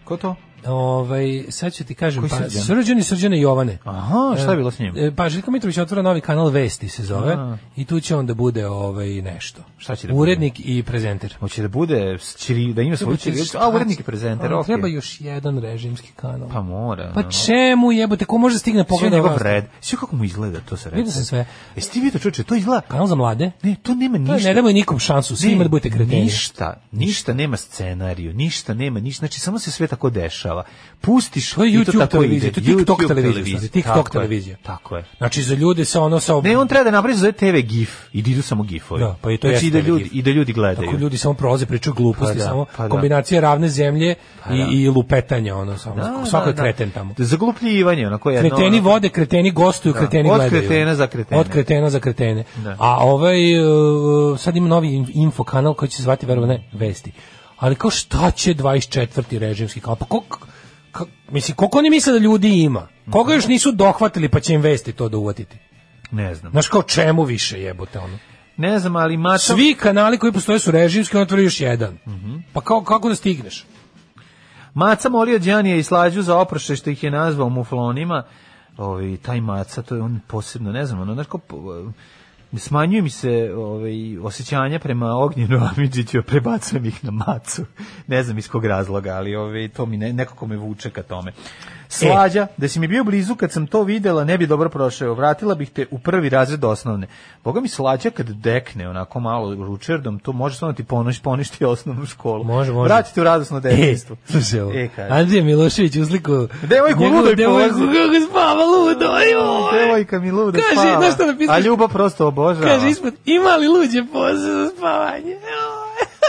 Speaker 6: Ko to?
Speaker 7: Ovaj, sad ću ti kažem,
Speaker 6: Koji
Speaker 7: pa,
Speaker 6: Srđan?
Speaker 7: Srđan i Srđane Jovane.
Speaker 6: Aha, šta je bilo s njim?
Speaker 7: E, Pa Željko Mitrović otvara novi kanal Vesti se zove
Speaker 6: A.
Speaker 7: i tu će on da bude ovaj nešto.
Speaker 6: Šta će da bude?
Speaker 7: Urednik i prezenter.
Speaker 6: Hoće da bude s čiri, da ima svoju ćirilicu, a urednik i prezenter,
Speaker 7: Ali
Speaker 6: ok.
Speaker 7: Treba još jedan režimski kanal.
Speaker 6: Pa mora.
Speaker 7: Pa čemu jebote, ko može stigne
Speaker 6: Sve
Speaker 7: pogleda
Speaker 6: njegov
Speaker 7: vlast?
Speaker 6: red. Sve kako mu izgleda, to se redi.
Speaker 7: Vidio sam sve.
Speaker 6: Jesi ti vidio čoveče, to izgleda
Speaker 7: Kanal za mlade?
Speaker 6: Ne, to nema
Speaker 7: To je,
Speaker 6: ništa.
Speaker 7: ne damo nikom šansu, svi
Speaker 6: Ne,
Speaker 7: ima da budete kreteni.
Speaker 6: Ništa, ništa nema scenariju, ništa nema, ništa, znači samo se sve tako dešava. Pustiš
Speaker 7: To je
Speaker 6: i to
Speaker 7: YouTube
Speaker 6: tako
Speaker 7: televizija,
Speaker 6: ide.
Speaker 7: to je TikTok
Speaker 6: YouTube
Speaker 7: televizija, stari, TikTok
Speaker 6: tako je,
Speaker 7: televizija.
Speaker 6: Tako je.
Speaker 7: Znači za ljude sa ono sa
Speaker 6: Ne, on treba da napravi zove TV GIF i da idu samo GIF-ovi.
Speaker 7: Da, pa i to
Speaker 6: znači,
Speaker 7: jeste
Speaker 6: i da
Speaker 7: TV
Speaker 6: ljudi,
Speaker 7: GIF.
Speaker 6: i da ljudi gledaju.
Speaker 7: Tako ljudi samo prolaze pričaju gluposti,
Speaker 6: Pa da,
Speaker 7: samo
Speaker 6: pa da.
Speaker 7: kombinacija ravne zemlje
Speaker 6: Pa
Speaker 7: i,
Speaker 6: da.
Speaker 7: i lupetanja, ono, samo, svako je kreten tamo.
Speaker 6: Zaglupljivanje, onako jedno.
Speaker 7: Kreteni
Speaker 6: ono-
Speaker 7: vode, kreteni gostuju,
Speaker 6: Da.
Speaker 7: kreteni
Speaker 6: Od
Speaker 7: gledaju.
Speaker 6: kretena za kretene.
Speaker 7: Od kretena za kretene.
Speaker 6: Da.
Speaker 7: A ovaj, uh, sad ima novi in- info kanal koji će se zvati, verovatno ne, Vesti. Ali kao šta će 24. režimski kanal? Pa koliko, ka- mislim, koliko oni misle da ljudi ima? Koga još nisu dohvatili pa će im Vesti to da uvatiti?
Speaker 6: Ne znam.
Speaker 7: Znaš kao čemu više jebote ono?
Speaker 6: Ne znam, ali mača...
Speaker 7: Svi kanali koji postoje su režimski, on otvori još jedan.
Speaker 6: Mhm.
Speaker 7: Pa kao, kako da stigneš?
Speaker 6: Maca molio Đanija i Slađu za oprošaj što ih je nazvao muflonima. Ovi, taj Maca, to je on posebno, ne znam, ono, znaš ko, po- smanjuju mi se ovaj, osjećanja prema Ognjenu Amidžiću, a prebacujem ih na Macu. Ne znam iz kog razloga, ali ovaj, to mi ne, nekako me vuče ka tome.
Speaker 7: E.
Speaker 6: Slađa, da si mi bio blizu kad sam to videla, ne bi dobro prošao. Vratila bih te u prvi razred osnovne. Boga mi slađa kad dekne onako malo ručerdom, to može stvarno ti ponoš, poništi osnovnu školu.
Speaker 7: Može, može.
Speaker 6: Vratite u radosno detinjstvo.
Speaker 7: E, slušaj ovo.
Speaker 6: E, kaže.
Speaker 7: Andrija Milošević uzliku...
Speaker 6: Devojku ludo i
Speaker 7: Devojku
Speaker 6: povezano.
Speaker 7: kako spava ludo, joj!
Speaker 6: Devojka mi luda
Speaker 7: Kaže,
Speaker 6: spava.
Speaker 7: znaš šta napisao?
Speaker 6: A Ljuba prosto obožava.
Speaker 7: Kaže ispod, ima li luđe poze za spavanje? Joj.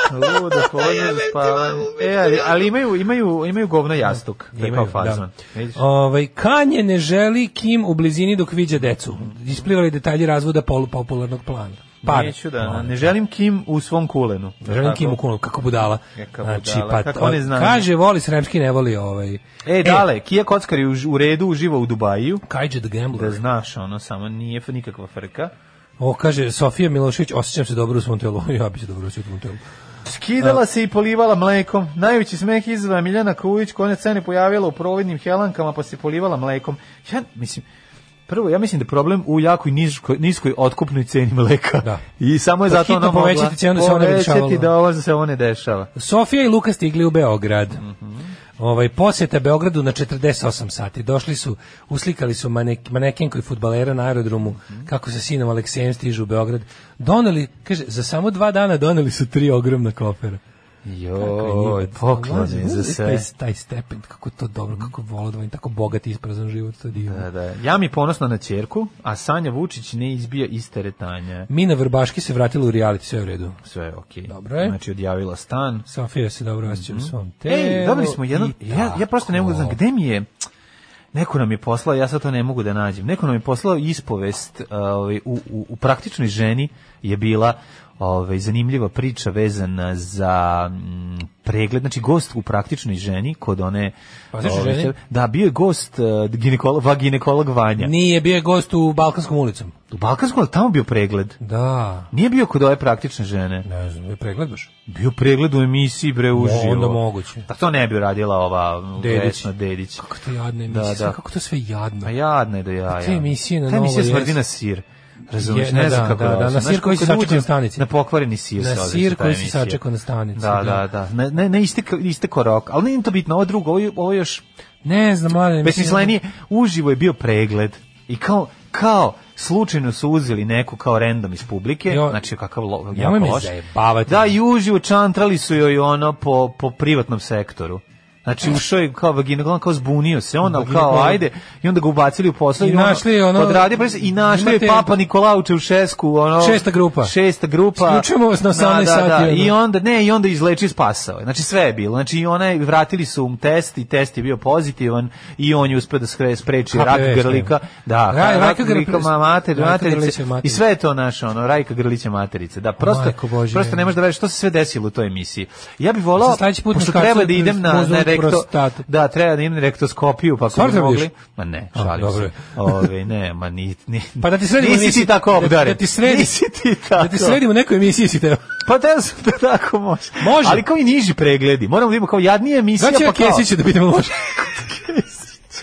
Speaker 6: Ludo, pozno za spavanje. E, ali, ali imaju, imaju, imaju govno jastuk. To je kao
Speaker 7: Imaju,
Speaker 6: fazon.
Speaker 7: da.
Speaker 6: Vidiš?
Speaker 7: Ovaj Kanje ne želi Kim u blizini dok viđa decu. Isplivali detalji razvoda polupopularnog plana. Par.
Speaker 6: Neću da, ne želim Kim u svom kulenu.
Speaker 7: Ne želim
Speaker 6: Tako?
Speaker 7: Kim u kulenu, kako budala.
Speaker 6: Kako
Speaker 7: znači,
Speaker 6: budala,
Speaker 7: pa,
Speaker 6: kako ne znam.
Speaker 7: Kaže, voli sremski, ne voli ovaj.
Speaker 6: E, dale, Kija Kockar je u, ž- u redu uživa u Dubaju.
Speaker 7: Kajđe the Gambler.
Speaker 6: Da znaš, ono, samo nije f- nikakva frka.
Speaker 7: O, kaže, Sofija Milošević, osjećam se dobro u svom telu. ja bi se dobro osjećao u svom telu.
Speaker 6: Skidala se i polivala mlekom. Najveći smeh izva Miljana Kujić, konec cene pojavila u providnim helankama, pa se polivala mlekom. Ja, mislim, prvo, ja mislim da je problem u jakoj niskoj, niskoj otkupnoj ceni mleka.
Speaker 7: Da.
Speaker 6: I samo je
Speaker 7: Pa
Speaker 6: zato
Speaker 7: hitno
Speaker 6: ona mogla
Speaker 7: povećati cenu da se ovo ne bi
Speaker 6: povećati
Speaker 7: dešavalo.
Speaker 6: da ovo se ovo ne dešava.
Speaker 7: Sofija i Luka stigli u Beograd.
Speaker 6: Mhm.
Speaker 7: Ovaj posjeta Beogradu na 48 sati. Došli su, uslikali su manek, manekenku i fudbalera na aerodromu
Speaker 6: Mhm.
Speaker 7: kako sa sinom Aleksejem stižu u Beograd. Doneli, kaže, za samo dva dana doneli su tri ogromna Dakle, kofera. Kako je
Speaker 6: Joj,
Speaker 7: njima-
Speaker 6: poklone
Speaker 7: Mlađe,
Speaker 6: za
Speaker 7: znaš taj-
Speaker 6: sve. Mhm.
Speaker 7: Taj stepen, kako je to dobro, kako volo da volim tako bogat i isprazan život, to je divno.
Speaker 6: Da, da. Ja mi ponosno na ćerku, a Sanja Vučić ne izbija iz teretanja.
Speaker 7: Mina Vrbaški se vratila u reality, sve u redu.
Speaker 6: Sve je okej.
Speaker 7: Dobro je.
Speaker 6: Znači, odjavila stan.
Speaker 7: Sofija se dobro osjeća u svom telu.
Speaker 6: Mhm. Ej, dobili smo jedan,
Speaker 7: i
Speaker 6: ja, ja prosto ne mogu da znam, gde mi je, neko nam je poslao, ja sad to ne mogu da nađem, neko nam je poslao ispovest, ovaj, u, u, u praktičnoj ženi je bila ovaj, zanimljiva priča vezana za mm, pregled, znači gost u praktičnoj ženi, kod one...
Speaker 7: Praktičnoj
Speaker 6: ovaj,
Speaker 7: ženi?
Speaker 6: Da, bio je gost uh, ginekolog, va- ginekolog Vanja.
Speaker 7: Nije, bio je gost u Balkanskom ulicom.
Speaker 6: U Balkanskom, ali tamo bio pregled.
Speaker 7: Da,
Speaker 6: Nije bio kod ove praktične žene.
Speaker 7: ne znam, je pregled baš.
Speaker 6: Bio pregled u emisiji, bre, uživo.
Speaker 7: Onda moguće.
Speaker 6: Pa to ne bi radila ova
Speaker 7: Dedić.
Speaker 6: Dedić. Vesna Dedić.
Speaker 7: Kako to jadne
Speaker 6: Da,
Speaker 7: emisije,
Speaker 6: da.
Speaker 7: sve- kako to sve jadno.
Speaker 6: Pa jadno je do jaja.
Speaker 7: te emisije na
Speaker 6: Ta emisija
Speaker 7: Novoj
Speaker 6: smrdi
Speaker 7: jest-
Speaker 6: na sir. Razumiješ,
Speaker 7: Je,
Speaker 6: ne
Speaker 7: na
Speaker 6: znam
Speaker 7: da,
Speaker 6: kako
Speaker 7: da,
Speaker 6: je
Speaker 7: da, na
Speaker 6: osjećam.
Speaker 7: sir
Speaker 6: Znaš,
Speaker 7: koji se
Speaker 6: kad
Speaker 7: sačeka
Speaker 6: uđe
Speaker 7: na stanici.
Speaker 6: Na pokvareni sir
Speaker 7: Na
Speaker 6: se odnosi
Speaker 7: sir
Speaker 6: ta
Speaker 7: koji se
Speaker 6: emisija.
Speaker 7: sačeka na stanici,
Speaker 6: Da, da,
Speaker 7: da.
Speaker 6: da. Ne, ne, ne isteka, isteko rok, ali nije to bitno. Ovo drugo, ovo, je- ovo je još
Speaker 7: Ne znam, mlade emisije.
Speaker 6: besmislenije. Uživo je bio pregled i kao, kao slučajno su uzeli neku kao random iz publike,
Speaker 7: Jo,
Speaker 6: znači kakav lo, jako
Speaker 7: Nemoj me
Speaker 6: loš.
Speaker 7: zajebavati.
Speaker 6: Da, i uživo čantrali su joj ono po, po privatnom sektoru. Znači ušao je kao vaginekolog, kao zbunio se on, ali kao
Speaker 7: Vaginekolog.
Speaker 6: ajde, i onda ga ubacili u posao
Speaker 7: I
Speaker 6: i, ono,
Speaker 7: našli ono-
Speaker 6: odradio proces i našli je
Speaker 7: Imate-
Speaker 6: Papa Nikolauče u šesku, ono...
Speaker 7: Šesta grupa.
Speaker 6: Šesta grupa.
Speaker 7: Isključujemo vas
Speaker 6: Da,
Speaker 7: na 18
Speaker 6: da,
Speaker 7: sati,
Speaker 6: Da,
Speaker 7: ono.
Speaker 6: I onda, ne, i onda izleči i spasao je. Znači sve je bilo. Znači i ona je, vratili su mu test i test je bio pozitivan i on je uspio da skre- spreči
Speaker 7: HPV,
Speaker 6: rak
Speaker 7: šta je?
Speaker 6: grlika. Da,
Speaker 7: Ra-
Speaker 6: rak,
Speaker 7: Rajka Grl-
Speaker 6: grlika, ma, mater,
Speaker 7: Rajka
Speaker 6: materice.
Speaker 7: Grlića
Speaker 6: I
Speaker 7: materice.
Speaker 6: sve je to naše, ono, Rajka Grlića materice. Da, prosto,
Speaker 7: majko Božja.
Speaker 6: prosto ne možeš da veriš što se sve desilo u toj emisiji. Ja bih volao,
Speaker 7: Sad sledeći put
Speaker 6: pošto
Speaker 7: muškarcu
Speaker 6: treba da
Speaker 7: pres-
Speaker 6: idem na,
Speaker 7: pozvu
Speaker 6: na rekto,
Speaker 7: prostatu.
Speaker 6: da, treba da idem na rektoskopiju, pa ako
Speaker 7: Stvarno
Speaker 6: bi
Speaker 7: treba da
Speaker 6: mogli.
Speaker 7: ideš?
Speaker 6: Ma ne,
Speaker 7: A,
Speaker 6: šalim
Speaker 7: dobro
Speaker 6: se.
Speaker 7: je.
Speaker 6: Ove, ne, ma ni, ni,
Speaker 7: Pa da ti sredimo
Speaker 6: nisi
Speaker 7: emisiju-
Speaker 6: ti tako
Speaker 7: da-
Speaker 6: obdaren.
Speaker 7: da ti sredi-
Speaker 6: Nisi ti tako.
Speaker 7: Da ti sredimo neku emisiju si teo.
Speaker 6: Pa da sam da tako može.
Speaker 7: Može.
Speaker 6: Ali kao i niži pregledi. Moramo da imamo kao jadnije emisija.
Speaker 7: Znači
Speaker 6: pa
Speaker 7: ja
Speaker 6: kao-
Speaker 7: Kesića da pitamo može.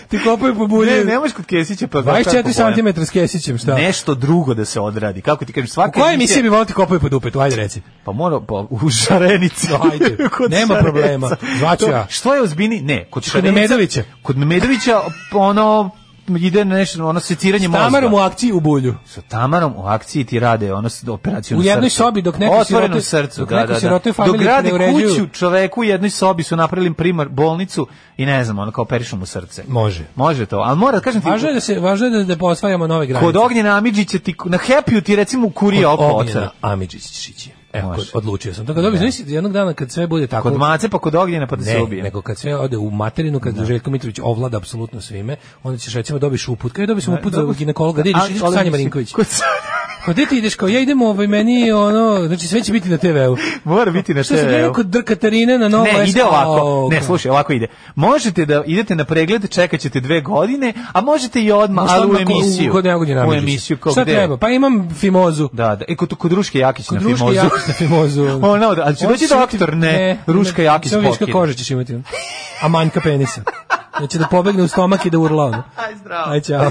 Speaker 7: Ti kopaju po bulje.
Speaker 6: Ne, ne možeš kod Kesića pa... kako
Speaker 7: 24
Speaker 6: pojam?
Speaker 7: cm s Kesićem, šta?
Speaker 6: Nešto drugo da se odradi. Kako ti kažem, svaka
Speaker 7: U kojoj emisiji bi volio ti kopaju po dupetu? Ajde reci.
Speaker 6: Pa mora pa, u Šarenici.
Speaker 7: No, ajde.
Speaker 6: Kod
Speaker 7: Nema problema. Zvaću
Speaker 6: To-
Speaker 7: ja.
Speaker 6: Što je ozbini? Pa Ne, kod
Speaker 7: Kod
Speaker 6: Šarenica.
Speaker 7: Nemedovića.
Speaker 6: Kod Nemedovića ono ide nešto, ono seciranje mozga.
Speaker 7: Tamarom u akciji u bulju.
Speaker 6: sa Tamarom u akciji ti rade ono s- operaciju
Speaker 7: U
Speaker 6: na
Speaker 7: jednoj
Speaker 6: srcu.
Speaker 7: sobi dok neko
Speaker 6: Otvorenom
Speaker 7: sirotuje-
Speaker 6: srcu,
Speaker 7: dok
Speaker 6: da,
Speaker 7: neko
Speaker 6: da, da.
Speaker 7: sirotuje
Speaker 6: Dok
Speaker 7: familiju
Speaker 6: grade
Speaker 7: ne uređuju.
Speaker 6: kuću čoveku u jednoj sobi su napravili primar bolnicu i ne znam, ono kao perišu mu srce.
Speaker 7: Može.
Speaker 6: Može to, ali mora, kažem ti,
Speaker 7: Važno je da se važno je da, da posvajamo nove granice.
Speaker 6: kod Ognjena Amidžića ti, na Happy-u ti recimo kurije oko otvara.
Speaker 7: Ognjena Amidžić Evo,
Speaker 6: Može.
Speaker 7: kod- odlučio sam. To kad dobiš, znaš, jednog dana kad sve bude tako...
Speaker 6: Kod Mace pa kod Ognjena pa da se
Speaker 7: Ne,
Speaker 6: ubije.
Speaker 7: nego kad sve ode u materinu, kad Željko Mitrović ovlada apsolutno svime, onda ćeš recimo dobiš uput. Kada dobiš uput za
Speaker 6: dobro.
Speaker 7: ginekologa, da ideš,
Speaker 6: Ali-
Speaker 7: ideš kod
Speaker 6: ali
Speaker 7: Sanje
Speaker 6: mislim,
Speaker 7: Marinković.
Speaker 6: kod Sanje-
Speaker 7: Kod gde ti ideš kao ja idem ovaj meni ono, znači sve će biti na TV-u.
Speaker 6: Mora biti na
Speaker 7: Što se
Speaker 6: TV-u.
Speaker 7: gleda kod Dr. Katarine na Novo
Speaker 6: Ne, ide
Speaker 7: S-
Speaker 6: ovako. Ne,
Speaker 7: Au,
Speaker 6: slušaj, ovako ide. Možete da idete na pregled, čekat ćete dve godine, a možete i odmah,
Speaker 7: Možda
Speaker 6: ali u
Speaker 7: odmah ko-
Speaker 6: emisiju.
Speaker 7: Kod Jagodnje
Speaker 6: U
Speaker 7: Amidžića.
Speaker 6: emisiju, kao
Speaker 7: Šta
Speaker 6: gde?
Speaker 7: treba? Pa imam fimozu.
Speaker 6: Da, da. E, kod, kod Ruške Jakić na
Speaker 7: Kod Ruške
Speaker 6: Fimozu.
Speaker 7: Jakić na Fimozu.
Speaker 6: Ono, ali će
Speaker 7: On
Speaker 6: doći
Speaker 7: će imati-
Speaker 6: doktor, ne, Ruška Jakić
Speaker 7: Samo viška
Speaker 6: pokida.
Speaker 7: kože ćeš imati. A manjka penisa. Znači da pobegne u stomak i da urla ono.
Speaker 6: Aj, zdravo.
Speaker 7: Aj, čao.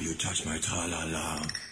Speaker 14: You touch my tra-la-la.